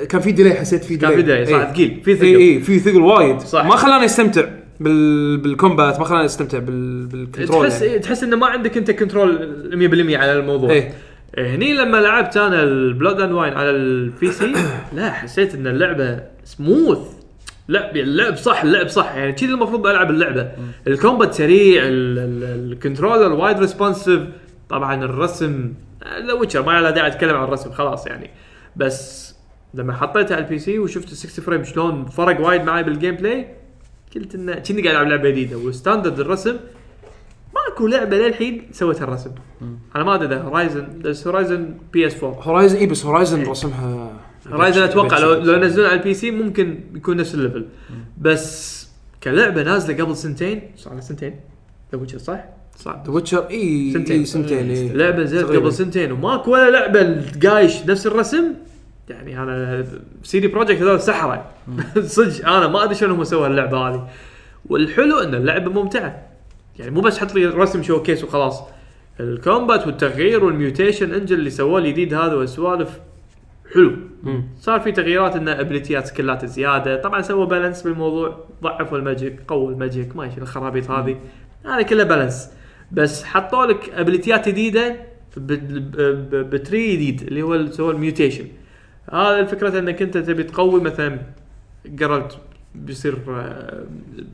Speaker 2: آه، كان في ديلي حسيت في
Speaker 3: كان
Speaker 2: ديلي
Speaker 3: في بدايه صح
Speaker 2: إيه.
Speaker 3: ثقيل في
Speaker 2: اي
Speaker 3: ثقيل
Speaker 2: اي في ثقل وايد
Speaker 3: صح.
Speaker 2: صح ما خلاني استمتع بال بالكومبات ما خلاني استمتع بال بالكنترول
Speaker 3: تحس إيه،
Speaker 2: يعني.
Speaker 3: تحس انه ما عندك انت كنترول 100% على الموضوع إيه،
Speaker 2: ايه
Speaker 3: هني لما لعبت انا البلود اند واين على البي سي لا حسيت ان اللعبه سموث لا اللعب صح اللعب صح يعني كذي المفروض العب اللعبه الكومبات سريع ال- ال- الكنترولر وايد ريسبونسيف طبعا الرسم ذا ويتشر ما له داعي اتكلم عن الرسم خلاص يعني بس لما حطيتها على البي سي وشفت ال 60 فريم شلون فرق وايد معي بالجيم بلاي قلت انه كني قاعد العب لعبه جديده والستاندرد الرسم ماكو لعبه للحين سوت الرسم انا ما ادري اذا هورايزن بس هورايزن بي اس 4
Speaker 2: هورايزن اي إيه، بس هورايزن رسمها
Speaker 3: هورايزن اتوقع إيه. لو لو ينزلون على البي سي ممكن يكون نفس الليفل بس كلعبه نازله قبل سنتين صار لها سنتين ذا ويتشر صح؟ صح
Speaker 2: ذا ويتشر اي
Speaker 3: سنتين.
Speaker 2: سنتين إيه، سنتين اي
Speaker 3: لعبه نزلت قبل سنتين وماكو ولا لعبه قايش نفس الرسم يعني انا سيدي بروجكت هذول سحره صدق انا ما ادري شلون هم سووا اللعبه هذه والحلو ان اللعبه ممتعه يعني مو بس حط لي رسم شو كيس وخلاص الكومبات والتغيير والميوتيشن انجل اللي سووه الجديد هذا والسوالف حلو صار في تغييرات ان ابيليتيات سكلات زياده طبعا سووا بالانس بالموضوع ضعفوا الماجيك قووا الماجيك ما يشيل الخرابيط هذه هذا كله بالانس بس حطوا لك ابيليتيات جديده ب- ب- ب- بتري جديد اللي هو اللي سوى الميوتيشن هذا الفكره انك انت تبي تقوي مثلا جرالت بيصير آه،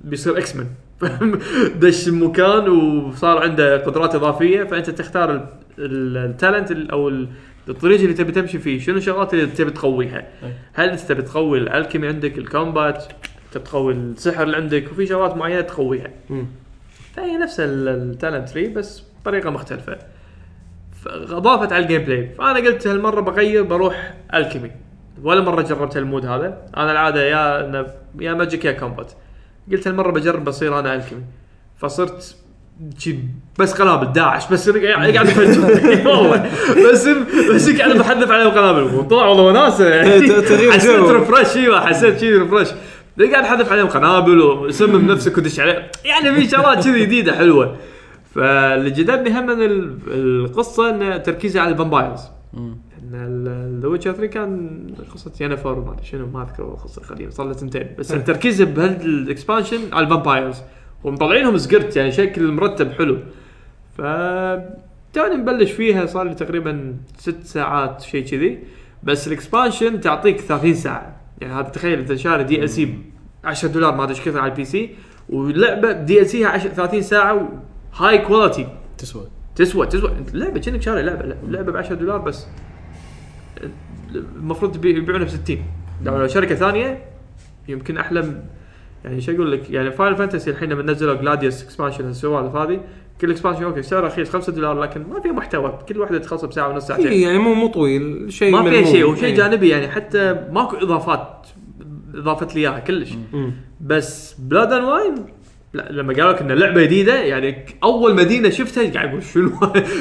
Speaker 3: بيصير اكس مان دش مكان وصار عنده قدرات اضافيه فانت تختار ال- ال- التالنت ال- او ال- الطريق اللي تبي تمشي فيه شنو الشغلات اللي تبي تقويها هل انت تبي تقوي الالكيمي عندك الكومبات تبي تقوي السحر اللي عندك وفي شغلات معينه تقويها فهي نفس التالنت تري بس بطريقه مختلفه ف- اضافت على الجيم بلاي فانا قلت هالمره بغير بروح الكيمي ولا مره جربت المود هذا انا العاده يا أنا يا ماجيك يا كومبات قلت هالمره بجرب بصير انا الكيمي فصرت شي بس قنابل داعش بس قاعد قاعد افجر والله بس بس قاعد بحذف عليهم قنابل وطلع والله وناسه
Speaker 2: تغيير
Speaker 3: حسيت
Speaker 2: جو.
Speaker 3: ريفرش ايوه حسيت شي ريفرش قاعد حذف عليهم قنابل وسمم نفسك ودش عليه يعني في شغلات كذي جديده حلوه فاللي جذبني هم من ال- القصه ان تركيزها على الفامبايرز ان ذا ويتشر 3 كان قصه ينفر ما ادري شنو ما اذكر والله القصه القديمه صار له سنتين بس التركيز بهالاكسبانشن على الفامبايرز ومطلعينهم سقرت يعني شكل مرتب حلو ف توني مبلش فيها صار لي تقريبا ست ساعات شيء كذي بس الاكسبانشن تعطيك 30 ساعه يعني هذا تخيل انت شاري دي ال سي 10 دولار ما ادري ايش كثر على البي سي واللعبه دي ال سيها 10 30 ساعه هاي كواليتي
Speaker 6: تسوى
Speaker 3: تسوى تسوى انت لعبه كأنك شاري لعبه لعبه ب 10 دولار بس المفروض تبي- يبيعونها ب 60 لو لو شركه ثانيه يمكن احلى يعني شو اقول لك يعني فاينل فانتسي الحين لما نزلوا جلاديوس اكسبانشن السوالف هذه كل اكسبانشن اوكي سعره رخيص 5 دولار لكن ما فيها محتوى كل واحده تخلصها بساعه ونص ساعتين
Speaker 2: إي، يعني مو مو طويل شيء
Speaker 3: ما فيها
Speaker 2: ملموم.
Speaker 3: شيء وشيء
Speaker 2: إي.
Speaker 3: جانبي يعني حتى ماكو اضافات اضافت لي اياها كلش بس بلاد اند واين لا لما قالوا لك ان لعبه جديده يعني ك- اول مدينه شفتها قاعد اقول شنو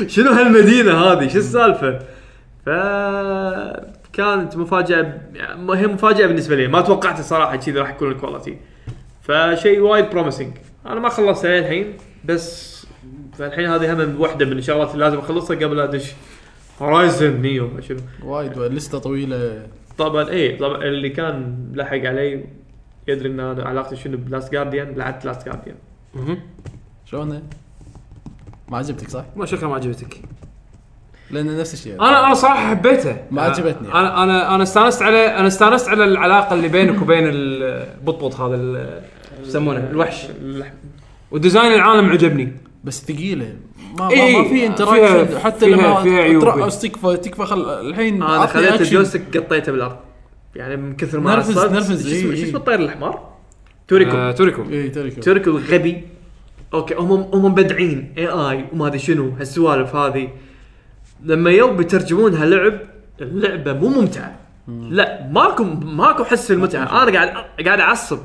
Speaker 3: شنو هالمدينه هذه شو السالفه ف كانت مفاجاه ب- يعني هي مفاجاه بالنسبه لي ما توقعت الصراحه كذي راح يكون الكواليتي فشيء وايد بروميسنج انا ما خلصت عليه الحين بس فالحين هذه هم واحده من الشغلات اللي لازم اخلصها قبل لا ادش هورايزن نيو ما شنو
Speaker 6: وايد لسته طويله
Speaker 3: طبعا اي طبعا إيه، اللي كان لحق علي يدري ان انا علاقتي شنو بلاست جارديان لعبت لاست جارديان
Speaker 6: شلون ما عجبتك صح؟
Speaker 2: ما شكله ما عجبتك
Speaker 6: لان نفس الشيء
Speaker 2: انا انا صراحه حبيته
Speaker 6: ما عجبتني.
Speaker 2: انا انا انا استانست على انا استانست على العلاقه اللي بينك وبين البطبط هذا ال- يسمونه الوحش وديزاين العالم عجبني
Speaker 6: بس ثقيله ما,
Speaker 2: إيه،
Speaker 6: ما, ما في
Speaker 2: فيها-
Speaker 6: انتراكشن حتى
Speaker 2: فيها-
Speaker 6: لما
Speaker 2: فيها عيوب.
Speaker 6: ترقص تكفى تكفى خل الحين
Speaker 3: انا
Speaker 6: عطني
Speaker 3: خليت
Speaker 6: أكشن.
Speaker 3: الجويستيك قطيته بالارض يعني من كثر ما
Speaker 6: نرفز-
Speaker 3: عصبت.
Speaker 6: نرفز،
Speaker 3: شو اسمه
Speaker 6: إي،
Speaker 3: شو
Speaker 6: إي.
Speaker 3: اسمه الطير الاحمر توريكو
Speaker 2: آه، توريكو
Speaker 6: اي تركب
Speaker 3: تركي غبي اوكي هم هم مبدعين اي اي وما ادري شنو هالسوالف هذه لما يو بيترجمونها لعب اللعبه مو ممتعه لا ماكو ماكو حس المتعه انا قاعد قاعد اعصب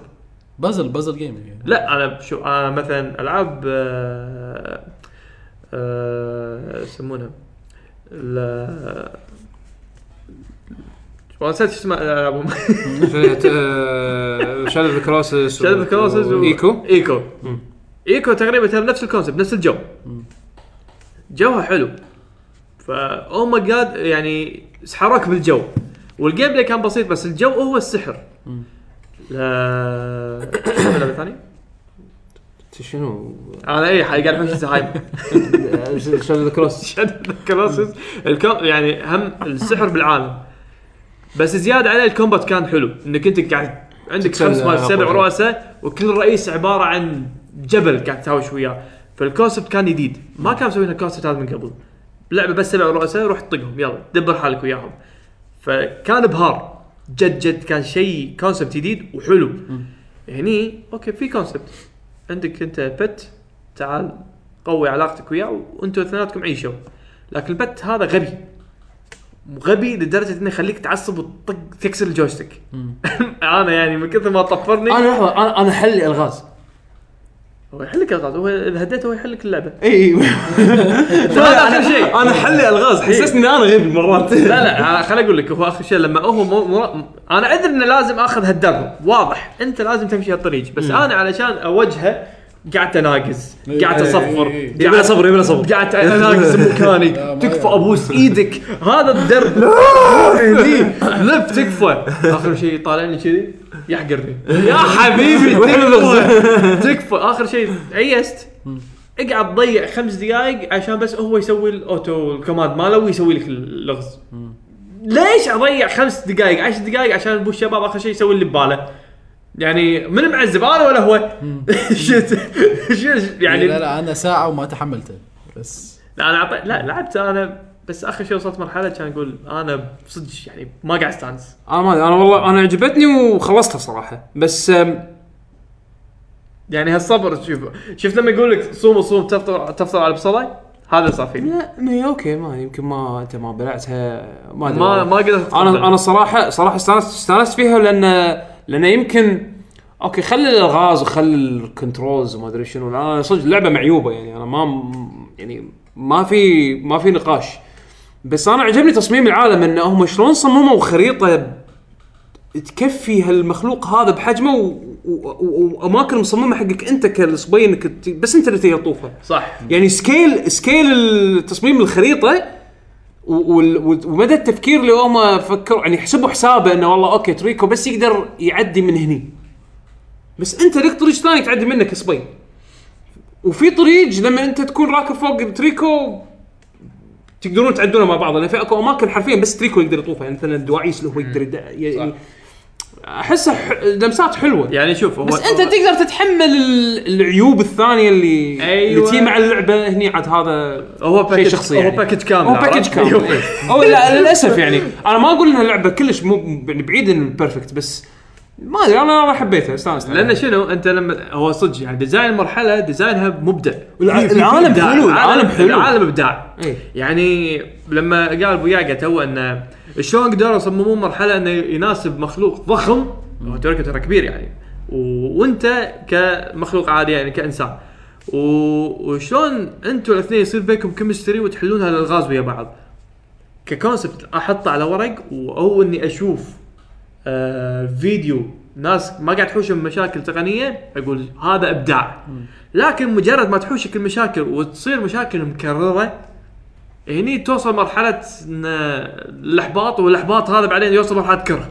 Speaker 6: بازل بازل جيم
Speaker 3: لا انا شو انا مثلا العاب آه، آه، يسمونها ال- والله نسيت شو اسمها الالعاب
Speaker 2: شادو كروسس
Speaker 3: شادو كروسز و...
Speaker 2: ايكو
Speaker 3: ايكو ايكو تقريبا ترى نفس الكونسبت نفس الجو جوها حلو فا او ماي جاد يعني سحرك بالجو والجيم بلاي كان بسيط بس الجو هو السحر لا لعبه ثانيه
Speaker 2: شنو
Speaker 3: انا اي آه، إيه، حق قاعد احوش هايب
Speaker 2: شادو كروس
Speaker 3: شادو كروسز الكم يعني هم السحر بالعالم بس زياده عليه الكومبات كان حلو انك انت قاعد عندك
Speaker 2: تتسلى
Speaker 3: خمس مال سبع
Speaker 2: قوي.
Speaker 3: رؤساء وكل رئيس عباره عن جبل قاعد تهاوش وياه فالكونسبت كان جديد ما كان مسويين الكونسبت هذا من قبل لعبه بس سبع رؤساء روح طقهم يلا دبر حالك وياهم فكان بهار جد جد كان شيء كونسبت جديد وحلو هني اوكي في كونسبت عندك انت بت تعال قوي علاقتك وياه وانتوا اثنيناتكم عيشوا لكن البت هذا غبي غبي لدرجه انه يخليك تعصب وتطق تكسر الجويستيك انا يعني من كثر ما طفرني
Speaker 2: انا لحظه انا انا حل الغاز
Speaker 3: هو يحل لك الغاز هو اذا هديته هو يحل لك اللعبه
Speaker 2: اي
Speaker 3: هذا اخر شيء
Speaker 2: انا حل الغاز حسسني إن انا غبي مرات
Speaker 3: لا لا خليني اقول لك هو اخر شيء لما هو مو مو انا ادري انه لازم اخذ هالدرب واضح انت لازم تمشي هالطريق بس انا علشان اوجهه قعدت اناقز قعدت اصفر
Speaker 2: يبي صبر يبي صبر
Speaker 3: قعدت اناقز بمكاني تكفى ابوس ايدك هذا الدرب هني لب تكفى اخر شيء طالعني كذي يحقرني يا حبيبي تكفى تكفى اخر شيء عيست اقعد ضيع خمس دقائق عشان بس هو يسوي الاوتو الكوماند ماله ويسوي لك اللغز ليش اضيع خمس دقائق عشر دقائق عشان ابو الشباب اخر شيء يسوي اللي بباله يعني من معذب انا ولا هو؟ شت شت- يعني
Speaker 6: لا لا انا ساعه وما تحملته بس
Speaker 3: لا انا عطي... لا لعبت انا بس اخر شيء وصلت مرحله كان اقول انا صدق يعني ما قاعد استانس
Speaker 2: انا ما أدري، انا والله انا عجبتني وخلصتها صراحه بس أم،
Speaker 3: يعني هالصبر شوف شفت لما يقول لك صوم صوم تفطر تفطر على البصله هذا صار فيني
Speaker 2: لا ما- اوكي ما يمكن ما انت ما بلعتها ما أدري
Speaker 3: ما
Speaker 2: والله.
Speaker 3: ما قدرت
Speaker 2: انا انا صراحه صراحه استانست استانست فيها لان لان يمكن اوكي خلي الالغاز وخلي الكنترولز وما ادري شنو انا صدق اللعبه معيوبه يعني انا ما يعني ما في ما في نقاش بس انا عجبني تصميم العالم ان هم شلون صمموا خريطه تكفي هالمخلوق هذا بحجمه و- و- و- واماكن مصممه حقك انت كالصبي انك ت- بس انت اللي تقدر تطوفه
Speaker 3: صح
Speaker 2: يعني سكيل سكيل تصميم الخريطه و- وال- وال- ومدى التفكير اللي هم فكروا يعني حسبوا حسابه انه والله اوكي تريكو بس يقدر يعدي من هني بس انت لك طريق ثاني تعدي منه كصبي وفي طريق لما انت تكون راكب فوق تريكو تقدرون تعدونه مع بعض لان في اكو اماكن حرفيا بس تريكو يقدر يطوفها يعني مثلا الدواعيس اللي هو يقدر يد- يعني احسها ح- لمسات حلوه
Speaker 3: يعني شوف هو
Speaker 2: بس انت تقدر تتحمل ال- العيوب الثانيه اللي
Speaker 3: أيوة.
Speaker 2: اللي تي مع اللعبه هني عاد هذا
Speaker 3: هو باكج
Speaker 2: شخصي
Speaker 3: هو
Speaker 2: يعني.
Speaker 3: باكج كامل
Speaker 2: هو باكج
Speaker 3: عرفت؟
Speaker 2: كامل
Speaker 3: أيوه.
Speaker 10: أيوة.
Speaker 2: إيه. او لا للاسف يعني انا ما اقول انها لعبه كلش مو يعني بعيد انه بيرفكت بس ما ادري انا انا حبيتها استانست
Speaker 3: لان شنو انت لما هو صدق يعني ديزاين المرحله ديزاينها مبدع
Speaker 2: والع-
Speaker 3: في- في- في
Speaker 2: العالم
Speaker 3: إبداع.
Speaker 2: حلو، العالم حلو.
Speaker 3: العالم ابداع
Speaker 2: إيه.
Speaker 3: يعني لما قال ابو ياقه تو انه شلون قدروا يصممون مرحله انه يناسب مخلوق ضخم هو تركه ترى كبير يعني و... وانت كمخلوق عادي يعني كانسان و... وشلون انتوا الاثنين يصير بينكم كيمستري وتحلون هالالغاز ويا بعض ككونسبت احطه على ورق و- او اني اشوف آه فيديو ناس ما قاعد تحوشهم مشاكل تقنيه اقول هذا ابداع لكن مجرد ما تحوشك المشاكل وتصير مشاكل مكرره هني توصل مرحله إن الاحباط والاحباط هذا بعدين يوصل مرحله كره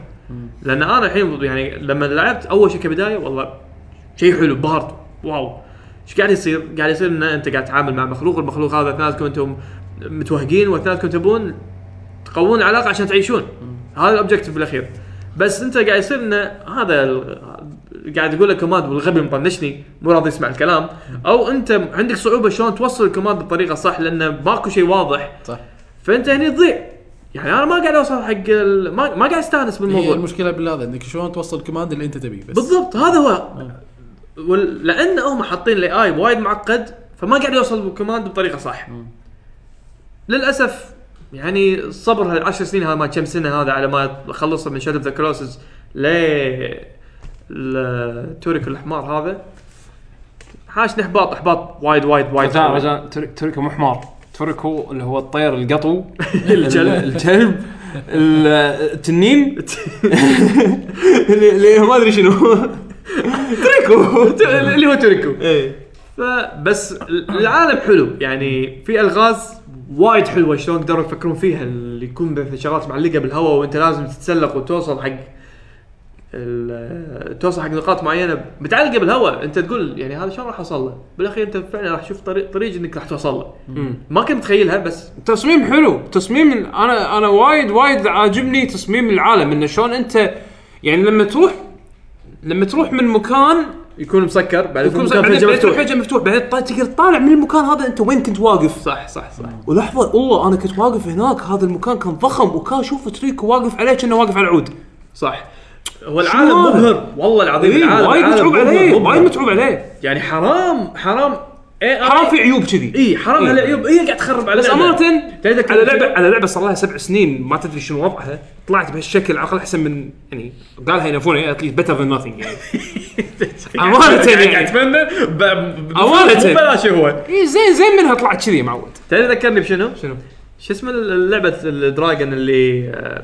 Speaker 3: لان انا الحين يعني لما لعبت اول شيء كبدايه والله شيء حلو بهارت واو ايش قاعد يصير؟ قاعد يصير ان انت قاعد تتعامل مع مخلوق، المخلوق هذا اثنيناتكم انتم متوهقين واثنيناتكم تبون تقوون العلاقه عشان تعيشون. هذا الاوبجيكتيف بالاخير. بس انت قاعد يصير انه هذا ال- قاعد يقول لك كوماند والغبي مطنشني مو راضي يسمع الكلام او انت عندك صعوبه شلون توصل الكوماند بالطريقه الصح لانه ماكو شيء واضح
Speaker 6: صح.
Speaker 3: فانت هني تضيع يعني انا ما قاعد اوصل حق ال- ما ما قاعد استانس
Speaker 6: هي
Speaker 3: بالموضوع
Speaker 6: المشكله بالهذا انك شلون توصل الكوماند اللي انت تبيه بس
Speaker 3: بالضبط هذا هو وال... لان هم حاطين الاي اي وايد معقد فما قاعد يوصل بالكوماند بطريقه صح للاسف يعني الصبر هالعشر سنين هذا ما كم سنه هذا على ما اخلصه من شاد اوف ذا كلوسز ل التوريك الاحمر هذا حاشني احباط احباط وايد وايد وايد
Speaker 10: رجاء
Speaker 3: قوي.
Speaker 10: رجاء توريك- توريكو مو حمار توريكو اللي هو الطير القطو
Speaker 3: الجلب.
Speaker 10: ال- الجلب ال- التنين اللي اللي ما ادري شنو
Speaker 3: توريكو اللي هو توريكو
Speaker 2: إيه.
Speaker 3: فبس العالم حلو يعني في الغاز وايد حلوه شلون قدروا يفكرون فيها اللي يكون مثل شغلات معلقه بالهواء وانت لازم تتسلق وتوصل حق ال- توصل حق نقاط معينه متعلقه بالهواء انت تقول يعني هذا شلون راح اوصل له؟ بالاخير انت فعلا راح تشوف طريق طريق انك راح توصل له. ما كنت متخيلها بس
Speaker 2: تصميم حلو تصميم انا انا وايد وايد عاجبني تصميم العالم انه شلون انت يعني لما تروح لما تروح من مكان
Speaker 3: يكون مسكر بعدين
Speaker 2: يكون
Speaker 3: يكون
Speaker 2: بعدين
Speaker 3: فجأة
Speaker 2: بعدين تروح
Speaker 3: مفتوح
Speaker 2: حاجه مفتوح بعدين تط- تقدر تطالع من المكان هذا انت وين كنت واقف
Speaker 3: صح صح صح
Speaker 2: ولحظه الله انا كنت واقف هناك هذا المكان كان ضخم وكان شوف تريكو واقف عليه كانه واقف على العود
Speaker 3: صح هو العالم
Speaker 2: هذا؟
Speaker 3: مبهر والله العظيم
Speaker 2: إيه،
Speaker 3: العالم
Speaker 2: وايد
Speaker 3: العالم
Speaker 2: متعوب
Speaker 3: مبهر،
Speaker 2: عليه
Speaker 3: مبهر.
Speaker 2: وايد متعوب عليه
Speaker 3: يعني حرام حرام اي
Speaker 2: حرام في عيوب كذي
Speaker 3: اي إيه، حرام على عيوب اي قاعد تخرب على
Speaker 2: بس
Speaker 3: لعبة.
Speaker 2: امانه
Speaker 3: تدري كم
Speaker 2: على
Speaker 3: في-
Speaker 2: لعبه على لعبه صار لها سبع سنين ما تدري شنو وضعها طلعت بهالشكل على الاقل احسن من يعني قالها ينافون اتليست بيتر ذان نوثينج يعني امانه
Speaker 3: قاعد
Speaker 2: يعني
Speaker 3: اتمنى ب- ب-
Speaker 2: أمانة.
Speaker 3: مو ببلاش هو
Speaker 2: إيه، زين زين منها طلعت كذي معود
Speaker 3: تدري ذكرني بشنو؟
Speaker 2: شنو؟
Speaker 3: شو اسم لعبه الدراجون اللي آه،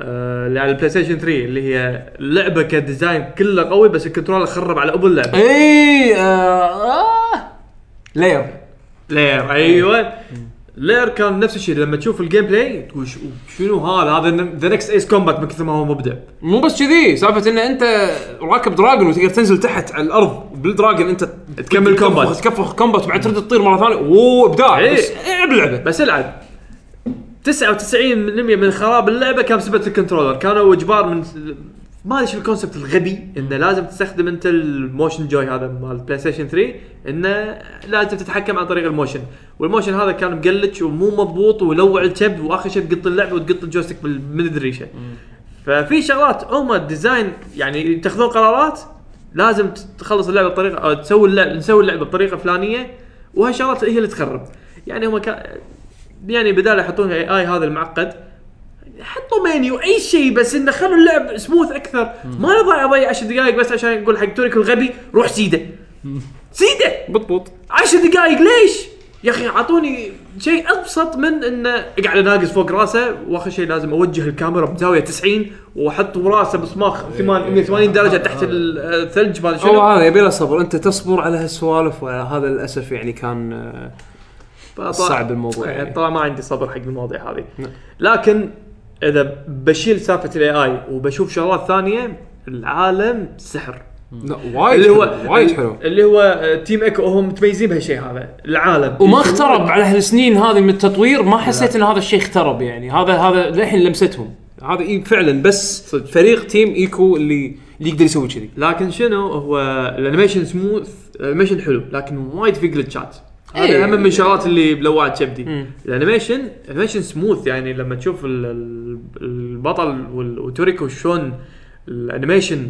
Speaker 3: آه، اللي على البلاي ستيشن 3 اللي هي لعبه كديزاين كله قوي بس الكنترول خرب على ابو اللعبه
Speaker 2: اي إيه، آه لاير
Speaker 3: لير ايوه لير كان نفس الشيء لما تشوف الجيم بلاي تقول ش- شنو هذا هذا ذا نكست ايس كومبات من كثر ما هو مبدع
Speaker 2: مو بس كذي سالفه ان انت راكب دراجون وتقدر تنزل تحت على الارض بالدراجون انت
Speaker 3: تكمل كومبات.
Speaker 2: تكفخ كومبات وبعدين ترد تطير مره ثانيه اوه ابداع
Speaker 3: إيه.
Speaker 2: بس العب لعبه
Speaker 3: بس العب 99% من خراب اللعبه كان بسبب الكنترولر كانوا اجبار من ما ادري شو الكونسبت الغبي انه لازم تستخدم انت الموشن جوي هذا مال بلاي ستيشن 3 انه لازم تتحكم عن طريق الموشن والموشن هذا كان مقلج ومو مضبوط ولوع الكبد واخر شيء تقط اللعبه وتقط الجويستيك بال- من الريشه ففي شغلات هم الديزاين يعني تاخذون قرارات لازم تخلص اللعبه بطريقه او تسوي اللعبه نسوي اللعبه بطريقه فلانيه وهالشغلات هي اللي تخرب يعني هم كان يعني بدال يحطون اي اي هذا المعقد حطوا منيو اي شيء بس انه خلوا اللعب سموث اكثر ما نضيع اضيع 10 دقائق بس عشان نقول حق توريكو الغبي روح سيده سيده
Speaker 2: بطبط
Speaker 3: 10 دقائق ليش؟ يا اخي اعطوني شيء ابسط من انه قاعد اناقص فوق راسه واخر شيء لازم اوجه الكاميرا بزاويه 90 واحط راسه بصماخ 80 180 درجه تحت ال- الثلج ما ادري
Speaker 2: او
Speaker 3: شنو
Speaker 2: هذا يبي له صبر انت تصبر على هالسوالف وهذا للاسف يعني كان آه،
Speaker 3: فطلع-
Speaker 2: صعب نعم. الموضوع
Speaker 3: يعني
Speaker 2: يعني.
Speaker 3: طبعا ما عندي صبر حق المواضيع هذه لكن اذا بشيل سالفه الاي اي وبشوف شغلات ثانيه العالم سحر
Speaker 2: لا وايد
Speaker 3: اللي هو
Speaker 2: حلو، وايد حلو
Speaker 3: اللي هو تيم ايكو هم متميزين بهالشيء هذا العالم
Speaker 2: وما اخترب على هالسنين هذه من التطوير ما حسيت ان هذا الشيء اخترب يعني هذا هذا للحين لمستهم هذا إيه فعلا بس صدق. فريق تيم ايكو اللي اللي يقدر يسوي كذي
Speaker 3: لكن شنو هو الانيميشن سموث الانيميشن حلو لكن وايد في جلتشات هذا
Speaker 2: إيه.
Speaker 3: اهم من الشغلات اللي بلوعت كبدي الانيميشن الانيميشن سموث يعني لما تشوف ال- ال- البطل وال- وتوريكو شلون الانيميشن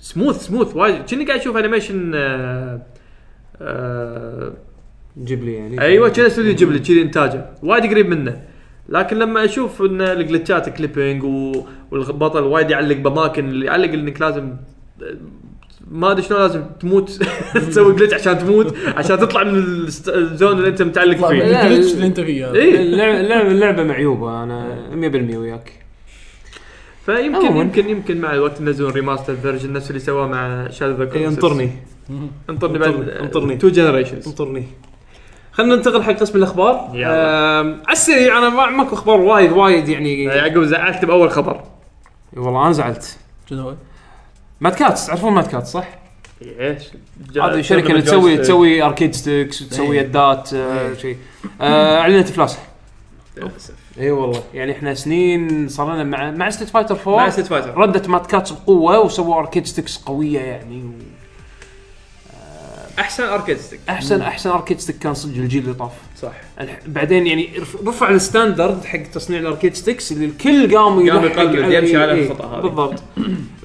Speaker 3: سموث سموث وايد كني قاعد اشوف انيميشن آه آه
Speaker 2: جيب لي يعني
Speaker 3: ايوه كذا استوديو جيبلي كذي انتاجه وايد قريب منه لكن لما اشوف ان الجلتشات كليبنج والبطل وايد يعلق باماكن اللي يعلق انك لازم ما ادري شلون لازم تموت تسوي جلتش عشان تموت عشان تطلع من الست- الزون اللي انت متعلق
Speaker 6: من
Speaker 3: فيه إيه،
Speaker 6: الجلتش اللي انت فيه
Speaker 2: إيه.
Speaker 6: هذا.
Speaker 3: اي
Speaker 2: اللعبه اللعبة- اللعبه معيوبه انا 100% وياك
Speaker 3: فيمكن
Speaker 2: عموماً.
Speaker 3: يمكن يمكن مع الوقت ينزلون ريماستر فيرجن نفس اللي سواه مع شادو ذا
Speaker 2: إي، انطرني
Speaker 3: انطرني بعد
Speaker 2: انطرني- انطرني.
Speaker 3: تو جنريشنز
Speaker 2: انطرني
Speaker 11: خلينا ننتقل حق قسم الاخبار
Speaker 3: يلا.
Speaker 2: آه،
Speaker 11: آم، على السريع انا ما ماكو اخبار وايد وايد يعني
Speaker 3: يعقوب زعلت باول خبر
Speaker 2: والله انا زعلت
Speaker 6: شنو هو؟
Speaker 2: ماد كاتس تعرفون ماد كاتس صح؟
Speaker 3: ايش
Speaker 2: هذه الشركه اللي تسوي تسوي اركيد ستيكس وتسوي يدات آه، شيء آه، اعلنت افلاسها
Speaker 11: اي والله
Speaker 2: يعني احنا سنين صار لنا مع مع ستيت فايتر 4
Speaker 3: مع ستيت فايتر
Speaker 2: ردت مات كاتس بقوه وسووا اركيد ستيكس قويه يعني و...
Speaker 3: احسن اركيد ستيك
Speaker 2: احسن احسن اركيد ستيك كان صدق الجيل اللي طاف
Speaker 3: صح
Speaker 2: الح- بعدين يعني رف- رفع الستاندرد حق تصنيع الاركيد ستيكس اللي الكل قام
Speaker 3: قام
Speaker 2: يلحق
Speaker 3: يقلد، يمشي على
Speaker 2: إيه،
Speaker 3: الخطأ هذه.
Speaker 2: بالضبط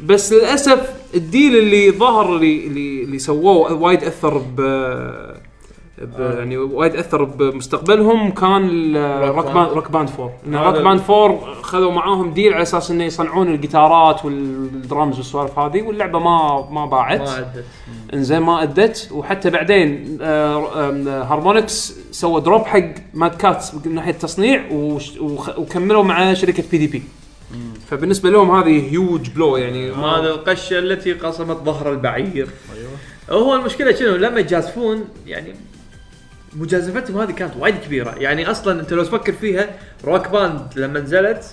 Speaker 2: بس للاسف الديل اللي ظهر اللي اللي, اللي سووه وايد اثر ب ب-
Speaker 3: آه.
Speaker 2: يعني وايد اثر بمستقبلهم كان ال-
Speaker 3: روك
Speaker 2: روك باند
Speaker 3: باند.
Speaker 2: روك باند 4 لان
Speaker 3: هذا
Speaker 2: روك
Speaker 3: ال-
Speaker 2: باند 4 خذوا معاهم ديل على اساس انه يصنعون الجيتارات والدرامز والسوالف هذه واللعبه ما ما باعت
Speaker 3: ما عدت
Speaker 2: انزين ما ادت وحتى بعدين آه، آم، هارمونكس سوى دروب حق ماد كاتس من ناحيه التصنيع وش- وخ- وكملوا مع شركه بي دي بي فبالنسبه لهم هذه هيوج بلو يعني ما
Speaker 3: هذا القشه التي قصمت ظهر البعير ايوه هو المشكله شنو لما يجازفون يعني مجازفتهم هذه كانت وايد كبيره يعني اصلا انت لو تفكر فيها روك باند لما نزلت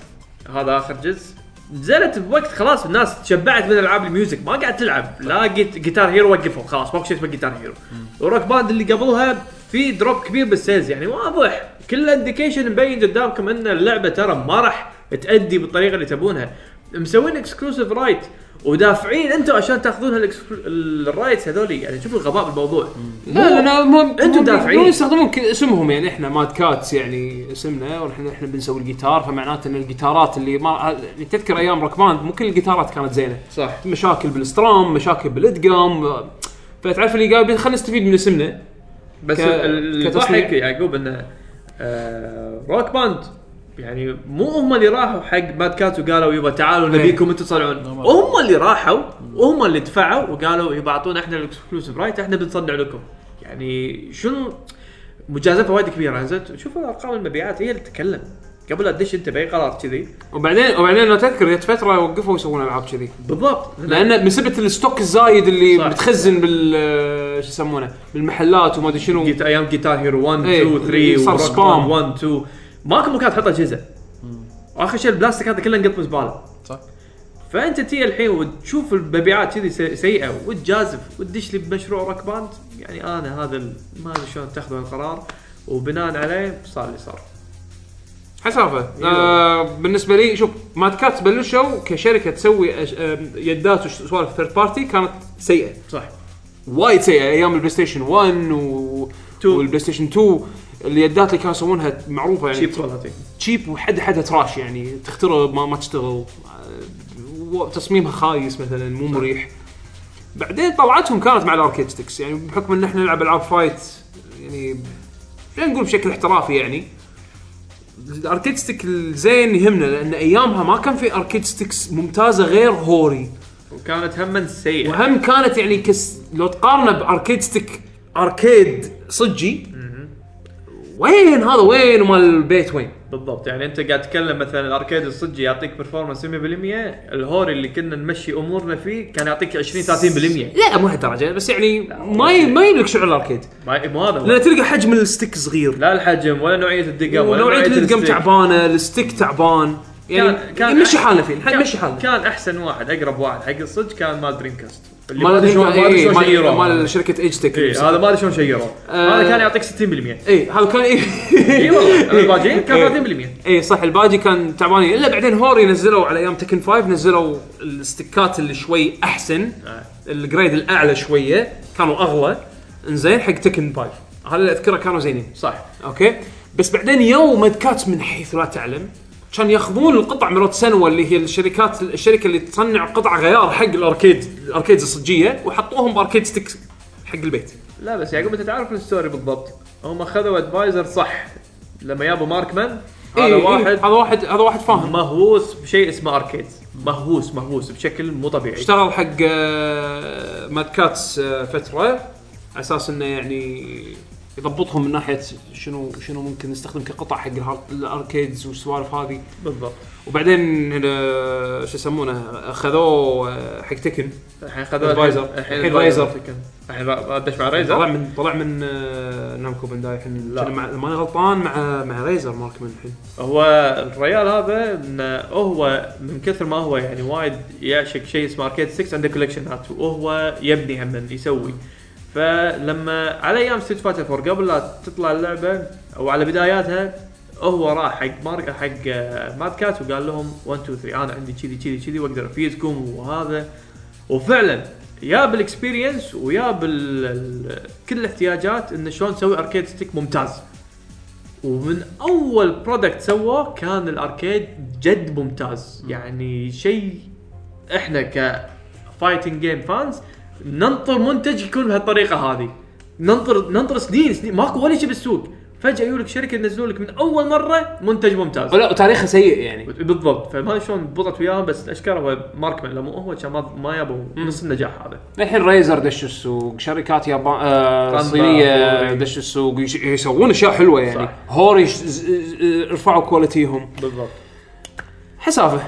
Speaker 3: هذا اخر جزء نزلت بوقت خلاص الناس تشبعت من العاب الميوزك ما قاعد تلعب لا جيت- جيتار هيرو وقفوا خلاص ماكو شيء اسمه جيتار هيرو وروك باند اللي قبلها في دروب كبير بالسيلز يعني واضح كل انديكيشن مبين قدامكم ان اللعبه ترى ما راح تأدي بالطريقه اللي تبونها مسوين اكسكلوسيف رايت ودافعين انتم عشان تاخذون هالإكسكلو- الرايتس هذولي يعني شوفوا الغباء بالموضوع
Speaker 2: لا لا لا ما
Speaker 3: أنتم
Speaker 2: ما-
Speaker 3: دافعين.
Speaker 2: ما يستخدمون ك- اسمهم يعني احنا ماد كاتس يعني اسمنا ونحن احنا بنسوي الجيتار فمعناته ان الجيتارات اللي ما يعني تذكر ايام روك باند مو كل الجيتارات كانت زينه
Speaker 3: صح
Speaker 2: مشاكل بالاسترام مشاكل بالادقام فتعرف اللي قال خلينا نستفيد من اسمنا
Speaker 3: بس
Speaker 2: ك-
Speaker 3: ال-
Speaker 2: كتصنيع.
Speaker 3: الضحك يعقوب انه آه، روك باند يعني مو هم اللي راحوا حق ماد كات وقالوا يبا تعالوا نبيكم انتم تصنعون هم اللي راحوا وهم اللي دفعوا وقالوا يبا اعطونا احنا الاكسكلوسيف رايت احنا بنصنع لكم يعني شنو مجازفه وايد كبيره زين شوفوا ارقام المبيعات هي اللي تتكلم قبل لا تدش انت باي قرار كذي
Speaker 2: وبعدين وبعدين لو تذكر جت فتره وقفوا يسوون العاب كذي
Speaker 3: بالضبط
Speaker 2: لان من سبه الستوك الزايد اللي
Speaker 3: صح.
Speaker 2: صح. بتخزن بال آه، شو يسمونه بالمحلات وما ادري شنو
Speaker 3: جيت ايام جيتار هيرو 1
Speaker 2: إيه،
Speaker 3: 2 3
Speaker 2: صار
Speaker 3: وروك
Speaker 2: سبام.
Speaker 3: باند 1 2 ماكو مكان تحط اجهزه واخر شيء البلاستيك هذا كله نقط زباله
Speaker 6: صح.
Speaker 3: فانت تي الحين وتشوف المبيعات كذي سي- سيئه وتجازف وتدش لي بمشروع روك باند يعني انا هذا ال- ما ادري شلون اتخذوا القرار وبناء عليه صار اللي صار
Speaker 2: حسافه آه
Speaker 3: أيوة.
Speaker 2: بالنسبه لي شوف ماد كاتس بلشوا كشركه تسوي أش... آم، يدات وسوالف ثيرد بارتي كانت سيئه
Speaker 3: صح
Speaker 2: وايد سيئه ايام البلاي ستيشن 1 و...
Speaker 3: تو.
Speaker 2: والبلاي ستيشن 2 اليدات اللي كانوا يسوونها معروفه يعني
Speaker 3: شيب كواليتي
Speaker 2: تشيب وحد حدها تراش يعني تخترب ما, ما تشتغل آه، وتصميمها خايس مثلا مو مريح بعدين طلعتهم كانت مع الاركيد ستكس يعني بحكم ان احنا نلعب العاب فايت يعني خلينا نقول بشكل احترافي يعني الاركيد ستيك الزين يهمنا لان ايامها ما كان في اركيد ستكس ممتازه غير هوري
Speaker 3: وكانت هما سيئه
Speaker 2: وهم كانت يعني كس لو تقارنه باركيد ستيك اركيد صجي وين هذا وين ومال البيت وين
Speaker 3: بالضبط يعني انت قاعد تتكلم مثلا الاركيد الصجي يعطيك برفورمانس 100% الهوري اللي كنا نمشي امورنا فيه كان يعطيك 20 30%
Speaker 2: لا مو هالدرجه بس يعني ما ي... ما يملك شعور الاركيد
Speaker 3: ما- مو هذا هو.
Speaker 2: لان تلقى حجم الستيك صغير
Speaker 3: لا الحجم ولا نوعيه الدقه ولا
Speaker 2: ونوعيه الادقم
Speaker 3: الستيك.
Speaker 2: تعبانه الستيك تعبان يعني كان مشي حالنا فيه الحين
Speaker 3: كان-
Speaker 2: مشي حالنا
Speaker 3: كان احسن واحد اقرب واحد حق الصج كان مال دريم كاست اللي
Speaker 2: مال
Speaker 3: ما ادري شلون ما ادري
Speaker 2: إيه،
Speaker 3: شلون
Speaker 2: مال
Speaker 3: شيروه
Speaker 2: مال شركه ايج تك
Speaker 3: إيه، هذا ما ادري شلون شيروه
Speaker 2: آه.
Speaker 3: هذا كان يعطيك 60%
Speaker 2: اي إيه، هذا كان اي
Speaker 3: اي إيه، والله الباجين
Speaker 2: إيه.
Speaker 3: كان 30%
Speaker 2: اي صح الباجي كان تعبانين الا بعدين هوري نزلوا على ايام تكن 5 نزلوا الستيكات اللي شوي احسن
Speaker 3: آه.
Speaker 2: الجريد الاعلى شويه كانوا اغلى انزين حق تكن 5 هذا اللي اذكره كانوا زينين
Speaker 3: صح
Speaker 2: اوكي بس بعدين يوم ماد كاتس من حيث لا تعلم كان ياخذون القطع مرات سنوا اللي هي الشركات الشركه اللي تصنع قطع غيار حق الاركيد الاركيد الصجيه وحطوهم باركيد ستيك حق البيت
Speaker 3: لا بس يعقوب انت تعرف الستوري بالضبط هم خذوا ادفايزر صح لما جابوا ماركمان هذا
Speaker 2: إيه، إيه،
Speaker 3: واحد
Speaker 2: هذا واحد هذا واحد فاهم
Speaker 3: مهووس بشيء اسمه اركيدز مهووس مهووس بشكل مو طبيعي
Speaker 2: اشتغل حق آه، ماد كاتس آه، فتره على اساس انه يعني يضبطهم من ناحيه شنو شنو ممكن نستخدم كقطع حق الهارد- الاركيدز والسوالف هذه
Speaker 3: بالضبط
Speaker 2: وبعدين هنا شو يسمونه خذوه آه، حق تكن
Speaker 3: الحين خذوا
Speaker 2: Advisor. الحين Razor.
Speaker 3: الحين را- دش مع
Speaker 2: طلع
Speaker 3: رايزر
Speaker 2: من طلع من آه، نامكو بانداي الحين
Speaker 3: طيب، لا.
Speaker 2: كان مع ماني غلطان مع مع ريزر ماركمان الحين
Speaker 3: هو الريال هذا انه هو من كثر ما هو يعني وايد يعشق شيء اسمه اركيد 6 عنده كولكشنات وهو يبني هم يسوي فلما على ايام ستريت فايتر 4 قبل لا تطلع اللعبه او على بداياتها هو راح حق مارك حق ماد كات وقال لهم 1 2 3 انا عندي كذي كذي كذي واقدر افيدكم وهذا وفعلا ياب الاكسبيرينس وياب ال- ال- كل الاحتياجات انه شلون تسوي اركيد ستيك ممتاز ومن اول برودكت سواه كان الاركيد جد ممتاز يعني شيء احنا ك فايتنج جيم فانز ننطر منتج يكون بهالطريقه هذه ننطر ننطر سنين سنين ماكو ولا شيء بالسوق فجاه يقول لك شركه ينزلون لك من اول مره منتج ممتاز
Speaker 15: لا وتاريخه سيء يعني
Speaker 3: بالضبط فما ادري شلون ضبطت وياهم بس اشكره هو ماركمان لما هو كان ما ما يابوا نص النجاح هذا
Speaker 15: الحين ريزر دش السوق شركات يابان آه
Speaker 3: طنطا،
Speaker 15: صينيه
Speaker 3: هوري.
Speaker 15: دش السوق يش- يسوون اشياء حلوه يعني
Speaker 3: صح.
Speaker 15: هوري ش- ز- ز- رفعوا كواليتيهم
Speaker 3: بالضبط
Speaker 15: حسافه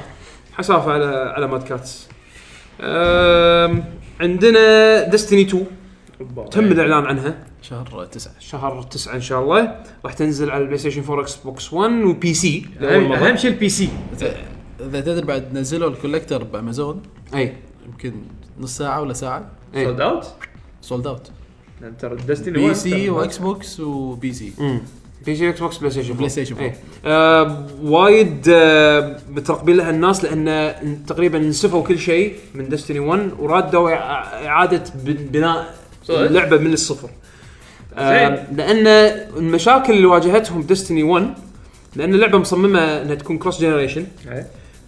Speaker 2: حسافه على على ماد كاتس أم، عندنا ديستني 2 تم
Speaker 3: طيب.
Speaker 2: الاعلان عنها
Speaker 6: شهر تسعة
Speaker 2: شهر 9 ان شاء الله راح تنزل على البلاي ستيشن 4 اكس بوكس 1 وبي سي
Speaker 3: اهم أهم شيء البي سي
Speaker 6: اذا تدري بعد نزلوا الكوليكتر بامازون
Speaker 15: اي
Speaker 6: يمكن نص ساعه ولا ساعه
Speaker 15: إيه.
Speaker 3: سولد اوت
Speaker 6: سولد اوت
Speaker 3: يعني ترى دستني
Speaker 6: بي سي واكس بوكس وبي سي
Speaker 15: بي سي اكس بوكس بلاي ستيشن
Speaker 6: بلاي ستيشن
Speaker 15: إيه.
Speaker 6: 4
Speaker 2: آه وايد آه مترقبين لها الناس لان تقريبا نسفوا كل شيء من ديستني 1 ورادوا إع- اعاده ب- بناء
Speaker 3: صحيح.
Speaker 2: اللعبه من الصفر آه
Speaker 3: زين.
Speaker 2: لان المشاكل اللي واجهتهم ديستني 1 لان اللعبه مصممه انها تكون كروس جنريشن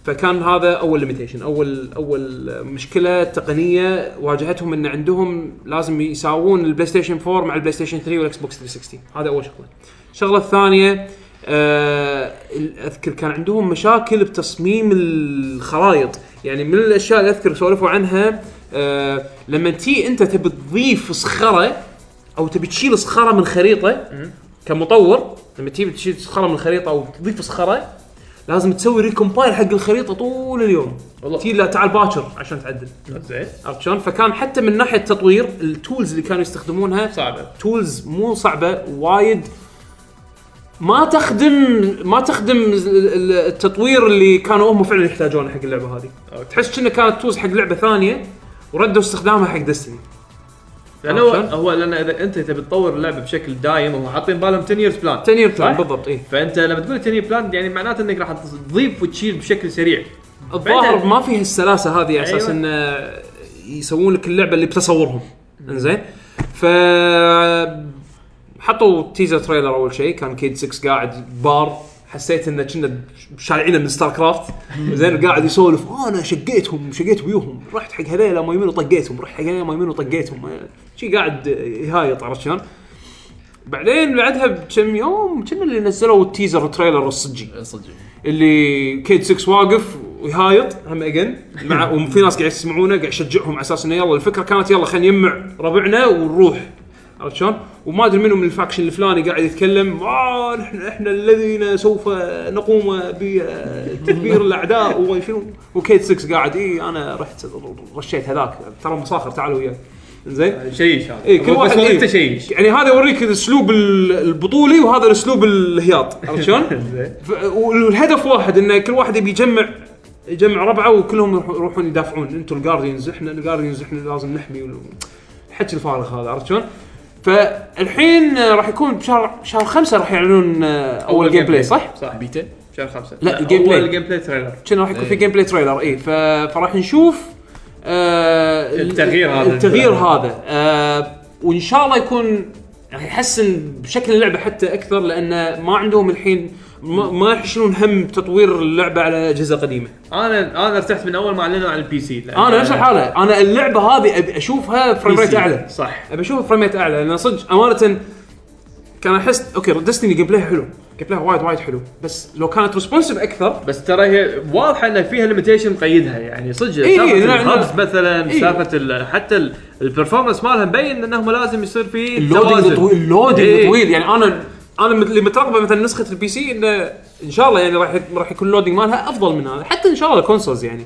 Speaker 2: فكان هذا اول ليميتيشن اول اول مشكله تقنيه واجهتهم ان عندهم لازم يساوون البلاي ستيشن 4 مع البلاي ستيشن 3 والاكس بوكس 360 هذا اول شغله الشغله الثانيه آه ال- اذكر كان عندهم مشاكل بتصميم الخرائط يعني من الاشياء اللي اذكر سولفوا عنها آه لما تي انت تبي تضيف صخره او تبي تشيل صخره من خريطه كمطور لما تيجي تشيل صخره من الخريطه او تضيف صخره لازم تسوي ريكومبايل حق الخريطه طول اليوم والله تي لا تعال باكر عشان تعدل
Speaker 3: إيه، زين
Speaker 2: عرفت شلون؟ فكان حتى من ناحيه تطوير التولز اللي كانوا يستخدمونها
Speaker 3: صعبه
Speaker 2: تولز مو صعبه وايد ما تخدم ما تخدم ال- ال- التطوير اللي كانوا هم فعلا يحتاجونه حق اللعبه هذه
Speaker 3: أوكي.
Speaker 2: تحس كأنها كانت تولز حق لعبه ثانيه وردوا استخدامها حق دستني آه،
Speaker 3: لانه هو,
Speaker 2: عشان؟
Speaker 3: هو لان اذا انت تبي تطور اللعبه بشكل دايم هم حاطين بالهم 10 years بلان
Speaker 2: 10 يير
Speaker 3: صح؟
Speaker 2: بالضبط إيه. اي
Speaker 3: فانت لما تقول 10 year بلان يعني معناته انك راح تضيف وتشيل بشكل سريع
Speaker 2: الظاهر
Speaker 3: بعدين-
Speaker 2: ما فيه السلاسه هذه على اساس
Speaker 3: أيوة.
Speaker 2: انه يسوون لك اللعبه اللي بتصورهم انزين ف حطوا تيزر تريلر اول شيء كان كيد 6 قاعد بار حسيت انه كنا شالعينه من ستار كرافت زين قاعد يسولف انا شقيتهم شقيت ويوهم رحت حق هذيلا ما يمين وطقيتهم رحت حق هذيلا ما يمين وطقيتهم شي قاعد يهايط عرفت شلون؟ بعدين بعدها بكم يوم كنا اللي نزلوا التيزر تريلر الصجي
Speaker 6: صدق
Speaker 2: اللي كيد 6 واقف ويهايط هم اجن مع وفي ناس قاعد يسمعونه قاعد يشجعهم على اساس انه يلا الفكره كانت يلا خلينا نجمع ربعنا ونروح عرفت شلون؟ وما ادري منو من الفاكشن الفلاني قاعد يتكلم آه نحن احنا الذين سوف نقوم بتدبير الاعداء وما شنو وكيد 6 قاعد اي انا رحت رشيت هذاك ترى مساخر تعالوا وياي زين
Speaker 3: شيء شان
Speaker 2: اي كل واحد
Speaker 3: بس
Speaker 2: آه، إيه.
Speaker 3: انت شيء
Speaker 2: يعني هذا يوريك الاسلوب ال- البطولي وهذا الاسلوب الهياط عرفت شلون؟
Speaker 3: زين.
Speaker 2: ف- والهدف واحد انه كل واحد يبي يجمع يجمع ربعه وكلهم يروح- يروحون يدافعون انتم الجارديانز احنا الجارديانز احنا لازم نحمي وال- الحكي الفارغ هذا عرفت شلون؟ فالحين آه، راح يكون بشهر شهر خمسه راح يعلنون آه، اول جيم بلاي صح؟
Speaker 3: صح
Speaker 6: بيتا
Speaker 3: شهر خمسه
Speaker 2: لا، الجيم بلاي.
Speaker 3: اول جيم بلاي تريلر
Speaker 2: كان راح يكون في
Speaker 6: إيه.
Speaker 2: جيم بلاي تريلر اي ف... فراح نشوف آه ال-
Speaker 3: التغيير هذا.
Speaker 2: التغيير هذا آه وان شاء الله يكون راح يحسن بشكل اللعبه حتى اكثر لان ما عندهم الحين ما, ما راح يشيلون هم تطوير اللعبه على اجهزه قديمه
Speaker 3: انا انا ارتحت من اول ما اعلنوا عن البي سي
Speaker 2: انا نفس الحاله انا اللعبه هذه ابي اشوفها فريم ريت اعلى
Speaker 3: صح
Speaker 2: ابي اشوف فريم ريت اعلى لان صدق امانه كان احس اوكي ديستني جيم بلاي حلو جيم بلاي وايد وايد حلو بس لو كانت ريسبونسيف اكثر
Speaker 3: بس ترى هي واضحه ان فيها ليميتيشن مقيدها يعني صدق
Speaker 2: إي،
Speaker 3: سالفه
Speaker 2: لا، لا.
Speaker 3: الهبس مثلا
Speaker 2: إي.
Speaker 3: سالفه ال- حتى البرفورمانس مالها مبين انهم لازم يصير في
Speaker 2: اللودنج
Speaker 3: توازن.
Speaker 2: طويل اللودنج
Speaker 3: إيه.
Speaker 2: طويل يعني انا انا مت- اللي مترقبه مثلا نسخه البي سي انه ان شاء الله يعني راح يك- راح يكون اللودنج مالها افضل من هذا حتى ان شاء الله الكونسولز يعني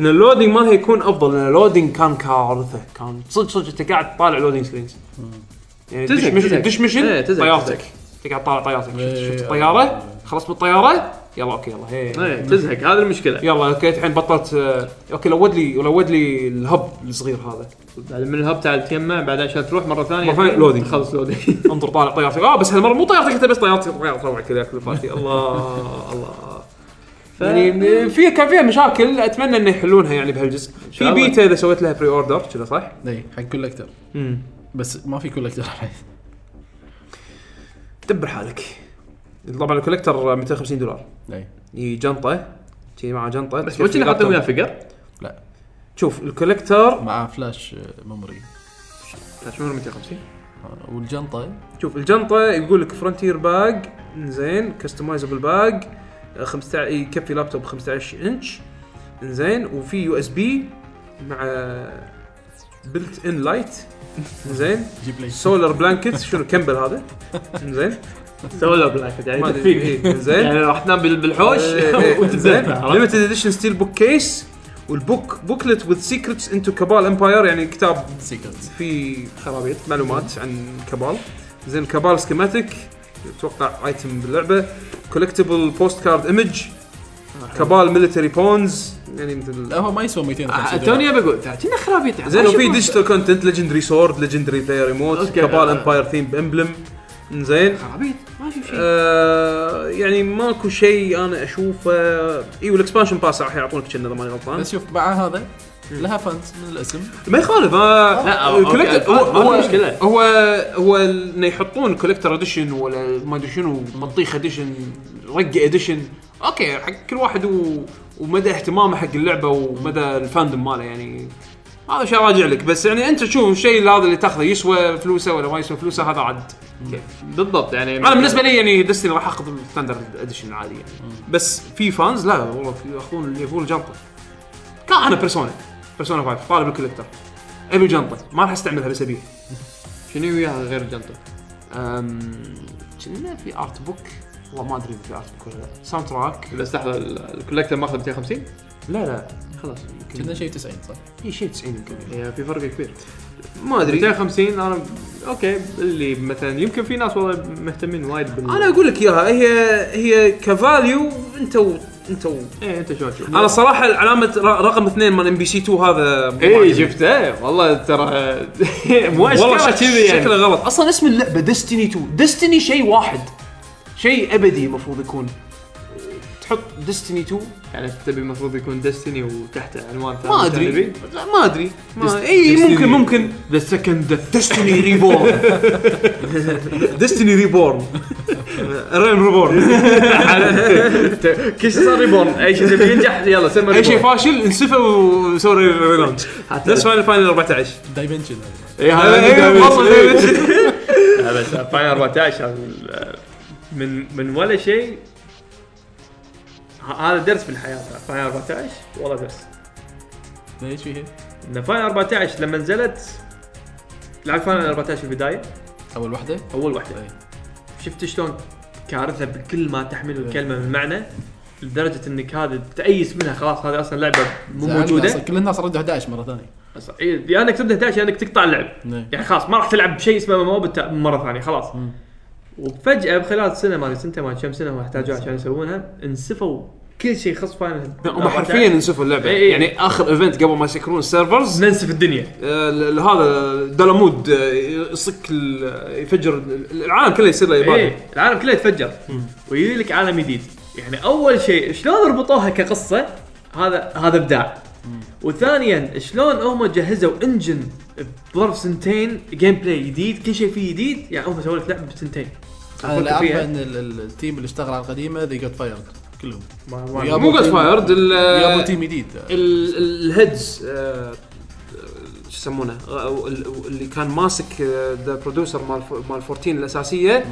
Speaker 2: ان اللودنج مالها يكون افضل لان اللودنج كان كارثه كان صدق صدق انت قاعد تطالع لودنج سكرينز يعني
Speaker 3: تزهق،
Speaker 2: دش مشن
Speaker 3: تزهق.
Speaker 2: دش
Speaker 3: إيه،
Speaker 2: مشن
Speaker 3: تزهق،
Speaker 2: طيارتك
Speaker 3: تزهق.
Speaker 2: انت قاعد تطالع طيارتك شفت- شفت الطياره خلصت من الطياره يلا اوكي يلا هي
Speaker 3: إيه، تزهق هذه المشكله
Speaker 2: يلا اوكي الحين بطلت آه، اوكي لود لي لود لي الهب الصغير هذا
Speaker 3: بعد من الهب تعال تجمع بعد عشان تروح مره ثانيه
Speaker 2: مرة ثانية loading.
Speaker 3: خلص لودنج
Speaker 2: انظر طالع طيارتك اه بس هالمره مو طيارتك انت بس طيارتك طيارة طلعت كذا كل فاتي الله الله ف... يعني في كان فيها مشاكل اتمنى انه يحلونها يعني بهالجزء في
Speaker 3: الله.
Speaker 2: بيتا اذا سويت لها بري اوردر كذا صح؟
Speaker 6: اي حق كولكتر
Speaker 2: امم
Speaker 6: بس ما في كولكتر الحين
Speaker 2: دبر حالك طبعا الكوليكتر 250 دولار
Speaker 6: اي
Speaker 2: هي جنطه شي معاه جنطه بس
Speaker 3: وش اللي حاطين وياه فقر؟
Speaker 2: شوف الكوليكتر
Speaker 6: مع فلاش آه، ميموري
Speaker 2: شنو 250
Speaker 6: آه، والجنطه
Speaker 2: شوف الجنطه يقول لك فرونتير باج زين كستمايزبل باج 15 يكفي لابتوب 15 انش زين وفي يو اس بي مع بلت ان لايت زين
Speaker 6: جيب لي
Speaker 2: سولار بلانكت شنو كمبل هذا زين
Speaker 3: سولو بلاك يعني إيه،
Speaker 2: ما
Speaker 3: تفيق
Speaker 2: ادري زين
Speaker 3: يعني راح تنام بال- بالحوش
Speaker 2: آه، زين
Speaker 3: وتتذبح عرفت؟
Speaker 2: ليمتد اديشن ستيل بوك كيس والبوك بوكلت وذ سيكرتس انتو كابال امباير يعني كتاب
Speaker 6: سيكرت
Speaker 2: في خرابيط معلومات عن كابال زين كابال سكيماتيك اتوقع ايتم باللعبه كولكتبل بوست كارد ايمج كابال ميلتري بونز يعني مثل
Speaker 6: هو ما يسوى 250 دولار.
Speaker 3: آه، توني بقول كنا خرابيط
Speaker 2: زين وفي ديجيتال كونتنت ليجندري سورد ليجندري بلاير ريموت
Speaker 3: أوكي.
Speaker 2: كابال امباير ثيم امبلم زين
Speaker 3: خرابيط ما في شيء
Speaker 2: آه يعني ماكو شيء انا اشوفه اي والاكسبانشن باس راح يعطونك كنا اذا ماني غلطان
Speaker 6: بس شوف مع هذا لها فانز من الاسم
Speaker 2: ما يخالف آه
Speaker 3: لا،
Speaker 2: آه،
Speaker 3: أوكي،
Speaker 2: collector-
Speaker 3: ما- ما في مشكلة.
Speaker 2: هو هو انه يحطون كوليكتر اديشن ولا ما ادري شنو بطيخ اديشن رقه اديشن اوكي حق كل واحد و... ومدى اهتمامه حق اللعبه ومدى الفاندم ماله يعني هذا شيء راجع لك بس يعني انت تشوف الشيء هذا اللي تاخذه يسوى فلوسه ولا ما يسوى فلوسه هذا عاد
Speaker 3: بالضبط يعني
Speaker 2: انا بالنسبه لي يعني دستني راح اخذ الستاندرد اديشن العادي يعني بس في فانز لا والله في- ياخذون اللي يبون الجنطه كان انا بيرسونا بيرسونا 5 طالب الكوليكتر ابي جنطه ما راح استعملها بس ابيها
Speaker 3: شنو وياها غير الجنطه؟
Speaker 2: أم، كنا في ارت بوك والله ما ادري اذا في ارت بوك ولا لا ساوند تراك
Speaker 3: بس لحظه ال- الكولكتر ماخذ 250
Speaker 2: لا لا خلاص يمكن
Speaker 6: كنا شيء 90 صح؟
Speaker 2: في شيء 90 يمكن
Speaker 3: يعني في فرق كبير
Speaker 2: ما ادري
Speaker 3: 250 انا اوكي اللي مثلا يمكن في ناس والله مهتمين وايد بال
Speaker 2: انا اقول لك اياها هي هي كفاليو انت و... انت و...
Speaker 3: ايه انت شو تشوف؟
Speaker 2: انا صراحه علامه ر- رقم اثنين مال ام بي سي 2 هذا مو
Speaker 3: ايه
Speaker 2: عاجبني.
Speaker 3: شفته والله ترى مو
Speaker 2: والله
Speaker 3: اشكاله
Speaker 2: شك-
Speaker 3: كذي يعني
Speaker 2: شكله غلط اصلا اسم اللعبه ديستني 2 ديستني شيء واحد شيء ابدي المفروض يكون تحط ديستني 2
Speaker 3: يعني تبي المفروض يكون ديستني وتحته عنوان ثاني
Speaker 2: ما ادري
Speaker 3: جانبي.
Speaker 2: لا، ما ادري ما
Speaker 3: Destiny-
Speaker 2: اي ممكن
Speaker 3: Destiny.
Speaker 2: ممكن
Speaker 3: ذا سكند ديث
Speaker 2: ديستني ريبورن ديستني ريبورن ريم ريبورن
Speaker 3: كل شيء صار ريبورن اي شيء تبي ينجح يلا سمى
Speaker 2: اي شيء فاشل انسفه وسوي ريلونج نفس فاينل فاينل 14
Speaker 6: دايمنشن
Speaker 3: اي
Speaker 2: إيه، والله
Speaker 3: هذا
Speaker 2: دايمنشن.
Speaker 3: بس فاينل 14 هذا من من ولا شيء ه- هذا درس بالحياه فاينل 14 والله درس
Speaker 6: ليش فيها؟
Speaker 3: ان فاينل 14 لما نزلت لعبت فاينل 14 في البدايه
Speaker 6: اول واحده
Speaker 3: اول واحده
Speaker 6: أي.
Speaker 3: شفت شلون كارثه بكل ما تحمل الكلمه من معنى لدرجه انك هذا تأيس منها خلاص هذه اصلا لعبه مو
Speaker 6: زعلنا
Speaker 3: موجوده
Speaker 6: أصلاً. كل الناس ردوا 11 مره ثانيه
Speaker 3: أصلاً- إيه، يا انك تبدا 11 يا انك تقطع اللعب
Speaker 6: نعم.
Speaker 3: يعني خلاص ما راح تلعب بشيء اسمه مو بالت- مره ثانيه خلاص وفجاه بخلال سنه ما ادري سنتين ما أدري كم سنه هم احتاجوها عشان يسوونها انسفوا كل شيء يخص فاينل
Speaker 2: هم حرفيا انسفوا اللعبه
Speaker 3: إي، إي.
Speaker 2: يعني اخر ايفنت قبل ما يسكرون السيرفرز
Speaker 3: ننسف الدنيا
Speaker 2: آه، ال- هذا دلمود آه، يصك ال- يفجر ال- العالم كله يصير له
Speaker 3: ايه
Speaker 2: يبادر
Speaker 3: العالم كله يتفجر ويجي لك عالم جديد يعني اول شيء شلون ربطوها كقصه هذا هذا ابداع وثانيا شلون هم جهزوا انجن بظرف سنتين جيم بلاي جديد كل شيء فيه جديد يعني هم سووا لك لعبه بسنتين
Speaker 6: انا اللي
Speaker 3: فيها.
Speaker 6: اعرفه ان ال- ال- التيم اللي اشتغل على القديمه ذي جوت فايرد كلهم
Speaker 3: ما- ما-
Speaker 6: ويابو
Speaker 2: مو جود
Speaker 6: تيم-
Speaker 2: فايرد
Speaker 6: يابو تيم جديد
Speaker 2: ال- ال- الهيدز آه، شو يسمونه آه، ال- اللي كان ماسك ذا برودوسر مال ف- مال 14 الاساسيه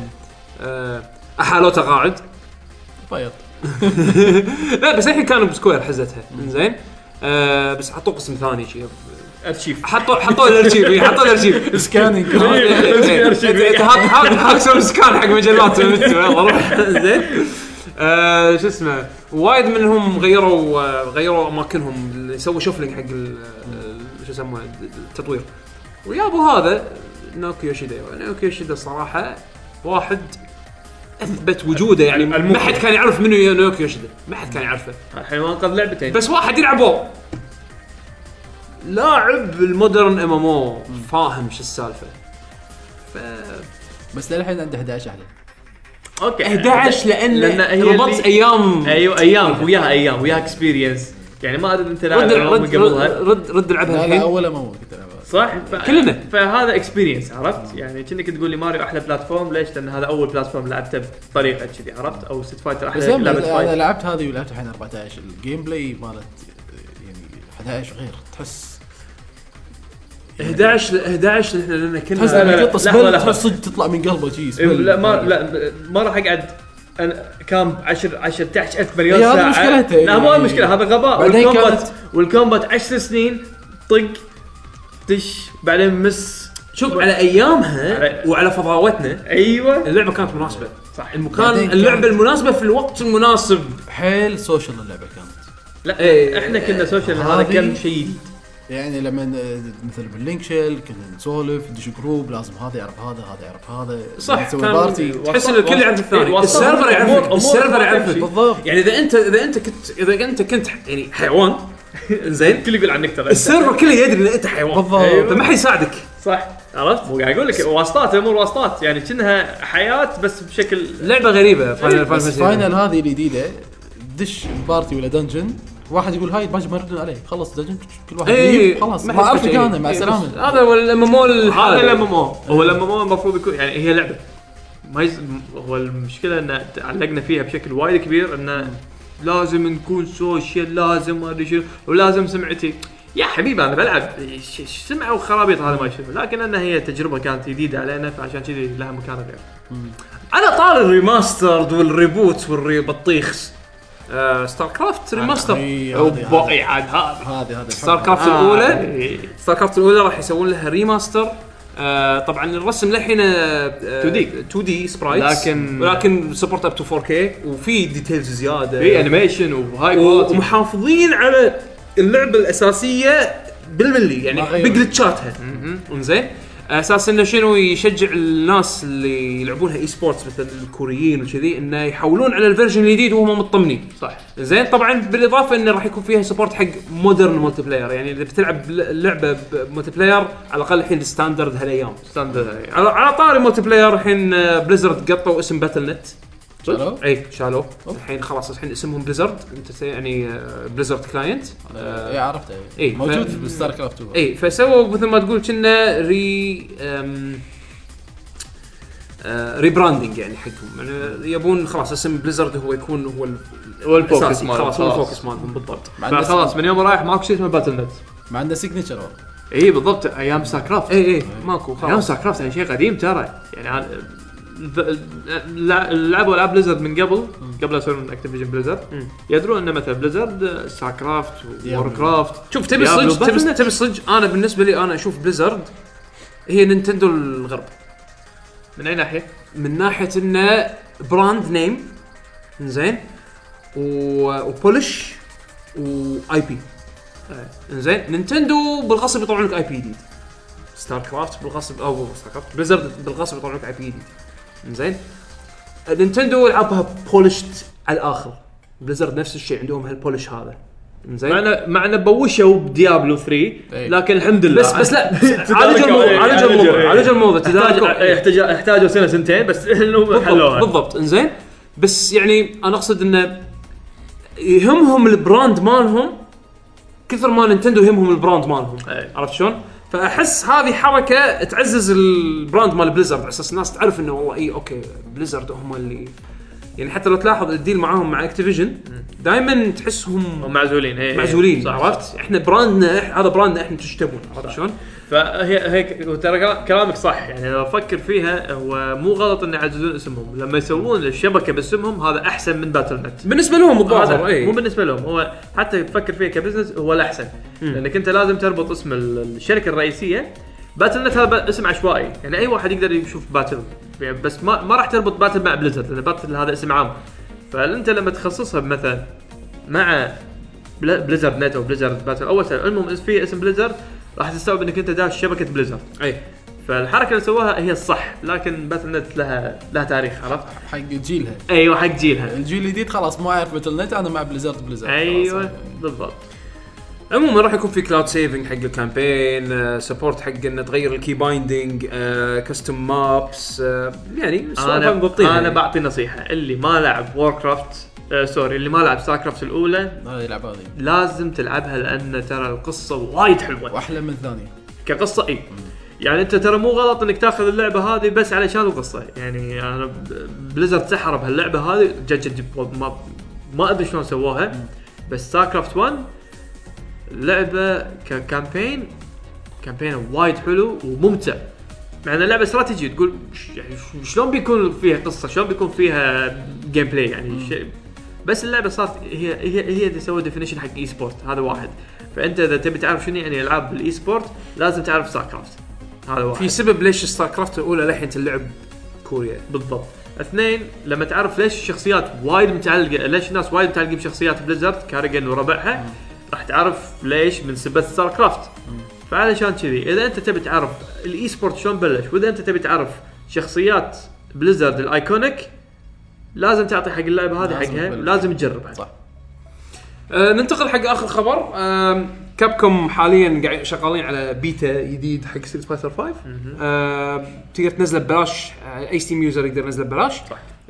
Speaker 2: آه، احالوتا قاعد
Speaker 6: فاير
Speaker 2: لا بس الحين كانوا بسكوير حزتها زين آه بس حطوا قسم ثاني شيء ارشيف حطوا حطوا الارشيف إي، حطوا الارشيف
Speaker 6: سكانينج
Speaker 2: هاكسر سكان حق مجلات يلا روح زين آه، شو اسمه وايد منهم غيروا آه، غيروا اماكنهم اللي سووا شوفلينج حق ال- ال- شو يسمونه التطوير ويابوا هذا ناوكي يوشيدا ناوكي يوشيدا صراحه واحد اثبت وجوده يعني ما حد كان يعرف منو يا ناوكي يوشيدا ما حد كان يعرفه
Speaker 3: الحيوان قد لعبتين
Speaker 2: بس واحد يلعب واو لاعب المودرن ام ام او فاهم شو السالفه
Speaker 6: بس للحين عنده 11 احلى
Speaker 3: اوكي
Speaker 2: 11 لان,
Speaker 3: لأن هي
Speaker 2: ربطت
Speaker 3: اللي-
Speaker 2: ايام
Speaker 3: ايوه ايام وياها ايام وياها اكسبيرينس يعني ما ادري انت لاعب
Speaker 2: رد
Speaker 3: ألعاب من
Speaker 2: رد
Speaker 3: قبلها
Speaker 2: رد رد, رد العبها
Speaker 6: لا لا
Speaker 2: الحين
Speaker 6: اول ما مو كنت ألعبها.
Speaker 3: صح؟ ف...
Speaker 2: كلنا.
Speaker 3: فهذا اكسبيرينس عرفت؟ يعني كأنك تقول لي ماريو احلى بلاتفورم ليش؟ لان هذا اول بلاتفورم لعبته بطريقه كذي عرفت؟ او ست فايتر
Speaker 6: بس
Speaker 3: احلى
Speaker 6: هم
Speaker 3: لعبه
Speaker 6: انا
Speaker 3: فايت
Speaker 6: لعبت هذه ولعبت الحين 14 الجيم بلاي مالت يعني 11 غير تحس
Speaker 2: 11 ل- 11 احنا لان كنا
Speaker 6: تحس
Speaker 3: لا، لا،
Speaker 6: لما
Speaker 3: لا،
Speaker 6: تقطع
Speaker 3: لحظة،
Speaker 6: سبل
Speaker 3: لحظة.
Speaker 6: تحس صدق تطلع من قلبه شي
Speaker 3: إيه،
Speaker 6: سبل.
Speaker 3: لا ما لا ب- ما راح اقعد انا كام 10 10 تحت 1000 مليون
Speaker 6: هي هذه
Speaker 3: ساعه
Speaker 6: إيه، مشكلته،
Speaker 3: لا
Speaker 6: يعني.
Speaker 3: مو مشكله هذا غباء
Speaker 6: بعدين
Speaker 3: والكومبات
Speaker 6: كانت-
Speaker 3: والكومبات 10 سنين طق دش بعدين مس
Speaker 2: شوف على ايامها
Speaker 3: على-
Speaker 2: وعلى فضاوتنا
Speaker 3: ايوه
Speaker 2: اللعبه كانت مناسبه
Speaker 3: صح
Speaker 2: المكان
Speaker 6: بعدين
Speaker 2: اللعبه
Speaker 6: كانت-
Speaker 2: المناسبه في الوقت المناسب
Speaker 6: حيل سوشيال اللعبه كانت
Speaker 3: لا
Speaker 2: إيه.
Speaker 3: احنا كنا سوشيال هذا
Speaker 6: هذه-
Speaker 3: كم شيء جديد.
Speaker 6: يعني لما ن- مثل باللينك شيل كنا نسولف ندش جروب لازم هذا يعرف هذا هذا يعرف هذا
Speaker 2: صح،
Speaker 6: نسوي
Speaker 2: كان-
Speaker 6: بارتي
Speaker 2: تحس
Speaker 3: وصل-
Speaker 2: ان الكل يعرف
Speaker 3: وصل-
Speaker 2: الثاني
Speaker 3: إيه، وصل-
Speaker 2: السيرفر
Speaker 3: أمور-
Speaker 2: يعرفك
Speaker 3: أمور
Speaker 2: السيرفر
Speaker 3: ما
Speaker 2: يعرفك
Speaker 3: تمشي.
Speaker 6: بالضبط
Speaker 2: يعني اذا انت اذا انت كنت اذا انت كنت يعني حيوان زين
Speaker 3: الكل يقول عنك ترى
Speaker 2: السيرفر كله يدري ان انت حيوان
Speaker 6: بالضبط.
Speaker 2: فما حد يساعدك
Speaker 3: صح عرفت؟ مو قاعد اقول لك واسطات امور واسطات يعني كأنها حياه بس بشكل
Speaker 2: لعبه غريبه فاينل
Speaker 6: إيه، بس
Speaker 2: فانتسي
Speaker 6: فاينل هذه الجديده دش بارتي ولا دنجن واحد يقول هاي باجي ما يردون عليه خلص دنجن كل واحد
Speaker 2: إيه،
Speaker 6: يجيب، خلاص
Speaker 2: ما
Speaker 6: ما
Speaker 2: حد إيه،
Speaker 6: اعرفك
Speaker 2: يسوي شيء.
Speaker 6: انا مع السلامه
Speaker 2: هذا هو الامامو
Speaker 3: هذا
Speaker 2: الحالي
Speaker 3: الام ام او هو الام ام او المفروض يكون يعني هي لعبه ما يز... هو المشكله ان تعلقنا فيها بشكل وايد كبير انه لازم نكون سوشيال لازم ما ادري شنو ولازم سمعتي يا حبيبي انا بلعب ش- ش- سمعه وخرابيط هذا ما يشوف لكن انها هي تجربه كانت جديده علينا فعشان كذي لها مكان غير على طار الريماسترد والريبوتس والريبطيخس
Speaker 2: آه، ستار كرافت ريماستر
Speaker 6: إي، هذه-
Speaker 2: أوبا، إي، عاد هذا
Speaker 6: هذه هذه
Speaker 2: ستار كرافت
Speaker 3: آه،
Speaker 2: الاولى
Speaker 3: إيه.
Speaker 2: ستار كرافت الاولى راح يسوون لها ريماستر آه طبعا الرسم للحين
Speaker 3: 2D.
Speaker 2: 2 دي سبرايتس
Speaker 3: لكن-
Speaker 2: ولكن سبورت اب تو 4 كي وفي ديتيلز زياده
Speaker 3: في انيميشن وهاي
Speaker 2: و-
Speaker 3: كواليتي
Speaker 2: ومحافظين على اللعبه الاساسيه بالملي
Speaker 6: ما
Speaker 2: يعني
Speaker 6: غيروا.
Speaker 2: بجلتشاتها انزين اساس انه شنو يشجع الناس اللي يلعبونها اي سبورتس مثل الكوريين وكذي انه يحولون على الفيرجن الجديد وهم مطمنين
Speaker 3: صح
Speaker 2: زين طبعا بالاضافه انه راح يكون فيها سبورت حق مودرن مولتي بلاير يعني اذا بتلعب لعبه بمولتي بلاير على الاقل الحين الستاندرد هالايام
Speaker 3: ستاندرد
Speaker 2: على, على طاري مولتي بلاير الحين بليزرد قطوا اسم باتل نت
Speaker 6: شالوه؟
Speaker 2: اي شالوه الحين خلاص الحين اسمهم بليزرد انت س- يعني بليزرد كلاينت
Speaker 6: اي عرفته
Speaker 2: إيه،
Speaker 6: اي
Speaker 2: ف-
Speaker 6: موجود في ستار كرافت 2
Speaker 2: اي فسووا مثل ما تقول كنا ري أم، آه، ريبراندنج يعني حقهم يعني يبون خلاص اسم بليزرد هو يكون هو ال-
Speaker 3: هو الفوكس
Speaker 2: الأساسي،
Speaker 3: مالهم،
Speaker 2: خلاص هو
Speaker 3: خلاص.
Speaker 2: الفوكس مالهم بالضبط
Speaker 6: مع إنه
Speaker 3: فخلاص من يوم رايح ماكو شيء اسمه باتل نت
Speaker 6: مع انه سيجنتشر
Speaker 3: اي إيه، بالضبط ايام ستار كرافت
Speaker 2: اي اي ماكو
Speaker 3: ايام
Speaker 2: خلاص
Speaker 3: ستار كرافت يعني شيء قديم ترى يعني عن- الل- لعبوا العاب بليزرد من قبل قبل لا يصيرون اكتيفيجن بليزرد يدرون انه مثلا بليزرد ستار كرافت وور
Speaker 6: ديابلو.
Speaker 3: كرافت
Speaker 2: شوف تبي
Speaker 3: ديابلو
Speaker 2: صدق
Speaker 3: باتل
Speaker 2: تبي
Speaker 3: نت.
Speaker 2: تبي صدق انا بالنسبه لي انا اشوف بليزرد هي نينتندو الغرب
Speaker 3: من اي ناحيه؟
Speaker 2: من ناحيه انه براند نيم زين و- وبولش واي بي زين نينتندو بالغصب يطلعون لك اي بي جديد ستار كرافت بالغصب او ستار كرافت بليزرد بالغصب يطلعون لك اي بي جديد زين نينتندو العابها بولشت على الاخر بليزرد نفس الشيء عندهم هالبولش هذا زين
Speaker 3: معنا معنا بوشوا بديابلو 3
Speaker 6: إي.
Speaker 3: لكن الحمد لله
Speaker 2: بس بس لا عالجوا الموضوع عالجوا الموضوع عالجوا الموضوع تداركوا.
Speaker 3: احتاج احتاج احتاجوا سنه سنتين بس انه
Speaker 2: بالضبط
Speaker 3: حلوها
Speaker 2: بالضبط انزين بس يعني انا اقصد انه يهمهم البراند مالهم كثر ما نينتندو يهمهم البراند مالهم
Speaker 3: أي.
Speaker 2: عرفت شلون؟ فاحس هذه حركه تعزز البراند مال بليزرد على اساس الناس تعرف انه والله اي اوكي بليزرد إيه، هم اللي يعني حتى لو تلاحظ الديل معاهم مع اكتيفيجن دائما تحسهم
Speaker 3: هم معزولين اي
Speaker 2: معزولين
Speaker 3: صح عرفت
Speaker 2: عرفت احنا براندنا إح- هذا براندنا احنا تشتبون عرفت شلون؟
Speaker 3: فهي هيك وترى كلا- كلامك صح يعني لو افكر فيها هو مو غلط ان يعززون اسمهم لما يسوون الشبكه باسمهم هذا احسن من باتل نت
Speaker 2: بالنسبه لهم الظاهر
Speaker 3: هذا مو
Speaker 2: اي
Speaker 3: بالنسبه لهم هو حتى تفكر فيه كبزنس هو الاحسن لانك انت لازم تربط اسم ال- الشركه الرئيسيه باتل نت هذا اسم عشوائي يعني اي واحد يقدر يشوف باتل يعني بس ما, ما راح تربط باتل مع بليزرد لان باتل هذا اسم عام فانت لما تخصصها مثلا مع بل- بليزرد نت او بليزرد باتل اول شيء المهم في اسم بليزرد راح تستوعب انك انت داش شبكه بليزرد
Speaker 2: اي
Speaker 3: فالحركه اللي سواها هي الصح لكن باتل نت لها لها تاريخ عرفت
Speaker 6: حق جيلها
Speaker 3: ايوه حق جيلها
Speaker 6: الجيل الجديد خلاص مو عارف باتل نت انا مع بليزرد بليزرد
Speaker 2: أيوة.
Speaker 3: ايوه
Speaker 6: خلاص.
Speaker 3: بالضبط
Speaker 2: عموما راح يكون في كلاود سيفنج حق الكامبين سبورت حق انه تغير آه، الكي بايندينج كستم مابس يعني سوالف مضبطين
Speaker 3: انا
Speaker 2: يعني.
Speaker 3: بعطي نصيحه اللي ما لعب وور كرافت آه سوري اللي ما لعب ستار كرافت الاولى
Speaker 6: هذه لعبه هذه
Speaker 3: لازم تلعبها لان ترى القصه وايد حلوه
Speaker 6: واحلى من الثانيه
Speaker 3: كقصه اي يعني انت ترى مو غلط انك تاخذ اللعبه هذه بس علشان القصه يعني انا بليزرد سحر بهاللعبه هذه جد جد ما, ما ادري شلون سووها بس ستار كرافت 1 لعبه ككامبين كامبين وايد حلو وممتع مع انها لعبه استراتيجي تقول ش- يعني ش- شلون بيكون فيها قصه شلون بيكون فيها جيم بلاي يعني شيء بس اللعبه صارت هي هي هي اللي سوت ديفينيشن حق اي سبورت هذا واحد فانت اذا تبي تعرف شنو يعني العاب الاي سبورت لازم تعرف ستار كرافت هذا واحد
Speaker 2: في سبب ليش ستار كرافت الاولى للحين تلعب كوريا
Speaker 3: بالضبط اثنين لما تعرف ليش الشخصيات وايد متعلقه ليش الناس وايد متعلقه بشخصيات بليزرد كارجن وربعها راح تعرف ليش من سبب ستار كرافت فعلشان كذي اذا انت تبي تعرف الاي سبورت شلون بلش واذا انت تبي تعرف شخصيات بليزرد الايكونيك لازم تعطي حق اللعبه هذه
Speaker 6: لازم
Speaker 3: حقها
Speaker 6: تبلش.
Speaker 3: لازم تجربها
Speaker 6: صح.
Speaker 2: آه، ننتقل حق اخر خبر آم، كابكوم حاليا قاعد شغالين على بيتا جديد حق ستريت فايتر 5 آه، تقدر تنزله ببلاش آه، اي ستيم يوزر يقدر ينزله ببلاش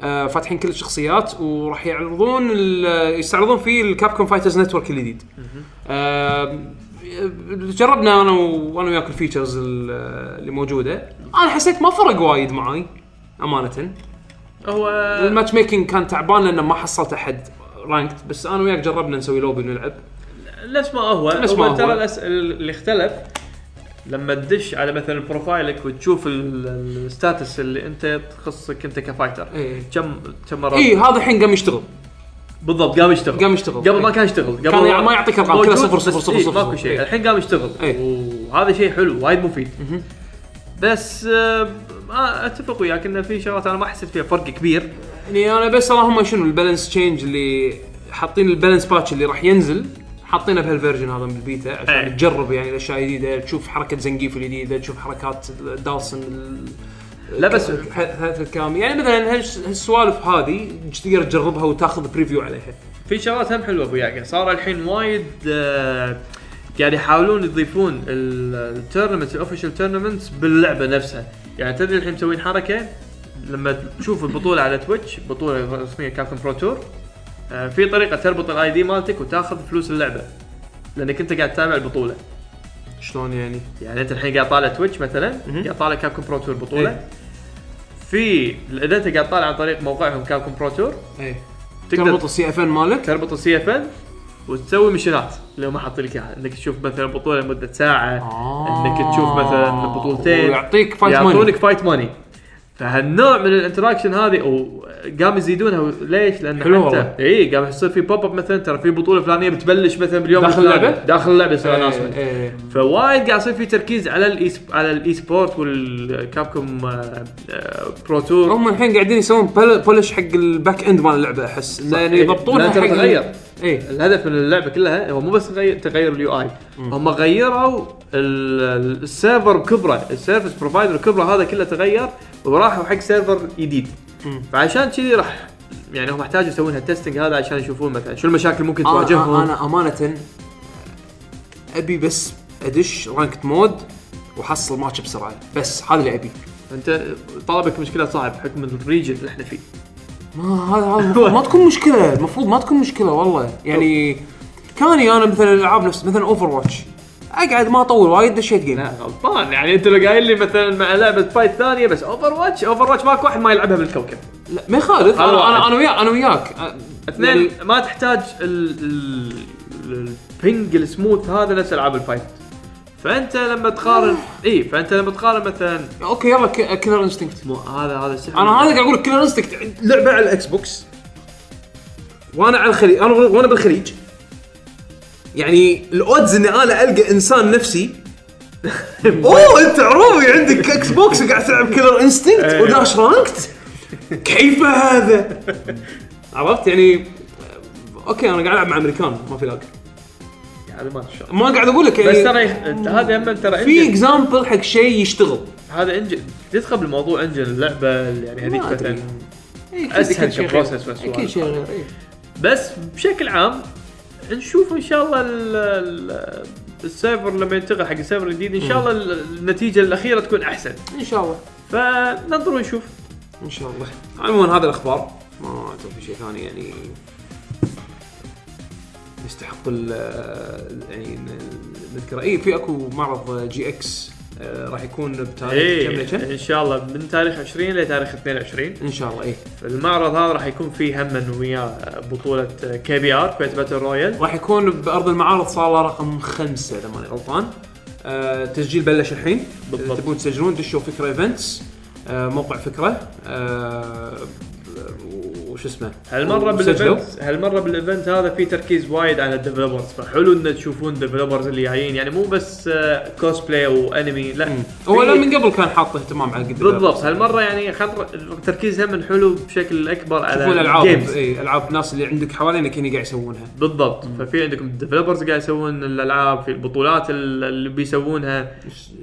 Speaker 2: آه، فاتحين كل الشخصيات وراح يعرضون ال- يستعرضون فيه الكابكوم فايترز نتورك الجديد آه، جربنا انا و- وانا وياك الفيتشرز ال- اللي موجوده انا حسيت ما فرق وايد معاي امانه
Speaker 3: هو
Speaker 2: الماتش ميكنج كان تعبان لانه ما حصلت احد رانكت بس انا وياك جربنا نسوي لوبي نلعب
Speaker 3: نفس ما هو
Speaker 2: نفس
Speaker 3: نفس
Speaker 2: ما
Speaker 3: ما
Speaker 2: هو.
Speaker 3: ترى الأس- اللي اختلف لما تدش على مثلا بروفايلك وتشوف ال- ال- الستاتس اللي انت تخصك انت كفايتر
Speaker 2: ايه.
Speaker 3: كم كم مره
Speaker 2: اي هذا الحين قام يشتغل
Speaker 3: بالضبط قام يشتغل
Speaker 2: إيه. قام يشتغل.
Speaker 3: قبل ما
Speaker 2: إيه.
Speaker 3: كان يشتغل قبل
Speaker 2: كان يعني ما يعطيك أرقام،
Speaker 3: موجود،
Speaker 2: كلها صفر،
Speaker 3: بس
Speaker 2: صفر، صفر،
Speaker 3: إيه،
Speaker 2: صفر،
Speaker 3: ماكو
Speaker 2: صفر.
Speaker 3: شيء
Speaker 2: إيه.
Speaker 3: الحين قام يشتغل
Speaker 2: إيه.
Speaker 3: وهذا شيء حلو وايد مفيد بس آه، آه، اتفق وياك انه في شغلات انا ما حسيت فيها فرق كبير
Speaker 2: يعني انا بس اللهم شنو البالانس تشينج اللي حاطين البالانس باتش اللي راح ينزل حاطينه بهالفيرجن هذا من البيتا عشان
Speaker 3: إيه.
Speaker 2: تجرب يعني الاشياء الجديده تشوف حركه زنقيف الجديده تشوف حركات دالسن
Speaker 3: لا بس
Speaker 2: ثلاث الكام يعني مثلا هالش- هالسوالف هذه تقدر تجربها وتاخذ بريفيو عليها
Speaker 3: في شغلات هم حلوه ابو يعقوب صار الحين وايد آه، قاعد يحاولون يضيفون التورنمنت الاوفيشال تورنمنت باللعبه نفسها يعني تدري الحين مسوين حركه لما تشوف البطوله على تويتش بطوله رسميه كابتن برو تور آه، في طريقه تربط الاي دي مالتك وتاخذ فلوس اللعبه لانك انت قاعد تتابع البطوله
Speaker 2: شلون يعني؟
Speaker 3: يعني انت الحين قاعد طالع تويتش مثلا قاعد طالع كابكوم برو تور بطوله
Speaker 2: إيه.
Speaker 3: في اذا انت قاعد طالع عن طريق موقعهم كابكوم برو تور
Speaker 2: اي
Speaker 3: تقدر
Speaker 2: إيه. تربط السي اف ان مالك
Speaker 3: تربط السي اف ان وتسوي مشينات اللي هم حاطين لك اياها انك تشوف مثلا بطوله لمده ساعه
Speaker 2: آه.
Speaker 3: انك تشوف مثلا بطولتين
Speaker 2: ويعطيك فايت ماني
Speaker 3: يعطونك فايت ماني فهالنوع من الانتراكشن هذه او قام يزيدونها ليش؟ لان
Speaker 2: حلو
Speaker 3: حتى
Speaker 2: والله.
Speaker 3: اي قام يصير في بوب اب مثلا ترى في بطوله فلانيه بتبلش مثلا باليوم
Speaker 2: داخل
Speaker 3: الفلاني.
Speaker 2: اللعبة؟
Speaker 3: داخل اللعبه يصير
Speaker 2: إيه،
Speaker 3: announcement.
Speaker 2: إيه.
Speaker 3: فوايد قاعد يصير في تركيز على الاي على آه، الاي سبورت والكابكوم برو تور
Speaker 2: هم الحين قاعدين يسوون بل- بولش حق الباك اند مال اللعبه احس لان يضبطونها
Speaker 3: إيه. لا، ترى
Speaker 2: حق إيه.
Speaker 3: تغير.
Speaker 2: اي
Speaker 3: الهدف من اللعبه كلها هو مو بس غير تغير اليو اي هم غيروا ال- السيرفر بكبره السيرفس بروفايدر بكبره هذا كله تغير وراحوا حق سيرفر جديد فعشان كذي راح يعني هم احتاجوا يسوون هالتستنج هذا عشان يشوفون مثلا شو المشاكل
Speaker 2: آه،
Speaker 3: ممكن تواجههم
Speaker 2: انا انا امانه ابي بس ادش رانكت مود واحصل ماتش بسرعه بس هذا اللي ابي
Speaker 3: انت طلبك مشكله صعب بحكم الريجن اللي احنا فيه
Speaker 2: ما هذا هذا المفروض ما تكون مشكله المفروض ما تكون مشكله والله يعني كاني انا مثلا العاب نفس مثلا اوفر واتش اقعد ما اطول وايد دشيت جيم
Speaker 3: لا غلطان يعني انت لو قايل لي مثلا مع لعبه فايت ثانيه بس اوفر واتش اوفر واتش ماكو واحد ما يلعبها بالكوكب
Speaker 2: لا ما يخالف
Speaker 3: أنا
Speaker 2: انا
Speaker 3: واحد.
Speaker 2: انا انا وياك انا وياك أ-
Speaker 3: اثنين
Speaker 2: يعني
Speaker 3: ما تحتاج ال- ال- البينج السموث هذا نفس العاب الفايت فانت لما تقارن اي فانت لما تقارن مثلا
Speaker 2: اوكي يلا كيلر انستنكت
Speaker 3: مو هذا هذا يعني السحر
Speaker 2: انا هذا قاعد اقول لك كيلر انستنكت
Speaker 3: لعبه على الاكس بوكس وانا على الخليج انا وانا بالخليج
Speaker 11: يعني الاودز اني انا القى انسان نفسي اوه انت عروبي عندك اكس بوكس قاعد تلعب كيلر انستنكت
Speaker 3: إيه.
Speaker 11: وداش رانكت كيف هذا؟ عرفت يعني اوكي انا قاعد العب مع امريكان ما في لاج
Speaker 3: هذا ما شاء الله
Speaker 2: ما قاعد اقول لك
Speaker 3: بس
Speaker 2: يعني
Speaker 3: ترى إيه، انت هذا هم ترى
Speaker 2: في
Speaker 3: انجن
Speaker 2: اكزامبل حق شيء يشتغل
Speaker 3: هذا انجن تدخل بالموضوع انجن اللعبه يعني هذيك
Speaker 2: ما أدري. إيه،
Speaker 3: مثلا اسهل كبروسس
Speaker 2: كل
Speaker 3: بس
Speaker 2: شيء غير إيه.
Speaker 3: بس بشكل عام نشوف ان شاء الله ال- ال- السيرفر لما ينتقل حق السيرفر الجديد ان شاء الله ال- النتيجه الاخيره تكون احسن
Speaker 2: ان شاء الله
Speaker 3: فننظر ونشوف
Speaker 2: ان شاء الله عموما هذا الاخبار ما اعتقد في شيء ثاني يعني يستحق ال يعني ن- نذكره اي في اكو معرض جي اكس راح يكون بتاريخ كم لكم؟
Speaker 3: ايه ان شاء الله من تاريخ 20 لتاريخ 22
Speaker 2: ان شاء الله إيه. اي
Speaker 3: المعرض هذا راح يكون فيه هم وياه بطوله كي بي ار كويت باتل رويال
Speaker 2: راح يكون بارض المعارض صاله رقم خمسه اذا ماني غلطان آه، تسجيل بلش الحين
Speaker 3: بالضبط.
Speaker 2: بالضبط تبون تسجلون دشوا فكره ايفنتس آه، موقع فكره آه، وش اسمه
Speaker 3: هالمره
Speaker 2: وسجلوا.
Speaker 3: بالايفنت هالمره بالايفنت هذا في تركيز وايد على الديفلوبرز فحلو ان تشوفون الديفلوبرز اللي جايين يعني مو بس كوسبلاي وانمي لا
Speaker 2: هو
Speaker 3: في-
Speaker 2: لا من قبل كان حاط اهتمام على قد
Speaker 3: أه. بالضبط هالمره يعني خطر التركيز هم حلو بشكل اكبر على
Speaker 2: والالعاب
Speaker 3: الجيمز.
Speaker 2: اي العاب الناس إيه، اللي عندك حوالينك هنا قاعد يسوونها
Speaker 3: بالضبط ففي عندكم الديفلوبرز قاعد يسوون الالعاب في البطولات ال- اللي بيسوونها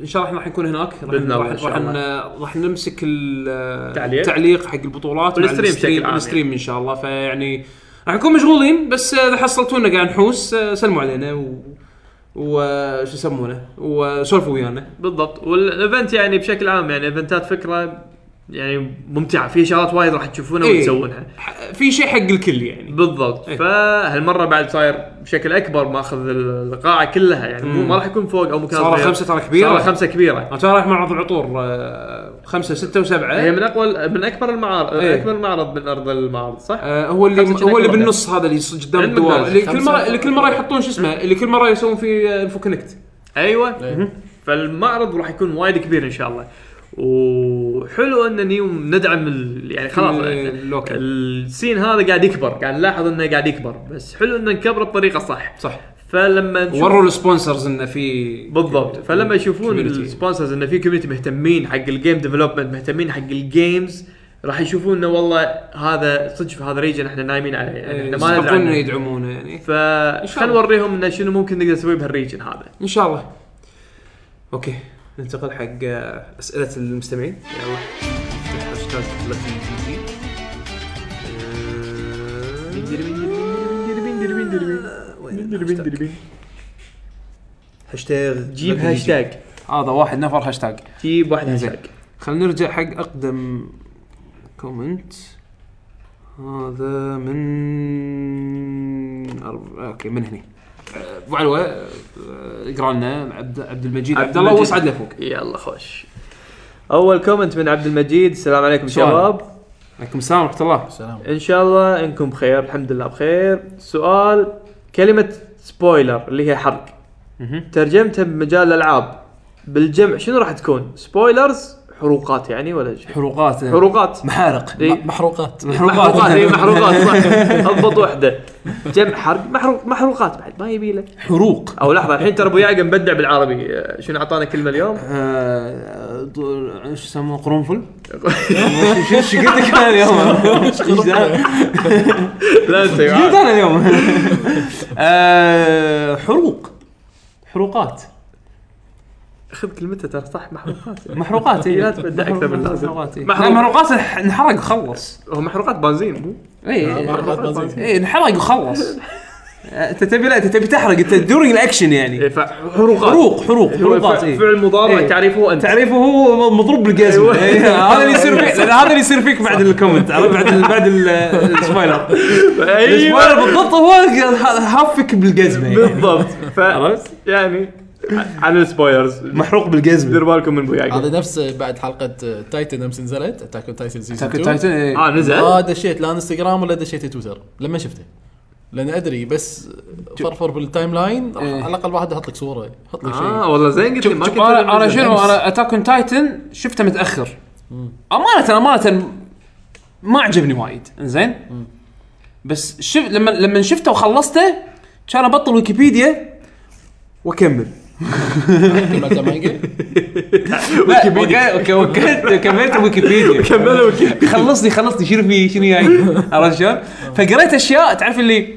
Speaker 2: ان شاء الله احنا راح نكون هناك راح
Speaker 3: بإذن الله، إن
Speaker 2: راح
Speaker 3: شاء
Speaker 2: راح, ن- راح نمسك ال-
Speaker 3: التعليق.
Speaker 2: التعليق حق البطولات مع
Speaker 3: والستريم بشكل عام يعني.
Speaker 2: الستريم ان شاء الله فيعني راح نكون مشغولين بس اذا حصلتونا قاعد نحوس آه، سلموا علينا و وش يسمونه وسولفوا ويانا
Speaker 3: بالضبط والايفنت يعني بشكل عام يعني ايفنتات فكره يعني ممتعه في شغلات وايد راح تشوفونها
Speaker 2: إيه.
Speaker 3: وتسوونها
Speaker 2: ح- في شيء حق الكل يعني
Speaker 3: بالضبط
Speaker 2: إيه.
Speaker 3: فهالمره بعد صاير بشكل اكبر ماخذ القاعه كلها يعني مو ما راح يكون فوق او مكان
Speaker 2: صار
Speaker 3: صغير.
Speaker 2: خمسة ترى كبيرة.
Speaker 3: صار خمسه كبيره
Speaker 2: انا ترى رايح معرض العطور آه، خمسة ستة
Speaker 3: هي
Speaker 2: وسبعة
Speaker 3: من اقوى من اكبر المعارض
Speaker 2: إيه.
Speaker 3: اكبر معرض من ارض المعارض صح؟
Speaker 2: آه، هو اللي
Speaker 3: خمسة
Speaker 2: هو اللي
Speaker 3: شكل
Speaker 2: بالنص هذا اللي يص- قدام
Speaker 3: عند
Speaker 2: الدوار
Speaker 3: ماكدونالدز.
Speaker 2: اللي كل
Speaker 6: خمسة.
Speaker 2: مره اللي كل مره يحطون شو اسمه اللي كل مره يسوون فيه انفو كونكت
Speaker 3: ايوه
Speaker 2: إيه.
Speaker 3: فالمعرض راح يكون وايد كبير ان شاء الله وحلو ان نيوم ندعم ال... يعني خلاص
Speaker 2: ال- اللوكل.
Speaker 3: السين هذا قاعد يكبر قاعد نلاحظ انه قاعد يكبر بس حلو ان نكبره بطريقه صح
Speaker 2: صح
Speaker 3: فلما نشوف
Speaker 2: وروا السبونسرز انه في
Speaker 3: بالضبط فلما يشوفون
Speaker 2: community.
Speaker 3: السبونسرز ان في كوميونتي مهتمين حق الجيم ديفلوبمنت مهتمين حق الجيمز راح يشوفون انه والله هذا صدق في هذا ريجن احنا نايمين عليه يعني احنا ما ندري
Speaker 2: يستحقون انه
Speaker 3: عنه.
Speaker 2: إيه، يدعمونه يعني
Speaker 3: فخل
Speaker 2: الله.
Speaker 3: نوريهم انه شنو ممكن نقدر نسوي بهالريجن هذا
Speaker 2: ان شاء الله اوكي ننتقل حق آه، اسئله المستمعين يلا هاشتاج لكي جي جي. آه، وين الهاشتاج؟ هاشتاج
Speaker 3: جيب
Speaker 2: لكي جي جي.
Speaker 3: هاشتاج
Speaker 10: هذا واحد نفر هاشتاج
Speaker 3: جيب واحد هاشتاج
Speaker 2: خلينا نرجع حق اقدم كومنت هذا من أرب... اوكي من هني أه، ابو علوه أه، اقرا لنا عبد عبد المجيد
Speaker 3: عبد
Speaker 2: عبد الله
Speaker 3: المجيد.
Speaker 2: وسعد لفوق
Speaker 3: يلا خوش اول كومنت من عبد المجيد السلام عليكم
Speaker 2: سؤال.
Speaker 3: شباب
Speaker 2: عليكم السلام ورحمه الله
Speaker 6: سلام
Speaker 3: ان شاء الله انكم بخير الحمد لله بخير سؤال كلمه سبويلر اللي هي حرق ترجمتها بمجال الالعاب بالجمع شنو راح تكون سبويلرز حروقات يعني ولا شيء
Speaker 10: حروقات
Speaker 3: حروقات
Speaker 10: محارق
Speaker 2: إيه.
Speaker 3: إي.
Speaker 6: محروقات
Speaker 3: محروقات اي محروقات صح اضبط وحده جمع حرق محروق محروقات بعد ما يبي له
Speaker 10: حروق
Speaker 3: او لحظه الحين ترى ابو يعقوب مبدع بالعربي آه، شنو اعطانا كلمه اليوم؟
Speaker 2: أه،
Speaker 10: آه، دو- شو يسمونه قرنفل؟ شو- شو قلت لك انا اليوم؟ ايش قلت
Speaker 3: لا انت
Speaker 10: انا اليوم؟ آه، حروق حروقات
Speaker 3: خذ كلمته ترى صح محروقات
Speaker 10: محروقات اي
Speaker 3: لا تبدع أكثر من اللازم.
Speaker 10: محروقات إي.
Speaker 3: محروق.
Speaker 10: لا، محروقات انح- انحرق خلص
Speaker 3: هو محروقات بنزين مو؟
Speaker 10: اي
Speaker 6: محروقات بنزين.
Speaker 10: اي انحرق وخلص انت تبي لا انت تبي تحرق انت دورينج الاكشن يعني
Speaker 3: إيه، فحروقات
Speaker 10: حروق حروق
Speaker 3: هو
Speaker 10: حروقات
Speaker 3: فع-
Speaker 10: اي
Speaker 3: فعل مضارع
Speaker 10: إيه.
Speaker 3: تعريفه هو انت
Speaker 10: تعريفه هو مضروب بالجزم
Speaker 3: أيوة.
Speaker 10: إيه، هذا اللي يصير فيك لأن هذا اللي يصير فيك بعد الكومنت عرفت؟ بعد ال- بعد ال- السبويلر
Speaker 3: أيوة.
Speaker 10: السبويلر بالضبط هو هافك بالجزمه يعني.
Speaker 3: بالضبط ف يعني عن السبويلرز
Speaker 2: محروق بالجزم
Speaker 3: دير بالكم من بوياقه
Speaker 6: هذا نفس بعد حلقه تايتن امس نزلت اتاك اون تايتن سيزون
Speaker 2: اتاك
Speaker 6: 2
Speaker 2: تايتن إيه.
Speaker 3: اه نزل
Speaker 6: ما دشيت لا انستغرام ولا دشيت تويتر لما شفته لان ادري بس فرفر بالتايم لاين راح
Speaker 2: إيه.
Speaker 6: على الاقل واحد يحط لك صوره يحط لك شيء
Speaker 3: اه والله زين قلت لي ما كنت
Speaker 2: انا انا
Speaker 3: نزل.
Speaker 2: شنو انا اتاك اون تايتن شفته متاخر امانه امانه ما عجبني وايد زين بس شف لما لما شفته وخلصته كان ابطل ويكيبيديا واكمل آه.
Speaker 6: كملت مانجا
Speaker 2: ويكيبيديا كملت ويكيبيديا كملت ويكيبيديا خلصني خلصني شنو في شنو جاي عرفت شلون؟ فقريت اشياء تعرف اللي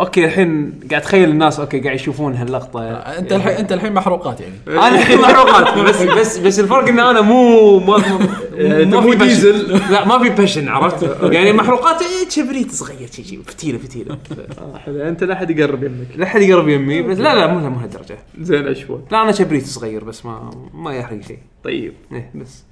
Speaker 2: اوكي الحين قاعد اتخيل الناس اوكي قاعد يشوفون هاللقطه
Speaker 6: انت الحين انت الحين محروقات يعني
Speaker 2: انا الحين محروقات بس بس بس الفرق ان انا مو ما ما في ديزل لا ما في باشن عرفت يعني محروقات إيه، كبريت صغير شي شي فتيله فتيله
Speaker 3: انت لا احد يقرب يمك
Speaker 2: لا احد يقرب يمي بس لا لا مو مو هالدرجه
Speaker 3: زين اشوى
Speaker 2: لا انا كبريت صغير بس ما ما يحرق شيء
Speaker 3: طيب
Speaker 2: إيه، بس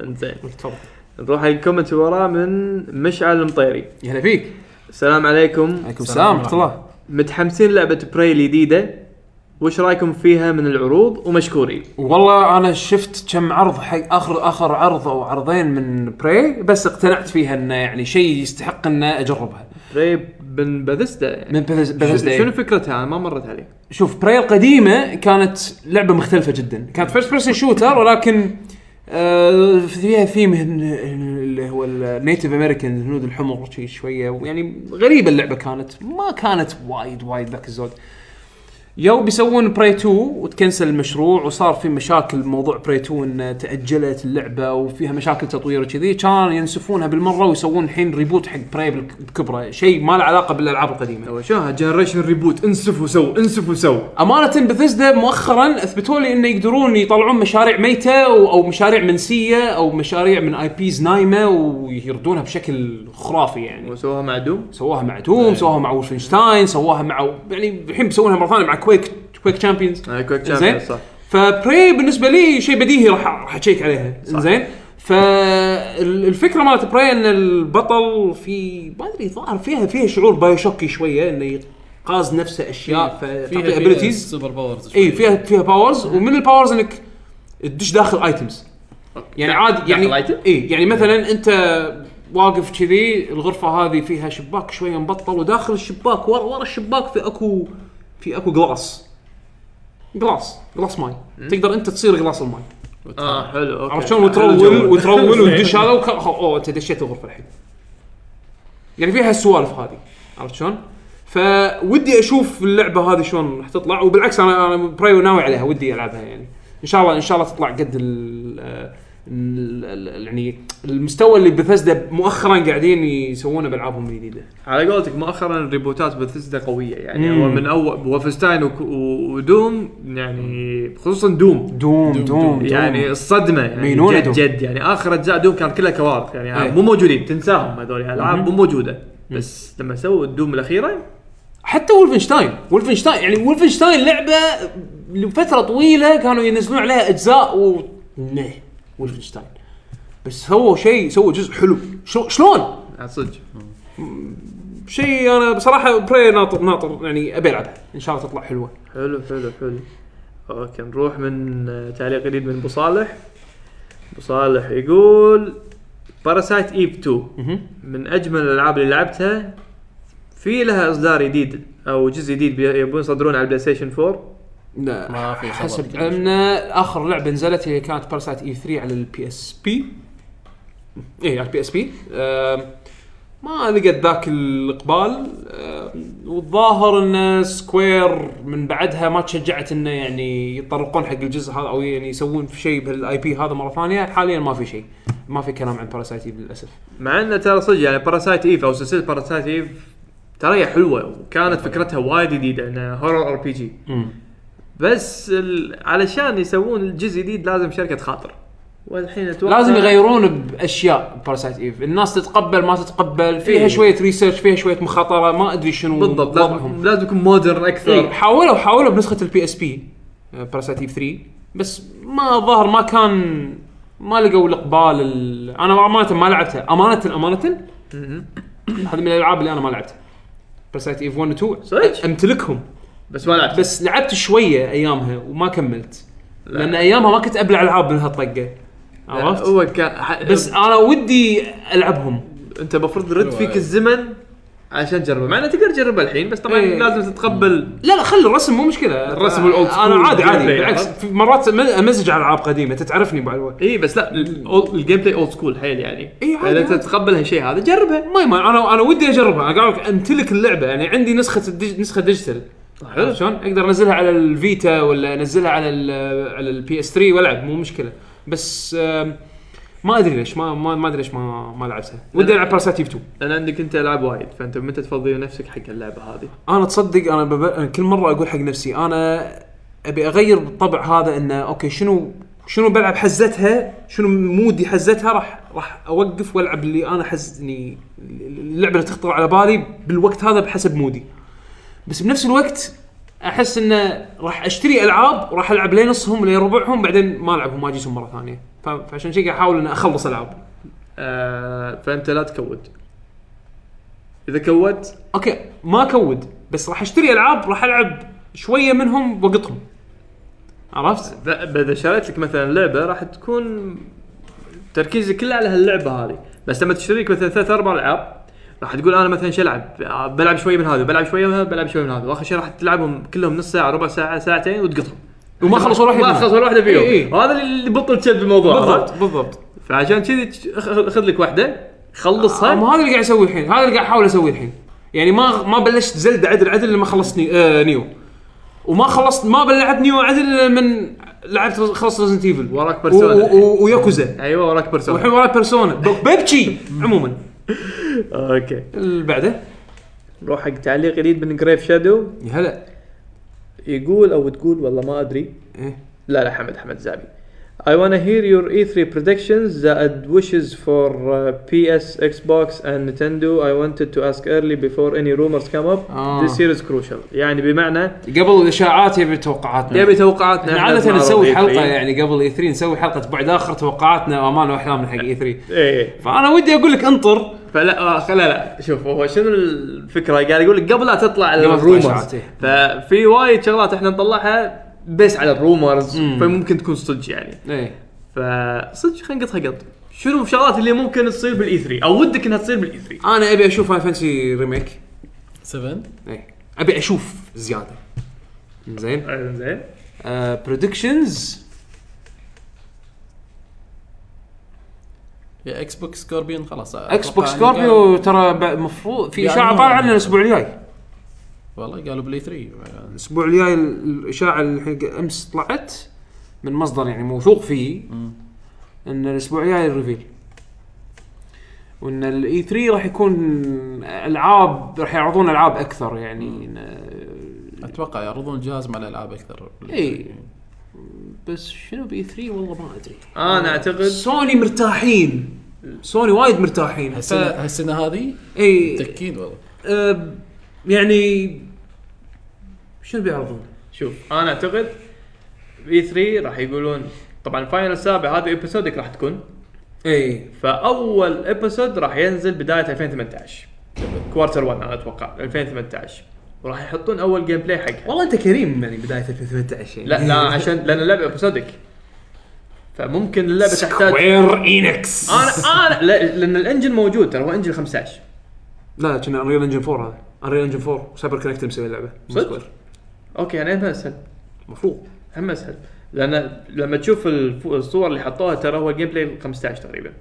Speaker 3: زين
Speaker 2: تفضل
Speaker 3: نروح على الكومنت اللي وراه من مشعل المطيري
Speaker 2: يا هلا فيك
Speaker 3: السلام عليكم
Speaker 2: عليكم السلام ورحمه الله
Speaker 3: متحمسين لعبه براي الجديده وش رايكم فيها من العروض ومشكورين
Speaker 2: والله انا شفت كم عرض حق اخر اخر عرض او عرضين من براي بس اقتنعت فيها انه يعني شيء يستحق ان اجربها
Speaker 3: براي من باثيستا يعني.
Speaker 2: من بث- بثيسدا
Speaker 3: شنو فكرتها انا ما مرت علي
Speaker 2: شوف براي القديمه كانت لعبه مختلفه جدا كانت فيرست بيرسون شوتر ولكن آه، فيها ثيم هن- اللي هو النيتف امريكان الهنود الحمر شي شويه ويعني غريبه اللعبه كانت ما كانت وايد وايد ذاك الزود يو بيسوون براي 2 وتكنسل المشروع وصار في مشاكل بموضوع براي 2 ان تاجلت اللعبه وفيها مشاكل تطوير وكذي كان ينسفونها بالمره ويسوون الحين ريبوت حق براي بكبره شيء ما له علاقه بالالعاب القديمه
Speaker 3: هو شو جنريشن ريبوت انسف وسو انسف وسو
Speaker 2: امانه بثزدا مؤخرا اثبتوا لي انه يقدرون يطلعون مشاريع ميته او أو مشاريع منسيه او مشاريع من اي بيز نايمه ويردونها بشكل خرافي يعني
Speaker 3: وسوها مع دوم
Speaker 2: سواها مع دوم سواها مع ولفنشتاين سواها مع يعني الحين بيسوونها مره ثانيه مع كويك كويك تشامبيونز
Speaker 3: آه، كويك
Speaker 2: زين
Speaker 3: تشامبيون صح
Speaker 2: فبري بالنسبه لي شيء بديهي راح راح اشيك عليها زين فالفكره مالت براي ان البطل في ما ادري ظاهر فيها فيها شعور بايوشوكي شويه انه يقاز نفسه اشياء فتعطيه ابيلتيز
Speaker 6: سوبر باورز
Speaker 2: اي إيه، فيها فيها باورز ومن الباورز انك تدش داخل ايتمز يعني عاد يعني
Speaker 3: داخل item؟ إيه.
Speaker 2: اي يعني مثلا انت واقف كذي الغرفه هذه فيها شباك شويه مبطل وداخل الشباك ورا ورا الشباك في اكو في اكو جلاس جلاس جلاس ماي تقدر انت تصير جلاس الماي
Speaker 3: اه حلو اوكي
Speaker 2: عرفت شلون
Speaker 3: حلو
Speaker 2: وترول
Speaker 3: الجو.
Speaker 2: وترول وتدش هذا وك- اوه انت دشيت الغرفه الحين يعني فيها السوالف هذه عرفت شلون؟ فودي اشوف اللعبه هذه شلون راح تطلع وبالعكس انا انا برايو ناوي عليها ودي العبها يعني ان شاء الله ان شاء الله تطلع قد ال ال- ال- يعني المستوى اللي بثزدا مؤخرا قاعدين يسوونه بالعابهم الجديده
Speaker 3: على قولتك مؤخرا الريبوتات بثيسدا قويه يعني هو من اول وولفنشتاين وك- و- ودوم يعني خصوصا دوم
Speaker 2: دوم دوم, دوم,
Speaker 3: يعني الصدمه يعني
Speaker 2: مينونة
Speaker 3: جد,
Speaker 2: دوم.
Speaker 3: جد يعني اخر اجزاء دوم كان كلها كوارث يعني
Speaker 2: أي.
Speaker 3: مو موجودين تنساهم هذول الالعاب مو موجوده بس لما سووا الدوم الاخيره
Speaker 2: حتى ولفنشتاين ولفنشتاين يعني ولفنشتاين لعبه لفتره طويله كانوا ينزلون عليها اجزاء و نه ولفنشتاين بس سووا شيء سووا جزء حلو شو- شلون؟
Speaker 3: عن آه، صدق
Speaker 2: شيء انا بصراحه براي ناطر ناطر يعني ابي العبها ان شاء الله تطلع حلوه
Speaker 3: حلو حلو حلو اوكي نروح من آه، تعليق جديد من ابو صالح ابو صالح يقول باراسايت ايب 2 من اجمل الالعاب اللي لعبتها في لها اصدار جديد او جزء جديد بي- يبون يصدرون على البلاي ستيشن 4
Speaker 2: لا
Speaker 6: ما في خبر إيه.
Speaker 2: حسب
Speaker 6: كذا.
Speaker 2: علمنا اخر لعبه نزلت هي كانت باراسايت اي 3 على البي اس بي اي إيه، على البي اس بي ما لقت ذاك الاقبال آم، والظاهر ان سكوير من بعدها ما تشجعت انه يعني يتطرقون حق الجزء هذا او يعني يسوون في شيء بهالاي بي هذا مره ثانيه حاليا ما في شيء ما في كلام عن E باراسايت ايف للاسف
Speaker 3: مع انه ترى صدق يعني باراسايت ايف او سلسله باراسايت ايف ترى هي حلوه وكانت فكرتها وايد جديده انها هورر ار بي جي بس ال- علشان يسوون الجزء الجديد لازم شركه خاطر والحين اتوقع
Speaker 2: لازم يغيرون باشياء باراسايت ايف الناس تتقبل ما تتقبل
Speaker 3: إيه.
Speaker 2: فيها شويه ريسيرش فيها شويه مخاطره ما ادري شنو
Speaker 3: بالضبط
Speaker 2: وضعهم
Speaker 3: لازم, لازم يكون مودرن اكثر
Speaker 2: اي طيب، حاولوا حاولوا بنسخه البي اس بي باراسايت ايف 3 بس ما ظهر ما كان ما لقوا الاقبال ال... انا امانه ما لعبتها امانه امانه هذه من الالعاب اللي انا ما لعبتها باراسايت ايف 1 و 2
Speaker 3: صدق؟
Speaker 2: امتلكهم
Speaker 3: بس ما لعبت
Speaker 2: بس لعبت شويه ايامها وما كملت لان ايامها ما كنت ابلع العاب من هالطقه عرفت؟
Speaker 3: آه، هو كان ح-
Speaker 2: بس انا ودي العبهم
Speaker 3: انت المفروض رد فيك الزمن عشان تجربه مع انه تقدر تجربه الحين بس طبعا
Speaker 2: إيه.
Speaker 3: لازم تتقبل
Speaker 2: لا لا خلي الرسم مو مشكله
Speaker 3: الرسم والأولد
Speaker 2: انا
Speaker 3: سكول
Speaker 2: عادي عادي
Speaker 3: والجيم بلاي،
Speaker 2: بالعكس
Speaker 3: عرفت؟
Speaker 2: في مرات م- امزج على العاب قديمه تتعرفني بعد الوقت
Speaker 3: اي إيه، بس لا ال- ال- الجيم بلاي اولد سكول حيل يعني
Speaker 2: إيه، عادي،
Speaker 3: اذا
Speaker 2: عادي.
Speaker 3: تتقبل هالشيء هذا جربها
Speaker 2: ما يما انا انا ودي اجربها انا قاعد أقولك امتلك اللعبه يعني عندي نسخه الديج... نسخه ديجيتال حلو شلون اقدر انزلها على الفيتا ولا انزلها على ال على البي اس 3 والعب مو مشكله بس آم، ما ادري ليش ما ما, ما ادري ليش ما ما لعبتها ودي العب باراسايت إيف 2
Speaker 3: لان عندك انت العاب وايد فانت متى تفضي نفسك حق اللعبه هذه
Speaker 2: انا تصدق انا, بب... أنا كل مره اقول حق نفسي انا ابي اغير الطبع هذا انه اوكي شنو شنو بلعب حزتها شنو مودي حزتها راح راح اوقف والعب اللي انا حزني اللعبه اللي تخطر على بالي بالوقت هذا بحسب مودي بس بنفس الوقت احس انه راح اشتري العاب وراح العب لين نصهم لين ربعهم بعدين ما العبهم ما اجيسهم مره ثانيه ف- فعشان شي قاعد احاول اني اخلص العاب
Speaker 3: آه فانت لا تكود اذا كودت
Speaker 2: اوكي ما اكود بس راح اشتري العاب راح العب شويه منهم بوقتهم عرفت؟
Speaker 3: ف- اذا شريت لك مثلا لعبه راح تكون تركيزك كله على هاللعبه هذه بس لما تشتري لك مثلا ثلاث اربع العاب راح تقول انا مثلا شو العب آه، بلعب شويه من هذا بلعب شويه من هذا بلعب شويه من هذا واخر شيء راح تلعبهم كلهم نص ساعه ربع ساعه ساعتين وتقطهم
Speaker 2: وما خلصوا واحد
Speaker 3: ما
Speaker 2: منهم.
Speaker 3: خلص ولا واحده فيهم
Speaker 2: إي إي.
Speaker 3: وهذا اللي بطل تشد بالموضوع
Speaker 2: بالضبط
Speaker 3: عرفت؟
Speaker 2: بالضبط
Speaker 3: فعشان كذي تش- أخ- خذ لك واحده خلصها
Speaker 2: آه، ما هذا اللي قاعد اسويه الحين هذا اللي قاعد احاول اسويه الحين يعني ما ما بلشت زلدة عدل عدل لما خلصت ني... آه نيو وما خلصت ما بلعت نيو عدل من لعبت خلصت ريزنت ايفل
Speaker 3: وراك بيرسونا.
Speaker 2: وياكوزا
Speaker 3: ايوه
Speaker 2: والحين
Speaker 3: وراك بيرسونا
Speaker 2: وراي بيرسونا ب- ببجي عموما
Speaker 3: اوكي
Speaker 2: اللي بعده
Speaker 3: نروح حق تعليق جديد من جريف شادو
Speaker 2: يا هلا
Speaker 3: يقول او تقول والله ما ادري
Speaker 2: إيه.
Speaker 3: لا لا حمد حمد زابي I wanna hear your E3 predictions and wishes for uh, PS, Xbox and Nintendo. I wanted to ask early before any rumors come up.
Speaker 2: آه.
Speaker 3: This year is crucial. يعني بمعنى
Speaker 2: قبل الاشاعات يبي توقعاتنا
Speaker 3: يبي توقعاتنا
Speaker 2: احنا
Speaker 3: إحنا
Speaker 2: عادة
Speaker 3: بنعرض
Speaker 2: نسوي
Speaker 3: E3.
Speaker 2: حلقة يعني قبل اي 3 نسوي حلقة بعد اخر توقعاتنا وامالنا واحلامنا حق اي 3
Speaker 3: ايه
Speaker 2: فانا ودي اقول لك انطر
Speaker 3: فلا آه لا لا شوف هو شنو الفكره قاعد يقول لك قبل لا تطلع
Speaker 2: تطلع
Speaker 3: الرومرز
Speaker 2: إشاعات، إيه.
Speaker 3: ففي وايد شغلات احنا نطلعها بس على الرومرز فممكن تكون صدق يعني
Speaker 2: ايه
Speaker 3: فصدق خلينا نقطها قط شنو الشغلات اللي ممكن تصير بالاي 3 او ودك انها تصير بالاي 3
Speaker 2: انا ابي اشوف فاين فانسي ريميك
Speaker 6: 7
Speaker 2: ايه ابي اشوف زيادة زين
Speaker 3: آه،
Speaker 2: آه،
Speaker 3: زين
Speaker 2: بريدكشنز
Speaker 6: يا اكس بوكس سكوربيون خلاص
Speaker 2: اكس بوكس
Speaker 6: أتوقع يعني
Speaker 2: سكوربيو
Speaker 6: قالوا-
Speaker 2: ترى ب- مفروض في اشاعه
Speaker 6: يعني-
Speaker 2: طالعه عنه الاسبوع الجاي
Speaker 6: والله قالوا بلاي 3
Speaker 2: الاسبوع الجاي ال- الاشاعه اللي الحين امس طلعت من مصدر يعني موثوق فيه ان الاسبوع الجاي الريفيل وان الاي 3 راح يكون العاب راح يعرضون العاب اكثر يعني إن-
Speaker 6: اتوقع يعرضون الجهاز مع الالعاب اكثر
Speaker 2: اي بس شنو باي 3 والله ما ادري
Speaker 3: انا اعتقد
Speaker 2: سوني مرتاحين سوني وايد مرتاحين ف... إيه.
Speaker 6: هالسنه هالسنه هذه
Speaker 2: اي
Speaker 6: تكين والله
Speaker 2: أه، يعني شنو بيعرضون؟
Speaker 3: شوف انا اعتقد اي 3 راح يقولون طبعا الفاينل السابع هذا ايبسودك راح تكون
Speaker 2: اي
Speaker 3: فاول ايبسود راح ينزل بدايه 2018 كوارتر 1 انا اتوقع 2018 وراح يحطون اول جيم بلاي حقها
Speaker 2: والله انت كريم يعني بدايه 2018 يعني.
Speaker 3: لا لا عشان لان اللعبه ايبسودك فممكن اللعبه تحتاج
Speaker 2: وير اينكس
Speaker 3: انا انا لا لان الانجن موجود ترى هو انجن 15
Speaker 2: لا كنا انريل انجن 4 هذا انريل انجن 4 سايبر كونكت مسوي اللعبه
Speaker 3: صدق؟ اوكي يعني هم اسهل
Speaker 2: المفروض
Speaker 3: هم اسهل لان لما تشوف الف- الصور اللي حطوها ترى هو جيم بلاي 15 تقريبا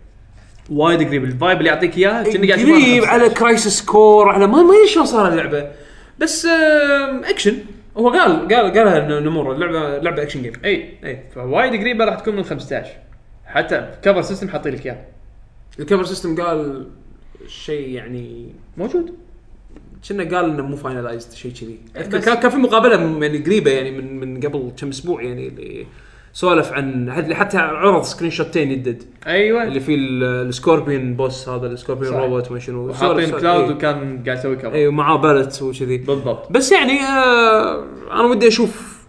Speaker 3: وايد قريب الفايب اللي يعطيك اياها كأنك قاعد تشوفها
Speaker 2: إيه، قريب
Speaker 3: 15.
Speaker 2: على كرايسس كور على ما ما ادري شلون صار اللعبه بس آم، اكشن هو قال قال قالها إنه نمور اللعبه لعبه اكشن جيم
Speaker 3: اي اي فوايد قريبه راح تكون من 15 حتى كفر سيستم حاطين لك اياه
Speaker 2: الكفر سيستم قال شيء يعني
Speaker 3: موجود
Speaker 2: كنا قال انه مو فاينلايزد شيء كذي
Speaker 3: بس-
Speaker 2: كان كان في مقابله م- يعني قريبه يعني من من قبل كم اسبوع يعني اللي سولف عن حد- حتى عرض سكرين شوتين يدد
Speaker 3: ايوه
Speaker 2: اللي فيه ال- السكوربيون بوس هذا السكوربيون
Speaker 3: صحيح.
Speaker 2: روبوت وما شنو
Speaker 3: حاطين
Speaker 2: سولف-
Speaker 3: كلاود
Speaker 2: إيه.
Speaker 3: وكان قاعد يسوي كفر
Speaker 2: اي ومعاه بالت وكذي
Speaker 3: بالضبط
Speaker 2: بس يعني آه انا ودي اشوف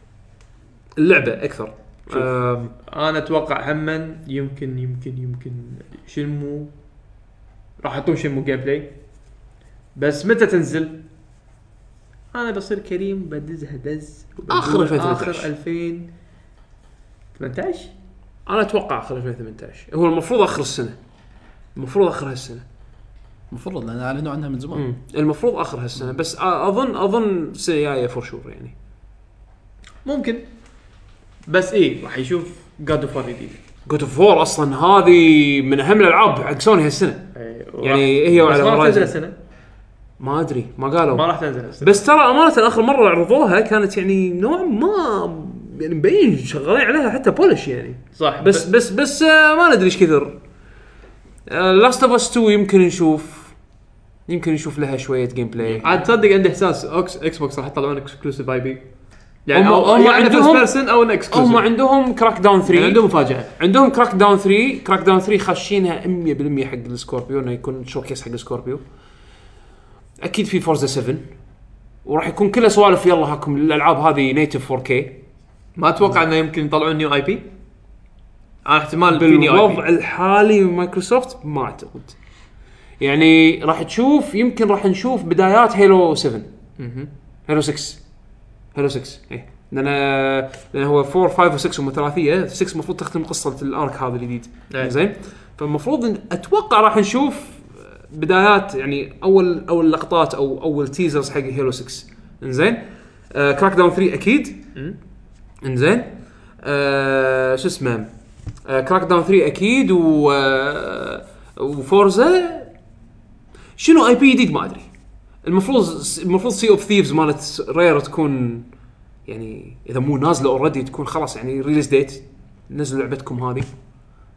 Speaker 2: اللعبه اكثر
Speaker 3: شوف.
Speaker 2: آه
Speaker 3: انا اتوقع هما يمكن يمكن يمكن شنمو راح يحطون شنمو جيم بلاي بس متى تنزل؟ انا بصير كريم بدزها دز
Speaker 6: آخر 2018.
Speaker 3: اخر 2018
Speaker 2: انا اتوقع اخر 2018 هو المفروض اخر السنه المفروض اخر هالسنه
Speaker 6: المفروض لان اعلنوا عنها من زمان
Speaker 2: المفروض اخر هالسنه بس آه، أ- اظن اظن السنه الجايه فور شور يعني
Speaker 3: ممكن بس ايه راح يشوف جاد اوف جديد
Speaker 2: جود اوف وور اصلا هذه من اهم الالعاب حق سوني هالسنه يعني هي
Speaker 3: بس
Speaker 2: وعلى
Speaker 3: ما راح تنزل
Speaker 2: Horizon.
Speaker 3: السنه
Speaker 2: ما ادري ما
Speaker 3: ما
Speaker 2: قالوا
Speaker 3: راح تنزل السنه
Speaker 2: بس ترى امانه اخر مره عرضوها كانت يعني نوعا ما يعني مبين شغالين عليها حتى بولش يعني
Speaker 3: صح
Speaker 2: بس بس بس آه، ما ندري ايش كثر آه، لاست اوف اس 2 يمكن نشوف يمكن نشوف لها شويه جيم بلاي
Speaker 3: عاد تصدق عندي احساس اكس اكس بوكس راح يطلعون اكسكلوسيف اي بي يعني
Speaker 2: هم-
Speaker 3: او
Speaker 2: هم
Speaker 3: هم يعني فيرست
Speaker 2: عندهم-
Speaker 3: بيرسون او ان اكسكلوسيف
Speaker 2: هم عندهم كراك داون 3
Speaker 3: يعني عندهم مفاجاه
Speaker 2: عندهم كراك داون 3 كراك داون 3 خاشينها 100% حق السكوربيو انه يكون شوكيس حق السكوربيو اكيد في فورزا 7 وراح يكون كله سوالف يلا هاكم الالعاب هذه نيتف 4K
Speaker 3: ما اتوقع انه يمكن يطلعون نيو اي بي انا احتمال في نيو اي
Speaker 2: بالوضع
Speaker 3: بي
Speaker 2: الحالي من مايكروسوفت ما اعتقد يعني راح تشوف يمكن راح نشوف بدايات هيلو 7 هيلو 6 هيلو 6 ايه لان لان هو 4 5 و6 هم ثلاثيه 6 المفروض تختم قصه الارك هذا الجديد
Speaker 3: إيه.
Speaker 2: زين فالمفروض إن اتوقع راح نشوف بدايات يعني اول اول لقطات او اول تيزرز حق هيلو 6 انزين آه كراك داون 3 اكيد انزين آه شو اسمه آه كراك داون 3 اكيد و آه وفورزا شنو اي بي جديد ما ادري المفروض المفروض سي اوف ثيفز مالت رير تكون يعني اذا مو نازله اوريدي تكون خلاص يعني ريليز ديت نزلوا لعبتكم هذه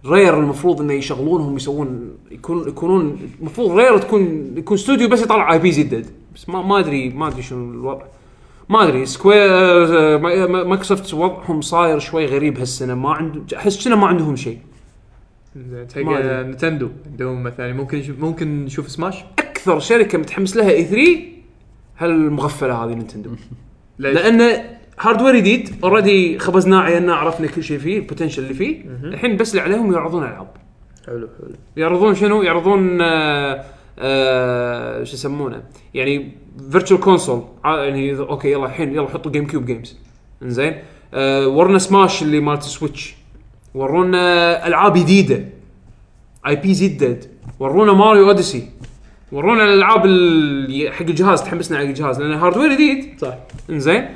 Speaker 2: رير المفروض انه يشغلونهم يسوون يكون يكونون المفروض رير تكون يكون استوديو بس يطلع اي بي جدد بس ما ما ادري ما ادري شنو الوضع ما ادري سكوير آه، ما- ما- مايكروسوفت وضعهم صاير شوي غريب هالسنه ما عندهم احس كنا ما عندهم شيء ما
Speaker 3: حق
Speaker 2: أدري.
Speaker 3: نتندو عندهم مثلا ممكن يشوف ممكن نشوف سماش
Speaker 2: اكثر شركه متحمس لها اي 3 هالمغفله هذه نينتندو
Speaker 3: ليش؟
Speaker 2: لان هاردوير جديد اوريدي خبزناه عينا عرفنا كل شيء فيه البوتنشل اللي فيه الحين بس اللي عليهم يعرضون العاب
Speaker 3: حلو حلو
Speaker 2: يعرضون شنو يعرضون آه آه شو يسمونه يعني فيرتشوال كونسول يعني إذا- اوكي يلا الحين يلا حطوا جيم كيوب جيمز انزين آه ورنا سماش اللي مالت آه، سويتش ورونا العاب جديده اي بي جدد ورونا ماريو اوديسي ورونا الالعاب ال- حق الجهاز تحمسنا على الجهاز لان هاردوير جديد
Speaker 3: صح
Speaker 2: انزين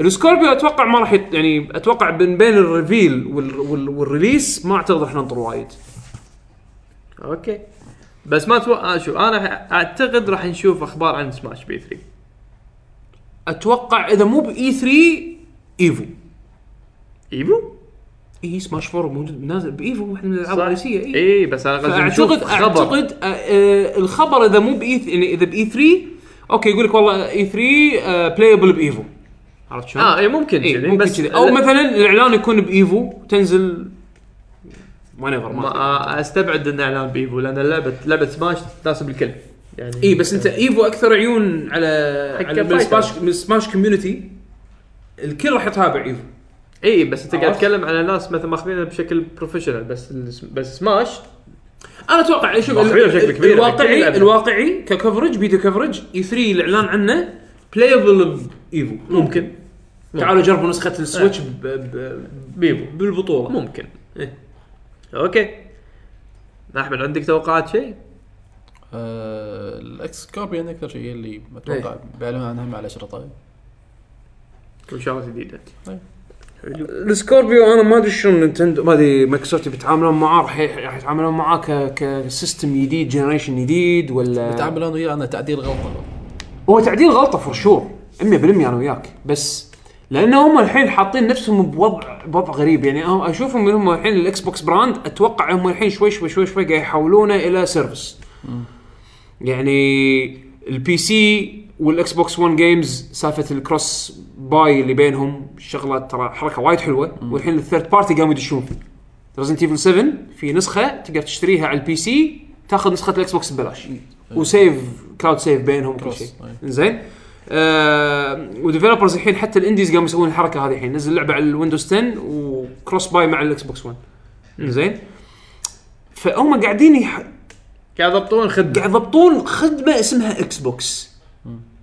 Speaker 2: السكوربيو اتوقع ما راح يط... يعني اتوقع بين بين الريفيل وال... وال... والريليس ما اعتقد راح ننطر وايد
Speaker 3: اوكي بس ما اتوقع شوف انا ح- اعتقد راح نشوف اخبار عن سماش بي 3
Speaker 2: اتوقع اذا مو باي 3 ايفو
Speaker 3: ايفو؟
Speaker 2: اي سماش 4 موجود نازل بايفو واحده من الالعاب
Speaker 3: صح.
Speaker 2: الرئيسيه اي
Speaker 3: اي بس انا قصدي
Speaker 2: فاعتقد
Speaker 3: نشوف خبر
Speaker 2: اعتقد آه، آه، الخبر اذا مو باي يعني اذا باي 3 اوكي يقول لك والله اي 3 بلايبل بايفو عرفت شلون؟
Speaker 3: اه اي ممكن
Speaker 2: إيه،
Speaker 3: كذي،
Speaker 2: ممكن
Speaker 3: بس
Speaker 2: كذي. او مثلا الاعلان يكون بايفو تنزل whenever، ما
Speaker 3: ما
Speaker 2: ايفر
Speaker 3: آه، استبعد ان اعلان بايفو لان لعبه لعبه سماش تناسب الكل يعني
Speaker 2: اي إيه، بس انت ايفو اكثر عيون على
Speaker 3: حق
Speaker 2: على من
Speaker 3: الفايتر.
Speaker 2: سماش من سماش كوميونتي الكل راح يتابع ايفو
Speaker 3: اي بس انت قاعد
Speaker 2: عرفت؟
Speaker 3: تتكلم على ناس مثلا ماخذينها بشكل بروفيشنال بس الس- بس سماش
Speaker 2: انا اتوقع شوف
Speaker 3: ماخذينه بشكل كبير، يعني أكيد
Speaker 2: الواقعي
Speaker 3: لعبة.
Speaker 2: الواقعي ككفرج فيديو كفرج اي 3 الاعلان E عنه بلايبل بايفو ممكن تعالوا جربوا نسخه السويتش ب- ب-
Speaker 3: بيفو
Speaker 2: بالبطوله
Speaker 3: ممكن
Speaker 2: إيه.
Speaker 3: اوكي احمد عندك توقعات شيء؟
Speaker 6: آه، الاكس كوبين اكثر شيء اللي اتوقع بيعلنون عنها مع العشرة طيب
Speaker 3: وشغلات جديده
Speaker 2: السكوربيو انا ما ادري شلون نينتندو ما ادري مايكروسوفت بيتعاملون معاه راح ي- راح يتعاملون معاه ك- كسيستم جديد جنريشن جديد ولا
Speaker 6: يتعاملون وياه انه تعديل غلطه
Speaker 2: هو تعديل غلطه فور شور 100% انا وياك بس لانه هم الحين حاطين نفسهم بوضع بوضع غريب يعني أنا اشوفهم من هم الحين الاكس بوكس براند اتوقع هم الحين شوي شوي شوي شوي قاعد يحولونه الى سيرفس يعني البي سي والاكس بوكس 1 جيمز سالفه الكروس باي اللي بينهم شغله ترى حركه وايد حلوه والحين الثيرد بارتي قاموا يدشون فيه ريزنت ايفل 7 في نسخه تقدر تشتريها على البي سي تاخذ نسخه الاكس بوكس ببلاش وسيف كلاود سيف بينهم وكل
Speaker 6: كروس،
Speaker 2: شيء
Speaker 6: أي.
Speaker 2: زين آه وديفلوبرز الحين حتى الانديز قاموا يسوون الحركه هذه الحين نزل لعبه على الويندوز 10 وكروس باي مع الاكس بوكس 1 زين فهم قاعدين يح...
Speaker 3: قاعد يضبطون خدمه
Speaker 2: قاعد يضبطون خدمه اسمها اكس بوكس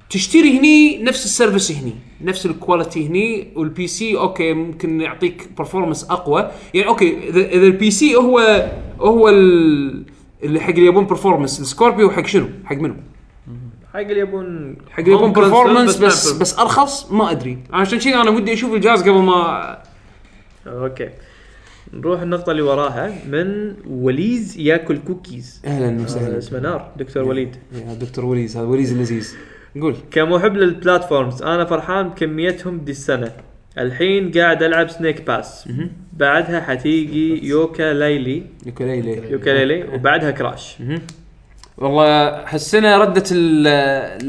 Speaker 2: تشتري هني نفس السيرفس هني نفس الكواليتي هني والبي سي اوكي ممكن يعطيك برفورمانس اقوى يعني اوكي اذا اذا البي سي هو هو ال- اللي حق اليابان برفورمانس السكوربيو حق شنو؟ حق منو؟
Speaker 3: حق اليابون
Speaker 2: حق اليابان
Speaker 3: Home console
Speaker 2: برفورمانس بس
Speaker 3: Apple.
Speaker 2: بس ارخص ما ادري عشان كذي انا ودي اشوف الجهاز قبل ما
Speaker 3: اوكي نروح النقطة اللي وراها من وليز ياكل كوكيز
Speaker 2: اهلا
Speaker 3: هذا آه، اسمه نار دكتور وليد
Speaker 2: يا دكتور وليز هذا وليز اللذيذ قول
Speaker 3: كمحب للبلاتفورمز انا فرحان بكميتهم دي السنه الحين قاعد العب سنيك باس بعدها حتيجي يوكا ليلي
Speaker 2: يوكليلي
Speaker 3: يوكا ليلي وبعدها كراش
Speaker 2: والله حسنا ردة ال-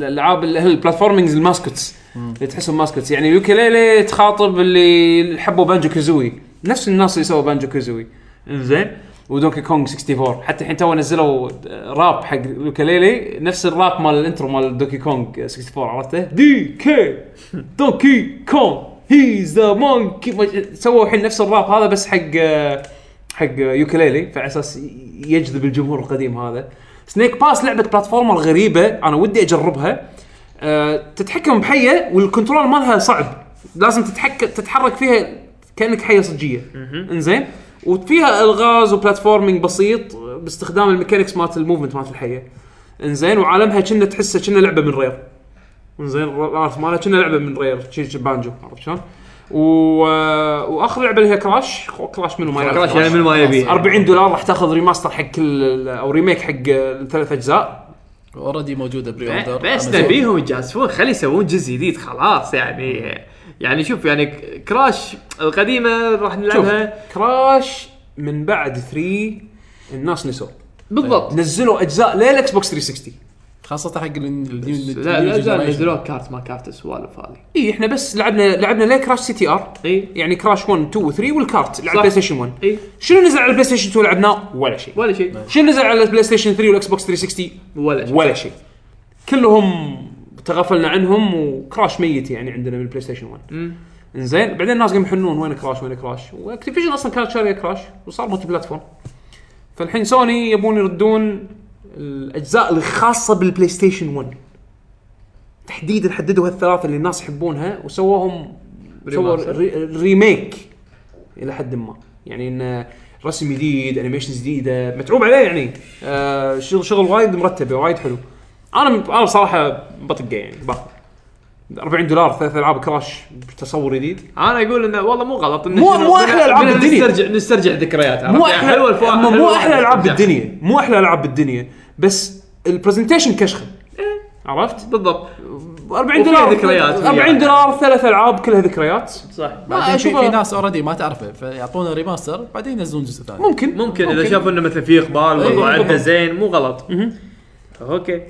Speaker 2: الالعاب ال- البلاتفورمينجز الماسكتس اللي تحسهم ماسكتس يعني اليوكليلي تخاطب اللي حبوا بانجو كازوي نفس الناس اللي سووا بانجو كازوي انزين ودونكي كونغ 64 حتى الحين تو نزلوا راب حق اليوكليلي نفس الراب مال الانترو مال دونكي كونغ 64 عرفته دي كي دونكي كونغ هيز ذا مونكي سووا الحين نفس الراب هذا بس حق حق يوكليلي فعلى اساس يجذب الجمهور القديم هذا سنيك باس لعبه بلاتفورمر غريبه انا ودي اجربها أه تتحكم بحيه والكنترول مالها صعب لازم تتحكم تتحرك فيها كانك حيه صجيه انزين وفيها الغاز وبلاتفورمينج بسيط باستخدام الميكانكس مالت الموفمنت مالت الحيه انزين وعالمها كنا تحسه كنا لعبه من رير انزين عارف مالها كنا لعبه من رير شي- شي بانجو عرفت شلون؟ و... واخر لعبه اللي هي كراش كراش منو ما يعرف
Speaker 3: كراش يعني من ما يبي
Speaker 2: 40 دولار راح تاخذ ريماستر حق كل ال- او ريميك حق الثلاث اجزاء
Speaker 6: اوريدي موجوده بري اوردر
Speaker 3: بس نبيهم يجازفون خلي يسوون جزء جديد خلاص يعني يعني شوف يعني ك- كراش القديمه راح نلعبها
Speaker 2: كراش من بعد 3 الناس نسوا
Speaker 3: بالضبط
Speaker 2: نزلوا اجزاء للاكس بوكس 360
Speaker 6: خاصه حق
Speaker 2: طيب.
Speaker 6: النيو
Speaker 3: لا لا لا نزلوا كارت ما كارت السوالف هذه
Speaker 2: اي احنا إيه، بس لعبنا لعبنا ليه كراش سي تي ار
Speaker 3: اي
Speaker 2: يعني كراش 1 2 و 3 والكارت لعب
Speaker 3: صح.
Speaker 2: بلاي ستيشن 1
Speaker 3: اي
Speaker 2: شنو نزل على البلاي ستيشن 2 لعبناه ولا شيء
Speaker 3: ولا شيء
Speaker 2: شنو نزل على البلاي ستيشن 3 والاكس بوكس 360
Speaker 3: ولا شيء
Speaker 2: ولا شيء كلهم تغفلنا عنهم وكراش ميت يعني عندنا من البلاي ستيشن 1 انزين بعدين الناس قاموا يحنون وين كراش وين كراش واكتيفيجن اصلا كانت شاريه كراش وصار ملتي بلاتفورم فالحين سوني يبون يردون الاجزاء الخاصه بالبلاي ستيشن 1 تحديدا حددوا هالثلاثه اللي الناس يحبونها وسووهم سووا
Speaker 3: Remaster.
Speaker 2: ري- ريميك الى حد ما يعني انه رسم جديد انيميشن جديده متعوب عليه يعني آه شغل شغل وايد مرتب وايد حلو انا انا بصراحه بطقه يعني باخذ 40 دولار ثلاث العاب كراش بتصور جديد
Speaker 3: انا اقول انه والله مو غلط إنه
Speaker 2: مو-
Speaker 3: شنو-
Speaker 2: مو أحلى
Speaker 3: بدنا-
Speaker 2: ألعاب
Speaker 3: بدنا
Speaker 2: الدنيا.
Speaker 3: نسترجع نسترجع ذكريات عرفت؟
Speaker 2: مو
Speaker 3: يعني
Speaker 2: احلى
Speaker 3: حلوه الفوا-
Speaker 2: مو- مو
Speaker 3: حلوة يعني.
Speaker 2: احلى العاب
Speaker 3: الاسترجاع.
Speaker 2: بالدنيا مو احلى العاب بالدنيا بس البرزنتيشن كشخه عرفت؟
Speaker 3: بالضبط
Speaker 2: 40 دولار
Speaker 3: إيه. ذكريات.
Speaker 2: 40 دولار ثلاث العاب كلها ذكريات
Speaker 3: صح
Speaker 6: ما في,
Speaker 2: أشوفها-
Speaker 6: في ناس اوريدي ما تعرفه فيعطونا ريماستر بعدين ينزلون جزء ثاني
Speaker 2: ممكن إيه،
Speaker 3: ممكن اذا شافوا انه مثلا في اقبال والوضع
Speaker 6: بالضبط.
Speaker 3: عندها زين مو غلط اوكي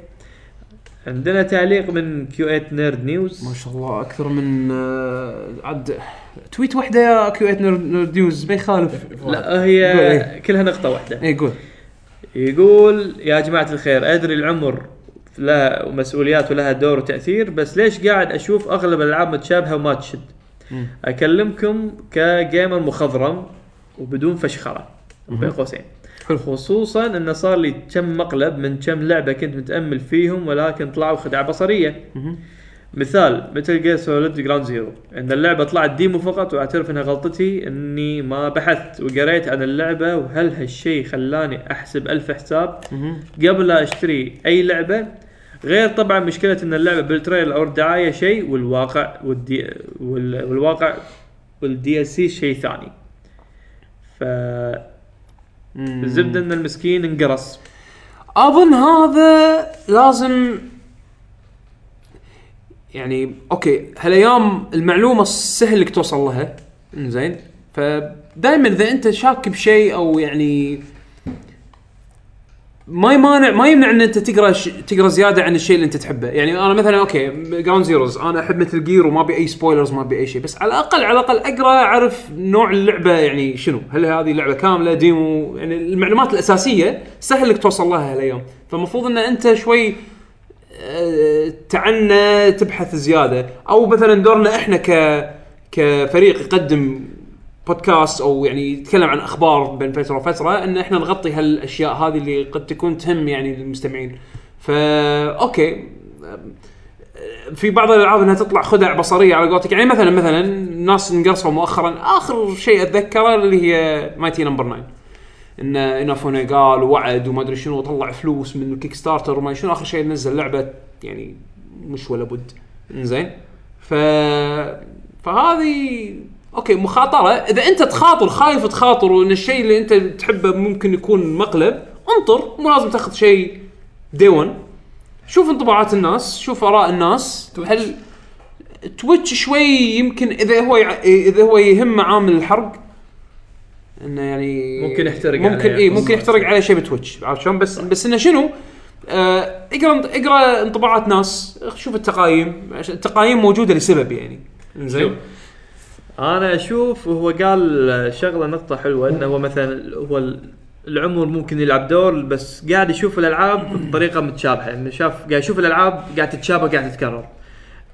Speaker 3: عندنا تعليق من كيو 8 نيرد
Speaker 2: ما
Speaker 3: نيوز
Speaker 2: شاء الله اكثر من آه، عد تويت واحده يا كيو 8 نيوز ما يخالف
Speaker 3: لا
Speaker 2: قول
Speaker 3: هي
Speaker 2: إيه.
Speaker 3: كلها نقطه واحده
Speaker 2: اي قول
Speaker 3: يقول يا جماعه الخير ادري العمر لها مسؤوليات ولها دور وتاثير بس ليش قاعد اشوف اغلب الالعاب متشابهه وما تشد اكلمكم كجيمر مخضرم وبدون فشخره بين قوسين خصوصا انه صار لي كم مقلب من كم لعبه كنت متامل فيهم ولكن طلعوا خدعه بصريه مثال مثل جير سوليد جراوند زيرو ان اللعبه طلعت ديمو فقط واعترف انها غلطتي اني ما بحثت وقريت عن اللعبه وهل هالشيء خلاني احسب الف حساب قبل لا اشتري اي لعبه غير طبعا مشكله ان اللعبه بالتريل او الدعايه شيء والواقع والدي وال- والواقع والدي اس سي شيء ثاني ف الزبده ان المسكين انقرص
Speaker 2: اظن هذا لازم يعني اوكي هالايام المعلومه سهل انك توصل لها زين فدائما اذا انت شاك بشيء او يعني ما يمانع ما يمنع ان انت تقرا ش... تقرا زياده عن الشيء اللي انت تحبه، يعني انا مثلا اوكي جراوند زيروز انا احب مثل جير وما ابي اي سبويلرز ما ابي اي شيء، بس على الاقل على الاقل اقرا اعرف نوع اللعبه يعني شنو، هل هذه لعبه كامله ديمو يعني المعلومات الاساسيه سهل انك توصل لها هالايام، فالمفروض ان انت شوي آه، تعنى تبحث زياده، او مثلا دورنا احنا ك كفريق يقدم بودكاست او يعني يتكلم عن اخبار بين فتره وفتره ان احنا نغطي هالاشياء هذه اللي قد تكون تهم يعني المستمعين. فا اوكي في بعض الالعاب انها تطلع خدع بصريه على قولتك يعني مثلا مثلا ناس انقصوا مؤخرا اخر شيء اتذكره اللي هي مايتي نمبر 9 ان انافونا قال وعد وما ادري شنو وطلع فلوس من الكيك ستارتر وما شنو اخر شيء نزل لعبه يعني مش ولا بد زين ف فهذه اوكي مخاطره اذا انت تخاطر خايف تخاطر وان الشيء اللي انت تحبه ممكن يكون مقلب انطر مو لازم تاخذ شيء ديون شوف انطباعات الناس شوف اراء الناس هل تويتش شوي يمكن اذا هو يع... اذا هو يهم عامل الحرق انه يعني
Speaker 3: ممكن يحترق
Speaker 2: ممكن
Speaker 3: عليه.
Speaker 2: اي ممكن يحترق عليه شيء بتويتش عرفت شلون بس بس انه شنو؟ آه اقرا اقرا انطباعات ناس شوف التقايم عشان التقايم موجوده لسبب يعني زين
Speaker 3: انا اشوف هو قال شغله نقطه حلوه انه هو مثلا هو ال- العمر ممكن يلعب دور بس قاعد يشوف الالعاب بطريقه متشابهه انه شاف قاعد يشوف الالعاب قاعد تتشابه قاعد تتكرر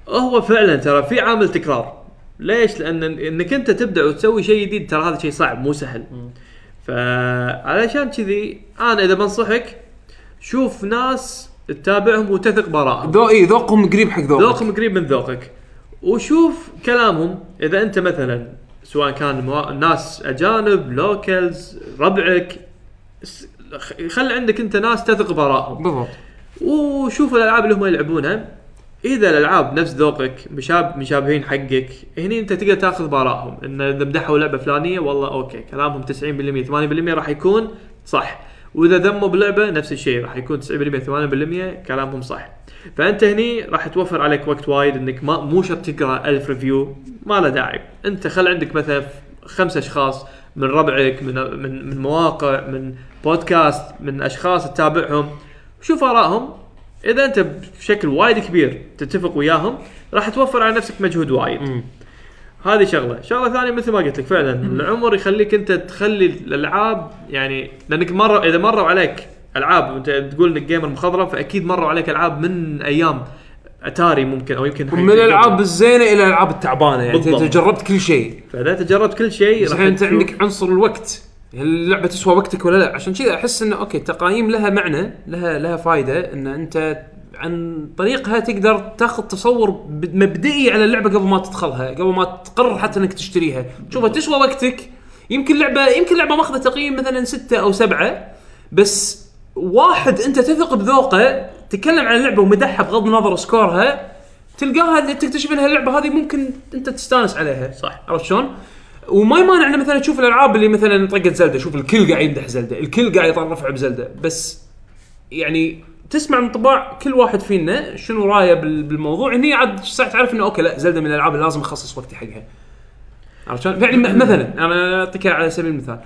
Speaker 3: هو فعلا ترى في عامل تكرار ليش؟ لان انك انت تبدع وتسوي شيء جديد ترى هذا شيء صعب مو سهل فعلشان كذي انا اذا بنصحك شوف ناس تتابعهم وتثق براءهم
Speaker 2: ذو اي ذوقهم قريب حق ذوقك
Speaker 3: ذوقهم قريب من ذوقك وشوف كلامهم اذا انت مثلا سواء كان موا... ناس اجانب لوكلز ربعك س- خ- خل عندك انت ناس تثق برائهم
Speaker 2: بالضبط
Speaker 3: وشوف الالعاب اللي هم يلعبونها اذا الالعاب نفس ذوقك مشاب مشابهين حقك هني انت تقدر تاخذ برائهم ان اذا مدحوا لعبه فلانيه والله اوكي كلامهم 90% 80% راح يكون صح واذا ذموا بلعبه نفس الشيء راح يكون 90% 80% كلامهم صح فانت هني راح توفر عليك وقت وايد انك ما مو شرط تقرا ألف ريفيو ما له داعي انت خل عندك مثلا خمسة اشخاص من ربعك من من من مواقع من بودكاست من اشخاص تتابعهم شوف ارائهم اذا انت بشكل وايد كبير تتفق وياهم راح توفر على نفسك مجهود وايد هذه شغله، شغله ثانيه مثل ما قلت لك فعلا العمر يخليك انت تخلي الالعاب يعني لانك مره اذا مروا عليك العاب وانت تقول انك جيمر مخضرم فاكيد مروا عليك العاب من ايام اتاري ممكن او يمكن
Speaker 2: من الالعاب الزينه الى الالعاب التعبانه يعني انت
Speaker 3: بالضبط.
Speaker 2: أنت جربت كل شيء
Speaker 3: فاذا انت جربت كل شيء
Speaker 2: بس
Speaker 3: راح
Speaker 2: الحين انت
Speaker 3: تشوف-
Speaker 2: عندك عنصر الوقت هل اللعبه تسوى وقتك ولا لا عشان كذا احس انه اوكي التقايم لها معنى لها لها فائده ان انت عن طريقها تقدر تاخذ تصور ب- مبدئي على اللعبه قبل ما تدخلها قبل ما تقرر حتى انك تشتريها تشوفها تسوى وقتك يمكن لعبه يمكن لعبه ماخذه تقييم مثلا ستة او سبعة بس واحد انت تثق بذوقه تكلم عن اللعبه ومدحها بغض النظر سكورها تلقاها تكتشف ان اللعبه هذه ممكن انت تستانس عليها
Speaker 3: صح.
Speaker 2: عرفت شلون؟ وما يمانع انه مثلا تشوف الالعاب اللي مثلا طقت زلده شوف الكل قاعد يمدح زلده الكل قاعد يطرفع بزلده بس يعني تسمع انطباع كل واحد فينا شنو رايه بال- بالموضوع هني عاد ساعه تعرف انه اوكي لا زلده من الالعاب اللي لازم اخصص وقتي حقها عرفت شلون؟ يعني م- مثلا انا اعطيك على سبيل المثال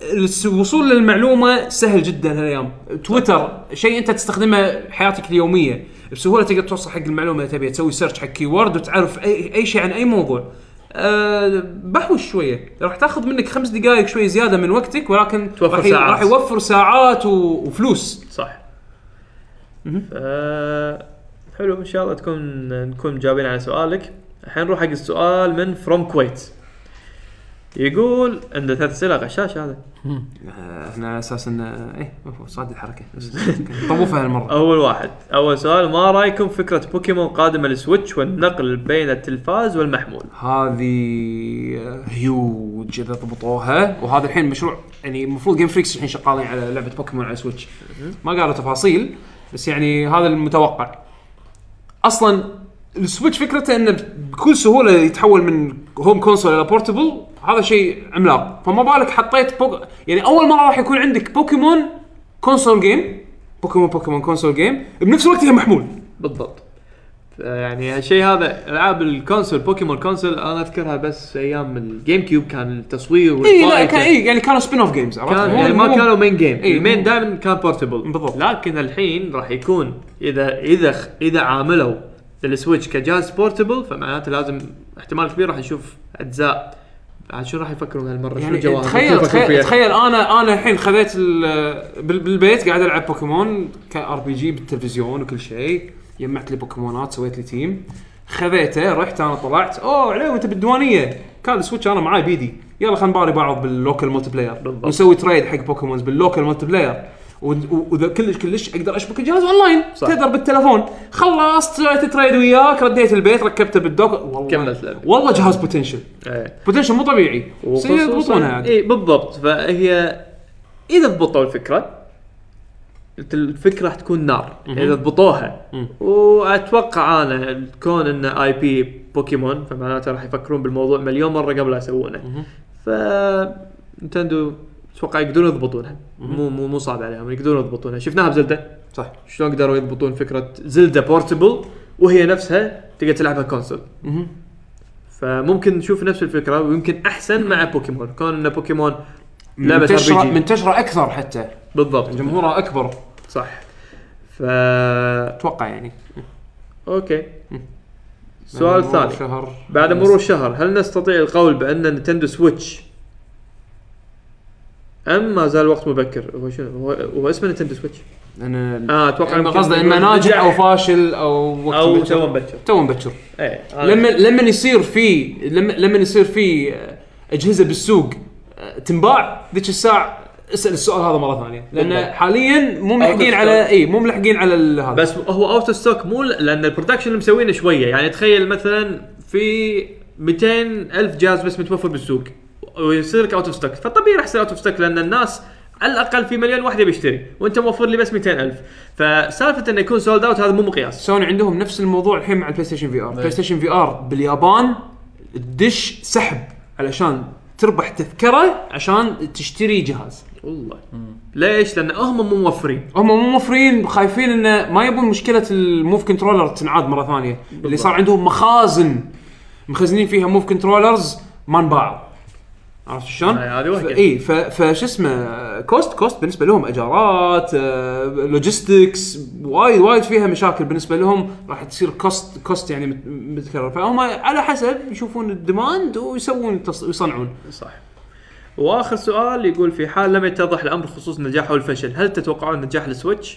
Speaker 2: فالوصول للمعلومه سهل جدا هالايام تويتر شيء انت تستخدمه حياتك اليوميه بسهوله تقدر توصل حق المعلومه اللي تبيها تسوي سيرش حق كيورد وتعرف اي, أي شيء عن اي موضوع أه بحوش شويه راح تاخذ منك خمس دقائق شوي زياده من وقتك ولكن
Speaker 3: توفر
Speaker 2: راح, ي-
Speaker 3: ساعات.
Speaker 2: راح يوفر ساعات و... وفلوس
Speaker 3: صح ف... حلو ان شاء الله تكون نكون مجاوبين على سؤالك الحين نروح حق السؤال من فروم كويت يقول عنده ثلاث اسئله غشاش هذا
Speaker 2: احنا آه، على اساس انه ايه صاد الحركه طوفها هالمره
Speaker 3: اول واحد اول سؤال ما رايكم فكره بوكيمون قادمه للسويتش والنقل بين التلفاز والمحمول
Speaker 2: هذه هيوج اذا ضبطوها وهذا الحين مشروع يعني المفروض جيم فريكس الحين شغالين على لعبه بوكيمون على سويتش ما قالوا تفاصيل بس يعني هذا المتوقع اصلا السويتش فكرته انه بكل سهوله يتحول من هوم كونسول الى بورتبل هذا شيء عملاق فما بالك حطيت بوك... يعني اول مره راح يكون عندك بوكيمون كونسول جيم بوكيمون بوكيمون كونسول جيم بنفس الوقت هي محمول
Speaker 3: بالضبط ف- يعني هالشيء هذا العاب الكونسول بوكيمون كونسول انا اذكرها بس ايام الجيم كيوب كان التصوير
Speaker 2: اي لا
Speaker 3: والفائتة.
Speaker 2: كان اي يعني كانوا سبين اوف جيمز
Speaker 3: كان يعني ما كانوا مين جيم
Speaker 2: إيه.
Speaker 3: المين دائما كان بورتبل
Speaker 2: بالضبط.
Speaker 3: لكن الحين راح يكون اذا اذا خ- اذا عاملوا السويتش كجهاز بورتبل فمعناته لازم احتمال كبير راح نشوف اجزاء عاد شو راح يفكرون هالمره
Speaker 2: يعني
Speaker 3: شو الجواب
Speaker 2: تخيل تخيل, تخيل انا انا الحين خذيت ال- بال- بالبيت قاعد العب بوكيمون كار بي جي بالتلفزيون وكل شيء جمعت لي بوكيمونات سويت لي تيم خذيته رحت انا طلعت اوه عليو انت بالديوانيه كان السويتش انا معاي بيدي يلا خلينا نباري بعض باللوكل ملتي بلاير
Speaker 3: بالضبط.
Speaker 2: ونسوي تريد حق بوكيمونز باللوكل ملتي بلاير واذا كلش كلش اقدر اشبك الجهاز اونلاين تقدر بالتلفون خلصت سويت تريد وياك رديت البيت ركبته بالدوك والله
Speaker 3: كملت لعبة.
Speaker 2: والله جهاز بوتنشل
Speaker 3: إيه.
Speaker 2: بوتنشل مو طبيعي بس هي يضبطونها
Speaker 3: وخصوصا
Speaker 2: عاد.
Speaker 3: اي إيه، بالضبط فهي اذا ضبطوا الفكره قلت الفكره راح تكون نار اذا ضبطوها واتوقع انا كون ان اي بي بوكيمون فمعناته راح يفكرون بالموضوع مليون مره قبل لا يسوونه ف نتندو اتوقع يقدرون يضبطونها مو مو مو صعب عليهم يقدرون يضبطونها شفناها بزلده صح شلون قدروا يضبطون فكره زلده بورتبل وهي نفسها تقدر تلعبها كونسول فممكن نشوف نفس الفكره ويمكن احسن مع بوكيمون كون ان بوكيمون لعبه
Speaker 2: منتشره
Speaker 3: ار
Speaker 2: منتشره اكثر حتى
Speaker 3: بالضبط
Speaker 2: جمهورها اكبر
Speaker 3: صح ف
Speaker 2: اتوقع يعني
Speaker 3: اوكي السؤال الثاني
Speaker 2: شهر
Speaker 3: بعد مرور شهر هل نستطيع القول بان نتندو سويتش ام ما زال وقت مبكر هو شنو هو, هو اسمه نتندو سويتش
Speaker 2: انا
Speaker 3: اه اتوقع
Speaker 2: يعني
Speaker 3: يمكن
Speaker 2: قصده انه
Speaker 3: يقولون
Speaker 2: ناجح
Speaker 3: نجح
Speaker 2: او فاشل او وقت
Speaker 3: او
Speaker 2: مبكر.
Speaker 3: تو مبكر
Speaker 2: تو مبكر
Speaker 3: ايه آه.
Speaker 2: لما لما يصير في لما لما يصير في اجهزه بالسوق آه، تنباع ذيك الساعه اسال السؤال هذا مره ثانيه لان
Speaker 3: بالضبط.
Speaker 2: حاليا مو ملحقين
Speaker 3: أوكي.
Speaker 2: على اي مو ملحقين على ال- هذا
Speaker 3: بس هو اوت اوف ستوك مو لان البرودكشن اللي مسوينه شويه يعني تخيل مثلا في 200 الف جهاز بس متوفر بالسوق ويصير لك اوت اوف ستوك فطبيعي راح يصير اوت اوف ستوك لان الناس على الاقل في مليون واحد بيشتري وانت موفر لي بس 200 الف فسالفه انه يكون سولد اوت هذا مو مقياس
Speaker 2: سوني عندهم نفس الموضوع الحين مع البلاي ستيشن في ار بلاي ستيشن في ار باليابان تدش سحب علشان تربح تذكره عشان تشتري جهاز
Speaker 3: والله ليش؟ لان هم مو موفرين
Speaker 2: هم مو موفرين خايفين انه ما يبون مشكله الموف كنترولر تنعاد مره ثانيه اللي صار عندهم مخازن مخزنين فيها موف كنترولرز ما انباعوا عرفت شلون؟
Speaker 3: هاي- هذه وهجة.
Speaker 2: اي ف- فش اسمه كوست كوست بالنسبه لهم اجارات آه، لوجيستكس وايد وايد فيها مشاكل بالنسبه لهم راح تصير كوست كوست يعني مت- متكرر فهم على حسب يشوفون الديماند ويسوون التص- ويصنعون
Speaker 3: صح واخر سؤال يقول في حال لم يتضح الامر خصوص نجاحه والفشل هل تتوقعون نجاح السويتش؟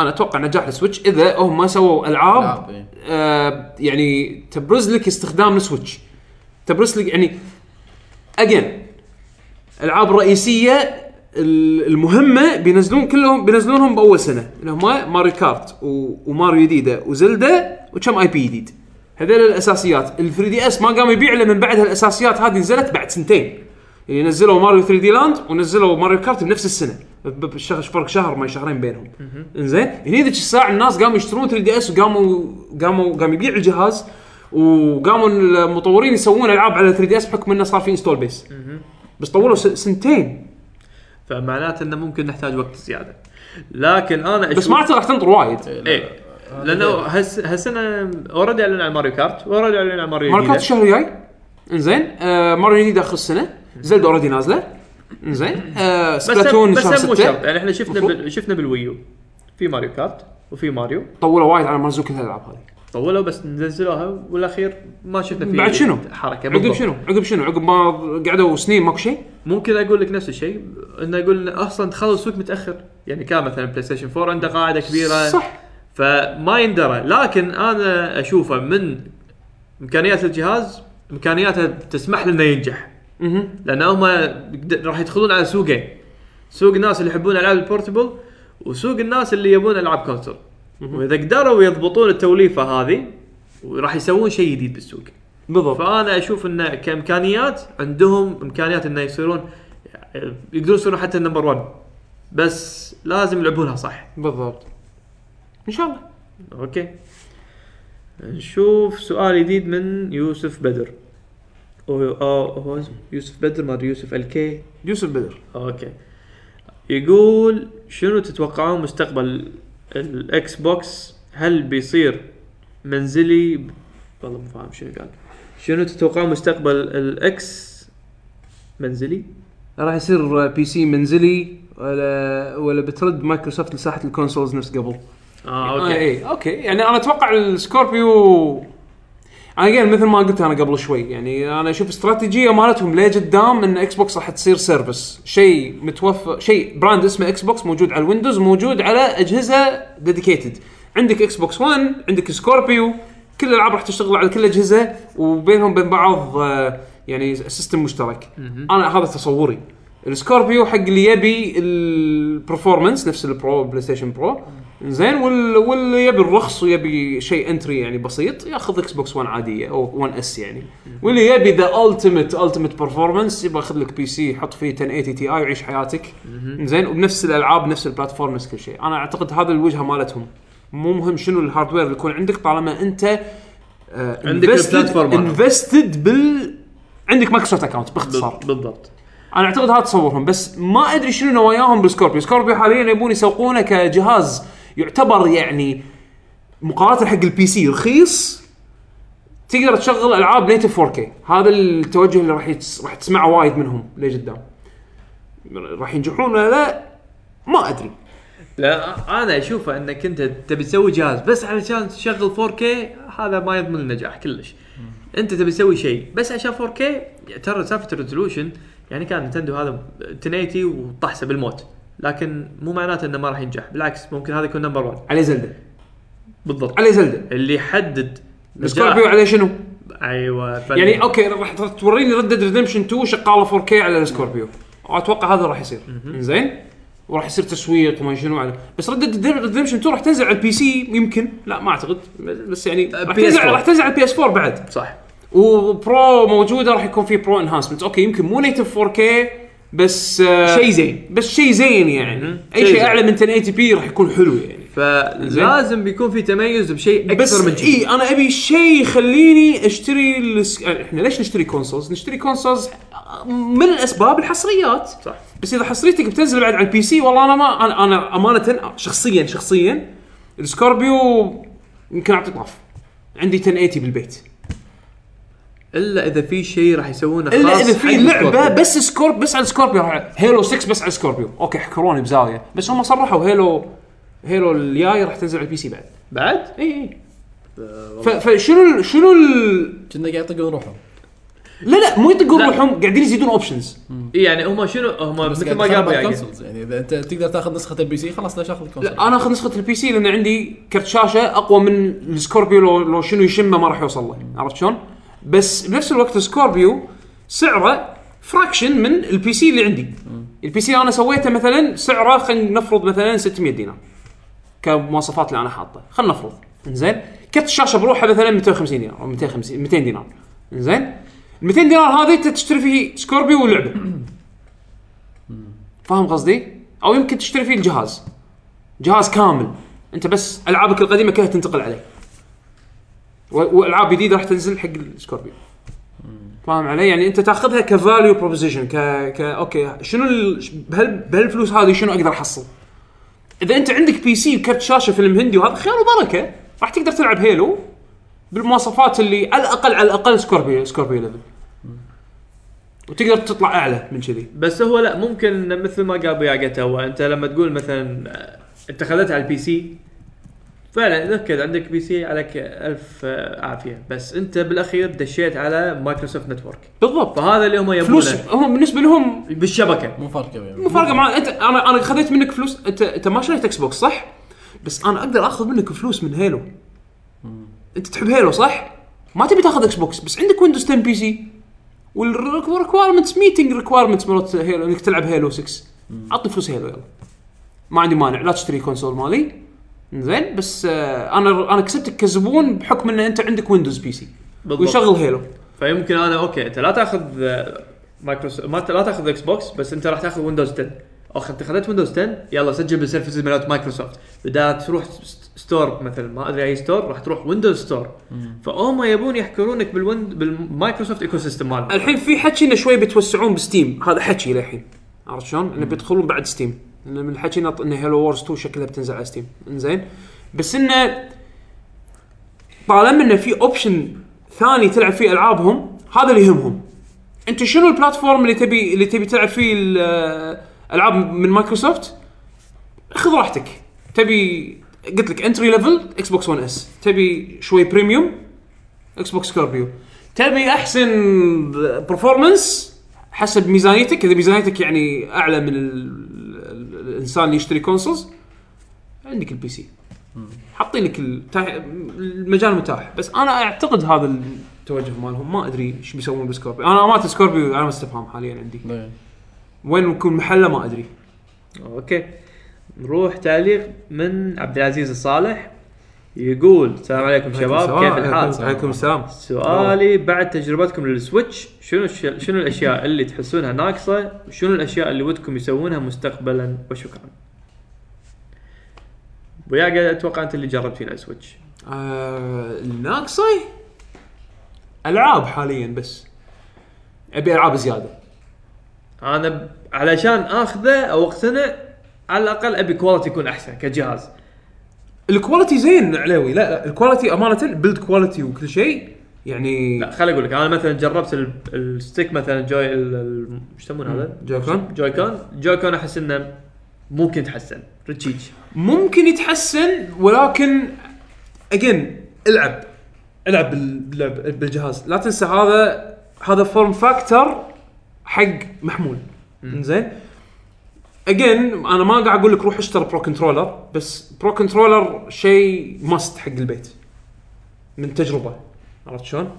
Speaker 2: انا اتوقع نجاح السويتش اذا هم سووا العاب
Speaker 6: ألعاب، إيه.
Speaker 2: آه يعني تبرز لك استخدام السويتش تبرز لك يعني اجين العاب رئيسيه ال- المهمه بينزلون كلهم بينزلونهم باول سنه اللي هم ماريو كارت و- وماريو جديده وزلدا وكم اي بي جديد هذول الاساسيات ال 3 دي اس ما قام يبيع الا من بعد هالاساسيات هذه نزلت بعد سنتين يعني نزلوا ماريو 3 دي لاند ونزلوا ماريو كارت بنفس السنه ب- ب- شهر- فرق شهر ما شهرين بينهم انزين هني ذيك الساعه الناس قاموا يشترون 3 دي اس وقاموا قاموا قام يبيع الجهاز وقاموا المطورين يسوون العاب على 3 دي اس بحكم انه صار في انستول بيس بس طولوا س- سنتين
Speaker 3: فمعناته انه ممكن نحتاج وقت زياده لكن انا
Speaker 2: بس
Speaker 3: أشوف-
Speaker 2: ما اعتقد راح تنطر وايد
Speaker 3: ايه لانه هس هالسنه اوريدي اعلن عن ماريو كارت اوريدي اعلن عن ماريو
Speaker 2: ماريو كارت
Speaker 3: جديد
Speaker 2: الشهر الجاي انزين آه ماريو جديد اخر السنه زلدا اوريدي نازله انزين آه
Speaker 3: بس
Speaker 2: سبلاتون
Speaker 3: بس
Speaker 2: شهر
Speaker 3: مو شرط
Speaker 2: ستة
Speaker 3: يعني احنا شفنا
Speaker 2: مفروض.
Speaker 3: بال... شفنا بالويو في ماريو كارت وفي ماريو
Speaker 2: طولوا وايد على ما نزلوا كل هالالعاب هذه
Speaker 3: طولوا بس نزلوها والاخير ما شفنا فيه
Speaker 2: بعد شنو؟
Speaker 3: حركه
Speaker 2: عقب
Speaker 3: بالضبط.
Speaker 2: شنو؟ عقب شنو؟ عقب ما قعدوا سنين ماكو شيء؟
Speaker 3: ممكن اقول لك نفس الشيء انه يقول إنه اصلا دخلوا السوق متاخر يعني كان مثلا بلاي ستيشن 4 عنده قاعده كبيره
Speaker 2: صح
Speaker 3: فما يندرى لكن انا اشوفه من امكانيات الجهاز امكانياته تسمح له انه ينجح لان هم قد- راح يدخلون على سوقين سوق الناس اللي يحبون العاب البورتبل وسوق الناس اللي يبون العاب كونسول واذا قدروا يضبطون التوليفه هذه راح يسوون شيء جديد بالسوق
Speaker 2: بالضبط
Speaker 3: فانا اشوف انه كامكانيات عندهم امكانيات انه يصيرون يقدرون يصيرون حتى النمبر 1 بس لازم يلعبونها صح
Speaker 2: بالضبط ان شاء الله
Speaker 3: اوكي نشوف سؤال جديد من يوسف بدر أو أو هو اسمه يوسف بدر ما ادري يوسف الكي
Speaker 2: يوسف بدر
Speaker 3: اوكي يقول شنو تتوقعون مستقبل الاكس بوكس هل بيصير منزلي والله مو فاهم شنو قال شنو تتوقعون مستقبل الاكس منزلي
Speaker 2: راح يصير بي سي منزلي ولا ولا بترد مايكروسوفت لساحه الكونسولز نفس قبل
Speaker 3: اه
Speaker 2: آه
Speaker 3: اوكي
Speaker 2: اي اوكي يعني انا اتوقع السكوربيو انا قال مثل ما قلت انا قبل شوي يعني انا اشوف استراتيجيه مالتهم لقدام ان اكس بوكس راح تصير سيرفس شيء متوفر شيء براند اسمه اكس بوكس موجود على الويندوز موجود على اجهزه ديديكيتد عندك اكس بوكس 1 عندك سكوربيو كل الالعاب راح تشتغل على كل اجهزه وبينهم بين بعض آه، يعني سيستم مشترك انا هذا تصوري السكوربيو حق اللي يبي البرفورمانس نفس البرو بلاي ستيشن برو زين وال- واللي يبي الرخص ويبي شيء انتري يعني بسيط ياخذ اكس بوكس 1 عاديه او 1 اس يعني واللي يبي ذا التيمت التيمت برفورمانس يبغى ياخذ لك بي سي يحط فيه 1080 تي اي ويعيش حياتك زين وبنفس الالعاب نفس البلاتفورم نفس كل شيء انا اعتقد هذا الوجهه مالتهم مو مهم شنو الهاردوير اللي يكون عندك طالما انت
Speaker 3: عندك البلاتفورم.
Speaker 2: انفستد بال عندك مايكروسوفت اكونت باختصار
Speaker 3: بالضبط
Speaker 2: انا اعتقد هذا تصورهم بس ما ادري شنو نواياهم بالسكوربيو سكوربيو حاليا يبون يسوقونه كجهاز يعتبر يعني مقارنه حق البي سي رخيص تقدر تشغل العاب نيتف 4K هذا التوجه اللي راح يتس... راح تسمعه وايد منهم لقدام راح ينجحون ولا لا ما ادري
Speaker 3: لا انا اشوفه انك انت تبي تسوي جهاز بس علشان تشغل 4K هذا ما يضمن النجاح كلش انت تبي تسوي شيء بس عشان 4K ترى سالفه الريزولوشن يعني كان نتندو هذا 1080 وطحسه بالموت لكن مو معناته انه ما راح ينجح بالعكس ممكن هذا يكون نمبر 1
Speaker 2: عليه زلده
Speaker 3: بالضبط
Speaker 2: عليه زلده
Speaker 3: اللي يحدد
Speaker 2: السكوربيو عليه شنو؟
Speaker 3: ايوه فل-
Speaker 2: يعني اوكي راح توريني ردد ريدمشن 2 شغاله 4K على السكوربيو اتوقع هذا راح يصير زين وراح يصير تسويق وما شنو على بس ردد ريدمشن 2 راح تنزل على البي سي يمكن لا ما اعتقد بس يعني راح
Speaker 3: PS4.
Speaker 2: تنزل راح تنزل على البي اس 4 بعد
Speaker 3: صح
Speaker 2: وبرو موجوده راح يكون في برو انهانسمنت اوكي يمكن مو نيتف 4K بس آه
Speaker 3: شيء زين
Speaker 2: بس شيء زين يعني اي
Speaker 3: شيء
Speaker 2: شيء
Speaker 3: زين.
Speaker 2: اعلى من 1080 بي راح يكون حلو يعني
Speaker 3: فلازم بيكون في تميز بشيء
Speaker 2: بس
Speaker 3: اكثر من كذي
Speaker 2: اي انا ابي شيء يخليني اشتري الس... احنا ليش نشتري كونسولز؟ نشتري كونسولز من الاسباب الحصريات
Speaker 3: صح.
Speaker 2: بس اذا حصريتك بتنزل بعد على البي سي والله انا ما انا, أنا امانه شخصيا شخصيا السكوربيو يمكن اعطي طاف عندي 1080 بالبيت
Speaker 3: الا اذا في شيء راح يسوونه خاص
Speaker 2: الا اذا
Speaker 3: حق
Speaker 2: في لعبه
Speaker 3: السكوربيو.
Speaker 2: بس سكورب بس على السكوربيو راح- هيلو 6 بس على السكوربيو اوكي حكروني بزاويه بس هم صرحوا هيلو هيلو الجاي راح تنزل على البي سي بعد
Speaker 3: بعد
Speaker 2: اي اي ف- فشنو ال- شنو ال-
Speaker 6: كنا قاعد يطقون روحهم
Speaker 2: لا لا مو يطقون
Speaker 3: لا.
Speaker 2: روحهم قاعدين يزيدون اوبشنز
Speaker 3: يعني هم شنو هم
Speaker 6: بس
Speaker 3: مثل
Speaker 6: قاعد
Speaker 3: ما
Speaker 6: يتخرب
Speaker 3: قالوا يعني
Speaker 6: الكونسولز يعني اذا انت تقدر تاخذ نسخه البي سي خلاص لا شغل الكونسول
Speaker 2: انا اخذ نسخه البي سي لان عندي كرت شاشه اقوى من السكوربيو لو, لو شنو يشمه ما راح يوصل له عرفت شلون؟ بس بنفس الوقت السكوربيو سعره فراكشن من البي سي اللي عندي البي سي انا سويته مثلا سعره خلينا نفرض مثلا 600 دينار كمواصفات اللي انا حاطه خلينا نفرض زين كرت الشاشه بروحه مثلا 250 دينار او 250 200 دينار زين ال 200 دينار هذه انت تشتري فيه سكوربيو ولعبه فاهم قصدي؟ او يمكن تشتري فيه الجهاز جهاز كامل انت بس العابك القديمه كلها تنتقل عليه و- والعاب جديده راح تنزل حق السكوربيو فاهم علي يعني انت تاخذها كفاليو بروبوزيشن ك... ك اوكي شنو ال... ش- بهال... بهالفلوس هذه شنو اقدر احصل اذا انت عندك بي سي وكرت شاشه فيلم هندي وهذا خير وبركه راح تقدر تلعب هيلو بالمواصفات اللي على الاقل على الاقل سكوربيو سكوربيو ليفل وتقدر تطلع اعلى من كذي
Speaker 3: بس هو لا ممكن مثل ما قال بياقته هو انت لما تقول مثلا آه، انت خذيتها على البي سي فعلا ذكر عندك بي سي عليك الف آه، عافيه بس انت بالاخير دشيت على مايكروسوفت نتورك
Speaker 2: بالضبط
Speaker 3: فهذا اللي هم
Speaker 2: فلوس
Speaker 3: يبونه
Speaker 2: هم بالنسبه لهم
Speaker 3: بالشبكه
Speaker 6: مو فارقه يعني
Speaker 2: مو فارقه معي انت انا انا خذيت منك فلوس انت انت ما شريت اكس بوكس صح؟ بس انا اقدر اخذ منك فلوس من هيلو. انت تحب هيلو صح؟ ما تبي تاخذ اكس بوكس بس عندك ويندوز 10 بي سي والريكويرمنتس ميتنج ريكويرمنتس مرات هيلو انك تلعب هيلو 6 عطني فلوس هيلو يلا. ما عندي مانع لا تشتري كونسول مالي زين بس آه انا انا كسبتك كزبون بحكم ان انت عندك ويندوز بي سي
Speaker 3: بالضبط
Speaker 2: ويشغل هيلو
Speaker 3: فيمكن انا اوكي انت لا تاخذ آه، مايكروسوفت ما ت- لا تاخذ اكس بوكس بس انت راح تاخذ ويندوز 10 اخ انت خذيت ويندوز 10 يلا سجل بالسيرفيسز مالت مايكروسوفت بدال تروح س- ستور مثلا ما ادري اي ستور راح تروح ويندوز ستور فهم يبون يحكرونك بالويند بالمايكروسوفت ايكو سيستم مالهم
Speaker 2: الحين في حكي انه شوي بتوسعون بستيم هذا حكي للحين عرفت شلون؟ انه بيدخلون بعد ستيم انه من الحكي انه إن هيلو وورز 2 شكلها بتنزل على ستيم انزين بس انه طالما انه في اوبشن ثاني تلعب فيه العابهم هذا اللي يهمهم انت شنو البلاتفورم اللي تبي اللي تبي تلعب فيه ال- العاب من مايكروسوفت خذ راحتك تبي قلت لك انتري ليفل اكس بوكس 1 اس تبي شوي بريميوم اكس بوكس سكوربيو تبي احسن برفورمانس حسب ميزانيتك اذا ميزانيتك يعني اعلى من ال... ال- الانسان اللي يشتري كونسولز عندك البي سي حاطين لك التا- المجال متاح بس انا اعتقد هذا التوجه مالهم ما ادري ايش بيسوون بالسكوربيو انا امانه سكوربيو علامه استفهام حاليا عندي
Speaker 6: إيه.
Speaker 2: وين يكون محله ما ادري
Speaker 3: اوكي نروح تعليق من عبد العزيز الصالح يقول السلام عليكم شباب كيف الحال؟
Speaker 2: عليكم السلام
Speaker 3: سؤالي بعد تجربتكم للسويتش شنو الش- شنو الاشياء اللي تحسونها ناقصه وشنو الاشياء اللي ودكم يسوونها مستقبلا وشكرا. ويا قاعد اتوقع انت اللي جربت فينا سويتش.
Speaker 2: آه، ناقصي العاب حاليا بس ابي العاب زياده
Speaker 3: انا ب- علشان اخذه او اقتنع على الاقل ابي كواليتي يكون احسن كجهاز.
Speaker 2: الكواليتي زين علاوي لا لا الكواليتي امانه بيلد كواليتي وكل شيء يعني
Speaker 3: لا خليني اقول لك انا مثلا جربت ال- الستيك مثلا جوي ال- ال- ايش يسمونه هذا؟
Speaker 2: جوكون
Speaker 3: جوي كون جوي كون احس انه ممكن يتحسن رتشيج
Speaker 2: ممكن يتحسن ولكن اجين العب العب بال- باللعب- بالجهاز لا تنسى هذا هذا فورم فاكتور حق محمول زين اجين انا ما قاعد اقول لك روح اشتري برو كنترولر بس برو كنترولر شيء ماست حق البيت من تجربه عرفت شلون؟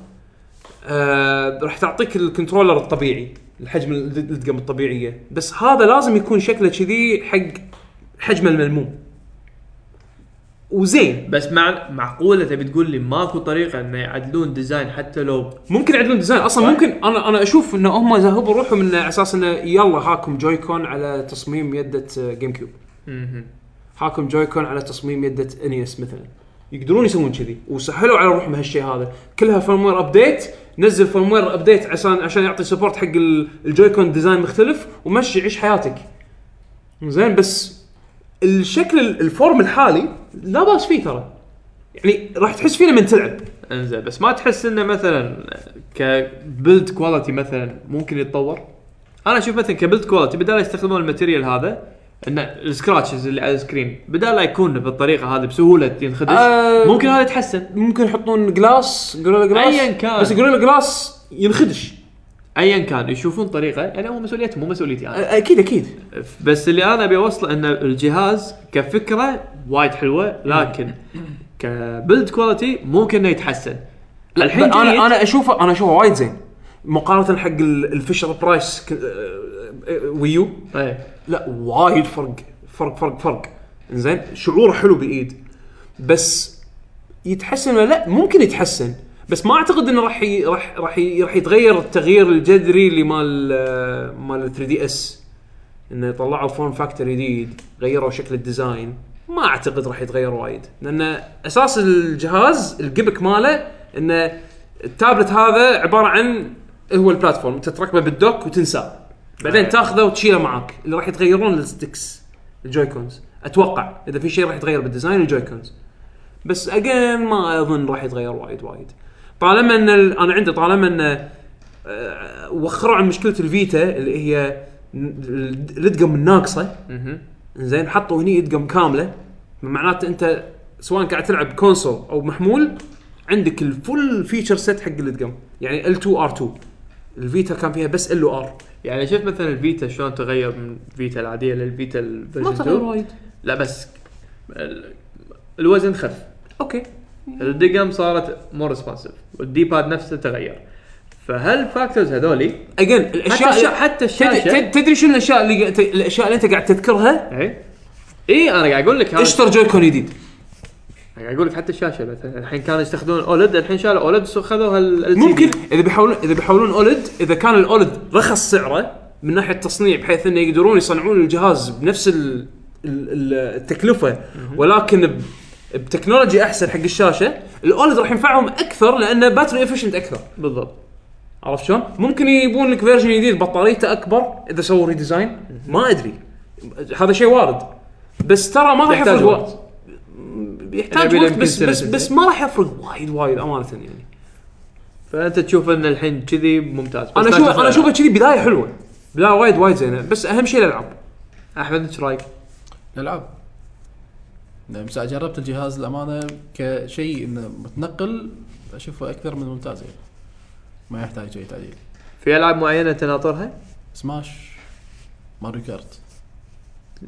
Speaker 2: آه راح تعطيك الكنترولر الطبيعي الحجم الدقم الطبيعيه بس هذا لازم يكون شكله كذي حق حجمه الملموم وزين
Speaker 3: بس مع معقوله تبي تقول لي ماكو طريقه انه يعدلون ديزاين حتى لو
Speaker 2: ممكن يعدلون ديزاين اصلا ممكن انا انا اشوف ان هم ذهبوا روحهم انه على اساس انه يلا هاكم جويكون على تصميم يده آه، جيم كيوب هاكم جويكون على تصميم يده انيس مثلا يقدرون يسوون كذي وسهلوا على روحهم هالشيء هذا كلها فيرموير ابديت نزل فيرموير ابديت عشان عشان يعطي سبورت حق ال- الجويكون ديزاين مختلف ومشي عيش حياتك زين بس الشكل ال- الفورم الحالي لا باس فيه ترى يعني راح تحس فيه لما تلعب
Speaker 3: انزين بس ما تحس انه مثلا كبيلد كواليتي مثلا ممكن يتطور انا اشوف مثلا كبيلد كواليتي بدال يستخدمون الماتيريال هذا ان السكراتشز اللي على السكرين بدال لا يكون بالطريقه هذه بسهوله ينخدش
Speaker 2: آه،
Speaker 3: ممكن هذا يتحسن
Speaker 2: ممكن يحطون جلاس جوريلا جلاس
Speaker 3: أياً كان.
Speaker 2: بس جوريلا جلاس ينخدش
Speaker 3: ايا كان يشوفون طريقه يعني هو مسؤوليتهم مو مسؤوليتي انا
Speaker 2: اكيد اكيد
Speaker 3: بس اللي انا ابي اوصله ان الجهاز كفكره وايد حلوه لكن كبيلد كواليتي ممكن انه يتحسن لا الحين جيد.
Speaker 2: انا انا اشوفه انا اشوفه وايد زين مقارنه حق ال- الفشر برايس ك- آه، آه، ويو
Speaker 3: إيه.
Speaker 2: لا وايد فرق فرق فرق فرق زين شعور حلو بالايد بس يتحسن ولا لا ممكن يتحسن بس ما اعتقد انه راح ي- راح راح ي- راح يتغير التغيير الجذري اللي مال آه، مال 3 دي اس انه طلعوا فورم فاكتور جديد غيروا شكل الديزاين ما اعتقد راح يتغير وايد لان اساس الجهاز الجبك ماله انه التابلت هذا عباره عن هو البلاتفورم انت تركبه بالدوك وتنساه بعدين تاخذه وتشيله معاك اللي راح يتغيرون الستكس الجويكونز اتوقع اذا في شيء راح يتغير بالديزاين الجويكونز بس اجين ما اظن راح يتغير وايد وايد طالما ان ال- انا عندي طالما ان آه، وخروا عن مشكله الفيتا اللي هي ن- ال- الادقم الناقصه زين حطوا هني ادقم كامله معناته انت سواء قاعد تلعب كونسول او محمول عندك الفول فيتشر سيت حق الادقم يعني ال2 ار2 الفيتا كان فيها بس ال وار
Speaker 3: يعني شفت مثلا الفيتا شلون تغير من الفيتا العاديه للفيتا الفيرجن 2
Speaker 2: وايد
Speaker 3: لا بس ال- الوزن خف
Speaker 2: اوكي
Speaker 3: الدقم صارت مور ريسبونسيف والدي باد نفسه تغير فهل فاكتورز هذولي
Speaker 2: اجين
Speaker 3: حتى
Speaker 2: الاشياء
Speaker 3: الشا- حتى
Speaker 2: تدري-
Speaker 3: الشاشه
Speaker 2: تدري شنو الاشياء اللي قاعد- الاشياء اللي انت قاعد تذكرها
Speaker 3: اي اي انا إيه؟ قاعد اقول لك هذا
Speaker 2: اشتر جويكون جديد
Speaker 3: قاعد اقول لك حتى الشاشه مثلا الحين كانوا يستخدمون اولد الحين شالوا اولد وخذوا هال
Speaker 2: ممكن
Speaker 3: يعني.
Speaker 2: اذا بيحاولون اذا بيحاولون اولد اذا كان الاولد رخص سعره من ناحيه تصنيع بحيث انه يقدرون يصنعون الجهاز بنفس ال- ال- ال- التكلفه ولكن ب- بتكنولوجي احسن حق الشاشه الاولد راح ينفعهم اكثر لانه باتري افشنت اكثر
Speaker 3: بالضبط
Speaker 2: عرفت شلون؟ ممكن يبون لك فيرجن جديد بطاريته اكبر اذا سووا ريديزاين ما ادري هذا شيء وارد بس ترى ما راح
Speaker 3: يحتاج
Speaker 2: يفرق
Speaker 3: وقت.
Speaker 2: وا- يحتاج
Speaker 3: يعني
Speaker 2: وقت
Speaker 3: يمكن
Speaker 2: بس
Speaker 3: سنة
Speaker 2: بس,
Speaker 3: سنتين.
Speaker 2: بس ما راح يفرق وايد وايد امانه يعني
Speaker 3: فانت تشوف ان الحين كذي ممتاز بس
Speaker 2: انا
Speaker 3: لا
Speaker 2: اشوف
Speaker 3: تفرق.
Speaker 2: انا اشوفها كذي بدايه حلوه بدايه وايد وايد زينه بس اهم شيء الالعاب
Speaker 3: احمد ايش رايك؟
Speaker 6: الالعاب نعم، بس جربت الجهاز الامانه كشيء انه متنقل اشوفه اكثر من ممتاز يعني ما يحتاج اي تعديل
Speaker 3: في العاب معينه تناطرها؟
Speaker 6: سماش ماريو كارت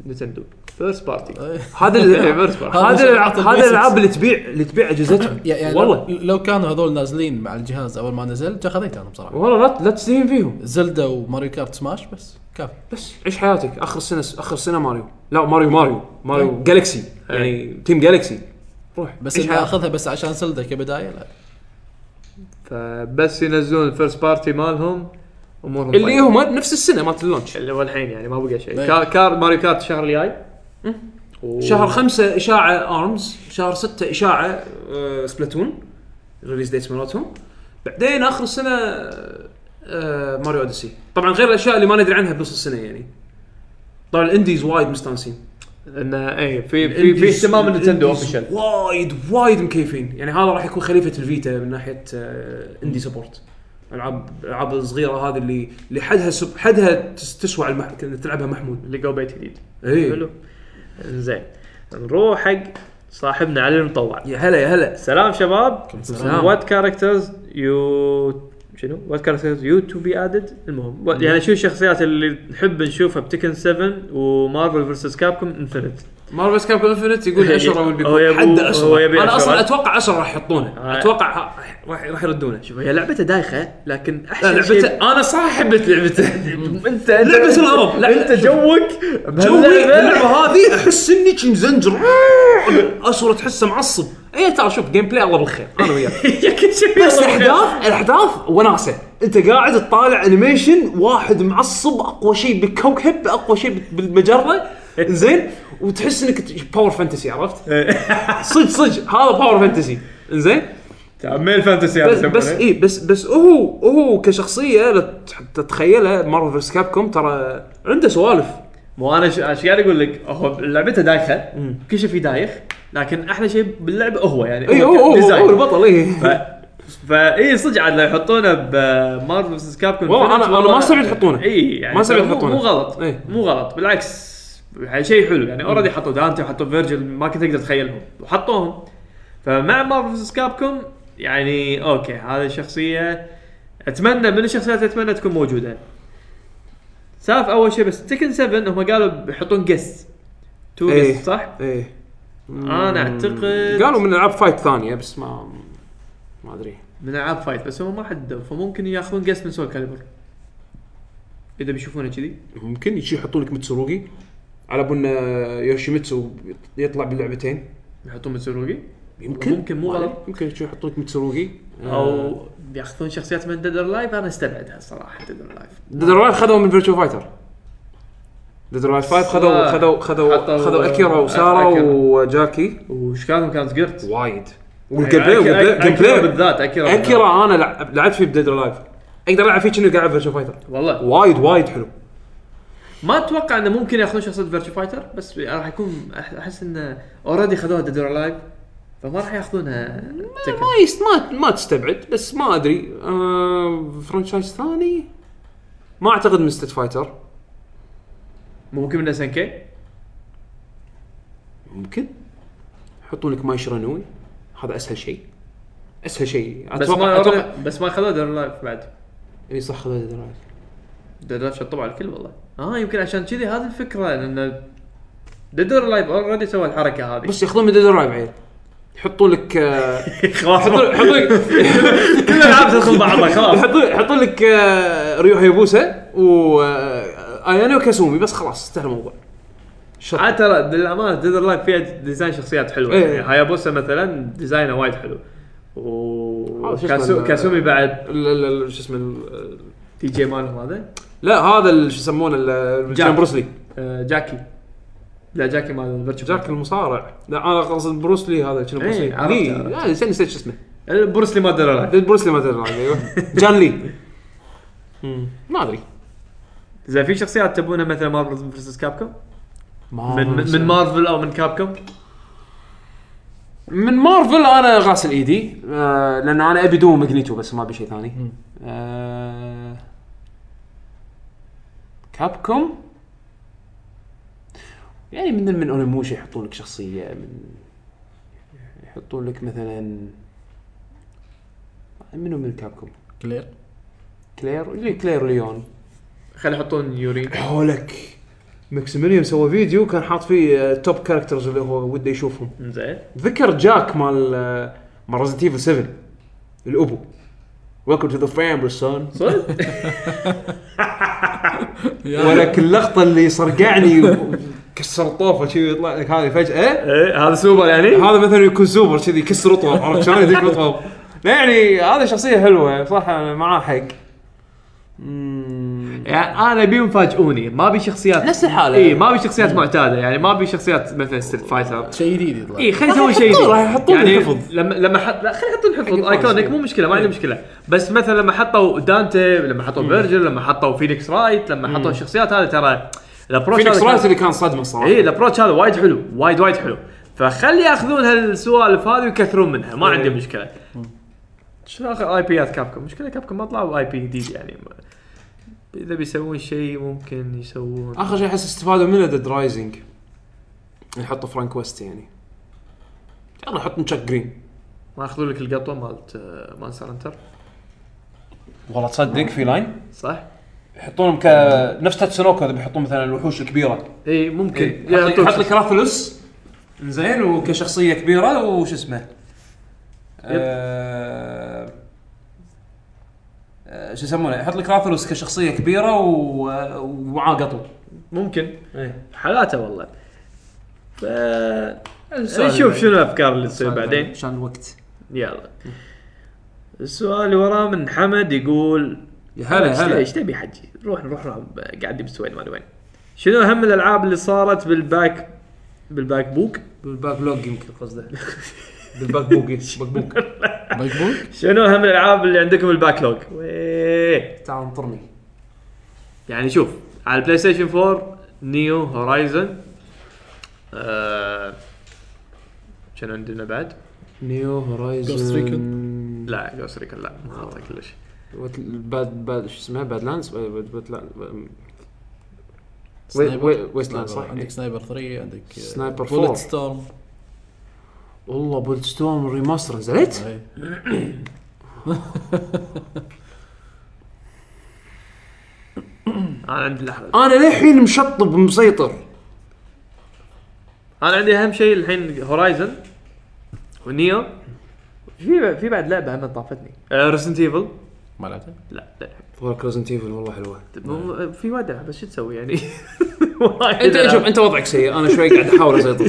Speaker 3: نتندو فيرست بارتي
Speaker 2: هذا ال-
Speaker 3: فيرست بارتي
Speaker 2: هذا الالعاب
Speaker 6: Basics.
Speaker 2: هذا الالعاب اللي تبيع اللي تبيع اجهزتهم
Speaker 6: يعني
Speaker 2: والله.
Speaker 6: والله لو كانوا هذول نازلين مع الجهاز اول ما نزل كان خذيته انا بصراحه
Speaker 2: والله لا لا تستهين فيهم
Speaker 6: زلدا وماريو كارت سماش بس كافي
Speaker 2: بس عيش حياتك اخر سنه اخر سنه ماريو لا ماريو ماريو ماريو جالكسي يعني تيم جالكسي
Speaker 6: بس اني اخذها بس عشان زلدا كبدايه لا
Speaker 3: فبس ينزلون الفيرست بارتي مالهم امورهم
Speaker 2: اللي
Speaker 3: طيبة.
Speaker 2: هم نفس السنه مالت اللونش
Speaker 3: اللي هو الحين يعني ما بقى شيء
Speaker 6: طيب.
Speaker 3: كار, كار ماريو كارت الشهر الجاي و-
Speaker 2: شهر خمسة إشاعة أرمز شهر ستة إشاعة آه، سبلاتون ريليز ديتس مالتهم بعدين آخر السنة آه، ماريو أوديسي طبعا غير الأشياء اللي ما ندري عنها بنص السنة يعني طبعا الانديز وايد مستانسين
Speaker 3: انه اي إيه، في في في اهتمام نتندو اوفشل
Speaker 2: اوفشل وايد وايد مكيفين يعني هذا راح يكون خليفه الفيتا من ناحيه آه، اندي سبورت العاب العاب الصغيره هذه اللي اللي حدها سب حدها تس- تسوى على المح... إنك تلعبها محمود إيه.
Speaker 3: اللي جو بيت جديد
Speaker 2: اي
Speaker 3: حلو زين نروح حق صاحبنا علي المطوع
Speaker 2: يا هلا يا هلا
Speaker 3: سلام شباب
Speaker 2: سلام.
Speaker 3: وات كاركترز يو شنو وات كاركترز يو تو بي ادد المهم و- يعني شو الشخصيات اللي نحب نشوفها بتكن 7 ومارفل فيرسس كابكم انفنت
Speaker 2: مارفل كاب انفنت يقول
Speaker 3: هو
Speaker 2: 10 will be
Speaker 3: هو
Speaker 2: cool.
Speaker 3: يبي-
Speaker 2: حد
Speaker 3: هو
Speaker 2: 10
Speaker 3: يبي
Speaker 2: انا
Speaker 3: 10.
Speaker 2: اصلا اتوقع 10 راح يحطونه
Speaker 3: آه.
Speaker 2: اتوقع ح- راح راح يردونه شوف
Speaker 3: هي لعبته دايخه لكن
Speaker 2: لا،
Speaker 3: احسن
Speaker 2: لعبته
Speaker 3: شيء
Speaker 2: انا صراحه حبيت لعبته
Speaker 3: انت
Speaker 2: لعبة الغرب. لا،
Speaker 3: انت جوك
Speaker 2: جوي
Speaker 3: بهاللعبة.
Speaker 2: اللعبه هذه احس اني كنت زنجر اصور تحسه معصب اي ترى شوف جيم بلاي الله بالخير انا وياك
Speaker 3: يا كل شيء
Speaker 2: بس الاحداث الاحداث وناسه انت قاعد تطالع انيميشن واحد معصب اقوى شيء بالكوكب اقوى شيء بالمجره زين وتحس انك باور فانتسي عرفت؟ صدق صدق هذا باور فانتسي زين
Speaker 3: طيب،
Speaker 16: ميل فانتسي
Speaker 2: بس بس اي بس بس هو هو كشخصيه لو تح- تتخيلها مارفل فيرس كاب كوم ترى عنده سوالف
Speaker 3: مو انا ش- أنا ايش قاعد اقول لك هو لعبته دايخه كل شيء فيه دايخ لكن احلى شيء باللعبه هو يعني
Speaker 2: اي إيه، هو هو-
Speaker 3: design.
Speaker 2: هو البطل إيه. اي
Speaker 3: ف- فاي صدق عاد لو يحطونه بمارفل فيرسس كاب
Speaker 2: والله أنا- أنا ما استبعد يحطونه.
Speaker 3: اي يعني
Speaker 2: ما استبعد
Speaker 3: مو-
Speaker 2: يحطونه. إيه.
Speaker 3: مو غلط
Speaker 2: إي.
Speaker 3: مو غلط بالعكس يعني شيء حلو يعني اوريدي حطوا دانتي وحطوا فيرجل ما كنت اقدر اتخيلهم وحطوهم فمع مارفل فيرسس كابكم يعني اوكي هذه الشخصيه اتمنى من الشخصيات اللي اتمنى تكون موجوده سالف اول شيء بس تكن 7 هم قالوا بيحطون جس تو
Speaker 2: إي.
Speaker 3: جس صح؟
Speaker 2: ايه
Speaker 3: انا اعتقد
Speaker 2: قالوا من العاب فايت ثانيه بس ما ما ادري
Speaker 3: من العاب فايت بس هم ما حددوا فممكن ياخذون قس من سول كاليبر اذا بيشوفونه كذي
Speaker 2: ممكن يجي يحطون لك متسوروكي على بنا يوشيميتسو يطلع باللعبتين
Speaker 3: يحطون متسوروجي
Speaker 2: يمكن
Speaker 3: ممكن مو
Speaker 2: ما أدري.
Speaker 3: غلط. آه.
Speaker 2: يمكن يجي يحطون لك متسوروكي
Speaker 3: او ياخذون شخصيات من ديد لايف انا استبعدها صراحه ديد لايف
Speaker 2: ديد رايف خذوا من فيرتشو فايتر ديد رايف فايت خذوا
Speaker 3: صح. آه،
Speaker 2: خذوا خذوا
Speaker 3: حطوا-
Speaker 2: خذوا اكيرا وسارا
Speaker 3: أكيرا.
Speaker 2: وجاكي
Speaker 3: وش كانت كانت قرت
Speaker 2: وايد والجيم بلاي والجيم
Speaker 3: أكيرا
Speaker 2: بلاي
Speaker 3: بالذات اكيرا بالذات.
Speaker 2: اكيرا انا لعب- لعبت فيه بديد لايف اقدر العب فيه كأني قاعد ألعب فيرتشو فايتر
Speaker 3: والله
Speaker 2: وايد وايد حلو
Speaker 3: ما اتوقع انه ممكن ياخذون شخصيه فيرتشو فايتر بس راح يكون أح- احس انه اوريدي خذوها ديد لايف فما راح ياخذونها تكن.
Speaker 2: ما يست ما ما تستبعد بس ما ادري آه فرانشايز ثاني ما اعتقد من ستيت فايتر
Speaker 3: ممكن من اس ان كي
Speaker 2: ممكن يحطون لك ماي شرانوي هذا اسهل شيء اسهل شيء
Speaker 3: بس ما
Speaker 2: اتوقع اتوقع
Speaker 3: بس ما خذوها ديد لايف بعد
Speaker 2: اي صح خذ هذا الرأي.
Speaker 3: ديد لايف شطبوا على الكل والله اه يمكن عشان كذي هذه الفكره لان ديد لايف اوريدي سوى الحركه هذه
Speaker 2: بس ياخذون من ديد رايب عيل يحطون لك آه،
Speaker 3: خلاص
Speaker 2: يحطون يحطون لك
Speaker 3: كل الالعاب تدخل بعضها خلاص
Speaker 2: يحطون يحطون لك آه، ريو هيبوسا و آه، ايانو وكاسومي بس خلاص انتهى الموضوع شط.
Speaker 3: عاد ترى للامانه ديد لايف فيها ديزاين شخصيات حلوه
Speaker 2: إيه.
Speaker 3: يعني هايابوسا مثلا ديزاينه وايد حلو و
Speaker 2: آه، شو اسمه
Speaker 3: كاسو-
Speaker 2: ال-
Speaker 3: كاسومي بعد
Speaker 2: ال- ال- ال- شو اسمه ال-
Speaker 3: تي جي مالهم هذا
Speaker 2: لا هذا ال- شو يسمونه ال-
Speaker 3: جاك.
Speaker 2: جان بروسلي
Speaker 3: آه، جاكي لا جاكي مال فيرتشو
Speaker 2: جاك المصارع لا انا قصد بروس لي هذا شنو بروس
Speaker 3: إيه،
Speaker 2: لي
Speaker 3: عرفت،
Speaker 2: لي
Speaker 3: عرفت.
Speaker 2: لا، نسيت نسيت شو اسمه
Speaker 3: البروسلي مال ديد لايف
Speaker 2: بروس لي ما ادري عنه، ايوه جان لي ما ادري
Speaker 3: اذا في شخصيات تبونها مثلا مارفل فيرسس كابكوم
Speaker 2: ما
Speaker 3: من من من مارفل او من كابكوم
Speaker 2: من مارفل انا غاسل ايدي آه لان انا ابي دوم ماجنيتو بس ما ابي شيء ثاني آه كابكوم يعني من من اونيموشا يحطون لك شخصيه من يحطون لك مثلا منو من كابكوم؟
Speaker 6: كلير
Speaker 2: كلير كلير ليون
Speaker 3: خلي يحطون يوري
Speaker 2: هولك
Speaker 11: ماكسيميليان سوى فيديو كان حاط فيه توب كاركترز اللي هو وده يشوفهم
Speaker 3: زين
Speaker 11: ذكر جاك مال آه، مال ريزنت ايفل 7 الابو ويلكم تو ذا فامبل سون
Speaker 3: صدق؟
Speaker 11: ولك اللقطه اللي صرقعني و- كسر طوفه كذي يطلع لك هذه فجاه
Speaker 3: ايه هذا سوبر يعني
Speaker 11: هذا مثلا يكون سوبر كذي يكسر رطب عرفت شلون يذيك رطب لا يعني هذا شخصيه حلوه صراحه معاه حق مم.
Speaker 3: يعني انا ابيهم يفاجئوني ما ابي شخصيات
Speaker 2: نفس الحاله
Speaker 3: اي ما ابي شخصيات معتاده يعني ما ابي شخصيات مثلا ستريت فايتر
Speaker 6: شيء جديد يطلع
Speaker 2: إيه.
Speaker 3: اي خلينا نسوي إيه، شيء
Speaker 11: يحطون-
Speaker 2: طيب.
Speaker 3: جديد.
Speaker 11: راح يحطون
Speaker 3: يعني
Speaker 11: الحفظ.
Speaker 3: لما لما حط لا خلينا نحطون الحفظ ايكونيك مو مشكله ما عندي مشكله بس مثلا لما حطوا دانتي لما حطوا فيرجل لما حطوا فينيكس رايت لما حطوا الشخصيات هذه ترى الابروش
Speaker 2: فينيكس
Speaker 3: هذا كان-
Speaker 2: رايز اللي كان صدمه صراحه
Speaker 3: اي الابروتش إيه، هذا وايد حلو وايد وايد حلو فخلي ياخذون هالسوالف هذه ويكثرون منها ما
Speaker 10: إيه.
Speaker 3: عندي مشكله شنو اخر اي بيات كابكم مشكله كابكم ما طلعوا اي بي جديد يعني ما- اذا بيسوون شيء ممكن يسوون
Speaker 2: اخر شيء احس استفاده منه ديد رايزنج يحطوا فرانك ويست يعني يلا حط تشاك جرين
Speaker 3: ما اخذوا لك القطوه مالت آه، مانسر انتر
Speaker 10: والله تصدق في لاين
Speaker 3: صح؟
Speaker 10: يحطونهم كنفس تاتسونوكو اذا بيحطون مثلا الوحوش الكبيره
Speaker 3: اي إيه، ممكن
Speaker 10: يحط
Speaker 3: يعطوك
Speaker 10: إيه، لك- يحط لك راثلوس زين وكشخصيه كبيره وش اسمه آه، آه، شو يسمونه يحط لك راثلوس كشخصيه كبيره و- ومعاه قطو
Speaker 3: ممكن
Speaker 10: إيه.
Speaker 3: حالاته والله ف نشوف شنو الافكار اللي تصير بعدين
Speaker 2: عشان الوقت
Speaker 3: يلا السؤال اللي وراه من حمد يقول يا
Speaker 2: هلا هلا.
Speaker 3: ايش تبي حجي؟ روح نروح نروح قاعد يبس وين ما أدري وين شنو اهم الالعاب اللي صارت بالباك بالباك بوك
Speaker 2: بالباك لوج يمكن قصده
Speaker 11: بالباك بوكي باك بوك
Speaker 6: مقبول
Speaker 3: شنو اهم الالعاب اللي عندكم بالباك لوج؟ ويه.
Speaker 2: تعال انطرني
Speaker 3: يعني شوف على البلاي ستيشن 4 نيو هورايزن آه شنو عندنا بعد؟
Speaker 2: نيو هورايزن
Speaker 6: Ghost Recon.
Speaker 3: لا جوست ريكون لا ما حاطه كلش
Speaker 2: باد باد شو اسمها باد لاندز ويست لاند صح إيه.
Speaker 6: عندك سنايبر 3 عندك
Speaker 2: سنايبر
Speaker 6: بولت
Speaker 2: 4.
Speaker 6: ستورم
Speaker 2: والله بولت ستورم ريماستر نزلت
Speaker 6: إي.
Speaker 3: انا عندي لحظه
Speaker 2: انا للحين مشطب مسيطر
Speaker 3: انا عندي اهم شيء الحين هورايزن ونيو في في بعد لعبه هم طافتني ريسنت ايفل
Speaker 6: ما لعبته
Speaker 3: آه، لا
Speaker 2: ولك ريزنت ايفل والله حلوه نعم.
Speaker 3: لا في وايد العاب بس شو تسوي يعني
Speaker 2: انت شوف انت وضعك سيء انا شوي قاعد احاول اسيطر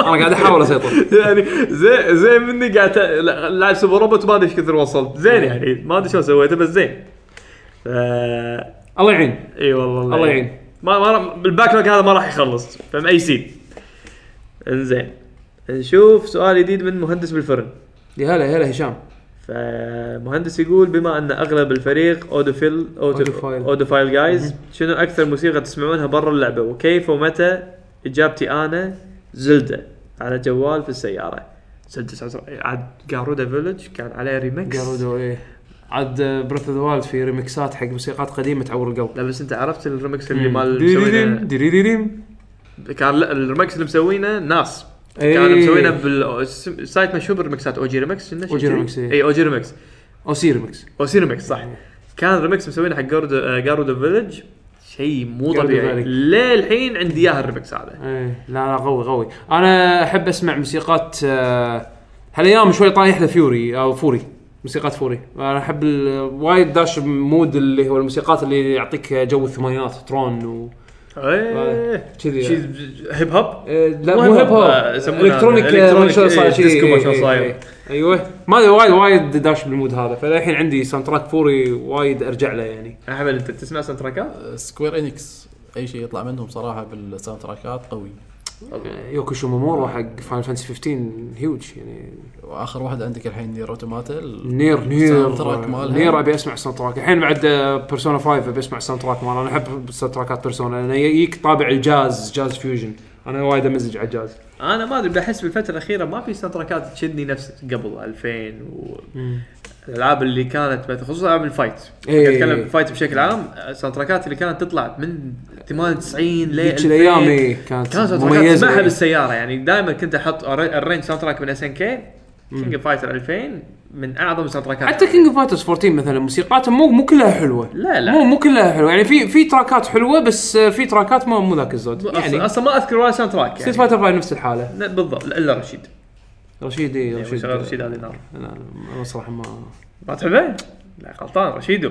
Speaker 2: انا قاعد احاول اسيطر
Speaker 3: يعني زين زين مني قاعد أ- لا- لاعب سوبر روبوت ما ادري ايش كثر وصلت
Speaker 2: نعم.
Speaker 3: زين يعني ما ادري شلون سويته بس زين ف...
Speaker 2: الله يعين
Speaker 3: اي والله
Speaker 2: الله يعين.
Speaker 3: ما, ما راح- بالباك لوك هذا ما راح يخلص فمأيسين انزين نشوف سؤال جديد من مهندس بالفرن
Speaker 2: يا هلا يا هلا هشام
Speaker 3: فمهندس يقول بما ان اغلب الفريق اودوفيل
Speaker 2: أودوفايل.
Speaker 3: اودوفايل جايز شنو اكثر موسيقى تسمعونها برا اللعبه وكيف ومتى اجابتي انا زلدة على جوال في السياره زلدة سعر- عاد جارودا فيلج كان عليه ريمكس
Speaker 2: جارودو ايه عاد بريث اوف وايلد في ريمكسات حق موسيقات قديمه تعور القلب
Speaker 3: لا بس انت عرفت الريمكس اللي مال
Speaker 2: ديريريم
Speaker 3: مسوينه
Speaker 2: ديريريم
Speaker 3: كان لا الريمكس اللي مسوينه ناس كان
Speaker 2: إيه.
Speaker 3: مسوينه بالسايت مشهور بالريمكسات اوجي ريمكس
Speaker 2: أوجي ريمكس، إيه.
Speaker 3: اي اوجي ريمكس
Speaker 2: او سي ريمكس
Speaker 3: او سينمكس صح كان ريمكس مسوينه حق جاردو آه، جاردو فيلج شيء مو
Speaker 2: جاردو
Speaker 3: طبيعي
Speaker 2: فيلج.
Speaker 3: للحين عندي اياها الريمكس هذا
Speaker 2: ايه لا لا قوي قوي انا احب اسمع موسيقات آه، هالايام شوي طايح له فيوري او فوري موسيقات فوري انا احب ال- وايد داش مود اللي هو الموسيقات اللي يعطيك جو الثمانينات ترون و
Speaker 3: إيه.
Speaker 2: كذي
Speaker 3: شيء هيب هوب
Speaker 2: إيه، لا مو هيب هوب
Speaker 3: آه، يسمونها
Speaker 2: الكترونيك
Speaker 3: إلكترونيك،
Speaker 2: آه، شلون صاير
Speaker 3: إيه،
Speaker 2: شي،
Speaker 3: ديسكو
Speaker 2: إيه،
Speaker 3: شلون
Speaker 2: إيه،
Speaker 3: صاير.
Speaker 2: إيه. ايوه ما ادري وايد وايد داش بالمود هذا فالحين عندي ساوند تراك فوري وايد ارجع له يعني
Speaker 3: احمد انت تسمع ساوند تراكات؟
Speaker 6: سكوير انكس اي شيء يطلع منهم صراحه بالساوند تراكات قوي
Speaker 2: يوكو شومومورو حق فاينل فانتسي 15 هيوج يعني
Speaker 6: واخر واحد عندك الحين نير اوتوماتا ال-
Speaker 2: نير نير
Speaker 6: الساوند تراك مالها.
Speaker 2: نير ابي اسمع الساوند تراك الحين بعد آه، بيرسونا 5 ابي اسمع الساوند تراك مالها انا احب الساوند تراكات بيرسونا لان يجيك طابع الجاز جاز فيوجن انا وايد امزج على الجاز
Speaker 3: انا ما ادري بحس بالفتره الاخيره ما في ساوند تراكات تشدني نفس قبل 2000 و الالعاب اللي كانت مثلا خصوصا العاب الفايت
Speaker 2: إيه.
Speaker 3: اتكلم الفايت بشكل عام آه، ساوند تراكات اللي كانت تطلع من 98 ل
Speaker 2: ذيك
Speaker 3: 2000.
Speaker 2: الايام إي، كانت
Speaker 3: كان ساوند تراكات
Speaker 2: مميزه
Speaker 3: تسمعها
Speaker 2: إي.
Speaker 3: بالسياره يعني دائما كنت احط أر- الرينج ساوند تراك من اس ان كي كينج فايتر 2000 من اعظم ساوند تراكات
Speaker 2: حتى كينج اوف فايترز 14 مثلا موسيقاتهم مو مو كلها حلوه
Speaker 3: لا لا
Speaker 2: مو مو كلها حلوه يعني في في تراكات حلوه بس آه، في تراكات مو مو ذاك الزود
Speaker 3: يعني
Speaker 2: يعني
Speaker 3: اصلا ما اذكر ولا ساوند تراك
Speaker 2: ستيت
Speaker 3: يعني
Speaker 2: فايتر فاي نفس الحاله
Speaker 3: لا، بالضبط الا رشيد
Speaker 2: رشيد اي
Speaker 3: يعني
Speaker 2: رشيد
Speaker 3: شغال رشيد هذه نار
Speaker 2: انا أنا صراحه ما
Speaker 3: ما تحبه؟ لا غلطان رشيدو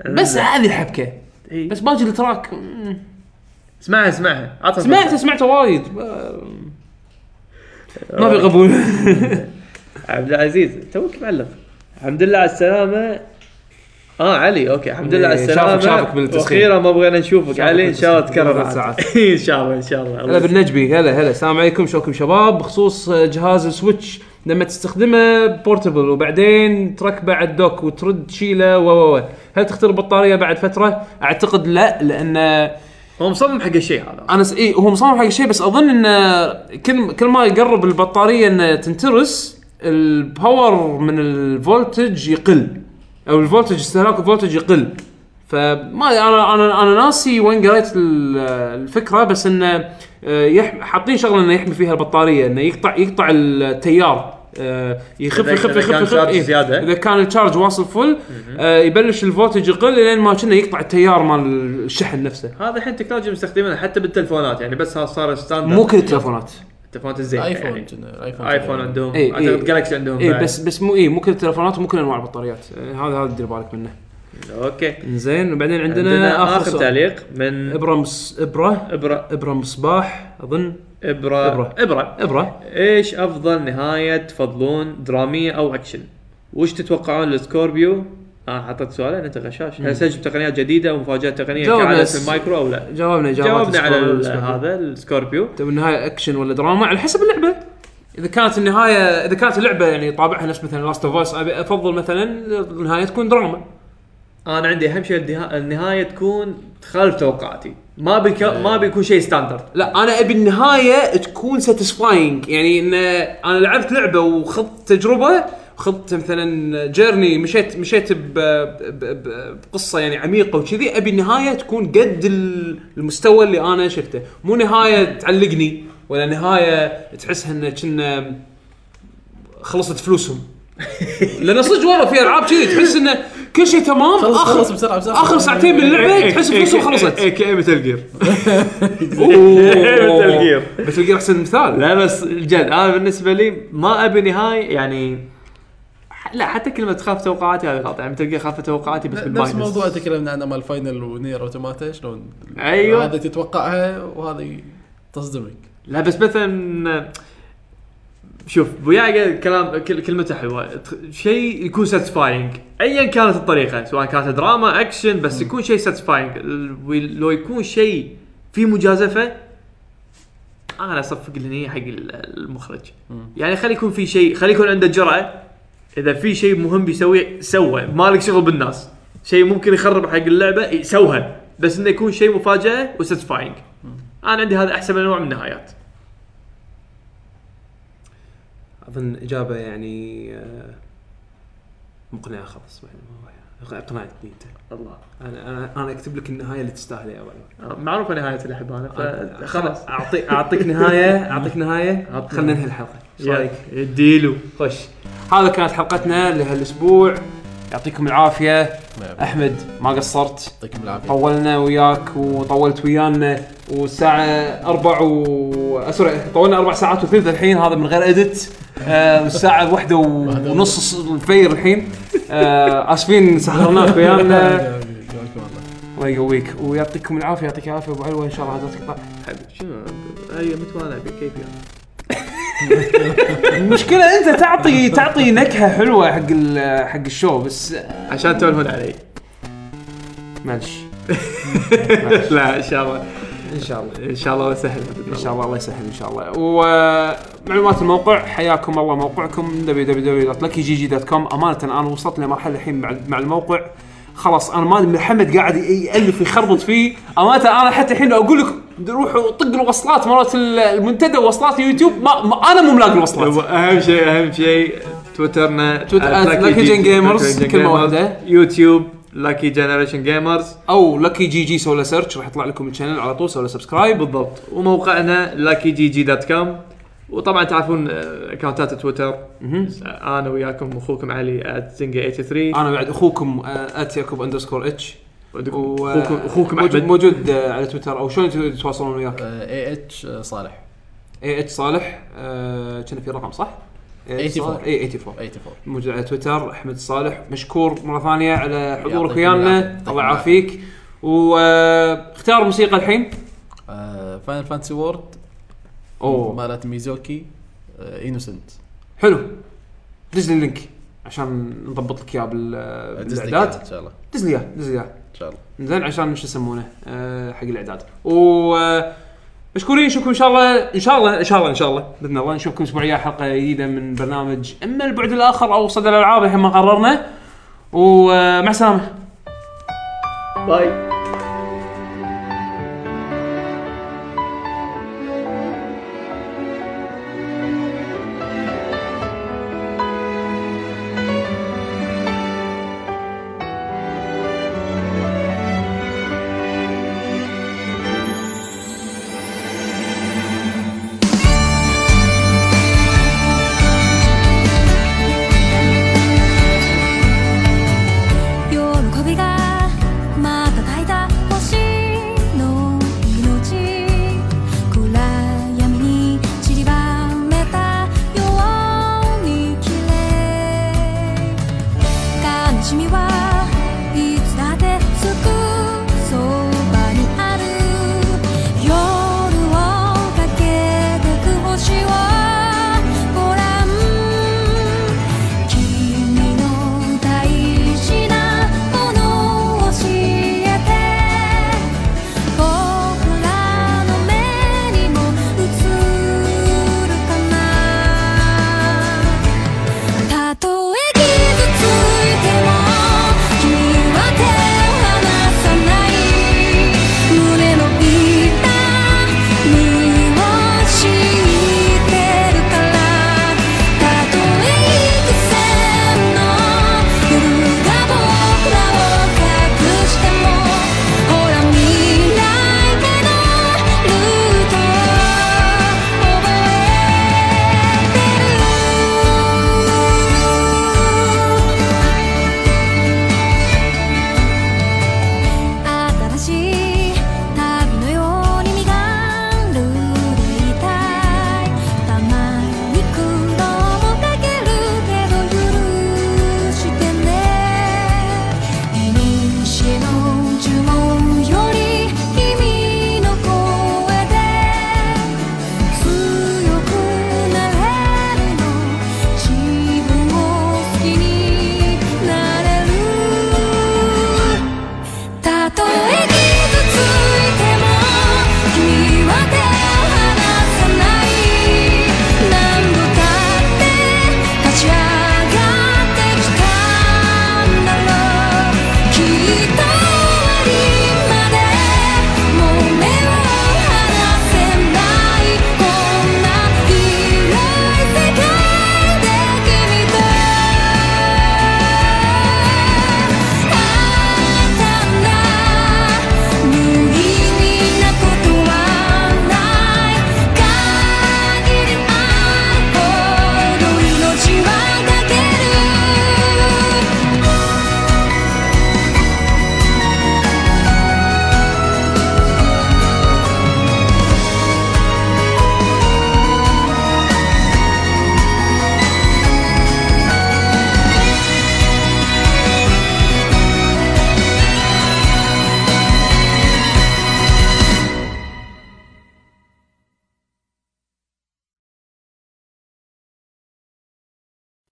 Speaker 3: أه.
Speaker 2: بس هذه الحبكه
Speaker 3: إي.
Speaker 2: بس باقي التراك مم.
Speaker 3: إيه. اسمعها اسمعها عطها
Speaker 2: سمعته سمعته وايد ما في قبول
Speaker 3: عبد العزيز توك معلق الحمد لله على السلامة اه علي اوكي الحمد لله على
Speaker 4: إيه،
Speaker 3: السلامة
Speaker 4: شافك- شافك بالتسخين.
Speaker 3: واخيرا ما بغينا نشوفك علي ان شاء الله
Speaker 4: بالتسخين.
Speaker 3: تكرر
Speaker 4: ثلاث
Speaker 3: عاد. ان شاء الله ان شاء الله
Speaker 2: هلا
Speaker 3: الله
Speaker 2: بالنجبي هلا هلا السلام عليكم شلونكم شباب بخصوص آه، جهاز السويتش لما تستخدمه بورتبل وبعدين تركبه على الدوك وترد تشيله و و و. هل تختل البطاريه بعد فتره؟ اعتقد لا لان
Speaker 3: هو مصمم حق الشيء هذا
Speaker 2: انا س... إيه هو مصمم حق شيء بس اظن ان كل كل ما يقرب البطاريه ان تنترس الباور من الفولتج يقل او الفولتج استهلاك الفولتج يقل فما انا انا انا ناسي وين قريت ال- الفكره بس انه آه، يح- حاطين شغله انه يحمي فيها البطاريه انه يقطع يقطع التيار آه، يخف
Speaker 3: إذا-
Speaker 2: يخف
Speaker 3: إذا
Speaker 2: يخف
Speaker 3: كان
Speaker 2: يخف
Speaker 3: شارج
Speaker 2: إيه.
Speaker 3: زيادة.
Speaker 2: اذا كان الشارج واصل فل آه، يبلش الفولتج يقل لين ما كنا يقطع التيار مال الشحن نفسه
Speaker 3: هذا الحين تكنولوجيا مستخدمينها حتى بالتلفونات يعني بس هذا صار ستاندرد
Speaker 2: مو كل التلفونات
Speaker 3: التلفونات الزينة
Speaker 6: ايفون
Speaker 3: يعني.
Speaker 6: ايفون
Speaker 3: ايفون عندهم
Speaker 2: إيه، إيه.
Speaker 3: اعتقد جالكسي عندهم
Speaker 2: اي
Speaker 3: بعد.
Speaker 2: بس بس مو اي مو كل التلفونات ومو كل انواع البطاريات آه، هذا هذا دير بالك منه
Speaker 3: اوكي
Speaker 2: زين وبعدين عندنا,
Speaker 3: عندنا
Speaker 2: اخر,
Speaker 3: اخر
Speaker 2: سؤال.
Speaker 3: تعليق من
Speaker 2: ابره مس ابره
Speaker 3: ابره
Speaker 2: ابره مصباح اظن
Speaker 3: ابره
Speaker 2: إبرة.
Speaker 3: ابره, إبرة.
Speaker 2: ابره
Speaker 3: ايش افضل نهايه تفضلون دراميه او اكشن؟ وش تتوقعون لسكوربيو؟ اه حطيت سؤالين انت غشاش، هل سجل تقنيات جديده ومفاجات تقنيه
Speaker 2: جاوب
Speaker 3: كعاده
Speaker 2: بس.
Speaker 3: المايكرو او لا؟
Speaker 2: جاوبنا
Speaker 3: جاوبنا على ال-
Speaker 2: هذا
Speaker 3: هذا السكوربيو
Speaker 2: بالنهايه اكشن ولا دراما على حسب اللعبه اذا كانت النهايه اذا كانت اللعبه يعني طابعها نفس مثلا لاست اوف اس افضل مثلا النهايه تكون دراما
Speaker 3: انا عندي اهم شيء الدها- النهايه تكون تخالف توقعاتي ما بك... ما بيكون شيء ستاندرد
Speaker 2: لا انا ابي النهايه تكون ساتيسفاينج يعني ان انا لعبت لعبه وخضت تجربه خضت مثلا جيرني مشيت مشيت ب- ب- ب- بقصه يعني عميقه وكذي ابي النهايه تكون قد ال- المستوى اللي انا شفته مو نهايه تعلقني ولا نهايه تحسها ان كنا خلصت فلوسهم لان صدق والله في العاب كذي تحس انه كل شيء تمام
Speaker 6: خلص
Speaker 2: اخر
Speaker 6: بسرعه بسرعه
Speaker 2: اخر ساعتين من
Speaker 3: إيه،
Speaker 2: اللعبه تحس فلوسهم خلصت
Speaker 3: اي كي مثل جير
Speaker 2: مثل
Speaker 3: إيه، Metal Gear.
Speaker 2: مثل جير احسن مثال
Speaker 3: لا بس جد انا بالنسبه لي ما ابي نهايه يعني ح- لا حتى كلمه تخالف توقعاتي هذه غلط يعني مثل خالف توقعاتي بس
Speaker 6: نفس
Speaker 3: بالماينس
Speaker 6: موضوع تكلمنا عنه مال فاينل ونير اوتوماتا شلون
Speaker 3: أيوة.
Speaker 6: هذه تتوقعها وهذه تصدمك
Speaker 3: لا بس مثلا شوف بوياقة كلام كل- كلمته حلوه ت- شيء يكون ساتسفاينج ايا كانت الطريقه سواء كانت دراما اكشن بس يكون شيء ساتسفاينج لو يكون شيء فيه مجازفه انا اصفق الهنيه حق ال- المخرج يعني خلي يكون في شيء خلي يكون عنده جرأه اذا في شيء مهم بيسويه سوى مالك شغل بالناس شيء ممكن يخرب حق اللعبه سوها بس انه يكون شيء مفاجاه وساتسفاينج انا عندي هذا احسن نوع من النهايات
Speaker 2: اظن اجابه يعني آه، مقنعه خلاص يعني ما- اقنعتني انت
Speaker 3: الله
Speaker 2: انا انا انا اكتب لك النهايه اللي تستاهل يا ولد
Speaker 3: معروفه نهايه الاحب انا فخلاص
Speaker 2: اعطيك اعطيك نهايه اعطيك نهايه
Speaker 3: عطنا.
Speaker 2: خلينا ننهي الحلقه ايش رايك؟
Speaker 3: اديله
Speaker 2: خش هذا كانت حلقتنا لهالاسبوع يعطيكم العافيه احمد ما قصرت
Speaker 6: يعطيكم العافيه
Speaker 2: طولنا وياك وطولت ويانا والساعة أربع و أسرع طولنا أربع ساعات وثلث الحين هذا من غير إدت آه والساعة واحدة ونص الفير الحين آه آسفين سهرناك ويانا
Speaker 6: يعطيكم الله
Speaker 2: الله يقويك ويعطيكم العافية يعطيك العافية أبو علوة إن شاء الله هذا تقطع
Speaker 3: حبيبي شنو اي متوانع بكيفي
Speaker 2: المشكلة أنت تعطي تعطي نكهة حلوة حق ال- حق الشو بس
Speaker 3: عشان تولهون علي
Speaker 2: معلش
Speaker 3: لا ان شاء الله
Speaker 2: إن شاء الله
Speaker 3: ان شاء الله سهل
Speaker 2: ان شاء الله الله يسهل ان شاء الله ومعلومات الموقع حياكم الله موقعكم www.luckygg.com امانه انا وصلت لمرحله الحين مع, مع الموقع خلاص انا ما محمد قاعد يالف يخربط فيه امانه انا حتى الحين لو اقول لك روحوا طق الوصلات مرات ال- المنتدى وصلات اليوتيوب ما, ما انا مو ملاقي الوصلات
Speaker 3: اهم شيء اهم شيء تويترنا آه،
Speaker 2: تويتر- آه، Lucky Gen Gamers، كلمة واحدة.
Speaker 3: يوتيوب لاكي جنريشن جيمرز
Speaker 2: او لكي جي جي سولا سيرش راح يطلع لكم الشانل على طول سولا سبسكرايب
Speaker 3: بالضبط وموقعنا لاكي جي جي دوت كوم وطبعا تعرفون آه، اكونتات تويتر انا وياكم واخوكم علي @زنجا83
Speaker 2: انا بعد اخوكم آه، ات يعقوب اندرسكور اتش
Speaker 3: اخوكم اخوكم
Speaker 2: موجود,
Speaker 3: احمد
Speaker 2: موجود آه، على تويتر او شلون تتواصلون وياك؟
Speaker 6: اي اتش آه، صالح
Speaker 2: اي اتش صالح آه، كان في رقم صح؟ اي
Speaker 6: 84.
Speaker 2: اي 84
Speaker 6: 84
Speaker 2: موجود على تويتر احمد الصالح مشكور مره ثانيه على حضورك
Speaker 6: يعطيك
Speaker 2: ويانا
Speaker 6: العافية.
Speaker 2: الله يعافيك واختيار موسيقى الحين
Speaker 6: فاينل فانتسي وورد
Speaker 2: اوه
Speaker 6: مالت آه، ميزوكي انوسنت
Speaker 2: حلو دز لي اللينك عشان نضبط لك اياه بال- بالاعداد
Speaker 6: ان شاء الله
Speaker 2: دز لي اياه دز لي اياه
Speaker 6: ان شاء الله
Speaker 2: زين عشان شو يسمونه أه حق الاعداد و آه، مشكورين نشوفكم ان شاء الله ان شاء الله ان شاء الله ان شاء الله باذن الله نشوفكم اسبوعيا حلقه جديده من برنامج اما البعد الاخر او آه، صدى الالعاب الحين ما قررنا ومع السلامه
Speaker 3: باي